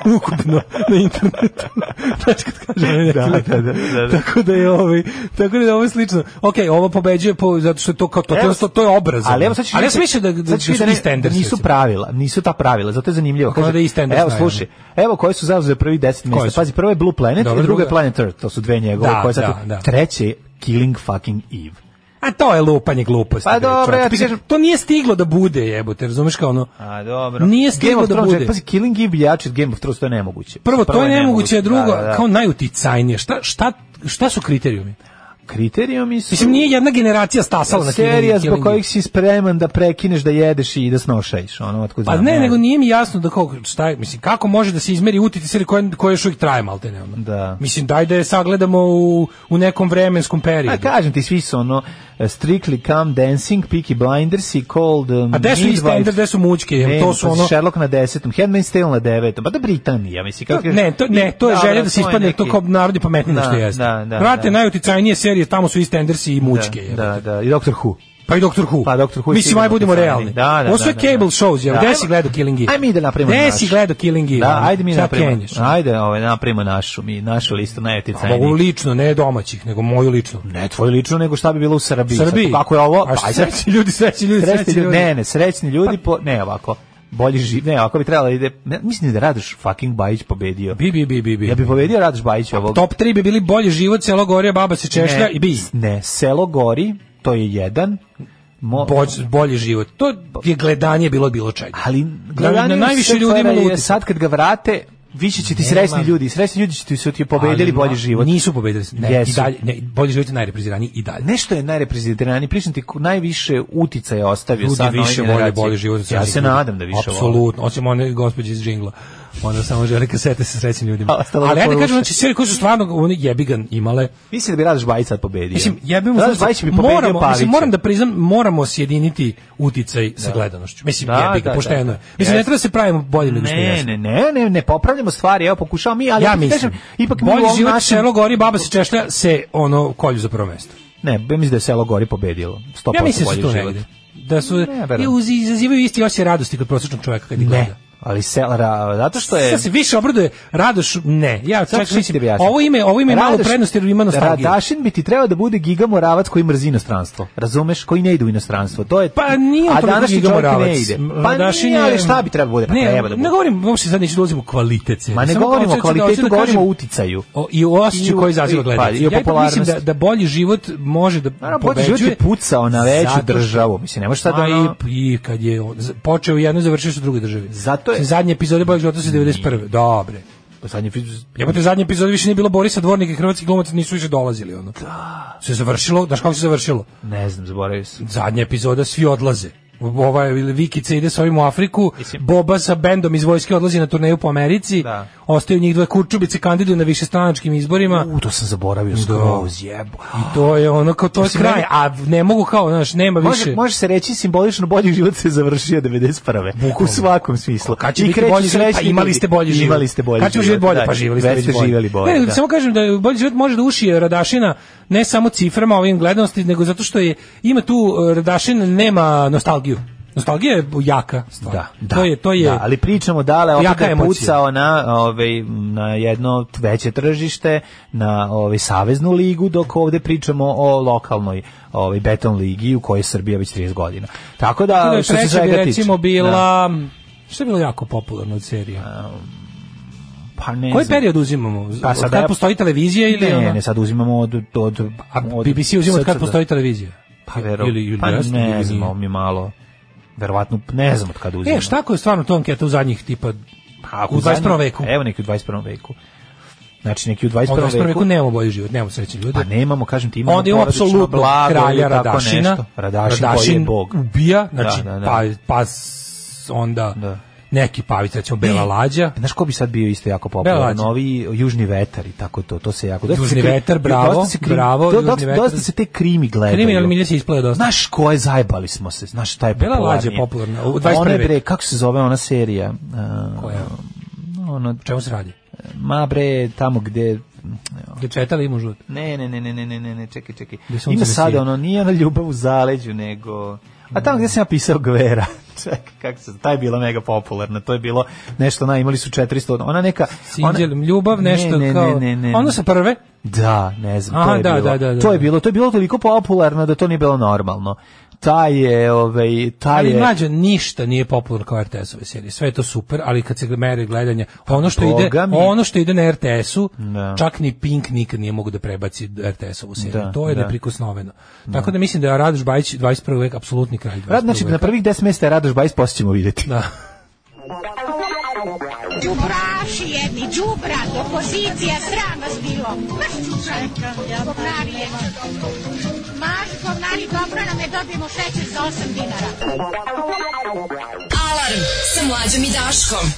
[SPEAKER 6] ukupno na internetu. Znači kad kažem
[SPEAKER 7] Da, da, da, da, da.
[SPEAKER 6] tako da je ovaj tako da je ovo slično. Okej, ovo pobeđuje po zato što je to kao to
[SPEAKER 7] Evo,
[SPEAKER 6] to, to je obraz.
[SPEAKER 7] Ali evo sad ćeš
[SPEAKER 6] ali ja sam
[SPEAKER 7] vidjeti-
[SPEAKER 6] mislio da da, da
[SPEAKER 7] sad ćeš
[SPEAKER 6] su
[SPEAKER 7] vidjeti
[SPEAKER 6] i
[SPEAKER 7] ne-
[SPEAKER 6] standards,
[SPEAKER 7] nisu
[SPEAKER 6] recimo.
[SPEAKER 7] pravila, nisu ta pravila, zato je zanimljivo.
[SPEAKER 6] Kako da i standards
[SPEAKER 7] evo
[SPEAKER 6] znaju,
[SPEAKER 7] slušaj, evo koji su zauzeli prvi 10
[SPEAKER 6] Koji su?
[SPEAKER 7] mjesta. Pazi, prva je Blue Planet,
[SPEAKER 6] Dobro,
[SPEAKER 7] a druga je
[SPEAKER 6] druga-
[SPEAKER 7] Planet Earth, to su dve njegove,
[SPEAKER 6] Da,
[SPEAKER 7] koje sad
[SPEAKER 6] da, da.
[SPEAKER 7] treće je Killing fucking Eve.
[SPEAKER 6] A to je lupanje gluposti.
[SPEAKER 7] Pa
[SPEAKER 6] bre,
[SPEAKER 7] dobro,
[SPEAKER 6] čovječe.
[SPEAKER 7] ja ti
[SPEAKER 6] Mislim,
[SPEAKER 7] kažem-
[SPEAKER 6] to nije stiglo da bude, jebote, razumeš kao ono.
[SPEAKER 7] A dobro.
[SPEAKER 6] Nije
[SPEAKER 7] Game
[SPEAKER 6] stiglo
[SPEAKER 7] of
[SPEAKER 6] da
[SPEAKER 7] Thrones,
[SPEAKER 6] bude.
[SPEAKER 7] čak, pazi, Killing Eve je jači od Game of Thrones, to je nemoguće.
[SPEAKER 6] Prvo, to je nemoguće, a drugo,
[SPEAKER 7] Da, da, da.
[SPEAKER 6] kao najuticajnije. Šta, šta, šta su kriterijumi?
[SPEAKER 7] kriterijumi su...
[SPEAKER 6] Mislim, nije jedna generacija stasala na
[SPEAKER 7] serija
[SPEAKER 6] Killing-
[SPEAKER 7] zbog
[SPEAKER 6] Killing
[SPEAKER 7] kojih si spreman da prekineš da jedeš i da snošaješ, ono, otkud
[SPEAKER 6] Pa
[SPEAKER 7] znam,
[SPEAKER 6] ne, nego nije mi jasno da kako, šta, je- mislim, kako može da se izmeri utjecaj serije koja, koja još uvijek traje, malte ne, ono.
[SPEAKER 7] Da.
[SPEAKER 6] Mislim, daj da je sagledamo u, u nekom vremenskom
[SPEAKER 7] A
[SPEAKER 6] periodu.
[SPEAKER 7] kažem ti, svi su ono eh, Strictly Come Dancing, Peaky Blinders i Cold um,
[SPEAKER 6] A gde su i
[SPEAKER 7] Midwife.
[SPEAKER 6] standard, gde su mučke, jel
[SPEAKER 7] Ne,
[SPEAKER 6] to su
[SPEAKER 7] pa
[SPEAKER 6] ono...
[SPEAKER 7] Sherlock na desetom, Handmaid's Tale na devetom, pa da Britanija, misli. Kako kažeš-
[SPEAKER 6] Ne, to, ne, to je
[SPEAKER 7] Dobro,
[SPEAKER 6] želja da se
[SPEAKER 7] to je
[SPEAKER 6] ispadne
[SPEAKER 7] neki-
[SPEAKER 6] to kao narodni pametnije nego što
[SPEAKER 7] Da,
[SPEAKER 6] jeste.
[SPEAKER 7] da, da,
[SPEAKER 6] Brate,
[SPEAKER 7] da.
[SPEAKER 6] najuticajnije serije, tamo su i Standersi i mučke. jebote.
[SPEAKER 7] Da, da, da, i Doctor Who.
[SPEAKER 6] Pa i Doctor Who.
[SPEAKER 7] Pa Doctor Who je
[SPEAKER 6] Mislim,
[SPEAKER 7] sigurno
[SPEAKER 6] aj budemo
[SPEAKER 7] uticajniji.
[SPEAKER 6] realni.
[SPEAKER 7] Da, da,
[SPEAKER 6] Ovo sve
[SPEAKER 7] da, da,
[SPEAKER 6] cable
[SPEAKER 7] da.
[SPEAKER 6] shows, jel?
[SPEAKER 7] Da,
[SPEAKER 6] Gde
[SPEAKER 7] ajmo-
[SPEAKER 6] si gledao Killing Eve?
[SPEAKER 7] Aj mi da napravimo
[SPEAKER 6] Gde
[SPEAKER 7] naš.
[SPEAKER 6] si gledao Killing Eve?
[SPEAKER 7] Da,
[SPEAKER 6] ono?
[SPEAKER 7] ajde mi da
[SPEAKER 6] Šta
[SPEAKER 7] napravimo.
[SPEAKER 6] kenješ?
[SPEAKER 7] Ajde, ovaj, napravimo našu, mi, našu listu najuticajnijih.
[SPEAKER 6] Mogu lično, ne domaćih, nego moju lično.
[SPEAKER 7] Ne tvoju ličnu, nego šta bi bilo u Srbiji.
[SPEAKER 6] Srbiji.
[SPEAKER 7] Sad, Kako je ovo?
[SPEAKER 6] A
[SPEAKER 7] Pa,
[SPEAKER 6] srećni ljudi, Pa- srećni ljudi,
[SPEAKER 7] srećni
[SPEAKER 6] srećni
[SPEAKER 7] ljudi.
[SPEAKER 6] ljudi.
[SPEAKER 7] Ne, ne, srećni ljudi, po, ne ovako. bolji živ, ne, ako bi trebalo da ide, ne, mislim da je Radoš fucking Bajić pobedio.
[SPEAKER 6] Bi, bi, bi, bi, bi.
[SPEAKER 7] Ja bi pobedio Radoš Bajić ovog.
[SPEAKER 6] Top 3 bi bili bolji život, selo gorija, baba se češlja
[SPEAKER 7] ne,
[SPEAKER 6] i bi.
[SPEAKER 7] Ne, selo gori, to je jedan. Mo,
[SPEAKER 6] Boć- bolji život. To je gledanje bilo bilo čega.
[SPEAKER 7] ali
[SPEAKER 6] Da bi na najviše ljudi imalo
[SPEAKER 7] je
[SPEAKER 6] utisak.
[SPEAKER 7] sad kad ga vrate, više će ti
[SPEAKER 6] Nema.
[SPEAKER 7] sresni ljudi, sresni ljudi će ti su ti pobedili
[SPEAKER 6] Ali
[SPEAKER 7] bolji
[SPEAKER 6] ma-
[SPEAKER 7] život.
[SPEAKER 6] Nisu pobedili. Ne,
[SPEAKER 7] Jesu.
[SPEAKER 6] i dalje, ne, bolji život je najrepreziraniji i dalje.
[SPEAKER 7] Nešto je najreprezentiraniji, pričam ti ko- najviše uticaja ostavio
[SPEAKER 6] Ljudi
[SPEAKER 7] sad na ovoj
[SPEAKER 6] više vole
[SPEAKER 7] generaciji.
[SPEAKER 6] bolji život. od
[SPEAKER 7] Ja
[SPEAKER 6] srećnih
[SPEAKER 7] se
[SPEAKER 6] ljudi.
[SPEAKER 7] nadam da više vole.
[SPEAKER 6] Apsolutno. Osim one gospođe iz džingla. Ona samo želi kasete sa srećnim ljudima.
[SPEAKER 7] A ostalo
[SPEAKER 6] Ali ja ti
[SPEAKER 7] poruše.
[SPEAKER 6] kažem, znači, sve koji su stvarno oni jebigan imale,
[SPEAKER 7] Mislim da bi Radoš Bajić sad pobedio.
[SPEAKER 6] Mislim, ja bih
[SPEAKER 7] Radoš Bajić bi pobedio
[SPEAKER 6] moramo, mislim,
[SPEAKER 7] Pavića.
[SPEAKER 6] moram da priznam, moramo sjediniti uticaj sa gledanošću. Mislim,
[SPEAKER 7] Da,
[SPEAKER 6] da, jebi
[SPEAKER 7] da,
[SPEAKER 6] ga,
[SPEAKER 7] da,
[SPEAKER 6] pošteno
[SPEAKER 7] da.
[SPEAKER 6] je. Mislim, ne
[SPEAKER 7] Jeste.
[SPEAKER 6] treba da se pravimo bolje nego što
[SPEAKER 7] Ne,
[SPEAKER 6] jesmo.
[SPEAKER 7] ne, ne, ne, ne, popravljamo stvari, evo pokušavam mi, ali
[SPEAKER 6] ja
[SPEAKER 7] ti
[SPEAKER 6] mislim,
[SPEAKER 7] kažem, ipak mi u
[SPEAKER 6] bolji
[SPEAKER 7] ovom
[SPEAKER 6] život
[SPEAKER 7] našem-
[SPEAKER 6] selo gori, baba se češlja, se ono kolju za prvo mesto.
[SPEAKER 7] Ne, be- mislim da je selo gori pobedilo. 100%
[SPEAKER 6] Ja mislim da
[SPEAKER 7] bolji
[SPEAKER 6] su tu
[SPEAKER 7] život.
[SPEAKER 6] negde. Da su,
[SPEAKER 7] verujem.
[SPEAKER 6] i uz- izazivaju isti osje radosti kod prosječnog čoveka kad ih gleda.
[SPEAKER 7] Ne, ali selo, ra- zato što je...
[SPEAKER 6] Sad se više obraduje Radoš, ne. Ja
[SPEAKER 7] Sad
[SPEAKER 6] čak
[SPEAKER 7] ću ti
[SPEAKER 6] mislim,
[SPEAKER 7] objasniti.
[SPEAKER 6] ovo ime, ovo ime je malo
[SPEAKER 7] Radoš- da
[SPEAKER 6] prednosti jer ima nostalgije.
[SPEAKER 7] Radašin bi ti trebao da bude Giga Moravac koji mrzi inostranstvo. Razumeš, koji ne ide u inostranstvo. To je
[SPEAKER 6] Pa nije on
[SPEAKER 7] A
[SPEAKER 6] toliko
[SPEAKER 7] današnji čovjek
[SPEAKER 6] gigomoravac.
[SPEAKER 7] ne ide.
[SPEAKER 6] M,
[SPEAKER 7] Pa
[SPEAKER 6] Radašin
[SPEAKER 7] nije,
[SPEAKER 6] je-
[SPEAKER 7] ali šta bi trebao bude? Pa
[SPEAKER 6] ne,
[SPEAKER 7] treba da bude.
[SPEAKER 6] Ne govorim, uopšte sad neću da ulazim u kvalitet. serije.
[SPEAKER 7] Ma ne
[SPEAKER 6] Samo
[SPEAKER 7] govorimo o
[SPEAKER 6] hoću da- hoću da
[SPEAKER 7] kvalitetu,
[SPEAKER 6] kažem-
[SPEAKER 7] govorimo o uticaju.
[SPEAKER 6] O, i o osjećaju
[SPEAKER 7] I u- i-
[SPEAKER 6] koji izaziva
[SPEAKER 7] pa,
[SPEAKER 6] gledanje.
[SPEAKER 7] i o
[SPEAKER 6] ja ipak mislim da,
[SPEAKER 7] popularnosti.
[SPEAKER 6] da bolji život može da
[SPEAKER 7] Naravno, bolji
[SPEAKER 6] pobeđuje.
[SPEAKER 7] život je pucao na veću
[SPEAKER 6] Zato što-
[SPEAKER 7] državu. Mislim, ne može sad
[SPEAKER 6] Ma
[SPEAKER 7] ono-
[SPEAKER 6] i, I kad je on- z- počeo u jednoj, završio se u drugoj državi.
[SPEAKER 7] Zato je-
[SPEAKER 6] Mislim, Zadnje epizode boljeg života su 91. Dobre.
[SPEAKER 7] Zadnji fiz-
[SPEAKER 6] Jebote, zadnje epizode više nije bilo Borisa Dvornika i hrvatski glumac nisu više dolazili. Ono. Da. Se završilo, znaš kako se završilo?
[SPEAKER 7] Ne znam, zaboravio sam.
[SPEAKER 6] zadnja epizoda svi odlaze. Ova je Vikica ide s ovim u Afriku,
[SPEAKER 7] Mislim-
[SPEAKER 6] Boba sa bendom iz vojske odlazi na turneju po Americi,
[SPEAKER 7] Da.
[SPEAKER 6] ostaju njih dve kurčubice kandiduju na višestranačkim izborima.
[SPEAKER 7] U, to sam zaboravio skroz, jebo.
[SPEAKER 6] Da. I to je ono kao to je
[SPEAKER 7] Mislim,
[SPEAKER 6] kraj,
[SPEAKER 7] meni-
[SPEAKER 6] a ne mogu kao, znaš, nema
[SPEAKER 7] Može,
[SPEAKER 6] više.
[SPEAKER 7] može se reći simbolično bolji život se završio 91. U svakom smislu.
[SPEAKER 6] Kad će
[SPEAKER 7] I
[SPEAKER 6] biti
[SPEAKER 7] kreću
[SPEAKER 6] bolji život, pa
[SPEAKER 7] srećni
[SPEAKER 6] imali
[SPEAKER 7] ljudi.
[SPEAKER 6] ste bolji život.
[SPEAKER 7] Imali ste bolji
[SPEAKER 6] Kad ćemo živjeti bolje,
[SPEAKER 7] da,
[SPEAKER 6] pa živjeli ste
[SPEAKER 7] već
[SPEAKER 6] već
[SPEAKER 7] ste
[SPEAKER 6] bolje.
[SPEAKER 7] živjeli bolje.
[SPEAKER 6] Ne, nego
[SPEAKER 7] da.
[SPEAKER 6] samo kažem da je bolji život može da ušije Radašina ne samo ciframa ovim gledanosti, nego zato što je ima tu eh, Radašin nema nostalgiju. Nostalgija je jaka stvar.
[SPEAKER 7] Da, da,
[SPEAKER 6] to je to je
[SPEAKER 7] da, ali pričamo dale, opet
[SPEAKER 6] Jaka
[SPEAKER 7] je
[SPEAKER 6] emocija.
[SPEAKER 7] pucao na, ovaj, na jedno veće tržište, na ovaj, saveznu ligu, dok ovde pričamo o lokalnoj ovaj, beton ligi u kojoj je Srbija već 30 godina. Tako da,
[SPEAKER 6] Da,
[SPEAKER 7] što se
[SPEAKER 6] treća bi
[SPEAKER 7] svega tiče,
[SPEAKER 6] recimo
[SPEAKER 7] da,
[SPEAKER 6] bila... Što je bilo jako popularno od serije?
[SPEAKER 7] pa ne
[SPEAKER 6] Koji
[SPEAKER 7] znam.
[SPEAKER 6] period uzimamo?
[SPEAKER 7] Pa
[SPEAKER 6] od
[SPEAKER 7] sad
[SPEAKER 6] kad
[SPEAKER 7] ja-
[SPEAKER 6] postoji televizija ili...
[SPEAKER 7] Ne,
[SPEAKER 6] ono?
[SPEAKER 7] ne, sad uzimamo od... od,
[SPEAKER 6] A
[SPEAKER 7] od
[SPEAKER 6] BBC uzima od kad
[SPEAKER 7] SCD.
[SPEAKER 6] postoji televizija?
[SPEAKER 7] Pa, vero,
[SPEAKER 6] Ili- ili
[SPEAKER 7] pa
[SPEAKER 6] jeste, ili
[SPEAKER 7] ne
[SPEAKER 6] nije.
[SPEAKER 7] znamo mi malo. Verovatno, ne znam od kada uzimamo.
[SPEAKER 6] E, šta ako je stvarno to anketa u zadnjih tipa...
[SPEAKER 7] Pa, ako
[SPEAKER 6] u
[SPEAKER 7] zadnje-
[SPEAKER 6] 21. veku?
[SPEAKER 7] Evo neki u 21. veku. Znači neki u
[SPEAKER 6] A U
[SPEAKER 7] 21.
[SPEAKER 6] 21.
[SPEAKER 7] veku
[SPEAKER 6] veku nemamo bolji život, nemamo sreće ljudi.
[SPEAKER 7] Pa nemamo, kažem ti, imamo
[SPEAKER 6] Onda imamo
[SPEAKER 7] porodično
[SPEAKER 6] apsolutno
[SPEAKER 7] blago ili
[SPEAKER 6] kralja
[SPEAKER 7] tako
[SPEAKER 6] Radašina.
[SPEAKER 7] nešto. Radašin, koji je bog.
[SPEAKER 6] ubija, znači
[SPEAKER 7] Da, da, da.
[SPEAKER 6] pa, pa s- onda
[SPEAKER 7] Da.
[SPEAKER 6] neki pavic, recimo Bela Lađa.
[SPEAKER 7] Znaš ko bi sad bio isto jako
[SPEAKER 6] Belađe.
[SPEAKER 7] popularan? Ovi južni vetar i tako to, to se jako... dosta
[SPEAKER 6] Južni
[SPEAKER 7] se kri-
[SPEAKER 6] vetar, bravo,
[SPEAKER 7] dosta se kri-
[SPEAKER 6] bravo,
[SPEAKER 7] do- dosta-
[SPEAKER 6] Južni vetar.
[SPEAKER 7] Dosta se te krimi gledaju.
[SPEAKER 6] Kriminal milje se ispleo dosta.
[SPEAKER 7] Znaš ko je zajebali smo se, znaš šta je
[SPEAKER 6] Bela
[SPEAKER 7] popularnije.
[SPEAKER 6] Lađa je popularna, u 21.
[SPEAKER 7] Ona je, bre,
[SPEAKER 6] veku.
[SPEAKER 7] kako se zove ona serija? Uh,
[SPEAKER 6] Koja?
[SPEAKER 7] Ono,
[SPEAKER 6] O čemu se radi?
[SPEAKER 7] ma bre, tamo gde...
[SPEAKER 6] Gde četali ima žut?
[SPEAKER 7] Ne, ne, ne, ne, ne, ne, ne, ne, čekaj, čekaj.
[SPEAKER 6] Gde sunce
[SPEAKER 7] Ima
[SPEAKER 6] ne sije.
[SPEAKER 7] sada ono, nije ona ljubav u zaleđu, nego... A tamo gde sam ja pisao Gvera. čekaj, kako se... Ta je bila mega popularna. To je bilo nešto, ona, imali su 400... Ona neka... ona-
[SPEAKER 6] Sinđel, ljubav, nešto
[SPEAKER 7] ne, ne,
[SPEAKER 6] kao...
[SPEAKER 7] Ne, ne, ne.
[SPEAKER 6] Ono sa prve,
[SPEAKER 7] Da, ne znam,
[SPEAKER 6] Aha,
[SPEAKER 7] to je
[SPEAKER 6] da,
[SPEAKER 7] bilo.
[SPEAKER 6] da, da, da.
[SPEAKER 7] To je bilo, to je bilo toliko popularno da to nije bilo normalno. Ta je, ovaj, ta
[SPEAKER 6] ali
[SPEAKER 7] je...
[SPEAKER 6] mlađe ništa nije popularno kao RTS-ove serije. Sve je to super, ali kad se mere gledanje, ono što ide,
[SPEAKER 7] Boga mi.
[SPEAKER 6] ono što ide na RTS-u,
[SPEAKER 7] Da.
[SPEAKER 6] čak ni Pink nikad nije mogu da prebaci RTS-ovu seriju.
[SPEAKER 7] Da,
[SPEAKER 6] to je
[SPEAKER 7] da.
[SPEAKER 6] neprikosnoveno. Tako da mislim da je Radoš Bajić 21. vek apsolutni kralj. 21.
[SPEAKER 7] Rad, znači, na
[SPEAKER 6] veka.
[SPEAKER 7] prvih 10 mjesta je Radoš Bajs, poslije ćemo vidjeti.
[SPEAKER 6] Da.
[SPEAKER 5] Đubraši jedni, đubra, opozicija, sram vas bilo. Mršu čekam, govnarije. Maš, govnari, dobro nam je dobijemo šećer za 8 dinara.
[SPEAKER 9] Alarm sa mlađom i Daškom.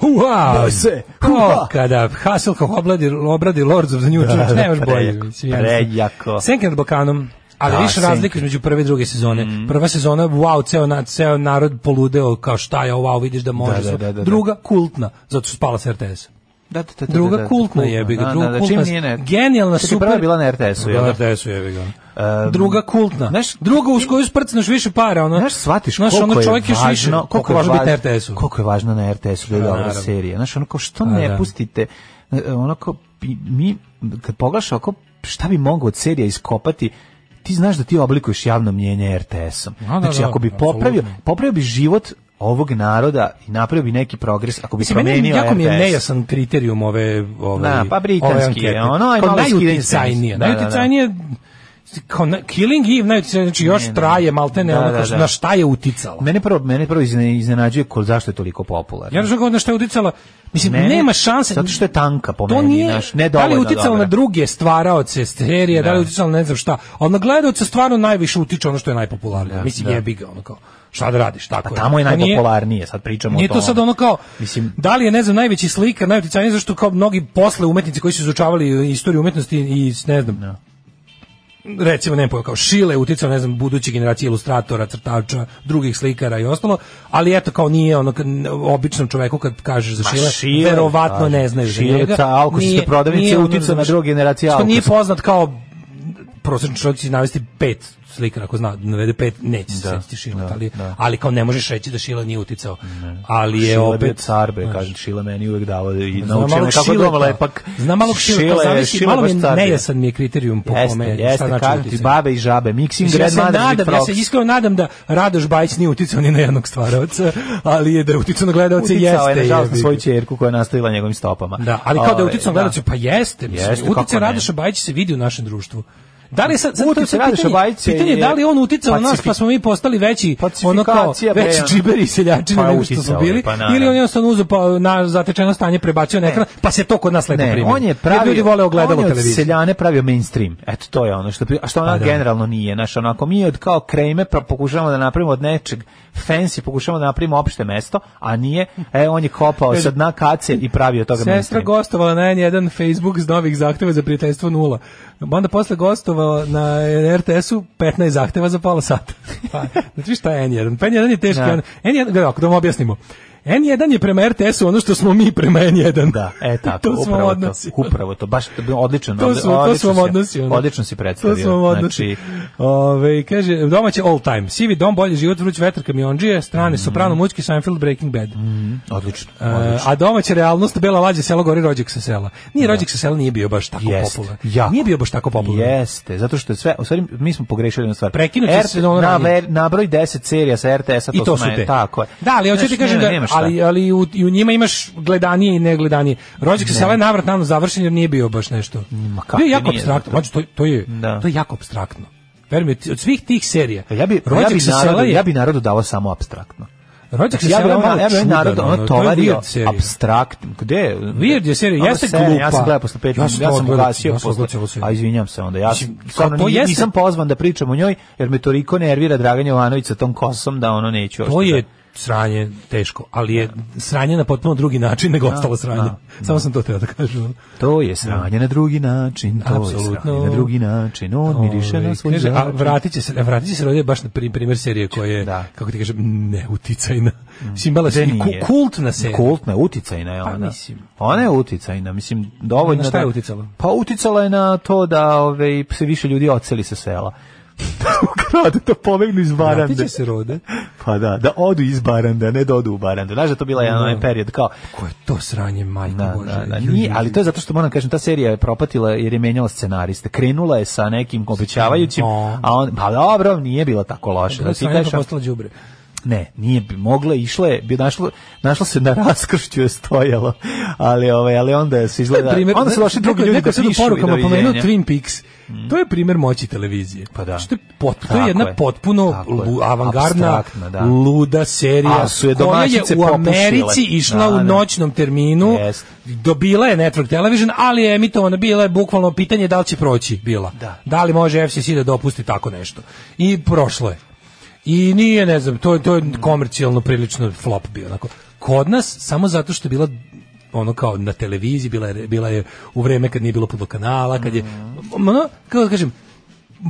[SPEAKER 6] Hua!
[SPEAKER 7] se,
[SPEAKER 6] Ko
[SPEAKER 7] hua!
[SPEAKER 6] kada Hasselhoff obradi, obradi Lords of the New Church, ne može bolje.
[SPEAKER 7] prejako,
[SPEAKER 6] mislim, jednostavno.
[SPEAKER 7] prejako.
[SPEAKER 6] Senke nad Balkanom, ali
[SPEAKER 7] Da,
[SPEAKER 6] više
[SPEAKER 7] Senke. Mhm.
[SPEAKER 6] razlika između prve i druge sezone. Prva sezona, wow, ceo, na, ceo narod poludeo, kao šta je, wow, vidiš da može.
[SPEAKER 7] Da, da,
[SPEAKER 6] sve.
[SPEAKER 7] da, da, da.
[SPEAKER 6] druga, kultna, zato su spala sa RTS-a.
[SPEAKER 7] Da, da, da, da,
[SPEAKER 6] Druga
[SPEAKER 7] da, da,
[SPEAKER 6] kultna je
[SPEAKER 7] Da, da,
[SPEAKER 6] ga, druga
[SPEAKER 7] da, čim
[SPEAKER 6] kultna,
[SPEAKER 7] nije na-
[SPEAKER 6] genijalna
[SPEAKER 7] Čekaj,
[SPEAKER 6] super.
[SPEAKER 7] prva je bila na RTS-u, jel
[SPEAKER 6] Bila
[SPEAKER 7] da?
[SPEAKER 6] na RTS-u jebi ga.
[SPEAKER 7] Em,
[SPEAKER 6] druga kultna.
[SPEAKER 7] znaš-
[SPEAKER 6] druga uz koju sprcneš više para, ono.
[SPEAKER 7] Znaš, shvatiš
[SPEAKER 6] znaš,
[SPEAKER 7] koliko
[SPEAKER 6] ono,
[SPEAKER 7] je
[SPEAKER 6] čovjek još
[SPEAKER 7] važno,
[SPEAKER 6] više, koliko je
[SPEAKER 7] je
[SPEAKER 6] važno biti na
[SPEAKER 7] važno-
[SPEAKER 6] RTS-u.
[SPEAKER 7] Koliko je važno na RTS-u da je
[SPEAKER 6] Pa,
[SPEAKER 7] dobra
[SPEAKER 6] naravno.
[SPEAKER 7] serija. Znaš, ono kao što
[SPEAKER 6] Pa,
[SPEAKER 7] ne
[SPEAKER 6] da.
[SPEAKER 7] pustite, e, ono kao, pi- mi, kad pogledaš oko šta bi mogao od serija iskopati, ti znaš da ti oblikuješ javno mnjenje RTS-om.
[SPEAKER 6] da,
[SPEAKER 7] Znači,
[SPEAKER 6] da,
[SPEAKER 7] ako bi
[SPEAKER 6] apsolutno.
[SPEAKER 7] popravio, popravio bi život ovog naroda i napravio bi neki progres ako bi
[SPEAKER 6] Mislim, meni
[SPEAKER 7] promenio
[SPEAKER 6] je- jako mi je
[SPEAKER 7] RTS.
[SPEAKER 6] nejasan kriterijum ove... ove
[SPEAKER 7] Da, pa britanski je, ono je
[SPEAKER 6] Kao
[SPEAKER 7] malo Da,
[SPEAKER 6] najuticajnije.
[SPEAKER 7] skidanje s tenisa.
[SPEAKER 6] Najuticajnije kao na, Killing Eve najuticajnije, znači još
[SPEAKER 7] Ne, ne.
[SPEAKER 6] traje maltene
[SPEAKER 7] Da,
[SPEAKER 6] ono
[SPEAKER 7] da,
[SPEAKER 6] kao što-
[SPEAKER 7] da.
[SPEAKER 6] na šta je uticala.
[SPEAKER 7] Mene prvo, mene prvo izne- iznenađuje ko, zašto je toliko popularno.
[SPEAKER 6] Ja ne znam kao na šta je uticala, mislim,
[SPEAKER 7] Mene-
[SPEAKER 6] nema šanse.
[SPEAKER 7] Zato što je tanka po
[SPEAKER 6] to
[SPEAKER 7] meni,
[SPEAKER 6] nije,
[SPEAKER 7] znaš, ne
[SPEAKER 6] da li je
[SPEAKER 7] dovoljno
[SPEAKER 6] uticalo
[SPEAKER 7] dobra.
[SPEAKER 6] na druge stvaraoce serije, da li je
[SPEAKER 7] Da.
[SPEAKER 6] uticalo na ne znam šta, ali na gledaoce stvarno najviše utiče ono što je najpopularnije. Mislim,
[SPEAKER 7] da.
[SPEAKER 6] jebi ga, ono kao, šta da radiš, tako
[SPEAKER 7] Pa tamo je
[SPEAKER 6] Pa nije-
[SPEAKER 7] najpopularnije, sad pričamo
[SPEAKER 6] Nije
[SPEAKER 7] o tome.
[SPEAKER 6] to sad ono kao,
[SPEAKER 7] Mislim-
[SPEAKER 6] da li je, ne znam, najveći slikar, najuticajniji, zašto kao mnogi posle umetnici koji su izučavali istoriju umetnosti i, ne znam,
[SPEAKER 7] Da.
[SPEAKER 6] recimo, ne pojma, kao Šile je uticao, ne znam, buduće generacije ilustratora, crtača, drugih slikara i ostalo, ali eto, kao nije ono, kad- običnom čoveku kad kažeš za
[SPEAKER 7] Ma,
[SPEAKER 6] Šile,
[SPEAKER 7] Schiller,
[SPEAKER 6] verovatno
[SPEAKER 7] kažem,
[SPEAKER 6] ne znaju za
[SPEAKER 7] Schiller,
[SPEAKER 6] njega.
[SPEAKER 7] ta alkoholska
[SPEAKER 6] Nije-
[SPEAKER 7] prodavnica
[SPEAKER 6] nije
[SPEAKER 7] je
[SPEAKER 6] ono,
[SPEAKER 7] uticao na
[SPEAKER 6] znaš,
[SPEAKER 7] druge generacije
[SPEAKER 6] Što nije
[SPEAKER 7] alkoholskog.
[SPEAKER 6] poznat kao prosječan čovjek će navesti pet slikara, ako zna, navede pet, neće se
[SPEAKER 7] Da,
[SPEAKER 6] setiti Šila,
[SPEAKER 7] da,
[SPEAKER 6] ali,
[SPEAKER 7] da.
[SPEAKER 6] ali kao ne možeš reći da Šila nije uticao, ali je
[SPEAKER 7] Šile je bio
[SPEAKER 6] opet...
[SPEAKER 7] car, bre,
[SPEAKER 6] znaš,
[SPEAKER 7] kažem, Šile meni uvek davao i
[SPEAKER 6] Znam
[SPEAKER 7] naučio me
[SPEAKER 6] malog
[SPEAKER 7] kako
[SPEAKER 6] Šileta.
[SPEAKER 7] doma lepak.
[SPEAKER 6] Znam malog Šile,
[SPEAKER 7] Šile
[SPEAKER 6] pa
[SPEAKER 7] je-
[SPEAKER 6] zavisi,
[SPEAKER 7] Šile
[SPEAKER 6] malo mi
[SPEAKER 7] baš car bio.
[SPEAKER 6] nejasan mi je kriterijum po
[SPEAKER 7] Jeste,
[SPEAKER 6] kome, šta
[SPEAKER 7] jeste,
[SPEAKER 6] znači
[SPEAKER 7] kažem ti,
[SPEAKER 6] uticaj.
[SPEAKER 7] babe i žabe, mixing,
[SPEAKER 6] Mislim, ja
[SPEAKER 7] red,
[SPEAKER 6] se
[SPEAKER 7] mother,
[SPEAKER 6] nadam, ja se iskreno nadam da Radoš Bajić nije uticao ni na jednog stvaraoca, ali je da je uticao na gledaoce jeste.
[SPEAKER 7] Uticao je, nažalost, na
[SPEAKER 6] jebi ga.
[SPEAKER 7] svoju čerku koja je nastavila njegovim stopama.
[SPEAKER 6] Da, ali kao da je
[SPEAKER 7] Ove,
[SPEAKER 6] uticao na
[SPEAKER 7] da.
[SPEAKER 6] gledaoce, pa jeste. mislim,
[SPEAKER 7] Jeste, kako
[SPEAKER 6] Uticaj
[SPEAKER 7] ne.
[SPEAKER 6] Radoša Bajića se vidi u našem društvu. Da li je sad, sad to je
[SPEAKER 7] Uticaj
[SPEAKER 6] sad
[SPEAKER 7] Radoša
[SPEAKER 6] pitanje,
[SPEAKER 7] Bajića
[SPEAKER 6] pitanje je da li je on uticao na nas
[SPEAKER 7] pacifi-
[SPEAKER 6] pa smo mi postali veći ono kao
[SPEAKER 7] Pacifikacija, bre,
[SPEAKER 6] veći
[SPEAKER 7] ono.
[SPEAKER 6] čiberi i seljači
[SPEAKER 7] Pa
[SPEAKER 6] nego što smo
[SPEAKER 7] uticao je,
[SPEAKER 6] bili
[SPEAKER 7] pa naravno.
[SPEAKER 6] ili on je jednostavno uzeo pa na zatečeno stanje prebacio na ekran pa se to kod nas lepo
[SPEAKER 7] Ne,
[SPEAKER 6] primio.
[SPEAKER 7] on je pravio,
[SPEAKER 6] ljudi vole ogledalo
[SPEAKER 7] on je od
[SPEAKER 6] televiziju.
[SPEAKER 7] seljane pravio mainstream. Eto, to je ono što, pri- a što ona
[SPEAKER 6] Pa da.
[SPEAKER 7] generalno nije. Znaš, onako, mi od kao kreme pra- pokušavamo da napravimo od nečeg fancy, pokušavamo da napravimo opšte mesto, a nije, e, on je kopao sad na kace i pravio od toga
[SPEAKER 6] Sestra
[SPEAKER 7] mainstream.
[SPEAKER 6] gostovala na N1 Facebook s novih zahteva za prijateljstvo nula. Onda posle gostovala na RTS-u 15 zahteva za pola sata. Pa, znači šta je N1? Pa N1 je teški.
[SPEAKER 7] Da.
[SPEAKER 6] on- N1, gledaj, ako da vam objasnimo. N1 je prema RTS-u ono što smo mi prema N1.
[SPEAKER 7] Da, e tako,
[SPEAKER 6] to smo
[SPEAKER 7] upravo
[SPEAKER 6] odnosi.
[SPEAKER 7] to. Upravo to, baš to- odlično.
[SPEAKER 6] To su, to
[SPEAKER 7] odlično
[SPEAKER 6] su vam
[SPEAKER 7] si-
[SPEAKER 6] odnosi. ono.
[SPEAKER 7] Odlično si predstavio.
[SPEAKER 6] To su vam odnosi.
[SPEAKER 7] Znači,
[SPEAKER 6] Ove, kaže, domaće all time. Sivi dom, bolji život, vruć vetar, kamionđije, strane,
[SPEAKER 7] Mhm.
[SPEAKER 6] soprano, mučki, Seinfeld, Breaking Bad.
[SPEAKER 7] odlično. Da.
[SPEAKER 6] E, a domaća realnost bela lađa selo gori rođak sa sela. Nije rođak sa sela nije bio baš tako
[SPEAKER 7] Jest,
[SPEAKER 6] popularan.
[SPEAKER 7] jako.
[SPEAKER 6] Nije bio baš tako popularan.
[SPEAKER 7] Jeste, zato što je sve, u stvari mi smo pogrešili jednu stvar.
[SPEAKER 6] Prekinut će
[SPEAKER 7] R-
[SPEAKER 6] se
[SPEAKER 7] na,
[SPEAKER 6] ono ranije.
[SPEAKER 7] ver- nabroj 10 serija sa RTS-a,
[SPEAKER 6] I to su
[SPEAKER 7] naj-
[SPEAKER 6] te.
[SPEAKER 7] Tako je.
[SPEAKER 6] Da, ali hoću
[SPEAKER 7] Znaš,
[SPEAKER 6] ti kažem
[SPEAKER 7] ne,
[SPEAKER 6] da,
[SPEAKER 7] nema šta.
[SPEAKER 6] ali, ali u, i u njima imaš gledanije i negledanije. Rođak sa sela je navrat navno završen jer nije bio baš nešto.
[SPEAKER 7] Ma kako
[SPEAKER 6] bio je jako
[SPEAKER 7] nije,
[SPEAKER 6] apstraktno.
[SPEAKER 7] zato.
[SPEAKER 6] Mađo, to, to, je,
[SPEAKER 7] Da.
[SPEAKER 6] to je jako apstraktno. Veruj mi, od svih tih serija,
[SPEAKER 7] E, Ja bi, ja
[SPEAKER 6] rođak
[SPEAKER 7] bi,
[SPEAKER 6] sa
[SPEAKER 7] narodu,
[SPEAKER 6] sela je...
[SPEAKER 7] ja bi narodu dao samo abstraktno.
[SPEAKER 6] rođak sa
[SPEAKER 7] ja
[SPEAKER 6] sela
[SPEAKER 7] bi
[SPEAKER 6] je
[SPEAKER 7] ono,
[SPEAKER 6] malo
[SPEAKER 7] ja bi
[SPEAKER 6] čudan,
[SPEAKER 7] narod ono
[SPEAKER 6] ono, to je
[SPEAKER 7] tovario
[SPEAKER 6] weird serija.
[SPEAKER 7] abstrakt. Gde? je?
[SPEAKER 6] Weird je serija,
[SPEAKER 7] Ona
[SPEAKER 6] jeste
[SPEAKER 7] serija, Ja sam
[SPEAKER 6] glupa.
[SPEAKER 7] gledao posle pet,
[SPEAKER 6] Ja
[SPEAKER 7] ja
[SPEAKER 6] sam
[SPEAKER 7] sam,
[SPEAKER 6] to odgledao,
[SPEAKER 7] ugasio
[SPEAKER 6] ja sam
[SPEAKER 7] posle.
[SPEAKER 6] odgledao celu seriju.
[SPEAKER 7] A izvinjam se onda, ja sam,
[SPEAKER 6] Mislim, kao
[SPEAKER 7] stvarno
[SPEAKER 6] to
[SPEAKER 7] ni-
[SPEAKER 6] jeste-
[SPEAKER 7] nisam pozvan da pričam o njoj, jer me toliko nervira Dragan Jovanović sa tom kosom da ono neću.
[SPEAKER 6] To je sranje teško, ali je sranje na potpuno drugi način nego ostalo sranje.
[SPEAKER 7] da.
[SPEAKER 6] Samo sam to teo da kažem.
[SPEAKER 7] To je sranje na drugi način, to je
[SPEAKER 6] Apsolutno.
[SPEAKER 7] sranje na drugi način, on miriše na
[SPEAKER 6] Ovaj,
[SPEAKER 7] svoj
[SPEAKER 6] kaže, a
[SPEAKER 7] žar.
[SPEAKER 6] vratit će se, a vratit će se rodije baš na pri- primer serije koja je,
[SPEAKER 7] Da.
[SPEAKER 6] kako ti kažem, neuticajna. Simbala
[SPEAKER 7] Gde
[SPEAKER 6] se i ku-
[SPEAKER 7] nije?
[SPEAKER 6] kultna serija.
[SPEAKER 7] Kultna, uticajna je ona.
[SPEAKER 6] Pa, mislim.
[SPEAKER 7] Ona je uticajna, mislim, dovoljno
[SPEAKER 6] Na šta je
[SPEAKER 7] da-
[SPEAKER 6] uticala?
[SPEAKER 7] Pa uticala je na to da ove, se više ljudi oceli sa sela. Ukrade, da pobegnu iz
[SPEAKER 6] Vratit
[SPEAKER 7] Barande.
[SPEAKER 6] će se rode.
[SPEAKER 7] Pa da, da odu iz Barande, a ne da odu u Barande. Znaš da je to bila jedan onaj period kao...
[SPEAKER 6] Ko je to sranje, majko
[SPEAKER 7] Da,
[SPEAKER 6] Bože?
[SPEAKER 7] da, da,
[SPEAKER 6] Ju,
[SPEAKER 7] nije,
[SPEAKER 6] ju,
[SPEAKER 7] ali
[SPEAKER 6] ju.
[SPEAKER 7] to je zato što moram kažem, ta serija je propatila jer je menjala scenariste. Krenula je sa nekim obećavajućim,
[SPEAKER 6] O.
[SPEAKER 7] a on, pa dobro, nije bila tako loše.
[SPEAKER 6] Bila
[SPEAKER 7] Da ti
[SPEAKER 6] sranje
[SPEAKER 7] kažeš,
[SPEAKER 6] pa postala đubre.
[SPEAKER 7] ne, nije bi mogla, išla je, bi našla, našla se na raskršću je stojalo, ali, ovaj, ali onda se izgleda,
[SPEAKER 6] Primer,
[SPEAKER 7] onda su došli drugi ljudi da
[SPEAKER 6] neko sad u
[SPEAKER 7] pišu i
[SPEAKER 6] porukama pomenuo
[SPEAKER 7] doviđenja.
[SPEAKER 6] Twin Peaks. To je primer moći televizije.
[SPEAKER 7] Pa da.
[SPEAKER 6] Što je pot, to je
[SPEAKER 7] Tako
[SPEAKER 6] jedna
[SPEAKER 7] je.
[SPEAKER 6] potpuno
[SPEAKER 7] Tako je.
[SPEAKER 6] lu- avangardna,
[SPEAKER 7] Abstraktna, da.
[SPEAKER 6] luda serija
[SPEAKER 7] A su je
[SPEAKER 6] koja je
[SPEAKER 7] domaćice
[SPEAKER 6] u
[SPEAKER 7] popušile.
[SPEAKER 6] Americi išla
[SPEAKER 7] Da,
[SPEAKER 6] u
[SPEAKER 7] da.
[SPEAKER 6] noćnom terminu.
[SPEAKER 7] Jest.
[SPEAKER 6] Dobila je Network Television, ali je emitovana bila je bukvalno pitanje da li će proći bila.
[SPEAKER 7] Da.
[SPEAKER 6] li može FCC da dopusti tako nešto. I prošlo je. I nije, ne znam, to je to je komercijalno prilično flop bio onako. Kod nas samo zato što je bila ono kao na televiziji bila je, bila je u vreme kad nije bilo puno kanala, kad je
[SPEAKER 7] Mm.
[SPEAKER 6] ono kako da kažem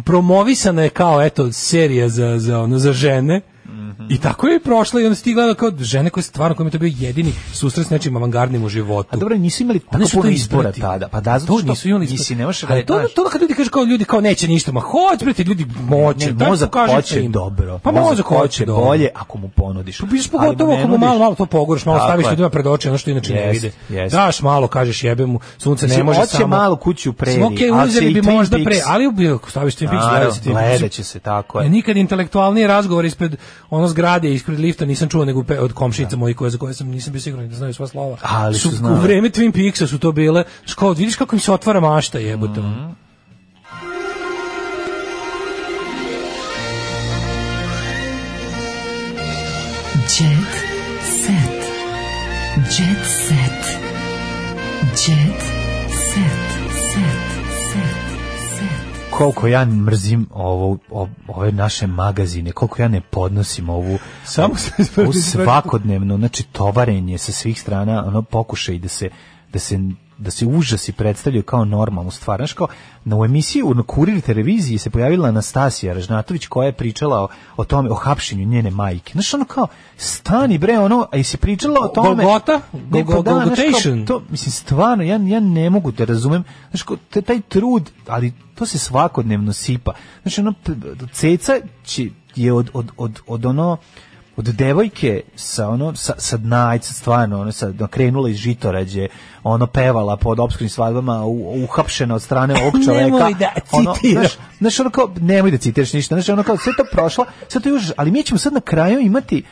[SPEAKER 6] promovisana je kao eto serija za za ono za žene.
[SPEAKER 7] Mhm.
[SPEAKER 6] I tako je i prošla i onda stigla kao žene koje stvarno kome je to bio jedini susret s nečim avangardnim u životu.
[SPEAKER 7] A dobro, nisu imali
[SPEAKER 6] Oni
[SPEAKER 7] tako
[SPEAKER 6] su
[SPEAKER 7] puno
[SPEAKER 6] to
[SPEAKER 7] izbora
[SPEAKER 6] izbratili.
[SPEAKER 7] tada. Pa da, zato
[SPEAKER 6] to
[SPEAKER 7] što
[SPEAKER 6] nisu imali
[SPEAKER 7] nisi, ne možeš
[SPEAKER 6] Ali
[SPEAKER 7] da-
[SPEAKER 6] to,
[SPEAKER 7] znaš,
[SPEAKER 6] to kad ljudi kažu kao ljudi kao neće ništa, ma hoće brate ljudi moće.
[SPEAKER 7] Ne,
[SPEAKER 6] daj,
[SPEAKER 7] mozak
[SPEAKER 6] pokažite
[SPEAKER 7] hoće
[SPEAKER 6] im.
[SPEAKER 7] dobro.
[SPEAKER 6] Pa mozak hoće
[SPEAKER 7] hoće
[SPEAKER 6] dobro.
[SPEAKER 7] bolje ako mu ponudiš.
[SPEAKER 6] Pa biš
[SPEAKER 7] Ali
[SPEAKER 6] pogotovo
[SPEAKER 7] ne
[SPEAKER 6] ako mu
[SPEAKER 7] nudiš.
[SPEAKER 6] malo, malo to poguraš, malo
[SPEAKER 7] Tako
[SPEAKER 6] staviš
[SPEAKER 7] je.
[SPEAKER 6] ljudima pred oči ono što inače ne
[SPEAKER 7] Jest,
[SPEAKER 6] vide.
[SPEAKER 7] jest.
[SPEAKER 6] Daš malo, kažeš jebe mu, sunce ne
[SPEAKER 7] Mislim,
[SPEAKER 6] može
[SPEAKER 7] hoće
[SPEAKER 6] samo.
[SPEAKER 7] malo kuću u preriji,
[SPEAKER 6] Okej,
[SPEAKER 7] ali će
[SPEAKER 6] uzeli
[SPEAKER 7] i
[SPEAKER 6] da bi
[SPEAKER 7] Twin
[SPEAKER 6] možda
[SPEAKER 7] Peaks.
[SPEAKER 6] pre, ali bi E, staviš Twin Peaks,
[SPEAKER 7] Naravno,
[SPEAKER 6] gledat će Twin Peaks.
[SPEAKER 7] gledat će se, tako je.
[SPEAKER 6] Nikad intelektualni razgovor ispred ono zgrade ispred lifta nisam čuo nego pe- od komšinica mojih koje za koje sam nisam bio siguran da znaju sva slova.
[SPEAKER 7] Da. Ali su
[SPEAKER 6] u
[SPEAKER 7] znali.
[SPEAKER 6] vreme Twin Peaksa su to bile. Škod, vidiš kako im se otvara mašta, jebote.
[SPEAKER 7] Mm.
[SPEAKER 13] Jet set. Jet set. Jet set. Set. Set. Set.
[SPEAKER 7] koliko ja mrzim ovo, o- ove naše magazine, koliko ja ne podnosim ovu,
[SPEAKER 6] Samo se isprati-
[SPEAKER 7] ovu svakodnevno, znači tovarenje sa svih strana, ono pokušaj da se, da se da se užasi predstavljaju kao normalnu stvar. Znaš kao, na u emisiji u- na Kurir televiziji se pojavila Anastasija Ražnatović koja je pričala o, o tome, o hapšenju njene majke. Znaš, ono kao, stani bre, ono, a jesi pričala o tome?
[SPEAKER 6] Golgota?
[SPEAKER 7] Ne, pa
[SPEAKER 6] Gol-
[SPEAKER 7] da, znaš, kao,
[SPEAKER 6] Golgotation?
[SPEAKER 7] to, mislim, stvarno, ja, ja ne mogu da razumem, znaš, ko, taj, taj trud, ali to se svakodnevno sipa. Znači, ono, p- ceca će, je od, od, od, od ono, od devojke sa ono sa sa dnajca stvarno ono sa da krenula iz žitorađe ono pevala pod opskim svadbama u- uhapšena od strane ovog čoveka
[SPEAKER 6] Nemoj da
[SPEAKER 7] ono,
[SPEAKER 6] citiram.
[SPEAKER 7] znaš, znaš, ono kao, nemoj da citiraš ništa, znaš, ono kao, sve to prošlo, sve to još, ali mi ćemo sad na kraju imati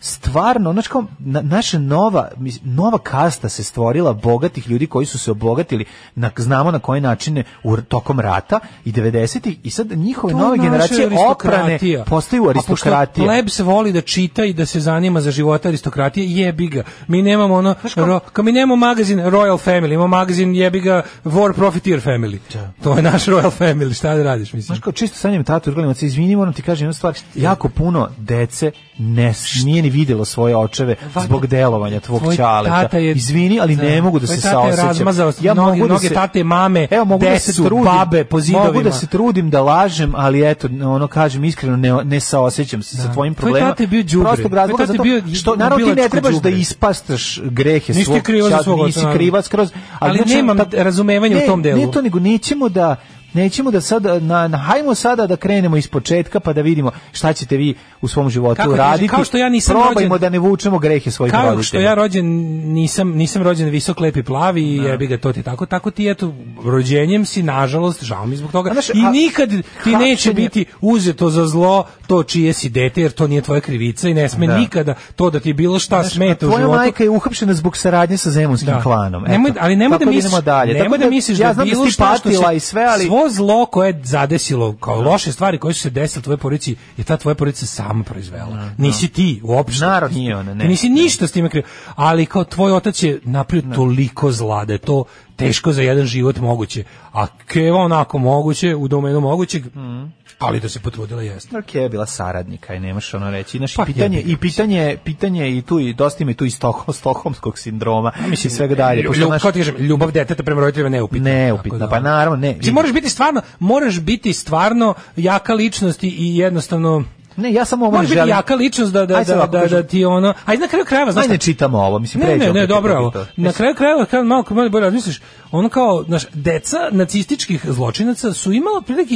[SPEAKER 7] stvarno, znaš kao, na, naša nova, mis- nova kasta se stvorila bogatih ljudi koji su se obogatili, na, znamo na koje načine u, tokom rata i 90-ih i sad njihove
[SPEAKER 6] To
[SPEAKER 7] nove
[SPEAKER 6] naša
[SPEAKER 7] generacije oprane
[SPEAKER 6] aristokratija.
[SPEAKER 7] postaju
[SPEAKER 6] A pošto
[SPEAKER 7] aristokratije.
[SPEAKER 6] Pleb se voli da čita i da se zanima za života aristokratije, jebi ga. Mi nemamo ono, ro, kao mi nemamo magazin Royal Family, imamo magazin jebi ga War Profiteer Family.
[SPEAKER 7] Da.
[SPEAKER 6] To je naš Royal Family, šta da radiš, mislim.
[SPEAKER 7] Znaš kao čisto sanjem tatu urgalima se izvini, moram ti kažem jednu stvar, jako puno dece ne, nije ni vidjelo svoje očeve
[SPEAKER 6] Vata,
[SPEAKER 7] zbog delovanja tvog
[SPEAKER 6] tvoj
[SPEAKER 7] čaleta.
[SPEAKER 6] tata je-
[SPEAKER 7] Izvini, ali ne
[SPEAKER 6] Da.
[SPEAKER 7] mogu da
[SPEAKER 6] Tvoj
[SPEAKER 7] se
[SPEAKER 6] tata je
[SPEAKER 7] saosećam. da
[SPEAKER 6] razmazao mnoge- mnoge tate, mame,
[SPEAKER 7] evo, mogu da se
[SPEAKER 6] decu,
[SPEAKER 7] trudim,
[SPEAKER 6] babe po
[SPEAKER 7] Mogu da
[SPEAKER 6] zidovima.
[SPEAKER 7] se trudim da lažem, ali eto, ono kažem iskreno, ne, ne saosećam se sa tvojim
[SPEAKER 6] Tvoj
[SPEAKER 7] problemima.
[SPEAKER 6] tata Da. je bio đubre.
[SPEAKER 7] Prostog razloga,
[SPEAKER 6] Tvoj tata
[SPEAKER 7] zato
[SPEAKER 6] je bio
[SPEAKER 7] što naravno ti ne
[SPEAKER 6] obilačko
[SPEAKER 7] trebaš da
[SPEAKER 6] đubre.
[SPEAKER 7] ispastaš grehe
[SPEAKER 6] Nisi
[SPEAKER 7] svog
[SPEAKER 6] ti kriva za
[SPEAKER 7] čaleta,
[SPEAKER 6] svog oca,
[SPEAKER 7] Nisi
[SPEAKER 6] naravno.
[SPEAKER 7] kriva skroz.
[SPEAKER 6] Ali
[SPEAKER 7] znači,
[SPEAKER 6] nemam
[SPEAKER 7] tak-
[SPEAKER 6] razumevanja u
[SPEAKER 7] Ne,
[SPEAKER 6] tom delu.
[SPEAKER 7] nije to nego nećemo da nećemo da sad na, na hajmo sada da krenemo iz početka pa da vidimo šta ćete vi u svom životu
[SPEAKER 6] Kako ti kažem,
[SPEAKER 7] raditi.
[SPEAKER 6] kao što ja nisam
[SPEAKER 7] Probajmo
[SPEAKER 6] rođen-
[SPEAKER 7] da ne vučemo grehe svojih
[SPEAKER 6] Kao
[SPEAKER 7] roditelja.
[SPEAKER 6] što ja rođen nisam nisam rođen visok lep i plavi
[SPEAKER 7] Da.
[SPEAKER 6] i jebi ga to ti je tako tako ti eto rođenjem si nažalost žao mi je zbog toga
[SPEAKER 7] A znaš,
[SPEAKER 6] i
[SPEAKER 7] a-
[SPEAKER 6] nikad ti neće
[SPEAKER 7] hapšenje-
[SPEAKER 6] biti uzeto za zlo to čije si dete jer to nije tvoja krivica i ne sme
[SPEAKER 7] Da.
[SPEAKER 6] nikada to da ti bilo šta smeta u
[SPEAKER 7] Tvoja
[SPEAKER 6] životu Da.
[SPEAKER 7] majka je uhapšena zbog saradnje sa zemunskim klanom. Eto.
[SPEAKER 6] Nemoj, ali nemoj
[SPEAKER 7] Tako
[SPEAKER 6] da misliš,
[SPEAKER 7] idemo dalje.
[SPEAKER 6] nemoj
[SPEAKER 7] Tako
[SPEAKER 6] da, misliš
[SPEAKER 7] ja
[SPEAKER 6] da
[SPEAKER 7] znam
[SPEAKER 6] bilo
[SPEAKER 7] da si
[SPEAKER 6] šta što
[SPEAKER 7] patila
[SPEAKER 6] se,
[SPEAKER 7] i sve, ali
[SPEAKER 6] svo zlo koje je zadesilo, kao loše stvari koje su se desile tvojoj porodici, je ta tvoja porodica sama proizvela. Nisi ti uopšte.
[SPEAKER 7] Da, Narod nije ona, ne.
[SPEAKER 6] Ti nisi ništa s time kriv. Ali kao tvoj otac je napravio toliko zla da je to teško za jedan život moguće. A keva onako moguće, u domenu mogućeg,
[SPEAKER 7] Mhm.
[SPEAKER 6] ali da se potrudila jeste.
[SPEAKER 7] Ok, je bila saradnika i nemaš ono reći. Znaš,
[SPEAKER 6] Pa
[SPEAKER 7] i pitanje,
[SPEAKER 6] jebi ga.
[SPEAKER 7] i pitanje, pitanje je i tu, i dosta ima i tu i Stockholm, stokholmskog sindroma mislim, i svega dalje.
[SPEAKER 6] Ljubav,
[SPEAKER 7] pošto,
[SPEAKER 6] ljubav,
[SPEAKER 7] znaš,
[SPEAKER 6] kao ti kažem, ljubav deteta prema roditeljima je neupitna.
[SPEAKER 7] Neupitna,
[SPEAKER 6] Tako
[SPEAKER 7] pa naravno, ne.
[SPEAKER 6] Ti moraš biti stvarno, moraš biti stvarno jaka ličnost i- i jednostavno
[SPEAKER 7] ne, ja samo ovo ne
[SPEAKER 6] Može biti
[SPEAKER 7] želim.
[SPEAKER 6] jaka ličnost da da
[SPEAKER 7] Ajde sad
[SPEAKER 6] da
[SPEAKER 7] ovako
[SPEAKER 6] da,
[SPEAKER 7] kažem.
[SPEAKER 6] da ti ono. Aj na kraju krajeva znaš
[SPEAKER 7] Ajde ne
[SPEAKER 6] šta?
[SPEAKER 7] čitamo ovo, mislim,
[SPEAKER 6] Ne,
[SPEAKER 7] pređe
[SPEAKER 6] ne, ne,
[SPEAKER 7] opet
[SPEAKER 6] dobro je
[SPEAKER 7] preko
[SPEAKER 6] ovo.
[SPEAKER 7] to.
[SPEAKER 6] Na kraju krajeva kad malo kad malo bolje razmisliš, ono kao, znaš, deca nacističkih zločinaca su imala prilike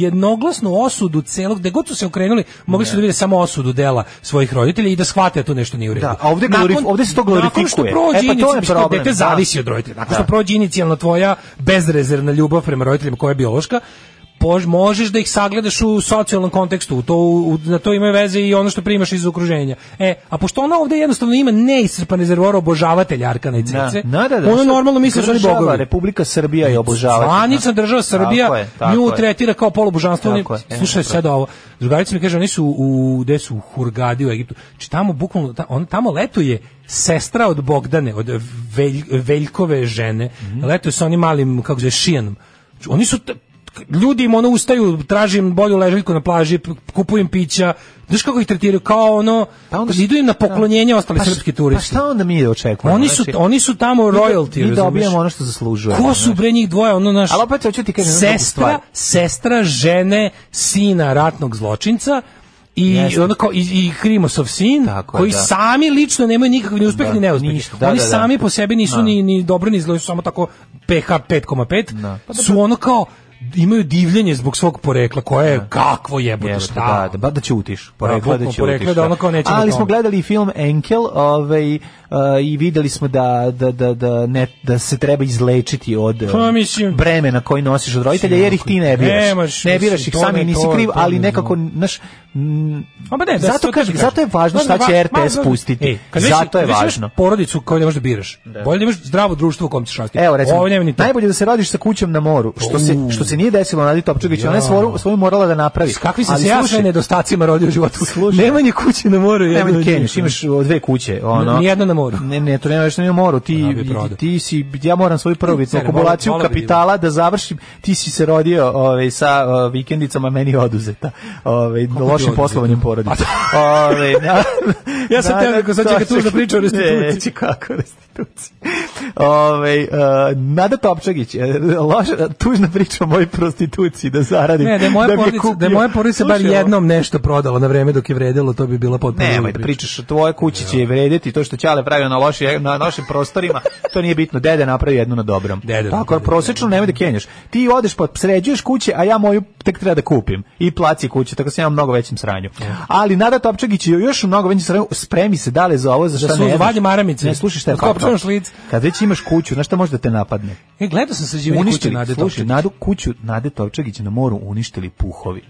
[SPEAKER 6] jednoglasnu osudu celog, gde god su se okrenuli, mogli su da vide samo osudu dela svojih roditelja i da shvate da tu nešto nije u redu.
[SPEAKER 7] Da, a ovde glorif- ovde se to
[SPEAKER 6] Nakon što
[SPEAKER 7] glorifikuje.
[SPEAKER 6] prođe
[SPEAKER 7] E, pa to je
[SPEAKER 6] inicijalno, mislim,
[SPEAKER 7] problem,
[SPEAKER 6] dete
[SPEAKER 7] da.
[SPEAKER 6] zavisi od roditelja. Nakon što
[SPEAKER 7] Da.
[SPEAKER 6] prođe inicijalno tvoja bezrezervna ljubav prema roditeljima koja je biološka, pož- možeš da ih sagledaš u socijalnom kontekstu, u to, u, na to imaju veze i ono što primaš iz okruženja. E, a pošto ona ovde jednostavno ima neiscrpan rezervoar obožavatelja Arkana i Cece,
[SPEAKER 7] Da, da, da.
[SPEAKER 6] ono
[SPEAKER 7] što
[SPEAKER 6] normalno misli da su oni
[SPEAKER 7] država,
[SPEAKER 6] bogovi. Pa
[SPEAKER 7] Republika Srbija je obožava.
[SPEAKER 6] Zvanična država Srbija
[SPEAKER 7] Tako je, tako
[SPEAKER 6] nju
[SPEAKER 7] je.
[SPEAKER 6] tretira kao polubožanstvo. Oni,
[SPEAKER 7] Tako je, e,
[SPEAKER 6] slušaj
[SPEAKER 7] upravo.
[SPEAKER 6] sad ovo. Drugarica mi kaže, oni su u, gde su, u Hurgadi u Egiptu. Či tamo, bukvalno, ta, on, tamo letuje sestra od Bogdane, od Velj, Veljkove žene.
[SPEAKER 7] Mhm.
[SPEAKER 6] Letuje sa onim malim, kako se zove, šijanom. Znači, Oni su, t- ljudi im ono ustaju, tražim bolju ležaljku na plaži, p- kupujem pića, znaš kako ih tretiraju, kao ono,
[SPEAKER 7] Pa onda-
[SPEAKER 6] idu im na poklonjenje ostali
[SPEAKER 7] Pa š-
[SPEAKER 6] srpski turisti.
[SPEAKER 7] Pa šta onda mi očekujemo?
[SPEAKER 6] Oni su,
[SPEAKER 7] Znači,
[SPEAKER 6] oni su tamo royalty,
[SPEAKER 7] Mi
[SPEAKER 6] razumeš?
[SPEAKER 7] dobijamo ono što zaslužujemo.
[SPEAKER 6] Ko su
[SPEAKER 7] znači.
[SPEAKER 6] bre njih dvoje, ono naš...
[SPEAKER 7] Ali opet hoću ti kažem jednu drugu
[SPEAKER 6] Sestra,
[SPEAKER 7] stvar.
[SPEAKER 6] sestra žene sina ratnog zločinca i
[SPEAKER 7] Jeste.
[SPEAKER 6] ono kao, i, i Krimosov sin
[SPEAKER 7] Tako je,
[SPEAKER 6] koji
[SPEAKER 7] da.
[SPEAKER 6] sami lično nemaju nikakav ni uspeh
[SPEAKER 7] Da,
[SPEAKER 6] ni neuspeh.
[SPEAKER 7] ništa, da,
[SPEAKER 6] Oni
[SPEAKER 7] da, da.
[SPEAKER 6] sami po sebi nisu
[SPEAKER 7] Da.
[SPEAKER 6] ni ni dobro ni zlo, su samo tako PH 5,5.
[SPEAKER 7] Da. Pa da,
[SPEAKER 6] su ono kao imaju divljenje zog svog porekla koje je kakvo jebote
[SPEAKER 7] Da. Jebote,
[SPEAKER 6] šta.
[SPEAKER 7] Da, da, ba da ćutiš. Porekla
[SPEAKER 6] bukvalno
[SPEAKER 7] da ćutiš.
[SPEAKER 6] porekla da ono kao nećemo
[SPEAKER 7] Ali
[SPEAKER 6] tome.
[SPEAKER 7] smo gledali i film Enkel ovaj, uh, i videli smo da, da, da, da, ne, da se treba izlečiti od uh,
[SPEAKER 6] Pa, mislim-
[SPEAKER 7] bremena koji nosiš od roditelja, jer ih ti ne biraš.
[SPEAKER 6] Nemaš,
[SPEAKER 7] ne
[SPEAKER 6] mislim,
[SPEAKER 7] biraš ih
[SPEAKER 6] to
[SPEAKER 7] sami,
[SPEAKER 6] ne,
[SPEAKER 7] nisi
[SPEAKER 6] to-
[SPEAKER 7] kriv,
[SPEAKER 6] to
[SPEAKER 7] ali
[SPEAKER 6] ne
[SPEAKER 7] nekako, znaš,
[SPEAKER 6] A pa ne, da,
[SPEAKER 7] Zato
[SPEAKER 6] to
[SPEAKER 7] kažem,
[SPEAKER 6] ti
[SPEAKER 7] zato je važno šta
[SPEAKER 6] Ma,
[SPEAKER 7] će
[SPEAKER 6] ma,
[SPEAKER 7] RTS
[SPEAKER 6] da ma,
[SPEAKER 7] pustiti.
[SPEAKER 6] E, kad već-
[SPEAKER 7] Zato je
[SPEAKER 6] kad već imaš
[SPEAKER 7] važno.
[SPEAKER 6] porodicu koju ne možeš da biraš. Bolje da imaš zdravo društvo u kom ćeš rasti.
[SPEAKER 7] Evo recimo,
[SPEAKER 6] Ovo nema ni to.
[SPEAKER 7] najbolje da se rodiš sa kućom na moru, što se
[SPEAKER 6] U.
[SPEAKER 7] što se nije desilo Nadi Topčagić, ona je svoju, svoju morala da napravi.
[SPEAKER 6] S kakvi sam
[SPEAKER 7] Ali
[SPEAKER 6] se ja
[SPEAKER 7] slušaj,
[SPEAKER 6] sve nedostacima rodio u životu. Nemanje kuće na moru. je
[SPEAKER 7] Nemoj
[SPEAKER 6] jedno
[SPEAKER 7] da
[SPEAKER 6] od
[SPEAKER 7] kenjaš,
[SPEAKER 6] njih.
[SPEAKER 7] imaš o, dve kuće, ono.
[SPEAKER 6] Nijedno na moru.
[SPEAKER 7] Ne, ne, to nema već na moru. Ti,
[SPEAKER 6] bi prodao.
[SPEAKER 7] ti, ti si, ja moram svoju prvobitnu
[SPEAKER 6] Ne, ne,
[SPEAKER 7] akumulaciju
[SPEAKER 6] vola- vola bi
[SPEAKER 7] kapitala da završim. Ti si se rodio ove, sa o, vikendicama meni oduzeta. Ove, lošim
[SPEAKER 6] oduzeta?
[SPEAKER 7] poslovanjem porodice. Ove, na-
[SPEAKER 6] Ja sam
[SPEAKER 7] na-
[SPEAKER 6] teo neko sad će
[SPEAKER 7] to
[SPEAKER 6] ga tužno
[SPEAKER 7] se-
[SPEAKER 6] priča o restituciji.
[SPEAKER 7] Neće, kako restituciji. Ove, e, Nada Topčagić, e, loša, tužna priča o mojoj prostituciji da zaradim.
[SPEAKER 6] Ne, da je moja
[SPEAKER 7] da bi je
[SPEAKER 6] porodica, da je
[SPEAKER 7] kupio.
[SPEAKER 6] moja porodica bar
[SPEAKER 7] Slušaj, ovo-
[SPEAKER 6] jednom nešto prodala na vreme dok je vredelo, to bi bila potpuno
[SPEAKER 7] Nemoj
[SPEAKER 6] druga
[SPEAKER 7] da
[SPEAKER 6] priča.
[SPEAKER 7] pričaš, tvoje kući će je vrediti, to što Ćale pravio na loši, na lošim prostorima, to nije bitno, dede napravi jednu na dobrom.
[SPEAKER 6] Dede
[SPEAKER 7] Tako,
[SPEAKER 6] napravi,
[SPEAKER 7] prosečno nemoj da kenjaš. Ti odeš pa sređuješ kuće, a ja moju tek treba da kupim. I placi kuće, tako sam ja u mnogo većem sranju. Ali Nada Topčagić je još u mnogo većem sranju, spremi se dale za ovo, za šta
[SPEAKER 6] Za suzu,
[SPEAKER 7] ne znaš.
[SPEAKER 6] vadi maramice.
[SPEAKER 7] Ne, slušaj šta je
[SPEAKER 6] Od kopčanog
[SPEAKER 7] faktor.
[SPEAKER 6] šlica.
[SPEAKER 7] Kad već imaš kuću, znaš šta može da te napadne?
[SPEAKER 6] E, gledao sam sa živim kuće
[SPEAKER 7] uništili,
[SPEAKER 6] Nade
[SPEAKER 7] slušaj,
[SPEAKER 6] Topčagić.
[SPEAKER 7] Nadu kuću Nade Topčagić na moru uništili puhovi.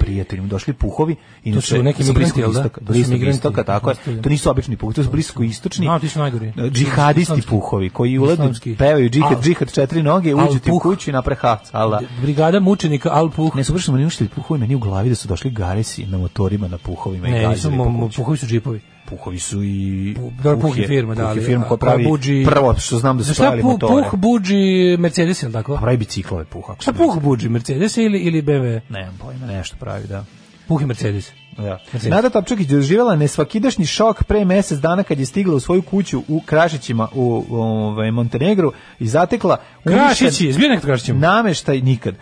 [SPEAKER 7] Prijatelji mu došli puhovi i
[SPEAKER 6] To su neki migranti, jel da? To su
[SPEAKER 7] Bliskog
[SPEAKER 6] migranti.
[SPEAKER 7] istoka, tako je. To nisu obični puhovi, to su blisko istočni.
[SPEAKER 6] No, ti su najgori.
[SPEAKER 7] Džihadisti
[SPEAKER 6] Islamski.
[SPEAKER 7] puhovi koji uledu,
[SPEAKER 6] Islamski.
[SPEAKER 7] pevaju
[SPEAKER 6] Al-
[SPEAKER 7] džihad, džihad četiri noge,
[SPEAKER 6] Al
[SPEAKER 7] uđu ti u
[SPEAKER 6] puh.
[SPEAKER 7] kuću i napre hafc, ala.
[SPEAKER 6] Brigada mučenika Alpuh.
[SPEAKER 7] Ne su vršno meni uništili puhovi, meni u glavi da su došli garesi na motorima, na puhovima i
[SPEAKER 6] Ne, nisu,
[SPEAKER 7] gazili
[SPEAKER 6] mo-
[SPEAKER 7] po
[SPEAKER 6] mo-
[SPEAKER 7] kući.
[SPEAKER 6] puhovi su džipovi.
[SPEAKER 7] Puhovi su i...
[SPEAKER 6] Pu- dobro, Puh je firma, da,
[SPEAKER 7] Puh je
[SPEAKER 6] ali-
[SPEAKER 7] firma koja
[SPEAKER 6] a-
[SPEAKER 7] pravi
[SPEAKER 6] a Buđi-
[SPEAKER 7] prvo što znam da
[SPEAKER 6] Znaš
[SPEAKER 7] su
[SPEAKER 6] šta
[SPEAKER 7] pravili
[SPEAKER 6] Puh-
[SPEAKER 7] motore. Pa
[SPEAKER 6] Puh buđi Mercedes, jel tako?
[SPEAKER 7] Pravi biciklove puha. ako
[SPEAKER 6] Šta
[SPEAKER 7] se ne
[SPEAKER 6] Puh buđi, Mercedes ili, ili BMW?
[SPEAKER 7] Nemam pojma, nešto pravi, da.
[SPEAKER 6] Puh i Mercedes.
[SPEAKER 7] Da.
[SPEAKER 6] Mercedes.
[SPEAKER 7] Nada Topčukić je doživjela nesvakidašnji šok pre mjesec dana kad je stigla u svoju kuću u Krašićima u, u ovaj, Montenegru i zatekla
[SPEAKER 6] Krašići,
[SPEAKER 7] uništen
[SPEAKER 6] zbio nekad Krašićima.
[SPEAKER 7] nameštaj nikad.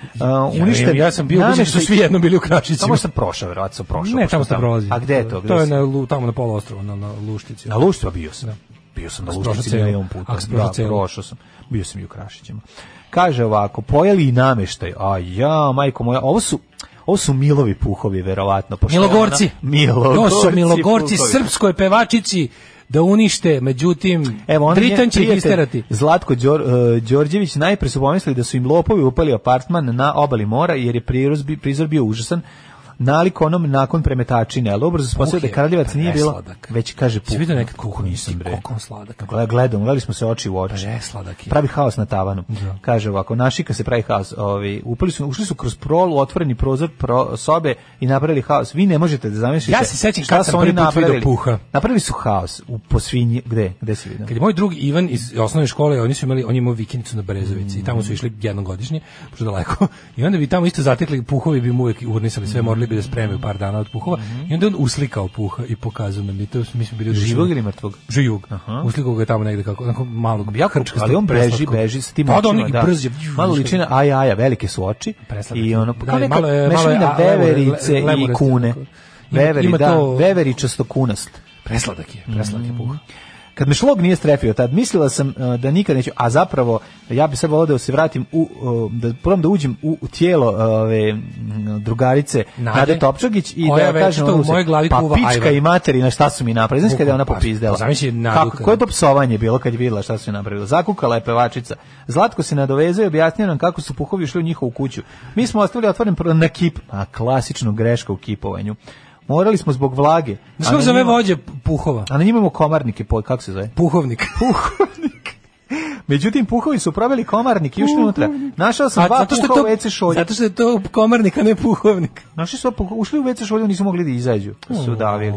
[SPEAKER 7] Uh, uništen
[SPEAKER 6] ja sam bio, ubeđen da
[SPEAKER 7] nameštaj-
[SPEAKER 6] su svi jednom bili u Krašićima.
[SPEAKER 7] Tamo sam prošao, verovatno sam prošao.
[SPEAKER 6] Ne,
[SPEAKER 7] pošto
[SPEAKER 6] tamo ste prolazi.
[SPEAKER 7] A gde je to? Gde
[SPEAKER 6] To je
[SPEAKER 7] si?
[SPEAKER 6] na, Lu- tamo na polu ostrova, na, na Luštici.
[SPEAKER 7] Na Luštva bio sam.
[SPEAKER 6] Da.
[SPEAKER 7] Bio sam na
[SPEAKER 6] Ako si prošao
[SPEAKER 7] Luštvici
[SPEAKER 6] celu.
[SPEAKER 7] milion puta.
[SPEAKER 6] Ako si prošao
[SPEAKER 7] Da,
[SPEAKER 6] celu.
[SPEAKER 7] prošao sam. Bio sam i u Krašićima. Kaže ovako, pojeli i nameštaj. A ja, majko moja, ovo su ovo su Milovi puhovi, verovatno. pošto je ona-
[SPEAKER 6] Milogorci.
[SPEAKER 7] Milogorci.
[SPEAKER 6] To su Milogorci
[SPEAKER 7] puhovi.
[SPEAKER 6] srpskoj pevačici da unište, međutim,
[SPEAKER 7] Evo, on
[SPEAKER 6] Dritan će ih
[SPEAKER 7] prijatelj
[SPEAKER 6] isterati.
[SPEAKER 7] Zlatko Đor, e, Đorđević najpre su pomislili da su im lopovi upali apartman na obali mora, jer je priroz, bi- prizor bio užasan. Nalik onom nakon premetačine, ali obrzo se postavio da
[SPEAKER 6] je
[SPEAKER 7] Kraljevac nije bila,
[SPEAKER 6] presladak.
[SPEAKER 7] već kaže
[SPEAKER 6] Si
[SPEAKER 7] puh.
[SPEAKER 6] vidio nekad kuhu
[SPEAKER 7] Nisam, bre.
[SPEAKER 6] Koliko on sladak.
[SPEAKER 7] Gle- Gledamo, da gledali smo se oči u
[SPEAKER 6] Pa
[SPEAKER 7] oči.
[SPEAKER 6] Presladak je.
[SPEAKER 7] Pravi haos na tavanu.
[SPEAKER 6] Da.
[SPEAKER 7] Kaže ovako, naši kad se pravi haos, ovi, upali su, ušli su kroz prol, u otvoreni prozor pro, sobe i napravili haos. Vi ne možete da zamislite
[SPEAKER 6] Ja se sećam
[SPEAKER 7] šta
[SPEAKER 6] kad
[SPEAKER 7] su
[SPEAKER 6] sam
[SPEAKER 7] oni
[SPEAKER 6] prvi put video
[SPEAKER 7] napravili.
[SPEAKER 6] puha.
[SPEAKER 7] Napravili su haos u posvinji, gde, gde da. si vidio?
[SPEAKER 6] Kad je moj drug Ivan iz osnovne škole, oni su imali, on je imao vikendicu na Brezovici i tamo su išli jednom godišnje, pošto je daleko. I onda bi tamo isto zatekli puhovi bi mu uvek urnisali sve, morali bi da spremaju par dana od puhova. I onda je on uslikao puha i pokazao nam i to mi smo bili oduševljeni.
[SPEAKER 7] Mhm. Živog ili mrtvog?
[SPEAKER 6] živog. Uslikao ga je tamo negde kako onako malog
[SPEAKER 7] jako
[SPEAKER 6] krčkastog,
[SPEAKER 7] ali on beži,
[SPEAKER 6] preslatkog.
[SPEAKER 7] beži sa tim
[SPEAKER 6] Pa da, on
[SPEAKER 7] očima,
[SPEAKER 6] i brz je.
[SPEAKER 7] Malo liči na aja, aja, velike su oči.
[SPEAKER 6] Presladak.
[SPEAKER 7] I ono,
[SPEAKER 6] Da,
[SPEAKER 7] kao neka
[SPEAKER 6] malo je- malo je
[SPEAKER 7] mešavina
[SPEAKER 6] a- lemure-
[SPEAKER 7] veverice
[SPEAKER 6] le-
[SPEAKER 7] i
[SPEAKER 6] lemure-
[SPEAKER 7] kune.
[SPEAKER 6] tako. Ima-
[SPEAKER 7] Veveri,
[SPEAKER 6] ima
[SPEAKER 7] da,
[SPEAKER 6] to-
[SPEAKER 7] veveri častokunast.
[SPEAKER 6] Presladak je, presladak je puha.
[SPEAKER 7] Kad me šlog nije strefio tad, mislila sam e, da nikad neću, a zapravo ja bi sad volao da se vratim u, o, da probam da uđem u, u tijelo e, ove m, drugarice
[SPEAKER 6] Nade.
[SPEAKER 7] Nade, Topčagić i
[SPEAKER 6] Koja
[SPEAKER 7] da
[SPEAKER 6] već
[SPEAKER 7] kažem
[SPEAKER 6] to u
[SPEAKER 7] ono se,
[SPEAKER 6] mojoj glavi
[SPEAKER 7] pa
[SPEAKER 6] kuva
[SPEAKER 7] pička
[SPEAKER 6] ajvar."
[SPEAKER 7] i materina šta su mi napravili, znaš kada je ona
[SPEAKER 6] Bukvalno, pa,
[SPEAKER 7] popizdela.
[SPEAKER 6] zamisli Nadu
[SPEAKER 7] Kako,
[SPEAKER 6] kad-
[SPEAKER 7] koje to psovanje je bilo kad je vidjela šta su mi napravili. Zakukala je pevačica. Zlatko se nadovezao i objasnio nam kako su puhovi ušli u njihovu kuću. Mi smo ostavili otvoren pro- na kip, a klasičnu grešku u kipovanju. Morali smo zbog vlage.
[SPEAKER 6] Znaš
[SPEAKER 7] a
[SPEAKER 6] kako
[SPEAKER 7] na
[SPEAKER 6] zove
[SPEAKER 7] njima-
[SPEAKER 6] vođe puhova?
[SPEAKER 7] A na njima imamo komarnike, po, kako se zove?
[SPEAKER 6] Puhovnik.
[SPEAKER 7] puhovnik. Međutim, puhovi su pravili komarnik i ušli unutra. Našao sam dva
[SPEAKER 6] je
[SPEAKER 7] puha u WC šolju.
[SPEAKER 6] zato što je to komarnik, a ne puhovnik.
[SPEAKER 7] Našli su, puha- ušli u WC šolju, nisu mogli da izađu. Su davili.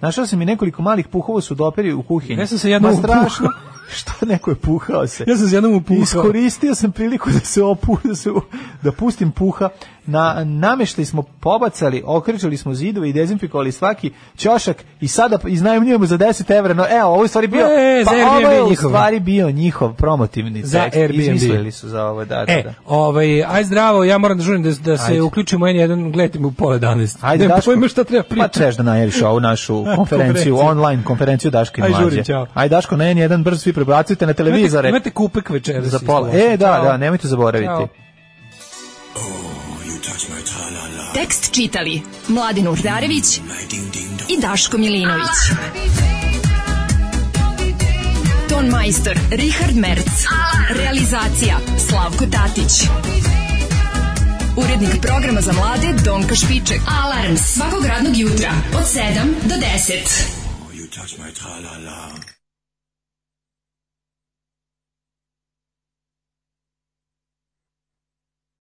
[SPEAKER 7] Našao sam i nekoliko malih puhova su doperi u kuhinji.
[SPEAKER 6] Ja sam se jednom
[SPEAKER 7] Ma strašno. Što neko je puhao se?
[SPEAKER 6] Ja sam se jednom upuhao.
[SPEAKER 7] Iskoristio sam priliku da se opu, da, se, da pustim puha. Na nameštaj smo pobacali, okrećali smo zidove i dezinfikovali svaki ćošak i sada iznajmljujemo za 10 evra. No, evo, ovo je u stvari bio,
[SPEAKER 6] E,
[SPEAKER 7] pa
[SPEAKER 6] za
[SPEAKER 7] ovo
[SPEAKER 6] Airbnb
[SPEAKER 7] je u
[SPEAKER 6] njihov.
[SPEAKER 7] stvari bio njihov promotivni
[SPEAKER 6] Za
[SPEAKER 7] tekst.
[SPEAKER 6] Airbnb.
[SPEAKER 7] Izmislili su za ovo, da, da,
[SPEAKER 6] E,
[SPEAKER 7] da.
[SPEAKER 6] ovaj, aj zdravo, ja moram da žurim da, da se
[SPEAKER 7] Ajde.
[SPEAKER 6] uključimo N1, gledajte mi u pola 11.
[SPEAKER 7] Ajde,
[SPEAKER 6] Nemam
[SPEAKER 7] Daško.
[SPEAKER 6] pojma šta treba
[SPEAKER 7] Pa
[SPEAKER 6] pričati.
[SPEAKER 7] ćeš da najaviš ovu našu konferenciju,
[SPEAKER 6] Konferenciju.
[SPEAKER 7] online konferenciju Daške i
[SPEAKER 6] Aj,
[SPEAKER 7] Mlađe.
[SPEAKER 6] žurim, ćao.
[SPEAKER 7] Aj, Daško, na N1 brzo svi prebacujte na televizore.
[SPEAKER 6] Imate, imate kupek večeras.
[SPEAKER 7] za
[SPEAKER 6] i
[SPEAKER 7] pola.
[SPEAKER 6] slušajte.
[SPEAKER 7] E, da,
[SPEAKER 6] Ćao.
[SPEAKER 7] da, nemojte zaboraviti.
[SPEAKER 6] Ćao.
[SPEAKER 13] Tekst čitali Mladin Urdarević i Daško Milinović. Ton majstor Richard Merc. Realizacija Slavko Tatić.
[SPEAKER 9] Urednik programa za mlade Donka Špiček. Alarms svakog radnog jutra od 7 do 10.
[SPEAKER 4] You touch my tra-la-la.